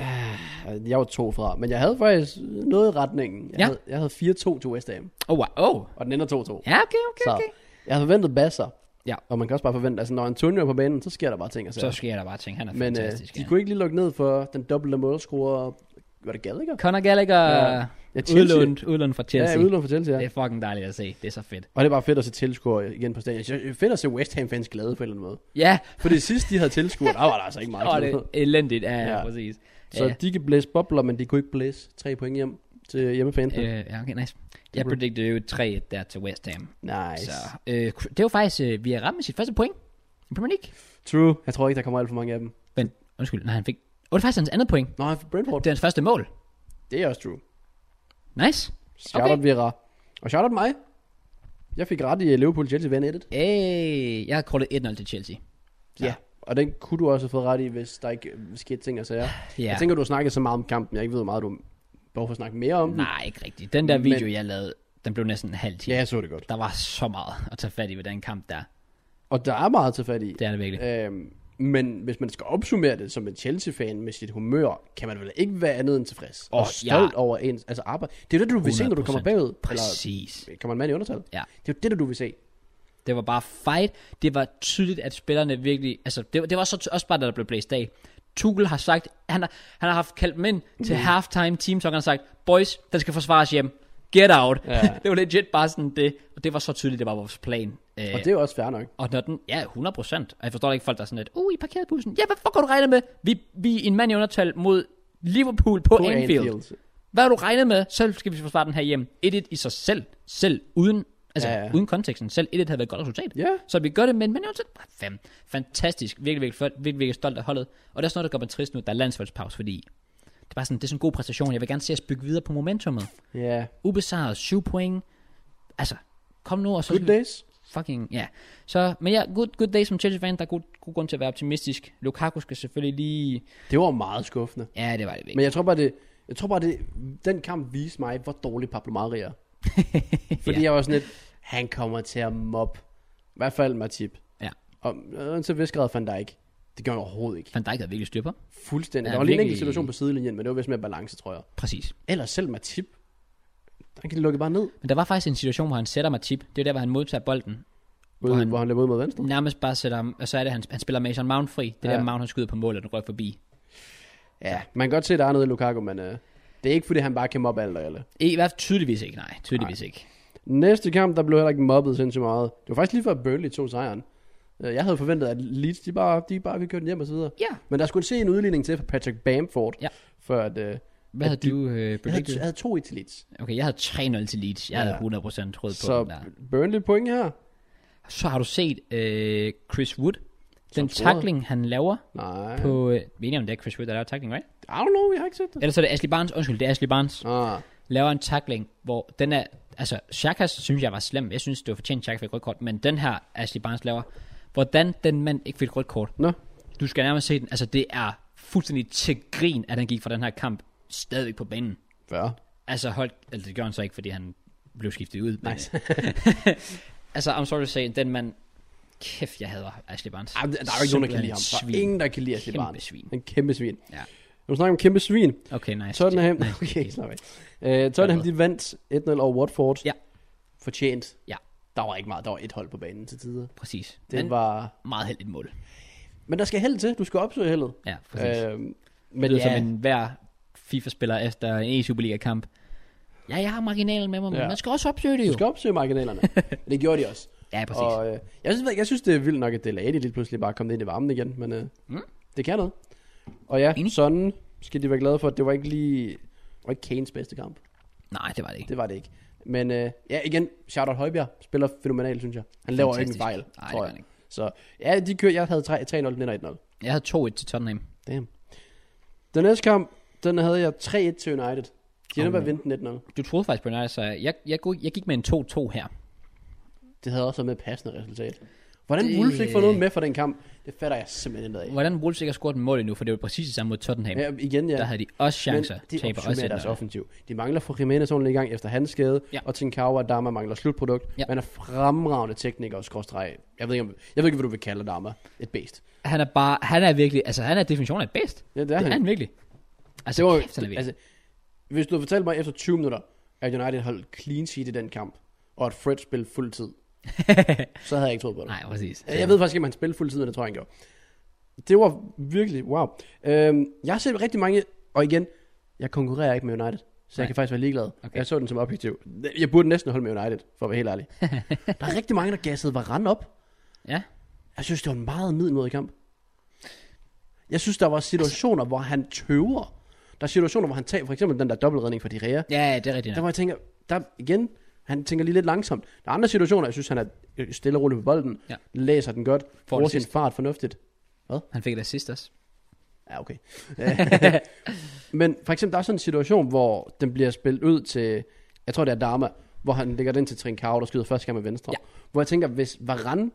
[SPEAKER 2] Øh, Jeg var to fra, men jeg havde faktisk noget i retningen. Jeg,
[SPEAKER 1] Ja.
[SPEAKER 2] havde, jeg havde 4-2 til West Ham,
[SPEAKER 1] oh, wow. Oh.
[SPEAKER 2] og den ender 2-2.
[SPEAKER 1] Ja, okay, okay,
[SPEAKER 2] Så
[SPEAKER 1] okay.
[SPEAKER 2] jeg havde forventet basser.
[SPEAKER 1] Ja.
[SPEAKER 2] Og man kan også bare forvente, altså når Antonio er på banen, så sker der bare ting og
[SPEAKER 1] Så
[SPEAKER 2] sager.
[SPEAKER 1] sker der bare ting. Han er
[SPEAKER 2] Men øh,
[SPEAKER 1] fantastisk.
[SPEAKER 2] de
[SPEAKER 1] ja.
[SPEAKER 2] kunne ikke lige lukke ned for den dobbelte målscorer. Var det Gallagher?
[SPEAKER 1] Conor Gallagher
[SPEAKER 2] Ja.
[SPEAKER 1] ja.
[SPEAKER 2] Ja,
[SPEAKER 1] udlånt, udlånt fra
[SPEAKER 2] Ja,
[SPEAKER 1] Chelsea. Ja,
[SPEAKER 2] udlån for Chelsea,
[SPEAKER 1] Det
[SPEAKER 2] ja.
[SPEAKER 1] er fucking dejligt at se. Det er så fedt.
[SPEAKER 2] Og det er bare fedt at se tilskuere igen på stadion. Det er fedt at se West Ham fans glade på en eller anden måde.
[SPEAKER 1] Ja,
[SPEAKER 2] Fordi sidst de havde tilskuere, der var der altså ikke
[SPEAKER 1] og
[SPEAKER 2] meget.
[SPEAKER 1] det
[SPEAKER 2] tilskuere.
[SPEAKER 1] er elendigt. Ja, ja.
[SPEAKER 2] Ja.
[SPEAKER 1] præcis.
[SPEAKER 2] Så
[SPEAKER 1] ja.
[SPEAKER 2] de kan blæse bobler, men de kunne ikke blæse tre point hjem til hjemmefansen.
[SPEAKER 1] Øh, ja, okay, nice. Jeg
[SPEAKER 2] kunne-
[SPEAKER 1] predicted jo 3 der til West Ham.
[SPEAKER 2] nice.
[SPEAKER 1] Så, øh, det var faktisk, øh, vi har ramt med sit første point i Premier League.
[SPEAKER 2] True. Jeg tror ikke, der kommer alt for mange af dem.
[SPEAKER 1] Men, undskyld, nej, han fik... Åh, det er faktisk hans andet point.
[SPEAKER 2] Nå, Brentford.
[SPEAKER 1] Det er hans første mål.
[SPEAKER 2] Det er også true.
[SPEAKER 1] Nice.
[SPEAKER 2] Shout out okay. Vera. Og shout out mig. Jeg fik ret i at Liverpool Chelsea vandt 1
[SPEAKER 1] Hey, jeg har kaldet 1-0 til Chelsea.
[SPEAKER 2] Ja. Og den kunne du også have fået ret i, hvis der ikke øh, skete ting og sager.
[SPEAKER 1] Ja.
[SPEAKER 2] Jeg tænker, du har snakket så meget om kampen. Jeg ikke ved, hvor meget du behøver for at snakke mere om den.
[SPEAKER 1] Nej, ikke rigtigt. Den der video,
[SPEAKER 2] Men-
[SPEAKER 1] jeg lavede, den blev næsten en halv time.
[SPEAKER 2] Ja, jeg så det godt.
[SPEAKER 1] Der var så meget at tage fat i ved den kamp der.
[SPEAKER 2] Og der er meget til fat i.
[SPEAKER 1] Det er det virkelig.
[SPEAKER 2] Øhm, men hvis man skal opsummere det som en Chelsea-fan med sit humør, kan man vel ikke være andet end tilfreds
[SPEAKER 1] Åh,
[SPEAKER 2] og stolt ja. over ens altså arbejde. Det er jo det, du vil se, når du kommer
[SPEAKER 1] 100%.
[SPEAKER 2] bagud.
[SPEAKER 1] Præcis.
[SPEAKER 2] Eller kommer en mand i undertal.
[SPEAKER 1] Ja.
[SPEAKER 2] Det er jo det, du vil se.
[SPEAKER 1] Det var bare fight. Det var tydeligt, at spillerne virkelig... Altså, det, var- det var så ty- også bare, da der blev blæst af. Tuchel har sagt... Han har, han har haft kaldt mænd til
[SPEAKER 2] Mm.
[SPEAKER 1] halftime team, så han har sagt, boys, den skal forsvares hjem. Get out.
[SPEAKER 2] Ja.
[SPEAKER 1] Ja. det var legit bare sådan det. Og det var så tydeligt, det var vores plan. Øh,
[SPEAKER 2] Og det er jo også fair nok.
[SPEAKER 1] og når den... Ja, 100 procent. Og jeg forstår ikke folk, der er sådan lidt... Uh, I parkerede bussen. Ja, hvad fuck har du regnet med? Vi, vi er en mand i undertal mod Liverpool på, på Anfield. Anfield. Hvad har du regnet med? Selv skal vi forsvare den her hjem. 1-1 i sig selv. Selv uden... Altså,
[SPEAKER 2] Ja,
[SPEAKER 1] ja,
[SPEAKER 2] ja.
[SPEAKER 1] ja. uden konteksten. Selv 1-1 havde været et godt resultat.
[SPEAKER 2] Ja.
[SPEAKER 1] Så vi gør det, men man er jo sådan, ah, fam, fantastisk, virkelig, virkelig flot, virkelig, virkelig stolt af holdet. Og der er sådan noget, der gør mig trist nu, at der er landsholdspause, fordi det er bare sådan, det er sådan en god præstation. Jeg vil gerne se os bygge videre på momentummet.
[SPEAKER 2] Ja.
[SPEAKER 1] Ubesejret, 7 point. Altså, kom nu, og så
[SPEAKER 2] Good
[SPEAKER 1] skal vi
[SPEAKER 2] days.
[SPEAKER 1] fucking, ja. Så, men ja, good, good day som Chelsea-fan, der er god, god grund til at være optimistisk. Lukaku skal selvfølgelig lige...
[SPEAKER 2] Det var meget skuffende.
[SPEAKER 1] Ja, det var det
[SPEAKER 2] Men
[SPEAKER 1] vigtigt.
[SPEAKER 2] jeg tror bare, det, jeg tror bare det, den kamp viste mig, hvor dårlig Pablo Mari er. Fordi ja. jeg var sådan lidt, han kommer til at mobbe. I hvert fald Matip.
[SPEAKER 1] Ja.
[SPEAKER 2] Og øh, til vis grad Van Dijk. Det gjorde han overhovedet ikke.
[SPEAKER 1] Van Dijk havde virkelig styr på.
[SPEAKER 2] Fuldstændig.
[SPEAKER 1] Ja,
[SPEAKER 2] der var lige en
[SPEAKER 1] virkelig-
[SPEAKER 2] enkelt situation på sidelinjen, men det var vist med balance, tror jeg.
[SPEAKER 1] Præcis.
[SPEAKER 2] Ellers selv Matip, han kan lukke bare ned,
[SPEAKER 1] Men der var faktisk en situation, hvor han sætter mig tip. Det er der, hvor han modtager bolden.
[SPEAKER 2] hvor han, hvor han løber ud mod venstre.
[SPEAKER 1] Nærmest bare sætter ham, og så er det, han, han spiller Mason Mount fri. Det er
[SPEAKER 2] Ja.
[SPEAKER 1] ja. der Mount, han skyder på mål, og den røg forbi.
[SPEAKER 2] Ja, man kan godt se, at der er noget i Lukaku, men øh, det er ikke, fordi han bare kan mobbe alt og alle.
[SPEAKER 1] E- I hvert fald tydeligvis ikke, nej. Tydeligvis nej. ikke.
[SPEAKER 2] Næste kamp, der blev heller ikke mobbet sindssygt meget. Det var faktisk lige før Burnley tog sejren. Øh, Jeg havde forventet, at Leeds, de bare, de bare ville køre den hjem og så videre.
[SPEAKER 1] Ja.
[SPEAKER 2] Men der skulle se en udligning til for Patrick Bamford,
[SPEAKER 1] Ja.
[SPEAKER 2] før at... Øh,
[SPEAKER 1] Hvad
[SPEAKER 2] At
[SPEAKER 1] havde du øh,
[SPEAKER 2] jeg, havde, jeg
[SPEAKER 1] predicted?
[SPEAKER 2] havde to i til Leeds.
[SPEAKER 1] Okay, jeg havde 3-0 til Leeds. Jeg
[SPEAKER 2] Ja.
[SPEAKER 1] havde 100% troet på den
[SPEAKER 2] Så
[SPEAKER 1] der.
[SPEAKER 2] Burnley point her?
[SPEAKER 1] Så har du set øh, Chris Wood. Den
[SPEAKER 2] scorede.
[SPEAKER 1] tackling, han laver
[SPEAKER 2] Nej.
[SPEAKER 1] på... Øh, vi er enige om, det er Chris Wood, der laver tackling, right?
[SPEAKER 2] I don't know, jeg har ikke set det.
[SPEAKER 1] Ellers er det Ashley Barnes. Undskyld, det er Ashley Barnes.
[SPEAKER 2] Ah,
[SPEAKER 1] Laver en tackling, hvor den er... Altså, Shakas synes jeg var slem. Jeg synes, det var fortjent, Shaka fik et rødt kort. Men den her, Ashley Barnes laver... Hvordan den mand ikke fik et rødt kort.
[SPEAKER 2] nå.
[SPEAKER 1] Du skal nærmest se den. Altså, det er fuldstændig til grin, at han gik fra den her kamp stadigvæk på banen.
[SPEAKER 2] Færre.
[SPEAKER 1] Altså holdt, altså det gjorde han så ikke, fordi han blev skiftet ud. Nice. Men, altså, I'm sorry to say, den mand, kæft, jeg hader Ashley Barnes.
[SPEAKER 2] Ej, men der er jo ikke nogen, der kan lide ham. Der er
[SPEAKER 1] Simpelthen
[SPEAKER 2] ingen, der kan lide Ashley
[SPEAKER 1] Kæmpe
[SPEAKER 2] Barnes.
[SPEAKER 1] svin.
[SPEAKER 2] En kæmpe svin.
[SPEAKER 1] Ja.
[SPEAKER 2] Når du snakker om kæmpe svin,
[SPEAKER 1] Okay, nice.
[SPEAKER 2] Tottenham,
[SPEAKER 1] Nice.
[SPEAKER 2] okay, slap af. Øh, Tottenham, de vandt 1-0 over Watford.
[SPEAKER 1] Ja.
[SPEAKER 2] Fortjent.
[SPEAKER 1] Ja.
[SPEAKER 2] Der var ikke meget, der var et hold på banen til tider.
[SPEAKER 1] Præcis.
[SPEAKER 2] Det
[SPEAKER 1] Men
[SPEAKER 2] var...
[SPEAKER 1] meget heldigt mål.
[SPEAKER 2] Men der skal held til, du skal opsøge heldet.
[SPEAKER 1] Ja, præcis. Øh,
[SPEAKER 2] Øh,
[SPEAKER 1] men
[SPEAKER 2] men
[SPEAKER 1] det
[SPEAKER 2] ja,
[SPEAKER 1] er som en hver FIFA-spiller efter en Superliga-kamp. Ja, jeg har marginalen med mig, men
[SPEAKER 2] Ja.
[SPEAKER 1] man skal også opsøge det
[SPEAKER 2] du
[SPEAKER 1] jo.
[SPEAKER 2] skal opsøge marginalerne. Men det gjorde de også.
[SPEAKER 1] Ja, præcis. Og,
[SPEAKER 2] Og, øh, jeg, synes, jeg synes, det er vildt nok, at Delaney lige pludselig bare kom ind i varmen igen, men øh,
[SPEAKER 1] Mm.
[SPEAKER 2] mm. det kan noget. Og ja,
[SPEAKER 1] Enig.
[SPEAKER 2] sådan skal de være glade for, at det var ikke lige... Det var ikke Kanes bedste kamp.
[SPEAKER 1] Nej, det var det ikke.
[SPEAKER 2] Det var det ikke. Men øh, ja, igen, Charlotte Højbjerg spiller fænomenalt, synes jeg. Han laver ikke en
[SPEAKER 1] Fantastisk.
[SPEAKER 2] fejl,
[SPEAKER 1] Nej, det
[SPEAKER 2] tror
[SPEAKER 1] var
[SPEAKER 2] jeg.
[SPEAKER 1] det ikke.
[SPEAKER 2] Så ja, de kører, jeg havde tre- 3-0, den ender 1-0.
[SPEAKER 1] Jeg havde 2-1 til Tottenham.
[SPEAKER 2] Damn. Den næste kamp, den havde jeg 3-1 til United. De ender
[SPEAKER 1] Oh.
[SPEAKER 2] bare vinde 1-0.
[SPEAKER 1] Du troede faktisk på United, så jeg, jeg, gik- jeg gik med en 2-2 her.
[SPEAKER 2] Det havde også været med et passende resultat. Hvordan
[SPEAKER 1] Det-
[SPEAKER 2] det... Wolves ikke får noget med fra den kamp, det fatter jeg simpelthen ikke af.
[SPEAKER 1] Hvordan Wolves ikke har scoret en mål endnu, for det var præcis det samme mod Tottenham. Ja,
[SPEAKER 2] Ja, igen, ja.
[SPEAKER 1] Der havde de også chancer.
[SPEAKER 2] Men de
[SPEAKER 1] taber
[SPEAKER 2] opsummerer
[SPEAKER 1] også
[SPEAKER 2] deres
[SPEAKER 1] deres
[SPEAKER 2] offensiv. De mangler for Jimenez ordentligt i gang efter hans skade,
[SPEAKER 1] Ja.
[SPEAKER 2] ja. og Tinkau og Dama mangler slutprodukt.
[SPEAKER 1] Ja.
[SPEAKER 2] Ja. Man er fremragende tekniker og skråstreg. Jeg ved, ikke, om, jeg ved ikke, hvad du vil kalde Dama. Et beast.
[SPEAKER 1] Han er bare, han er virkelig, altså han er definitionen af bedst.
[SPEAKER 2] Ja, det
[SPEAKER 1] Det
[SPEAKER 2] er
[SPEAKER 1] er
[SPEAKER 2] han.
[SPEAKER 1] han virkelig. Altså,
[SPEAKER 2] Det var,
[SPEAKER 1] kæft, han er virkelig.
[SPEAKER 2] altså, hvis du havde fortalt mig efter 20 minutter, at United holdt clean sheet i den kamp, og at Fred spillede fuld tid, så havde jeg ikke troet på det.
[SPEAKER 1] Nej, præcis.
[SPEAKER 2] Jeg ved faktisk ikke, om han spillede fuld tid, men det tror jeg, han gjorde. Det var virkelig, wow. Øhm, jeg har set rigtig mange, og igen, jeg konkurrerer ikke med United, så
[SPEAKER 1] Nej.
[SPEAKER 2] jeg kan faktisk være ligeglad.
[SPEAKER 1] Okay.
[SPEAKER 2] Okay. Jeg så den som objektiv. Jeg burde næsten holde med United, for at være helt ærlig. der er rigtig mange, der gassede Varane op.
[SPEAKER 1] Ja.
[SPEAKER 2] Jeg synes, det var en meget middelmodig kamp. Jeg synes, der var
[SPEAKER 1] Altså-
[SPEAKER 2] situationer, hvor han tøver. Der er situationer, hvor han tager, for eksempel den der dobbeltredning fra Direa.
[SPEAKER 1] Ja, det er rigtigt.
[SPEAKER 2] Der
[SPEAKER 1] nok.
[SPEAKER 2] hvor jeg tænker, der igen, han tænker lige lidt langsomt. Der er andre situationer, jeg synes, han er øh, stille og rolig på bolden,
[SPEAKER 1] Ja.
[SPEAKER 2] ja. læser den godt,
[SPEAKER 1] Får
[SPEAKER 2] bruger
[SPEAKER 1] den
[SPEAKER 2] sin
[SPEAKER 1] sidst.
[SPEAKER 2] fart fornuftigt.
[SPEAKER 1] Han fik et assist også.
[SPEAKER 2] Ja, okay. Men for eksempel, der er sådan en situation, hvor den bliver spillet ud til, jeg tror det er Dharma, hvor han lægger den til Trincao, der skyder første gang med venstre.
[SPEAKER 1] Ja.
[SPEAKER 2] Ja. Hvor jeg tænker, hvis Varane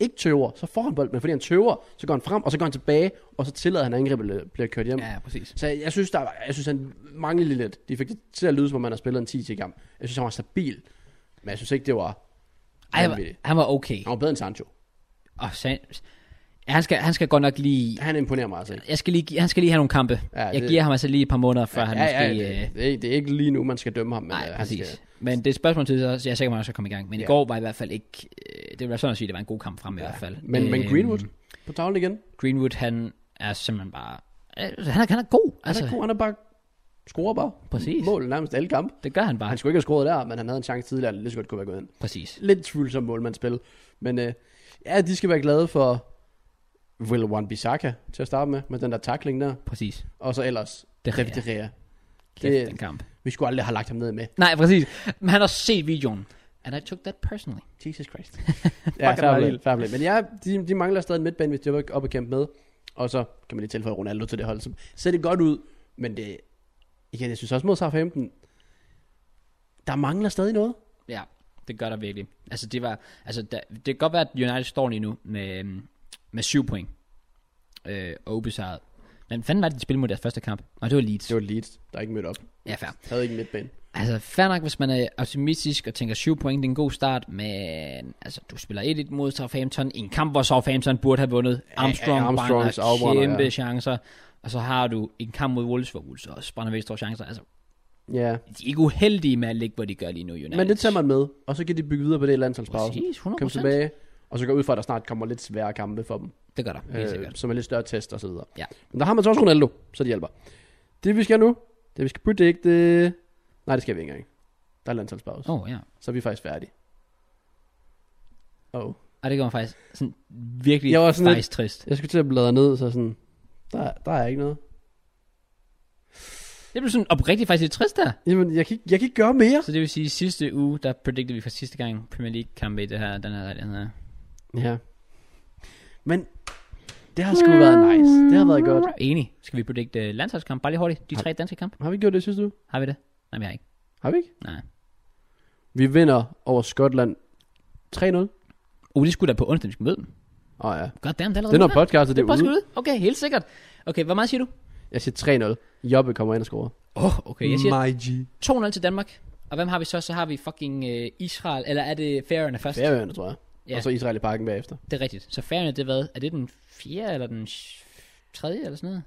[SPEAKER 2] ikke tøver, så får han bolden, men fordi han tøver, så går han frem, og så går han tilbage, og så tillader han at angrebet bliver kørt hjem.
[SPEAKER 1] Ja, præcis.
[SPEAKER 2] Så jeg, jeg synes, der, var- jeg synes, han manglede lige lidt. De fik det til at lyde, som om han har spillet en 10 til kamp. Jeg synes, han var stabil. Men jeg synes ikke, det var...
[SPEAKER 1] Ej, han var,
[SPEAKER 2] vanvittigt.
[SPEAKER 1] han var okay.
[SPEAKER 2] Han var bedre end Sancho.
[SPEAKER 1] Og San- ja, han, skal, han skal godt nok lige...
[SPEAKER 2] Han imponerer mig altså ikke.
[SPEAKER 1] Jeg skal lige, gi- han skal lige have nogle kampe. Ja,
[SPEAKER 2] Ja,
[SPEAKER 1] jeg
[SPEAKER 2] det-
[SPEAKER 1] giver ham altså lige et par måneder, før han
[SPEAKER 2] ja,
[SPEAKER 1] måske...
[SPEAKER 2] ja,
[SPEAKER 1] øh,
[SPEAKER 2] det, det, er, det er ikke lige nu, man skal dømme ham. Men,
[SPEAKER 1] nej,
[SPEAKER 2] øh, han
[SPEAKER 1] præcis.
[SPEAKER 2] Skal,
[SPEAKER 1] Men det er et spørgsmål til, så jeg er sikker, man også skal komme i gang. Men ja. i
[SPEAKER 2] Ja.
[SPEAKER 1] går var i hvert fald ikke... Øh, det var sådan at sige, det var en god kamp frem i hvert fald. Øhm,
[SPEAKER 2] men, men Greenwood på tavlen igen. Han
[SPEAKER 1] Greenwood, han er simpelthen bare... øh, Han er, han er god. Altså,
[SPEAKER 2] altså, er god, han er bare scorer bare.
[SPEAKER 1] Præcis.
[SPEAKER 2] Mål nærmest alle kampe.
[SPEAKER 1] det gør han bare.
[SPEAKER 2] Han skulle ikke have scoret der, men han havde en chance tidligere, det lige så godt kunne være gået ind.
[SPEAKER 1] Præcis.
[SPEAKER 2] Lidt tvivlsom målmandsspil. Men øh, ja, de skal være glade for Will Wan-Bissaka til at starte med, med den der tackling der.
[SPEAKER 1] Præcis.
[SPEAKER 2] Og så ellers
[SPEAKER 1] Det
[SPEAKER 2] David
[SPEAKER 1] er
[SPEAKER 2] De Gea.
[SPEAKER 1] kæft,
[SPEAKER 2] det-
[SPEAKER 1] den kamp.
[SPEAKER 2] Vi skulle aldrig have lagt ham ned med.
[SPEAKER 1] Nej, præcis. Men han har set videoen. And I took that personally.
[SPEAKER 2] Jesus Christ.
[SPEAKER 1] Fuck,
[SPEAKER 2] ja,
[SPEAKER 1] han var
[SPEAKER 2] fair play,
[SPEAKER 1] vild.
[SPEAKER 2] fair play. Men ja, de, de mangler stadig en midtbane, hvis de var op og kæmpe med. Og så kan man lige tilføje Ronaldo til det hold. Så ser det godt ud, men det... Igen, jeg synes også mod Southampton, der mangler stadig noget.
[SPEAKER 1] Ja, det gør der virkelig. Altså, det var... Altså, der, det kan godt være, at United står lige nu med, øhm, med syv point. Øh, og ubesejret. Men hvad fanden var det, de spillede mod deres første kamp? Nej, det var Leeds.
[SPEAKER 2] Det var Leeds, der ikke mødte op.
[SPEAKER 1] Ja, fair.
[SPEAKER 2] Havde ikke en midtbane.
[SPEAKER 1] Altså, fair nok, hvis man er optimistisk og tænker 7 point, det er en god start, men altså, du spiller 1-1 mod Southampton i en kamp, hvor Southampton burde have vundet. Armstrong
[SPEAKER 2] Armstrongs
[SPEAKER 1] brænder
[SPEAKER 2] afbrænder,
[SPEAKER 1] kæmpe
[SPEAKER 2] ja.
[SPEAKER 1] chancer, og så har du en kamp mod Wolves, hvor Wolves også brænder væk store chancer. Altså, de
[SPEAKER 2] Ja,
[SPEAKER 1] er ikke uheldige med at ligge, hvor de gør lige nu, United.
[SPEAKER 2] men det tager man med, og så kan de bygge videre på det i landsholdspausen.
[SPEAKER 1] Præcis, 100%.
[SPEAKER 2] Kom tilbage, og så går jeg ud fra, at der snart kommer lidt svære kampe for dem.
[SPEAKER 1] Det gør der, helt
[SPEAKER 2] øh,
[SPEAKER 1] sikkert.
[SPEAKER 2] som er lidt større test og så videre.
[SPEAKER 1] Ja.
[SPEAKER 2] Men der har man så også Ronaldo, så det hjælper. Det vi skal nu, det vi skal predict, det... Nej, det skal vi ikke engang. Der er landsholdspause. Oh.
[SPEAKER 1] Åh, oh, ja.
[SPEAKER 2] Så er vi faktisk færdige. Oh.
[SPEAKER 1] Og det gør mig faktisk sådan virkelig
[SPEAKER 2] Jeg var sådan lidt-
[SPEAKER 1] faktisk trist.
[SPEAKER 2] Jeg skulle til at bladre ned, så sådan... Der, der er ikke noget.
[SPEAKER 1] Jeg blev sådan oprigtigt faktisk lidt trist der.
[SPEAKER 2] Jamen, jeg kan, ikke- jeg kan ikke gøre mere.
[SPEAKER 1] Så det vil sige, at sidste uge, der predicted vi for sidste gang Premier League kampe i det her, den her, den her.
[SPEAKER 2] Ja. Men det har sgu været nice. Det har været godt.
[SPEAKER 1] Enig. Skal vi predict uh, landsholdskamp? Bare lige hurtigt. De
[SPEAKER 2] Har-
[SPEAKER 1] tre danske kampe.
[SPEAKER 2] Har vi gjort det, synes du?
[SPEAKER 1] Har vi det? Nej, vi har ikke.
[SPEAKER 2] Har vi ikke?
[SPEAKER 1] Nej.
[SPEAKER 2] Vi vinder over Skotland 3-0. Åh
[SPEAKER 1] Uh, det skulle da på onsdag, vi skal møde dem.
[SPEAKER 2] oh, ja.
[SPEAKER 1] God damn, det er allerede
[SPEAKER 2] Det er når
[SPEAKER 1] mandag.
[SPEAKER 2] podcastet det
[SPEAKER 1] det
[SPEAKER 2] er
[SPEAKER 1] er
[SPEAKER 2] ude.
[SPEAKER 1] ude. Okay, helt sikkert. Okay, hvor meget siger du?
[SPEAKER 2] Jeg siger 3-0. Jobbe kommer ind og scorer.
[SPEAKER 1] Åh, oh, okay. Jeg siger
[SPEAKER 2] My G.
[SPEAKER 1] 2-0 til Danmark. Og hvem har vi så? Så har vi fucking øh, Israel, eller er det Færøerne først?
[SPEAKER 2] Færøerne, tror jeg.
[SPEAKER 1] Ja.
[SPEAKER 2] Ja. Og så Israel i parken bagefter.
[SPEAKER 1] Det er rigtigt. Så Færøerne, det er hvad? Er det den 4. eller den 3. eller sådan noget?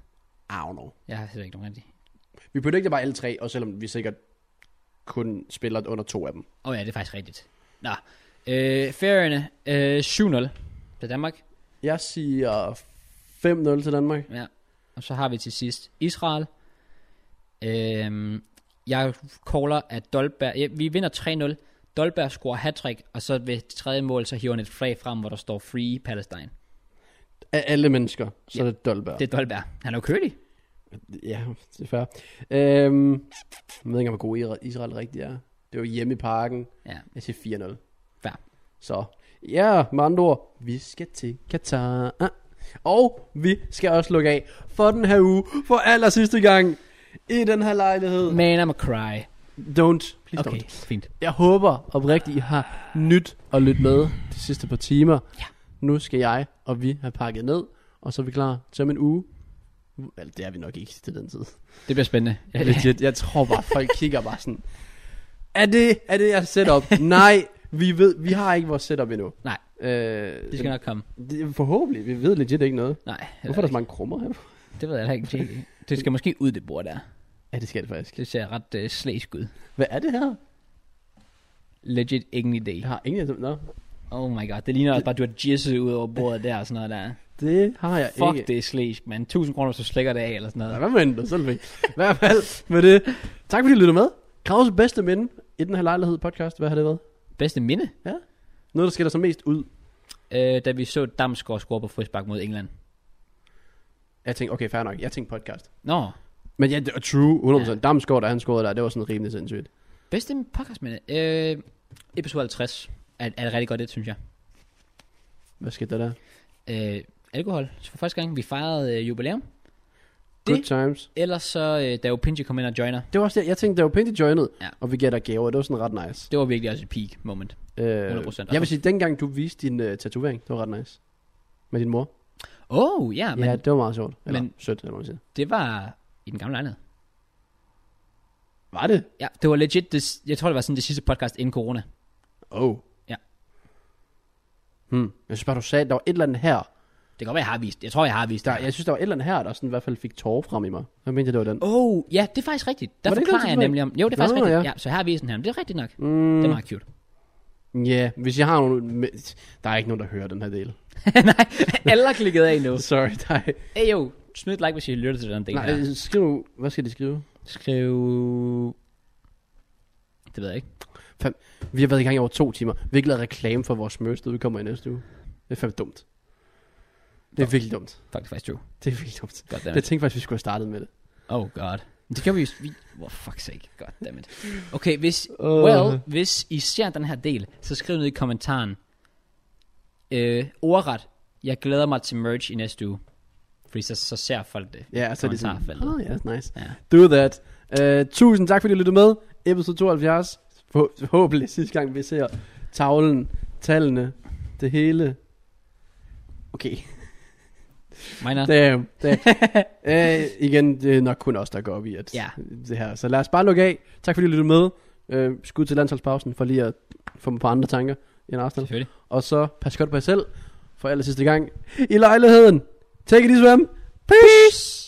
[SPEAKER 2] I don't know.
[SPEAKER 1] Jeg har heller ikke nogen af de.
[SPEAKER 2] Vi predicter bare alle tre, og selvom vi sikkert kun spiller under to af dem.
[SPEAKER 1] Åh oh, ja, det er faktisk rigtigt. Nå. Øh, Færøerne, øh, 7-0 til Danmark.
[SPEAKER 2] Jeg siger 5-0 til Danmark.
[SPEAKER 1] Ja. Og så har vi til sidst Israel. Øhm, jeg caller, at Dolberg... Ja, vi vinder 3-0. Dolberg scorer hat og så ved det tredje mål, så hiver han et flag frem, hvor der står Free Palestine.
[SPEAKER 2] Af alle mennesker, så er det Dolberg.
[SPEAKER 1] Det er Dolberg. Han er jo kølig.
[SPEAKER 2] Ja, det er fair. Øhm, jeg ved ikke, om hvor god Ira- Israel rigtig er. Det var hjemme i parken.
[SPEAKER 1] Ja,
[SPEAKER 2] Jeg siger 4-0.
[SPEAKER 1] fair.
[SPEAKER 2] Så ja, med andre ord, vi skal til Katar. Og vi skal også lukke af for den her uge, for aller sidste gang i den her lejlighed.
[SPEAKER 1] Man, I'm a cry.
[SPEAKER 2] Don't, please okay.
[SPEAKER 1] Okay,
[SPEAKER 2] don't.
[SPEAKER 1] fint.
[SPEAKER 2] Jeg håber oprigtigt, I har nyt at lytte med de sidste par timer.
[SPEAKER 1] Ja.
[SPEAKER 2] Nu skal jeg og vi have pakket ned, og så er vi klar til om en uge. Eller det er vi nok ikke til den tid.
[SPEAKER 1] Det bliver spændende.
[SPEAKER 2] Ja, legit. Jeg tror bare, folk kigger bare sådan, er det, er det jeres setup? Nej, vi ved, vi har ikke vores setup endnu.
[SPEAKER 1] Nej.
[SPEAKER 2] Øh,
[SPEAKER 1] Det skal nok komme.
[SPEAKER 2] det, forhåbentlig, vi ved legit ikke noget.
[SPEAKER 1] Nej, øh,
[SPEAKER 2] Hvorfor er der så mange krummer her?
[SPEAKER 1] det ved jeg da ikke. Det- Det skal måske ud, det bord der.
[SPEAKER 2] Ja, det skal det faktisk.
[SPEAKER 1] Det ser ret øh, slæsk ud.
[SPEAKER 2] Hvad er det her?
[SPEAKER 1] Legit ingen idé.
[SPEAKER 2] Jeg har ingen idé. Nå,
[SPEAKER 1] Oh my god, det ligner også bare, at du har jizzet ud over bordet der og sådan noget der.
[SPEAKER 2] det har jeg
[SPEAKER 1] Fuck,
[SPEAKER 2] ikke.
[SPEAKER 1] det er slæsk, mand. 1000 kroner, så slækker det af eller sådan
[SPEAKER 2] Nej,
[SPEAKER 1] noget.
[SPEAKER 2] hvad med det? Selv ikke. I hvert fald med det. Tak fordi I lyttede med. Kravs bedste minde i den her lejlighed podcast. Hvad har det været?
[SPEAKER 1] Bedste minde,
[SPEAKER 2] Noget, der skiller sig mest ud.
[SPEAKER 1] øh, da vi så Damsgaard score på frisbak mod England.
[SPEAKER 2] Jeg tænkte, okay, fair nok. Jeg tænkte podcast.
[SPEAKER 1] Nå,
[SPEAKER 2] Men ja, det er true. 100%.
[SPEAKER 1] Ja.
[SPEAKER 2] Ja. Damsgaard, der han scorede der, det var sådan rimelig sindssygt.
[SPEAKER 1] bedste podcastminde. Øh, episode 50 er, er et rigtig godt det, synes jeg.
[SPEAKER 2] Hvad skete der der?
[SPEAKER 1] Øh, alkohol. Så for første gang, vi fejrede øh, jubilæum.
[SPEAKER 2] Good
[SPEAKER 1] Det-
[SPEAKER 2] times.
[SPEAKER 1] Ellers så, øh, da Opinji kom ind og joiner,
[SPEAKER 2] Det var også det, jeg tænkte, der var pænt i joinet,
[SPEAKER 1] Ja.
[SPEAKER 2] ja. og vi gav dig gaver. Det var sådan ret nice.
[SPEAKER 1] det var virkelig også et peak moment.
[SPEAKER 2] Øh,
[SPEAKER 1] 100%.
[SPEAKER 2] jeg vil sige, dengang du viste din uh, tatovering, det var ret nice. Med din mor.
[SPEAKER 1] Oh, ja, men
[SPEAKER 2] Ja,
[SPEAKER 1] ja.
[SPEAKER 2] det var meget sjovt. Eller
[SPEAKER 1] men-
[SPEAKER 2] men, sødt, eller hvad man siger.
[SPEAKER 1] det var i den gamle lejlighed.
[SPEAKER 2] Var det?
[SPEAKER 1] Ja, det var legit, det, s- jeg tror, det var sådan det sidste podcast inden corona.
[SPEAKER 2] Oh.
[SPEAKER 1] Ja.
[SPEAKER 2] Hmm. Jeg synes bare, du sagde, at der var et eller andet her.
[SPEAKER 1] Det kan godt være, jeg har vist. Jeg tror, jeg har vist
[SPEAKER 2] Der,
[SPEAKER 1] det.
[SPEAKER 2] jeg synes, der var et eller andet her, der sådan i hvert fald fik tårer frem i mig. Jeg mente, det var den.
[SPEAKER 1] Oh, ja, det er faktisk rigtigt. Der
[SPEAKER 2] Var det ikke
[SPEAKER 1] forklarer
[SPEAKER 2] den,
[SPEAKER 1] jeg
[SPEAKER 2] som var-
[SPEAKER 1] nemlig om. Jo, det er faktisk
[SPEAKER 2] Nå,
[SPEAKER 1] rigtigt. Ja.
[SPEAKER 2] ja.
[SPEAKER 1] så her er visen her. Men det er rigtigt nok. Mm.
[SPEAKER 2] Mm,
[SPEAKER 1] Det er meget cute.
[SPEAKER 2] yeah. hvis jeg har nogen... med- Der er ikke nogen, der hører den her del.
[SPEAKER 1] Nej, alle har klikket af nu.
[SPEAKER 2] Sorry, nej.
[SPEAKER 1] Hey jo, smid et like, hvis I lytter til den del
[SPEAKER 2] nej
[SPEAKER 1] her.
[SPEAKER 2] skriv nu... Hvad skal de skrive?
[SPEAKER 1] Skriv... Det ved jeg ikke.
[SPEAKER 2] Vi har været i gang i over to timer. Vi har ikke lavet reklame for vores merch, der udkommer i næste uge. Det er fandme dumt. Det er virkelig dumt.
[SPEAKER 1] Fuck, det er faktisk true.
[SPEAKER 2] Det er virkelig dumt. Jeg
[SPEAKER 1] Goddammit.
[SPEAKER 2] tænkte faktisk, vi skulle have startet med det.
[SPEAKER 1] Oh god. Det kan vi jo... Vi... Oh, fuck sake. Goddammit. Okay, hvis...
[SPEAKER 2] Uh.
[SPEAKER 1] Well, hvis I ser den her del, så skriv ned i kommentaren. Øh, ordret. Jeg glæder mig til merch i næste uge. Fordi så, så ser folk det.
[SPEAKER 2] Ja, så er det sådan,
[SPEAKER 1] Kommentarfeltet.
[SPEAKER 2] oh, yes, nice.
[SPEAKER 1] Ja.
[SPEAKER 2] Do that. Uh, tusind tak, fordi I lyttede med. Episode 72. Forhå- Forhåbentlig sidste gang, vi ser tavlen, tallene, det hele. Okay,
[SPEAKER 1] Minor.
[SPEAKER 2] damn. damn. uh, igen, det er nok kun os, der går op i at
[SPEAKER 1] Ja.
[SPEAKER 2] det her. Så lad os bare lukke af. Tak, fordi I lyttede med. Uh, skud til landsholdspausen, for lige at få mig på andre tanker end Arsenal.
[SPEAKER 1] Selvfølgelig.
[SPEAKER 2] Og så pas godt på jer selv, for aller sidste gang i lejligheden. Take it easy, fam. Peace. Peace.